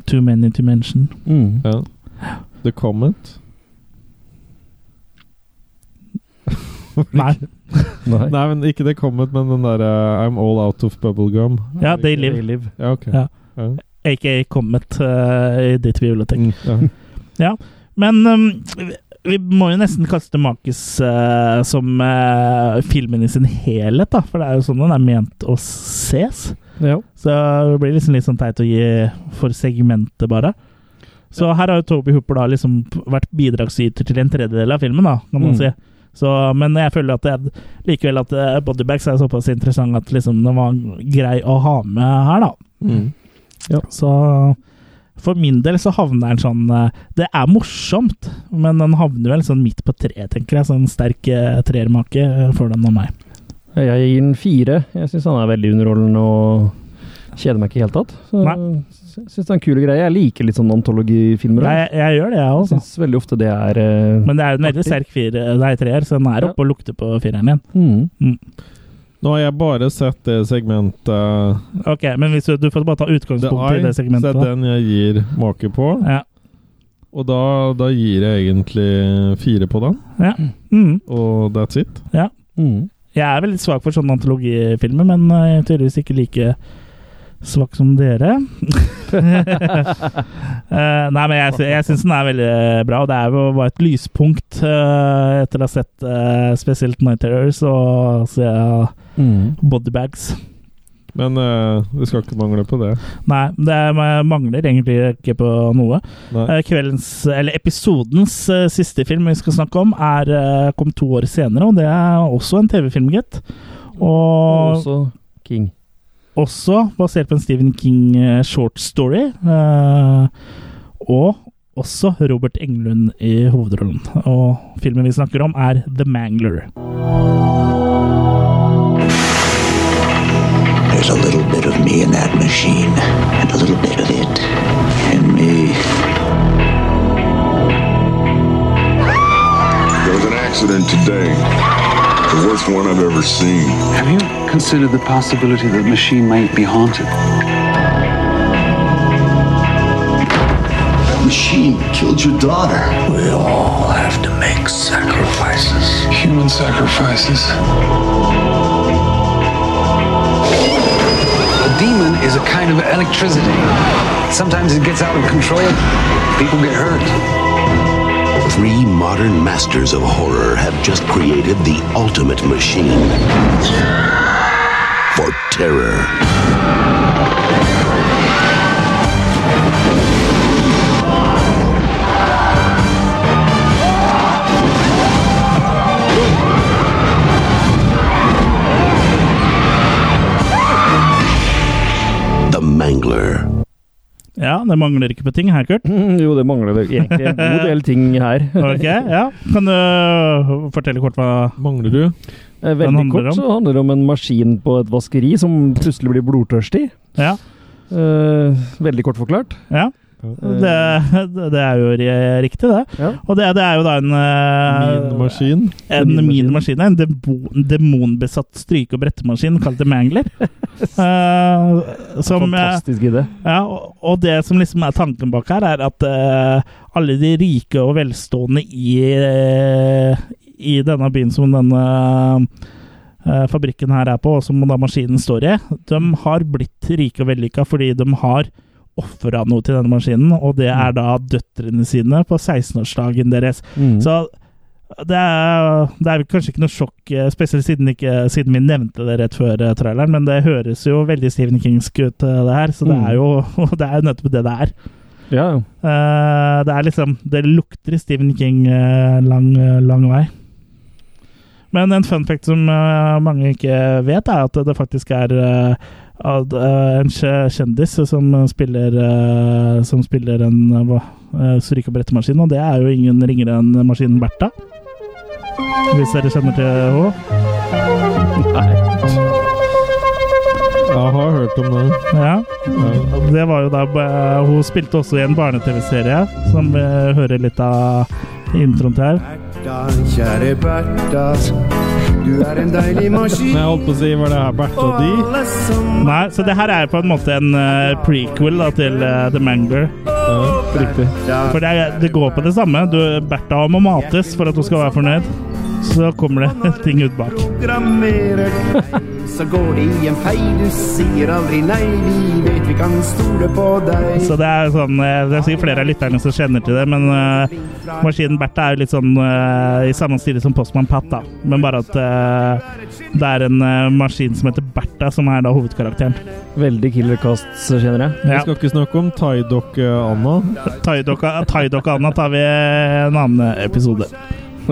Speaker 1: too many to mention.
Speaker 3: Mm.
Speaker 2: Ja. The Comment?
Speaker 1: Nei.
Speaker 2: Nei. men ikke The Comment, men den derre eh, I'm All Out of Bubblegum.
Speaker 1: Ja,
Speaker 2: Er det
Speaker 1: They
Speaker 2: ikke-
Speaker 1: Live.
Speaker 2: Ja, ok.
Speaker 1: Ja.
Speaker 2: Ja.
Speaker 1: Aka Comet eh, i ditt bibliotek.
Speaker 2: Mm. ja.
Speaker 1: Ja, men um, vi- vi må jo nesten kaste Markus eh, som eh, filmen i sin helhet, da. For det er jo sånn den er ment å ses.
Speaker 3: Ja.
Speaker 1: Så det blir liksom litt sånn teit å gi for segmentet, bare. Så her har jo Toby Hooper da liksom vært bidragsyter til en tredjedel av filmen, da, kan man
Speaker 3: Mm.
Speaker 1: si. Så, men jeg føler at det, likevel at eh, Bodybags er såpass interessant at liksom den var grei å ha med her, da.
Speaker 2: Mm.
Speaker 1: Så for min del så havner den sånn eh, Det er morsomt, men den havner vel sånn midt på treet, tenker jeg. Sånn sterk eh, treermake eh, får den av meg.
Speaker 20: Jeg gir den fire. Jeg syns han er veldig underholdende og kjeder meg ikke i det hele tatt. Så
Speaker 1: Nei.
Speaker 20: Syns det er en kul greie. Jeg liker litt sånn antologifilmer.
Speaker 1: Nei, jeg, jeg gjør det, jeg også.
Speaker 20: Syns veldig ofte det er eh,
Speaker 1: Men det er en veldig sterk fire, nei, treer, så den er oppe og lukter på fireren igjen.
Speaker 20: eh, mm,
Speaker 2: Nå har jeg bare sett det segmentet eh,
Speaker 1: Ok, men hvis du, du får bare ta
Speaker 2: The
Speaker 1: utgangspunkt i
Speaker 2: Eye.
Speaker 1: det segmentet.
Speaker 2: så Det
Speaker 1: da.
Speaker 2: er den jeg gir make på.
Speaker 1: Ja.
Speaker 2: Og da, da gir jeg egentlig fire på den.
Speaker 1: Ja. Mm.
Speaker 2: Og that's it.
Speaker 1: Ja.
Speaker 20: mm,
Speaker 1: Jeg er veldig svak for sånne antologifilmer, men eh, jeg er tydeligvis ikke like svak som dere. Eh, nei, men jeg, sy- jeg syns den er veldig eh, bra, og det er jo bare et lyspunkt eh, etter å ha sett eh, spesielt Night Terrors og se eh,
Speaker 20: mm.
Speaker 1: Bodybags.
Speaker 2: Men eh, det skal ikke mangle på det.
Speaker 1: Nei, det er- man mangler egentlig ikke på noe.
Speaker 2: Nei.
Speaker 1: Eh, Kveldens, eller episodens eh, siste film vi skal snakke om, er, eh, kom to år senere, og det er også en TV-film, gitt. Og
Speaker 20: også King.
Speaker 1: Også basert på en Stephen King eh, short story. eh, og også Robert Englund i hovedrollen. Og filmen vi snakker om, er The Mangler.
Speaker 12: There's a little bit of me in that machine, and a little bit of it in me.
Speaker 21: There was an accident today. The worst one I've ever seen.
Speaker 22: Have you considered the possibility that the machine might be haunted?
Speaker 12: That machine killed your daughter. We all have to make sacrifices.
Speaker 23: Human sacrifices.
Speaker 22: A demon is a kind of electricity. Sometimes it gets out of control. People get hurt.
Speaker 12: Three modern masters of horror have just created the ultimate machine for terror. The Mangler.
Speaker 1: Ja, det mangler ikke på ting her, Kurt.
Speaker 20: jo, det mangler vel egentlig en god del ting her.
Speaker 1: ok, ja. Kan du fortelle kort hva
Speaker 2: Mangler du?
Speaker 20: Eh,
Speaker 1: Den
Speaker 20: Veldig
Speaker 1: handler
Speaker 20: kort
Speaker 1: om?
Speaker 20: så handler det om en maskin på et vaskeri som plutselig blir blodtørstig.
Speaker 1: Ja.
Speaker 20: Eh, veldig kort forklart.
Speaker 1: Ja. eh, Det, det er jo ri- riktig, det. Og det, det er jo da en eh,
Speaker 2: Minmaskin.
Speaker 1: En minmaskin. En debo- en demonbesatt stryke- og brettemaskin kalt The Mangler. Eh, som, eh,
Speaker 20: Fantastisk idé.
Speaker 1: Ja, og, og det som liksom er tanken bak her, er at eh, alle de rike og velstående i, eh, i denne byen som denne eh, fabrikken her er på, og som da maskinen står i, de har blitt rike og vellykka fordi de har ofra noe til denne maskinen, og det er da døtrene sine på 16-årsdagen deres.
Speaker 20: Mm.
Speaker 1: Så det er, det er vel kanskje ikke noe sjokk, eh, spesielt siden, ikke, siden vi nevnte det rett før eh, traileren, men det høres jo veldig Stephen Kingsk ut, eh, det her. Så det
Speaker 20: Mm.
Speaker 1: er jo det er jo nettopp det det er.
Speaker 20: Ja, ja.
Speaker 1: Eh, Det er liksom Det lukter Stephen King eh, lang, eh, lang vei. Men en fun fact som eh, mange ikke vet, er at det faktisk er eh, at, eh, en kje- kjendis som spiller eh, Som spiller en eh, hva- eh, stryke- og brettemaskin, og det er jo ingen ringere enn maskinen Bertha. Hvis dere kjenner til henne.
Speaker 2: Ja, jeg har hørt om det.
Speaker 1: Ja. Det var jo da eh, Hun spilte også i en barne-TV-serie, som vi hører litt av i introen til her.
Speaker 9: Da, kjære Bertha, du er en deilig maskin.
Speaker 2: Men jeg holdt på å si var det her Bertha og de?
Speaker 1: Nei, så det her er på en måte en eh, prequel da, til eh, The Mangler.
Speaker 2: riktig.
Speaker 1: For det, er- det går på det samme. Du, Bertha må mates for at hun skal være fornøyd. Så kommer det ting ut bak.
Speaker 9: Programmerer deg, så går det i en fei. Du sier aldri nei, vi vet vi kan stole på deg.
Speaker 1: Så det er sånn eh, Det er sikkert flere av lytterne som kjenner til det, men eh, maskinen Bertha er jo litt sånn eh, i samme stil som Postman Pat, da. Men bare at eh, det er en eh, maskin som heter Bertha, som er da hovedkarakteren.
Speaker 3: Veldig killer casts, kjenner jeg.
Speaker 2: Vi skal ikke snakke om eh, Taidok-Anna.
Speaker 1: Taidok Anna tar vi en annen eh, episode.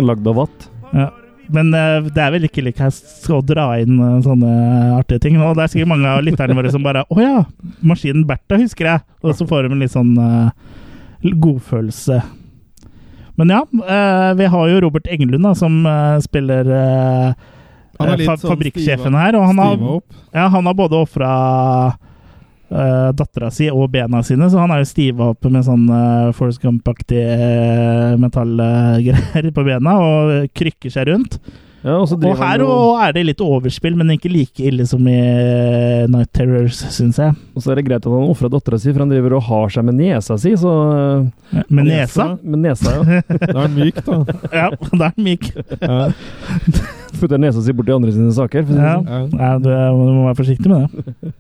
Speaker 3: Lagd av vatt.
Speaker 1: Ja. Men eh, det er vel ikke like jeg skal dra inn eh, sånne artige ting. Og det er sikkert mange av lytterne våre som bare Å ja, maskinen Bertha husker jeg! Og så får de en litt sånn eh, godfølelse. Men ja, eh, vi har jo Robert Englund, da, som eh, spiller eh,
Speaker 2: Han er litt
Speaker 1: fa
Speaker 2: sånn
Speaker 1: fabrikksjefen
Speaker 2: stiva-
Speaker 1: her. Og han har,
Speaker 2: stiva opp.
Speaker 1: ja, han har både ofra uh, dattera si og bena sine, så han er jo stiva opp med sånn uh, Force Gump-aktig eh, metallgreier på bena og krykker seg rundt.
Speaker 3: og, så driver han
Speaker 1: her
Speaker 3: jo-
Speaker 1: og er det litt overspill, men ikke like ille som i eh, Night Terrors, syns jeg.
Speaker 3: Og så er det greit at han ofra dattera si, for han driver og har seg med nesa si, så
Speaker 1: Med nesa?
Speaker 3: Med nesa, ja.
Speaker 2: Da er den myk, da.
Speaker 1: Ja, det er myk.
Speaker 2: Ja.
Speaker 3: Putter nesa si borti andre sine saker. For å si det
Speaker 1: Ja.
Speaker 3: sånn.
Speaker 1: Nei, du, du må være forsiktig med det.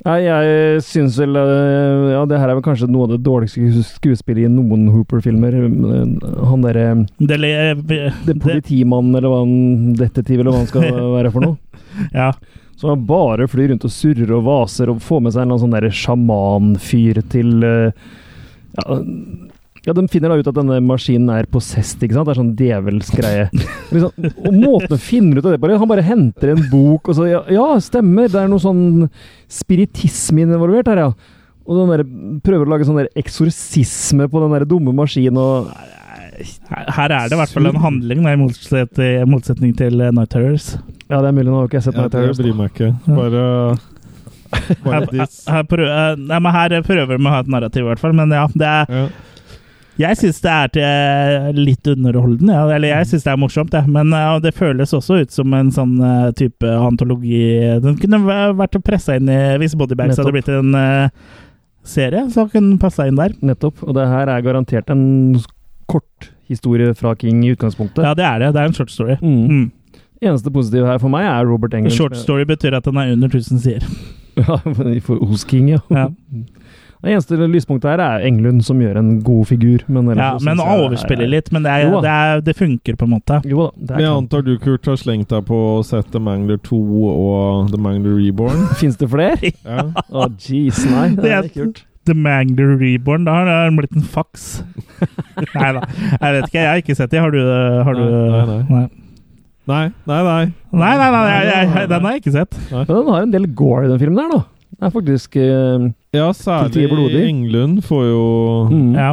Speaker 3: Nei, jeg syns vel eh, Ja, det her er vel kanskje noe av det dårligste skues- skuespillet i noen Hooper-filmer. Eh, Han derre
Speaker 1: Det, le-
Speaker 3: Det er politimannen, eller hva han Detektiv, eller hva han skal være for noe.
Speaker 1: Ja.
Speaker 3: Så han bare flyr rundt og surrer og vaser og får med seg en eller annen sånn derre sjamanfyr til eh, ja, ja, de finner da ut at denne maskinen er possessed, ikke sant? Det er sånn djevelsgreie. Liksom, og måten å finne ut av det på, eller han bare henter en bok og så Ja, ja stemmer, det er noe sånn spiritisme involvert her, ja. Og den der, prøver å lage sånn der eksorsisme på den der dumme maskinen og
Speaker 1: Her her er det i hvert fall en handling, da, i motset- i motsetning til eh, Night Terrors.
Speaker 3: Ja, det er mulig, nå har ikke jeg sett
Speaker 2: Jeg,
Speaker 3: Night Terrors.
Speaker 2: bryr meg ikke. Bare, bare
Speaker 1: Her,
Speaker 2: diss.
Speaker 1: her, prøver, nei, men her prøver de å ha et narrativ, i hvert fall. Men ja, det er Jeg syns det er til litt underholdende. Ja. Eller jeg syns det er morsomt, jeg. Men eh, det føles også ut som en sånn eh, type antologi Den kunne væ- vært pressa inn i Hvis Bodybags
Speaker 3: Nettopp.
Speaker 1: hadde blitt en eh, serie, så kunne den passa inn der.
Speaker 3: Nettopp. Og det her er garantert en kort historie fra King i utgangspunktet.
Speaker 1: Ja, det er det. Det er en short story.
Speaker 3: Mm.
Speaker 1: Mm.
Speaker 3: Eneste positive her for meg er Robert Englund.
Speaker 1: Short story betyr at den er under 1000 sider.
Speaker 3: Ja, for hos King, ja.
Speaker 1: Ja.
Speaker 3: Det eneste lyspunktet her er Englund, som gjør en god figur. Men ellers
Speaker 1: Ja,
Speaker 3: så synes
Speaker 1: men
Speaker 3: jeg-
Speaker 1: overspiller litt. Men det, er,
Speaker 3: Jo da.
Speaker 1: det, er, det funker på en måte.
Speaker 3: Jo da, det
Speaker 2: Men
Speaker 3: er
Speaker 2: jeg
Speaker 3: klart.
Speaker 2: antar du, Kurt, har slengt deg på å sette The Mangler 2 og The Mangler Reborn?
Speaker 3: Fins det flere?
Speaker 2: Ja.
Speaker 3: Å, jeez, nei. Det er
Speaker 1: Det
Speaker 3: ikke gjort.
Speaker 1: The Mangler Reborn, da har den blitt en fax. nei da, jeg vet ikke. Jeg har ikke sett det. Har du det? Har du,
Speaker 2: Nei, nei,
Speaker 1: nei.
Speaker 2: Nei, nei, nei.
Speaker 1: Nei, nei, nei, jeg, jeg, jeg, den har jeg ikke sett.
Speaker 3: Men den har en del gore, den filmen der, da. Den er faktisk eh,
Speaker 2: Ja,
Speaker 3: Til
Speaker 2: særlig
Speaker 3: tider blodig.
Speaker 2: Englund får jo
Speaker 3: mm,
Speaker 1: Ja.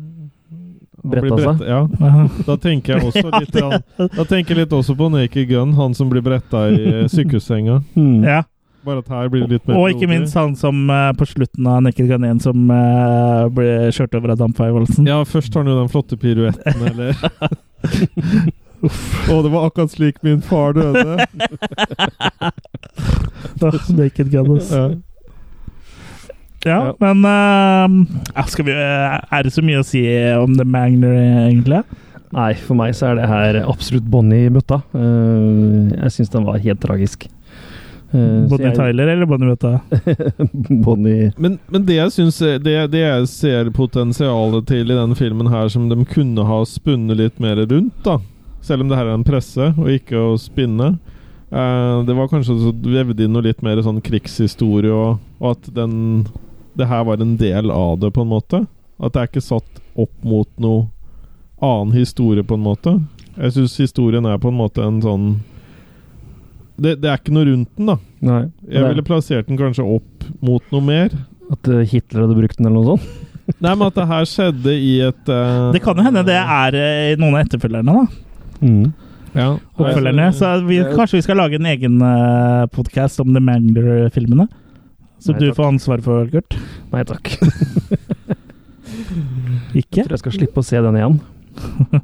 Speaker 2: han
Speaker 3: bretta
Speaker 2: blir
Speaker 3: seg.
Speaker 2: brett- Ja. Da tenker jeg også litt, grann- da tenker jeg litt også på Naked Gun, han som blir bretta i eh, sykehussenga.
Speaker 3: Mm.
Speaker 1: ja.
Speaker 2: Bare at her blir det litt mer
Speaker 1: Og ikke
Speaker 2: blodig.
Speaker 1: minst han som eh, på slutten av Naked Gun 1 som eh, ble kjørt over av dampveivoldelsen.
Speaker 2: Ja, først har han jo den flotte piruetten, eller Å, det var akkurat slik min far døde.
Speaker 1: Naked Gun, ass.
Speaker 2: Ja.
Speaker 1: Ja, men eh, ja, skal vi, eh, Er det så mye å si om The Mangler, eh, egentlig?
Speaker 3: Nei, for meg så er det her absolutt bånn i bøtta. Eh, jeg syns den var helt tragisk. Eh, så
Speaker 1: Bonnie
Speaker 3: jeg-
Speaker 1: Tyler eller Bonnie Bøtta?
Speaker 3: Bonnie
Speaker 2: Men, men det jeg syns det, det jeg ser potensialet til i denne filmen her, som de kunne ha spunnet litt mer rundt, da Selv om det her er en presse, og ikke å spinne eh, Det var kanskje så vevd inn noe litt mer sånn krigshistorie, og, og at den Det her var en del av det, på en måte. At det er ikke satt opp mot noe annen historie, på en måte. Jeg syns historien er på en måte en sånn det, det er ikke noe rundt den, da.
Speaker 3: Nei.
Speaker 2: Jeg
Speaker 3: det-
Speaker 2: ville plassert den kanskje opp mot noe mer.
Speaker 3: At eh, Hitler hadde brukt den, eller noe sånt?
Speaker 2: Nei, men at det her skjedde i et eh,
Speaker 1: Det kan jo hende det er eh, i noen av etterfølgerne, da.
Speaker 2: Ja.
Speaker 1: oppfølgerne. Så vi, kanskje vi skal lage en egen uh, podkast om The Mangler-filmene? Så
Speaker 3: Nei,
Speaker 1: du
Speaker 3: takk.
Speaker 1: får ansvaret for, Kurt.
Speaker 3: Nei takk.
Speaker 1: Ikke?
Speaker 3: Jeg tror jeg skal slippe å se den igjen.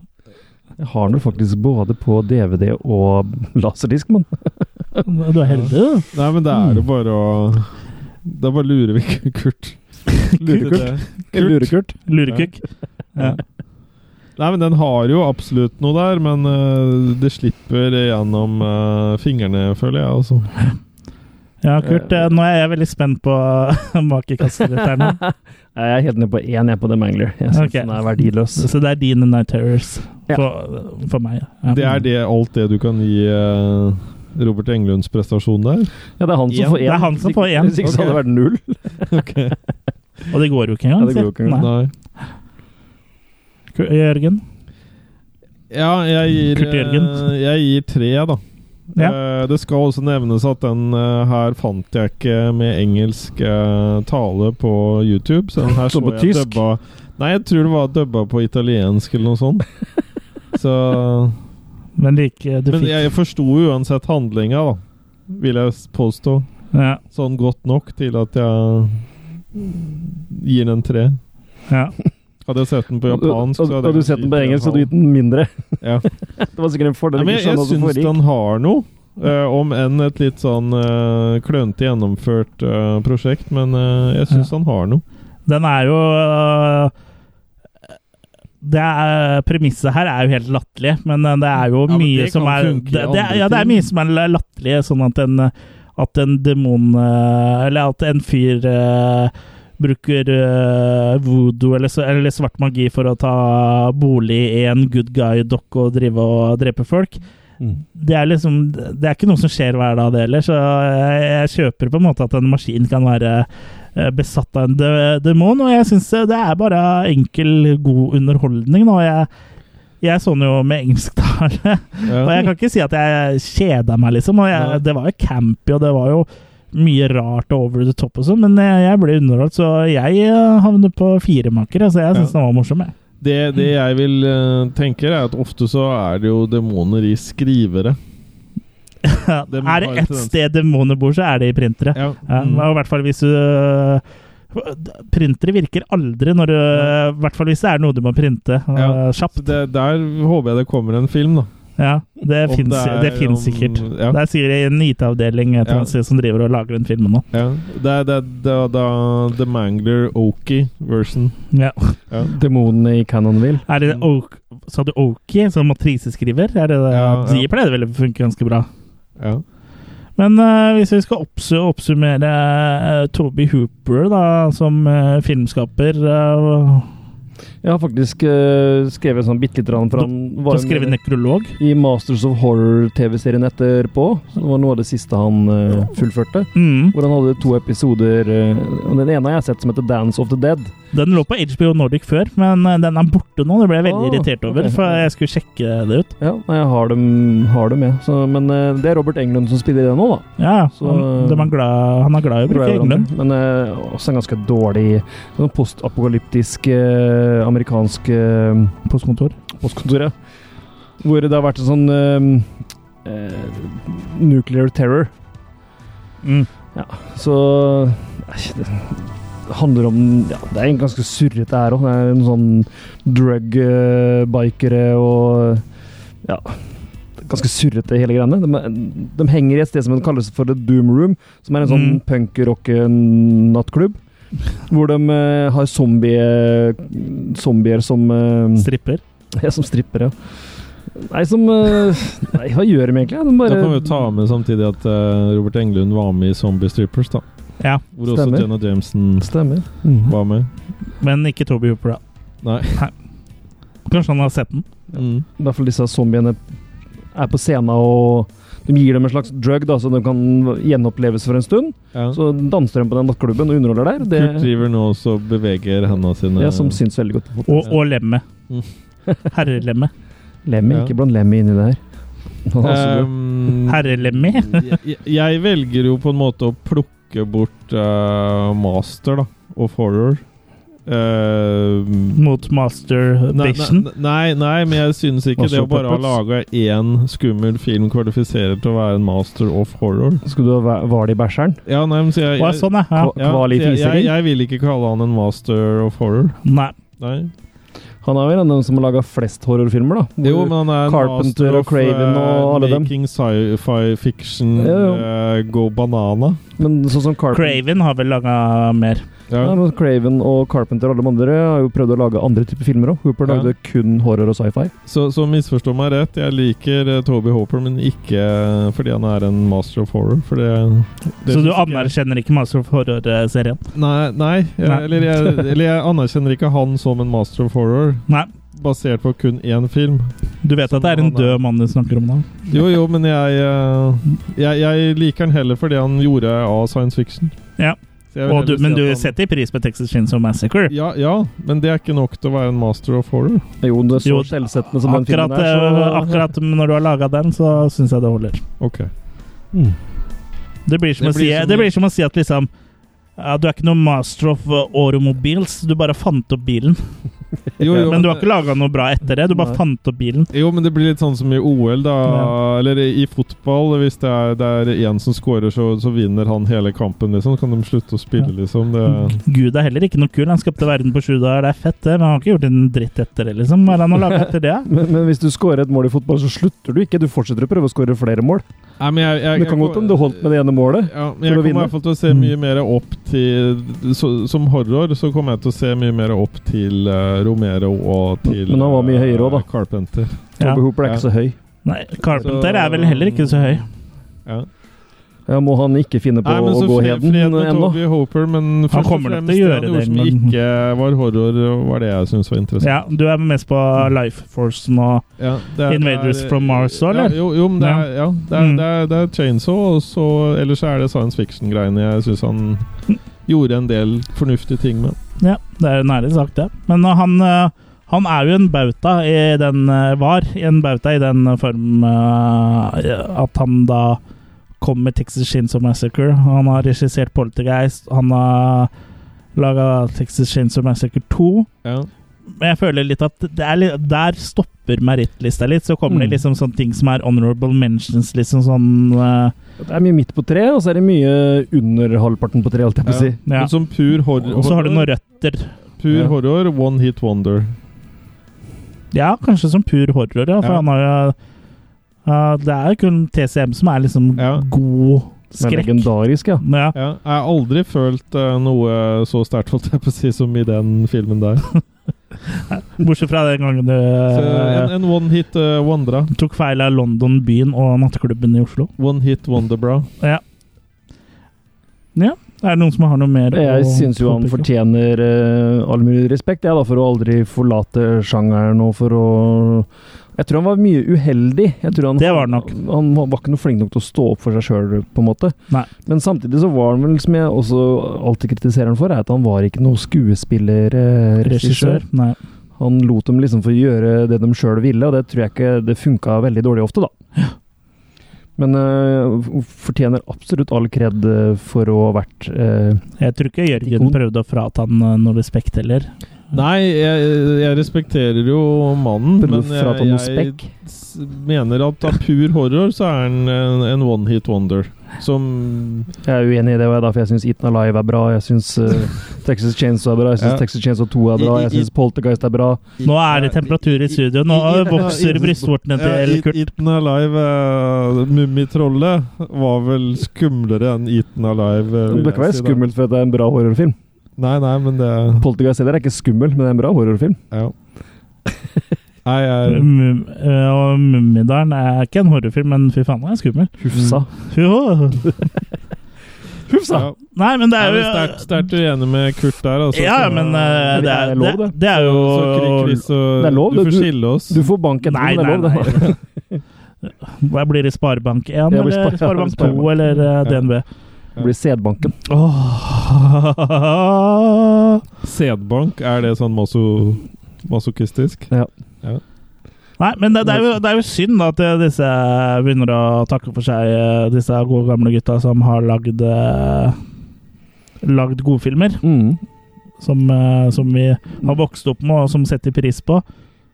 Speaker 3: Jeg har den faktisk både på DVD og laserdisk, men
Speaker 1: Du er heldig, du.
Speaker 2: Nei, men det
Speaker 1: Mm.
Speaker 2: er jo bare å Da bare lurer vi Kurt.
Speaker 1: Lurekurt.
Speaker 3: Lurekurt.
Speaker 1: Lurekukk. Ja.
Speaker 2: Nei, men den har jo absolutt noe der, men eh, det slipper gjennom eh, fingrene, føler jeg, altså.
Speaker 1: Ja, Kurt, eh, nå er jeg veldig spent på makekastet ditt her nå.
Speaker 3: jeg er helt nede på én jeg på The Mangler. Jeg syns
Speaker 1: Ok.
Speaker 3: den er verdiløs.
Speaker 1: Så det er din Night Terrors
Speaker 3: Ja.
Speaker 1: for, for meg. Ja. Mm.
Speaker 2: Det er det, alt det du kan gi eh, Robert Englunds prestasjon der?
Speaker 3: Ja, det er han som
Speaker 1: Én.
Speaker 3: får én.
Speaker 1: Det er han som får én.
Speaker 3: Hvis ikke så hadde det vært null.
Speaker 1: Og det går jo ikke
Speaker 3: Ja,
Speaker 1: engang.
Speaker 3: det går jo ikke
Speaker 1: si.
Speaker 3: engang.
Speaker 2: Nei.
Speaker 1: Ku- Jørgen?
Speaker 2: Ja, jeg gir,
Speaker 1: Kurt Jørgen.
Speaker 2: eh, jeg gir tre, da. Eh, det skal også nevnes at den eh, her fant jeg ikke med engelsk eh, tale på YouTube. Så den her
Speaker 3: Så
Speaker 2: så,
Speaker 3: på
Speaker 2: jeg
Speaker 3: tysk?
Speaker 2: dubba Nei, jeg tror det var dubba på italiensk eller noe sånt. Så
Speaker 1: Men like, eh, du
Speaker 2: Men
Speaker 1: fikk
Speaker 2: jeg forsto uansett handlinga, da. Vil jeg s- påstå.
Speaker 1: Ja.
Speaker 2: Sånn godt nok til at jeg gir den en tre.
Speaker 1: ja.
Speaker 2: Hadde jeg sett den på japansk
Speaker 3: Og- og- og du sett den på engelsk, så du gitt
Speaker 2: den
Speaker 3: den mindre.
Speaker 2: Ja.
Speaker 3: Det var sikkert en fordel.
Speaker 2: Nei,
Speaker 3: å
Speaker 2: men
Speaker 3: ikke sånn
Speaker 2: jeg, jeg
Speaker 3: skjønne hva som
Speaker 2: syns
Speaker 3: foregikk.
Speaker 2: den har noe. eh, om enn et litt sånn eh, klønete gjennomført eh, prosjekt, men eh, jeg syns han har noe.
Speaker 1: Den er jo øh, det er, Premisset her er jo helt latterlig, men øh, det er jo
Speaker 2: Ja, men
Speaker 1: mye
Speaker 2: det
Speaker 1: som
Speaker 2: kan
Speaker 1: er
Speaker 2: funke i
Speaker 1: det, det, er-
Speaker 2: andre
Speaker 1: Ja, det er
Speaker 2: ting.
Speaker 1: mye som er latterlig, sånn at en, øh, at en demon øh, Eller at en fyr øh, bruker øh, voodoo eller, så- eller svart magi for å ta bolig i en good guy-dokke og drive og drepe folk. Det er liksom Det er ikke noe som skjer hver dag, det heller. Så jeg, jeg kjøper på en måte at en maskin kan være eh, besatt av en de demon, og jeg syns det er bare enkel, god underholdning. nå. jeg, jeg så den jo med engelsk tale,
Speaker 2: Ja.
Speaker 1: og jeg kan ikke si at jeg kjeda meg, liksom. Og jeg, det var jo campy, og det var jo mye rart og over the top og sånn, men jeg, jeg ble underholdt, så jeg eh, havner på firemaker. Så jeg syns den var morsom, jeg.
Speaker 2: Det, det jeg vil eh, tenke, er at ofte så er det jo demoner i skrivere. må
Speaker 1: er
Speaker 2: ha
Speaker 1: det
Speaker 2: en
Speaker 1: ett
Speaker 2: tendens.
Speaker 1: sted demoner bor, så er det i printere. Ja.
Speaker 2: Mm.
Speaker 1: og I hvert fall hvis du eh, Printere virker aldri når du I hvert fall hvis det er noe du må printe øh, kjapt.
Speaker 2: Det, der håper jeg det kommer en film, da.
Speaker 1: Ja, det
Speaker 2: Om
Speaker 1: fins
Speaker 2: det er
Speaker 1: det finnes
Speaker 2: om-
Speaker 1: sikkert.
Speaker 2: ja.
Speaker 1: Det er sikkert en IT-avdeling et eller annet sted som driver og lager den filmen nå.
Speaker 2: Ja. Det er det, det, er da The Mangler Oki-version.
Speaker 1: Ja.
Speaker 2: Ja.
Speaker 3: Demonene i Cannonville.
Speaker 1: Er det
Speaker 2: Mm.
Speaker 1: Oak, Sa du Oki som matriseskriver? Er det det?
Speaker 2: Ja,
Speaker 1: De
Speaker 2: ja.
Speaker 1: pleier vel å funke ganske bra.
Speaker 2: Ja.
Speaker 1: Men eh, hvis vi skal oppsu- oppsummere eh, Toby Hooper da, som eh, filmskaper eh,
Speaker 3: Jeg har faktisk eh, skrevet sånn bitte lite grann, for
Speaker 1: Du-
Speaker 3: han
Speaker 1: du har skrevet nekrolog?
Speaker 3: I Masters of Horror-TV-serien etterpå. Så det var noe av det siste han eh, fullførte.
Speaker 1: Mm.
Speaker 3: Hvor han hadde to episoder eh, og Den ene har jeg sett som heter Dance of the Dead.
Speaker 1: Den lå på HBO Nordic før, men eh, den er borte nå. Det ble jeg veldig
Speaker 3: Ah,
Speaker 1: irritert over,
Speaker 3: ok.
Speaker 1: for jeg skulle sjekke det ut.
Speaker 3: Ja, nei, jeg har dem, har dem jeg. Så, men eh, det er Robert Englund som spiller i det nå, da.
Speaker 1: Ja,
Speaker 3: Så-
Speaker 1: han, de er
Speaker 2: eh,
Speaker 1: glad, han er glad i å
Speaker 3: Glad
Speaker 1: bruke
Speaker 3: i hverandre.
Speaker 1: Englund.
Speaker 3: Men eh, også en ganske dårlig sånn postapokalyptisk eh, amerikansk eh,
Speaker 1: Postkontor.
Speaker 3: postkontor, ja. Hvor det har vært en sånn eh, eh, nuclear terror. Ja, så eh, det handler om ja, Det er egentlig ganske surrete her òg. Det er en sånn drug-bikere og Ja. det er Ganske surrete, hele greiene. De, de henger i et sted som kalles for The Doom Room, som er en sånn
Speaker 1: Mm.
Speaker 3: punk-rock-nattklubb. Hvor de eh, har zombie, zombier som eh,
Speaker 1: Mm. Stripper?
Speaker 3: Ja, som stripper, ja. Nei, som eh, Nei, hva gjør de egentlig? De
Speaker 2: Da
Speaker 3: bare
Speaker 2: kan vi jo ta med samtidig at eh, Robert Englund var med i Zombie Strippers, da.
Speaker 1: Ja,
Speaker 2: Hvor
Speaker 3: stemmer.
Speaker 2: også Jenna Jameson
Speaker 3: Stemmer.
Speaker 2: var med.
Speaker 1: Men ikke Toby Hooper, da.
Speaker 2: Nei. Mm.
Speaker 1: Kanskje han har sett den?
Speaker 3: I hvert fall disse zombiene er på scenen og de gir dem en slags drug, da, så de kan gjenoppleves for en stund. Så danser de på den nattklubben og underholder der. Det
Speaker 2: Kurt driver nå også og beveger hendene sine.
Speaker 3: ja, som syns veldig godt. på
Speaker 1: Og,
Speaker 3: fotball.
Speaker 1: og lemmet.
Speaker 2: Mm.
Speaker 1: Herrelemmet.
Speaker 3: Lemmy,
Speaker 2: Ja.
Speaker 3: ikke blant Lemmy inni det her. Han er også god.
Speaker 2: Ehm,
Speaker 1: Herrelemmy?
Speaker 2: jeg, jeg velger jo på en måte å plukke bort eh, master da, of horror. eh,
Speaker 1: Mot Master
Speaker 2: Nei,
Speaker 1: Diction.
Speaker 2: nei, nei, nei, men jeg synes ikke
Speaker 1: Master
Speaker 2: det å bare ha laga
Speaker 1: Puppets.
Speaker 2: én skummel film kvalifiserer til å være en master of horror.
Speaker 3: Skulle du ha vært i bæsjeren?
Speaker 2: Ja, nei, men så jeg,
Speaker 1: Hva er sånn, ja, ja.
Speaker 2: Ja, så jeg, jeg, jeg vil ikke kalle han en master of horror.
Speaker 1: Nei.
Speaker 3: Han er vel en av dem som har laga flest horrorfilmer, da.
Speaker 2: Jo, men han er en master
Speaker 3: Carpenter og
Speaker 2: of
Speaker 3: Craven og
Speaker 2: eh,
Speaker 3: alle dem.
Speaker 2: making sci-fi fiction
Speaker 3: Ja, jo.
Speaker 2: eh, go banana.
Speaker 3: Men sånn som Carpenter
Speaker 1: Craven har vel laga mer.
Speaker 3: ja. men Craven og Carpenter og alle de andre har jo prøvd å lage andre typer filmer òg. Hooper
Speaker 2: Ja.
Speaker 3: lagde kun horror og sci-fi.
Speaker 2: Så, så misforstå meg rett, jeg liker eh, Toby Hopper, men ikke eh, fordi han er en master of horror. For det, det
Speaker 1: Så du
Speaker 2: synes ikke jeg-
Speaker 1: anerkjenner ikke Master of Horror-serien?
Speaker 2: Nei, nei, jeg,
Speaker 1: Nei.
Speaker 2: Eller, jeg, eller jeg anerkjenner ikke han som en master of horror.
Speaker 1: Nei.
Speaker 2: Basert på kun én film.
Speaker 1: Du vet at det er en død mann du snakker om nå?
Speaker 2: Jo, jo, men jeg, eh, jeg, jeg liker han heller for det han gjorde av science fiction.
Speaker 1: Ja.
Speaker 2: Så jeg vil
Speaker 1: Og du,
Speaker 2: heller si
Speaker 1: men
Speaker 2: at
Speaker 1: du
Speaker 2: han-
Speaker 1: setter pris på Texas Chainsaw Massacre?
Speaker 2: Ja, ja, men det er ikke nok til å være en master of horror.
Speaker 3: Jo, det er så
Speaker 1: Jo,
Speaker 3: skjellsettende som den
Speaker 1: Akkurat,
Speaker 3: filmen er. Så...
Speaker 1: eh, akkurat når du har laga den, så syns jeg det holder.
Speaker 2: Ok.
Speaker 1: Det blir som,
Speaker 2: Det
Speaker 1: å,
Speaker 2: blir
Speaker 1: si,
Speaker 2: som-
Speaker 1: det blir som å si at liksom ja, Du er ikke noen master of eh, automobiles, du bare fant opp bilen.
Speaker 2: Jo, jo,
Speaker 1: men du har ikke laga noe bra etter det, du bare
Speaker 2: Nei.
Speaker 1: fant opp bilen.
Speaker 2: Jo, men det blir litt sånn som i OL, da.
Speaker 1: Ja.
Speaker 2: Eller i i fotball. Hvis det er, det er en som scorer, så, så vinner han hele kampen, liksom. Så kan de slutte å spille, liksom. Det,
Speaker 1: Gud er heller ikke noe kul. Han skapte verden på sju dager, det er fett, det. Men han har ikke gjort en dritt etter det, liksom. Hva er det han har laga etter det?
Speaker 3: Men, men hvis du skårer et mål i fotball, så slutter du ikke. Du fortsetter å prøve å skåre flere mål.
Speaker 2: Nei, men jeg, jeg,
Speaker 3: Men det kan godt hende du holdt med det ene målet
Speaker 2: ja, men jeg
Speaker 3: for å
Speaker 2: kommer i
Speaker 3: vinne. Mm.
Speaker 2: hvert fall til å se mye mer opp til så, Som horror så kommer jeg til å se mye mer opp til eh, Romero og til
Speaker 3: Men han var mye høyere også,
Speaker 2: eh, Carpenter.
Speaker 1: Ja.
Speaker 3: Tobe Hooper er ikke så høy.
Speaker 1: Nei, Carpenter er vel heller ikke så høy.
Speaker 2: Ja.
Speaker 3: Ja, må han ikke finne på
Speaker 2: Nei, men
Speaker 3: å
Speaker 2: så
Speaker 3: gå
Speaker 2: fred-
Speaker 3: heden eh,
Speaker 2: fred med
Speaker 3: ennå?
Speaker 2: Toby Hopper, men først og
Speaker 1: kommer nok
Speaker 2: fremst
Speaker 1: til å
Speaker 2: det han
Speaker 1: gjøre
Speaker 2: gjorde
Speaker 1: det,
Speaker 2: som
Speaker 1: men-
Speaker 2: ikke var horror, eh, var det jeg syntes var interessant.
Speaker 1: Ja, du er mest på Life Force og
Speaker 2: Ja, det er-
Speaker 1: Invaders
Speaker 2: det er-
Speaker 1: from Mars òg, eller?
Speaker 2: Ja, jo, jo, men det er, ja, det er,
Speaker 1: Mm.
Speaker 2: det er, det er Chainsaw, og så ellers så er det science fiction-greiene jeg syns han
Speaker 1: Mm.
Speaker 2: gjorde en del fornuftige ting med.
Speaker 1: Ja, det er en ærlig sak, det. Men uh, han, uh, han er jo en bauta i den uh, Var en bauta i den uh, form uh, at han da kom med Texas Chainsaw Massacre. Han har regissert Poltergeist, han har laga Texas Chainsaw Massacre 2.
Speaker 2: Ja.
Speaker 1: Men jeg føler litt at det er litt, der stopper merittlista litt. Så kommer
Speaker 3: Mm.
Speaker 1: det liksom sånne ting som er honorable mentions, liksom sånn uh,
Speaker 3: Det er mye midt på treet, og så er det mye under halvparten på treet, holdt jeg på å si.
Speaker 1: Ja.
Speaker 2: Men som pur horror,
Speaker 1: Og så har du noen
Speaker 2: horror,
Speaker 1: røtter.
Speaker 2: pur
Speaker 1: Ja.
Speaker 2: horror one hit wonder.
Speaker 1: Ja, kanskje som pur horror, ja. For
Speaker 2: Ja.
Speaker 1: han har jo ja, Det er jo kun TCM som er liksom god
Speaker 3: Som er
Speaker 1: skrekk.
Speaker 3: legendarisk, ja.
Speaker 1: Ja.
Speaker 2: Ja, jeg har aldri følt eh, noe så sterkt, holdt jeg på å si, som i den filmen der.
Speaker 1: Bortsett fra den gangen du
Speaker 2: Så en, en one hit eh, wondera.
Speaker 1: eh, tok feil av London byen og nattklubben i Oslo.
Speaker 2: One hit wonderbra.
Speaker 1: Ja. ja. Er det noen som har noe mer?
Speaker 3: Jeg
Speaker 1: å
Speaker 3: syns jo han
Speaker 1: påpeke?
Speaker 3: fortjener eh, all mulig respekt, jeg, da, for å aldri forlate sjangeren og for å Jeg tror han var mye uheldig. Jeg tror han,
Speaker 1: Det var han nok.
Speaker 3: Han var var ikke noe flink nok til å stå opp for seg sjøl, på en måte.
Speaker 1: Nei.
Speaker 3: Men samtidig så var han vel, som jeg også alltid kritiserer han for, er at han var ikke noe skuespillerregissør.
Speaker 1: Regissør? Nei.
Speaker 3: Han lot dem liksom få gjøre det de sjøl ville, og det tror jeg ikke det funka veldig dårlig ofte, da. Men øh, hun fortjener absolutt all kred øh, for å ha vært øh,
Speaker 1: Jeg tror ikke Jørgen
Speaker 3: Ikon.
Speaker 1: prøvde å frata han eh, noe respekt heller.
Speaker 2: Nei, jeg, jeg respekterer jo mannen,
Speaker 3: Prøvde
Speaker 2: men
Speaker 3: å
Speaker 20: eh,
Speaker 3: frata noe
Speaker 2: jeg,
Speaker 3: spekk.
Speaker 2: jeg s- mener at av pur horror så er han en, en one hit wonder. Som
Speaker 3: Jeg er uenig i det, og jeg er derfor jeg syns Eaten Alive er bra. Jeg syns øh, Texas Chainsaw er bra. Jeg syns
Speaker 2: Ja.
Speaker 3: Texas Chainsaw 2 er bra.
Speaker 2: I- i-
Speaker 3: Jeg syns Poltergeist er bra.
Speaker 1: Nå er det temperatur i studio. Nå vokser brystvortene til
Speaker 2: Ja, Eat-
Speaker 1: Kurt.
Speaker 2: Eaten Alive, uh, Mummitrollet, var vel skumlere enn Eaten Alive. eh, vil
Speaker 3: Det kan
Speaker 2: jeg
Speaker 3: være
Speaker 2: si da.
Speaker 3: skummelt for at det er en bra horrorfilm.
Speaker 2: Nei, nei, men det
Speaker 3: Poltergeist heller er ikke skummel, men det er en bra horrorfilm.
Speaker 2: Ja. Nei, jeg
Speaker 1: Mum- eh, Og Mummidalen er ikke en horrorfilm, men fy faen, den er skummel.
Speaker 3: Mm. Hufsa.
Speaker 1: Jo.
Speaker 3: Hufsa!
Speaker 2: ja.
Speaker 1: Nei, men det
Speaker 2: Jeg
Speaker 1: er
Speaker 2: er
Speaker 1: jo
Speaker 2: vel sterkt- sterkt uenig med Kurt der, altså.
Speaker 1: Ja,
Speaker 2: Så-
Speaker 1: men eh, det, er,
Speaker 3: lov,
Speaker 1: det,
Speaker 3: det.
Speaker 1: det er jo
Speaker 2: Så Kri- Chris og
Speaker 3: Det er lov,
Speaker 2: Du
Speaker 3: det.
Speaker 2: får
Speaker 3: Du-
Speaker 2: skille oss.
Speaker 3: Du får bank etterpå,
Speaker 1: Nei,
Speaker 3: men det er lov,
Speaker 1: nei,
Speaker 3: det.
Speaker 1: Hva blir det? Sparebank 1
Speaker 3: blir
Speaker 1: eller
Speaker 3: spare-
Speaker 1: Sparebank
Speaker 3: Sparebank.
Speaker 1: 2 eller eh, DNB?
Speaker 3: Det blir sædbanken.
Speaker 1: Åh.
Speaker 2: Sædbank, er det sånn maso, masochistisk?
Speaker 3: Ja.
Speaker 2: Ja.
Speaker 1: Nei, men det, det, er jo, det er jo synd da, at eh, disse begynner å takke for seg, eh, disse gode gamle gutta som har lagd eh, Lagd godfilmer.
Speaker 3: Mm.
Speaker 1: som, eh, som vi har vokst opp med, og som setter pris på.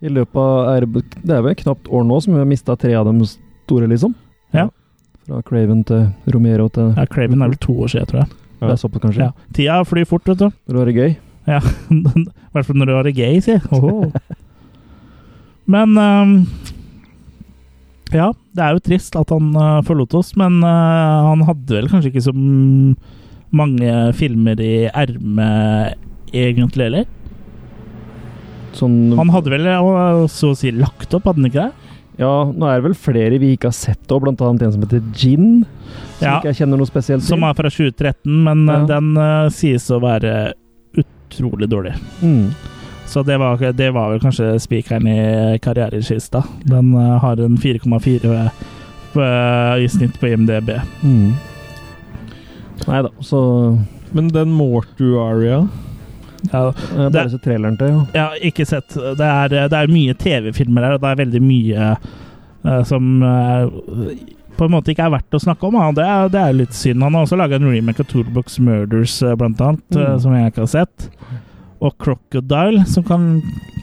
Speaker 20: I løpet av er, Det er vel knapt år nå som vi har mista tre av de store, liksom.
Speaker 1: Ja.
Speaker 20: Fra Craven til Romero til
Speaker 1: Ja, Craven er vel to år siden, tror jeg.
Speaker 20: Det er såpass, kanskje.
Speaker 1: Ja. Tida flyr fort, vet du.
Speaker 20: Når du har det gøy.
Speaker 1: Ja, I hvert fall når du har det gøy, sier jeg. Åhå. Men ehm, Ja, det er jo trist at han eh, forlot oss, men eh, han hadde vel kanskje ikke så m- mange filmer i ermet, egentlig, eller?
Speaker 20: Sånn
Speaker 1: Han hadde vel eh, så å si lagt opp, hadde han ikke det?
Speaker 20: Ja, nå er det vel flere vi ikke har sett, og blant annet en som heter Gin. Som
Speaker 1: Ja.
Speaker 20: ikke jeg kjenner noe spesielt
Speaker 1: Som er fra 2013, men eh, den eh, sies å være utrolig dårlig.
Speaker 20: Mm.
Speaker 1: Så det var, det var vel kanskje spikeren i karrierekista. Den eh, har en 4,4 på- eh, i snitt på IMDb.
Speaker 20: Mm. Nei da, så
Speaker 2: Men den Mortuaria
Speaker 1: Ja,
Speaker 20: Jeg
Speaker 1: det,
Speaker 20: eh, bare så traileren til, ja.
Speaker 1: jeg har ikke sett Det er, det er mye TV-filmer her, og det er veldig mye eh, som eh, på en måte ikke er verdt å snakke om. Ja. Det, er, det er litt synd. Han har også laga en remake av Toolbox Murders, eh, blant annet, eh,
Speaker 20: Mm.
Speaker 1: som jeg ikke har sett. Og Crocodile, som kan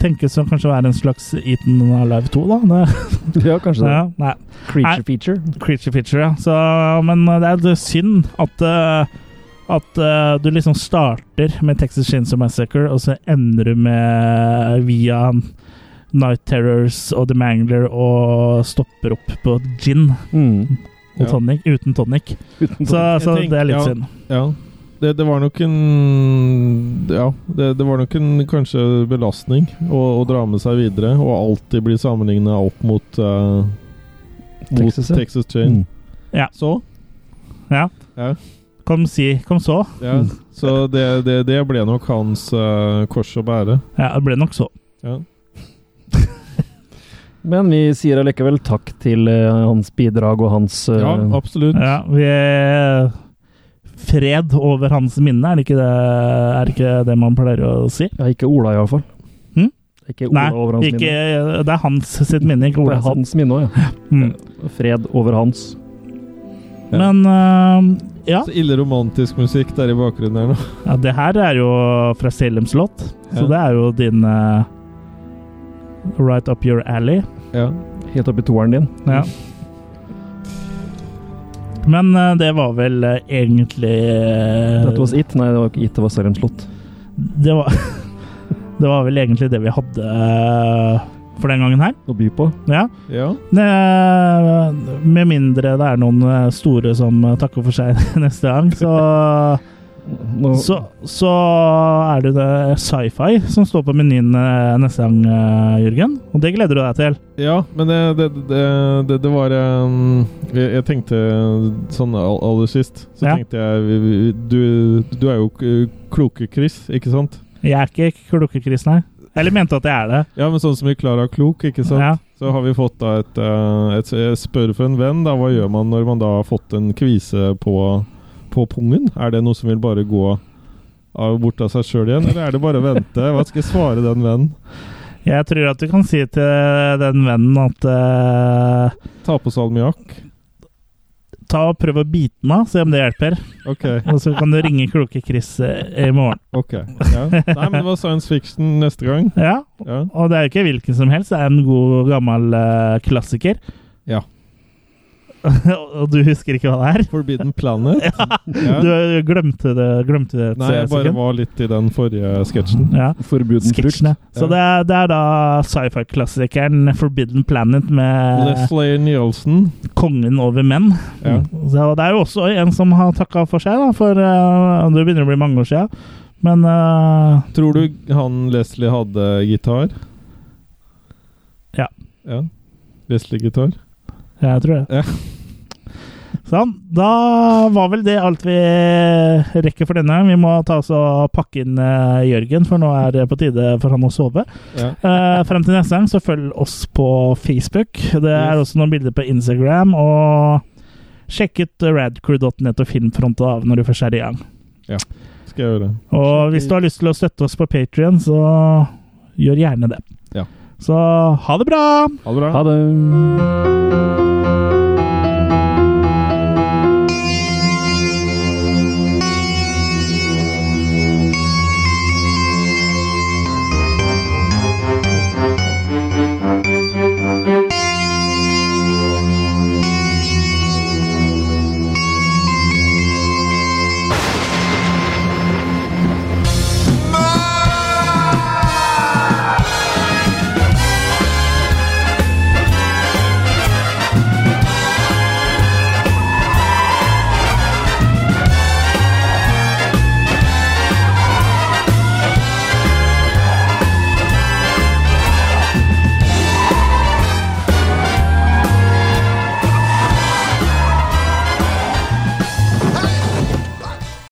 Speaker 1: tenkes som kanskje være en slags Eaten Alive 2, da. Det,
Speaker 20: Ja, kanskje det.
Speaker 1: Ja, nei.
Speaker 20: Creature
Speaker 1: Nei.
Speaker 20: feature.
Speaker 1: Creature feature, ja. Så, men eh, det er litt synd at, eh, at eh, du liksom starter med Texas Chainsaw Massacre, og så ender du med eh, via Night Terrors og The Mangler og stopper opp på gin
Speaker 20: Mm.
Speaker 1: og
Speaker 2: Ja.
Speaker 1: tonic, uten tonic.
Speaker 20: Uten
Speaker 1: Så,
Speaker 2: Jeg
Speaker 1: så
Speaker 2: tenker-
Speaker 1: det er litt
Speaker 2: ja,
Speaker 1: synd.
Speaker 2: Ja. Det, det var nok en Ja, det, det var nok en kanskje belastning å, å dra med seg videre, og alltid bli sammenligna opp mot eh, mot
Speaker 20: Texas,
Speaker 2: Texas,
Speaker 20: ja.
Speaker 2: Chain.
Speaker 20: Mm.
Speaker 1: Ja.
Speaker 2: Så?
Speaker 1: Ja.
Speaker 2: Ja.
Speaker 1: Kom si, kom så.
Speaker 2: Ja, så det, det, det ble nok hans eh, kors å bære.
Speaker 1: Ja, det ble nok så.
Speaker 2: Ja.
Speaker 20: Men vi sier allikevel takk til eh, hans bidrag og hans eh,
Speaker 2: ja, absolutt.
Speaker 1: Ja, vi er Fred over hans minne, er det ikke det, er det, ikke det man pleier å si?
Speaker 20: ja, Ikke Ola, iallfall.
Speaker 1: Hm?
Speaker 20: Ikke Ola
Speaker 1: Nei,
Speaker 20: over hans
Speaker 1: ikke, eh,
Speaker 20: minne.
Speaker 1: det er hans sitt minne, ikke
Speaker 20: Det
Speaker 1: Ola
Speaker 20: er
Speaker 1: sitt.
Speaker 20: hans minne òg, ja.
Speaker 1: Mm.
Speaker 20: Fred over hans.
Speaker 1: Men eh, ja.
Speaker 2: Så ille romantisk musikk der i bakgrunnen her nå.
Speaker 1: ja, det her er jo fra Selims låt, så
Speaker 2: Ja.
Speaker 1: det er jo din eh, Right up your alley.
Speaker 2: Ja.
Speaker 20: Helt oppi toeren din.
Speaker 1: Ja. Men eh, det var vel eh, egentlig eh,
Speaker 20: That was it. Nei, det var ikke it, det var Sarem Slott.
Speaker 1: det var, det var vel egentlig det vi hadde eh, for den gangen her.
Speaker 20: Å by på.
Speaker 1: Ja.
Speaker 2: Ja.
Speaker 1: Det, med mindre det er noen eh, store som eh, takker for seg neste gang, så
Speaker 20: Nå,
Speaker 1: Så, så er det, det sci-fi som står på menyen eh, neste gang, eh, Jørgen. Og det gleder du deg til.
Speaker 2: Ja, men det, det, det, det, det var ehm, jeg, jeg tenkte sånn all- aller sist Så
Speaker 1: Ja.
Speaker 2: tenkte jeg vi- vi- du, du er jo k- kloke, Chris, ikke sant?
Speaker 1: Jeg er ikke klukkekris, nei. Eller mente at jeg er det.
Speaker 2: Ja, men sånn som vi Klara Klok, ikke sant?
Speaker 1: Ja.
Speaker 2: Så har vi fått da et, eh, et Jeg spør for en venn, da. Hva gjør man når man da har fått en kvise på, på pungen? Er det noe som vil bare gå av, bort av seg sjøl igjen, eller er det bare å vente? Hva skal jeg svare den vennen?
Speaker 1: Jeg tror at du kan si til den vennen at eh,
Speaker 2: Ta på salmiakk?
Speaker 1: Ta og Prøv å bite meg, se om det hjelper.
Speaker 2: Ok.
Speaker 1: Og så kan du ringe Klukke-Chris eh, i morgen.
Speaker 2: Ok. Ja. Nei, men det var science fiction neste gang.
Speaker 1: Ja,
Speaker 2: Ja.
Speaker 1: Og det er jo ikke hvilken som helst, det er en god, gammel eh, klassiker.
Speaker 2: ja.
Speaker 1: og du husker ikke hva det er?
Speaker 2: Forbidden Planet. Ja.
Speaker 1: Du glemte det, glemte det et
Speaker 2: Nei, jeg bare
Speaker 1: sekund.
Speaker 2: var litt i den forrige sketsjen.
Speaker 1: Ja.
Speaker 20: Forbuden frukt.
Speaker 1: sketsjene. Så det er, det er da sci-fi-klassikeren Forbidden Planet med
Speaker 2: Leslie Nielsen.
Speaker 1: Kongen over menn.
Speaker 2: Ja.
Speaker 1: Så det er jo også en som har takka for seg, da, for eh, det begynner å bli mange år sia. Men eh,
Speaker 2: Tror du han Leslie hadde gitar?
Speaker 1: Ja.
Speaker 2: ja. Leslie-gitar?
Speaker 1: jeg tror det.
Speaker 2: Ja.
Speaker 1: Sånn. Da var vel det alt vi rekker for denne. Vi må ta oss og pakke inn eh, Jørgen, for nå er det på tide for han å sove.
Speaker 2: ja.
Speaker 1: Eh, frem til neste gang, så følg oss på Facebook. Det er
Speaker 2: Yes.
Speaker 1: også noen bilder på Instagram. Og sjekk ut radcrew.net og Filmfront av når du først er i gang.
Speaker 2: Ja, skal jeg gjøre.
Speaker 1: Og hvis du har lyst til å støtte oss på Patrion, så gjør gjerne det.
Speaker 2: Ja.
Speaker 1: Så ha det bra!
Speaker 2: Ha det bra.
Speaker 20: Ha det.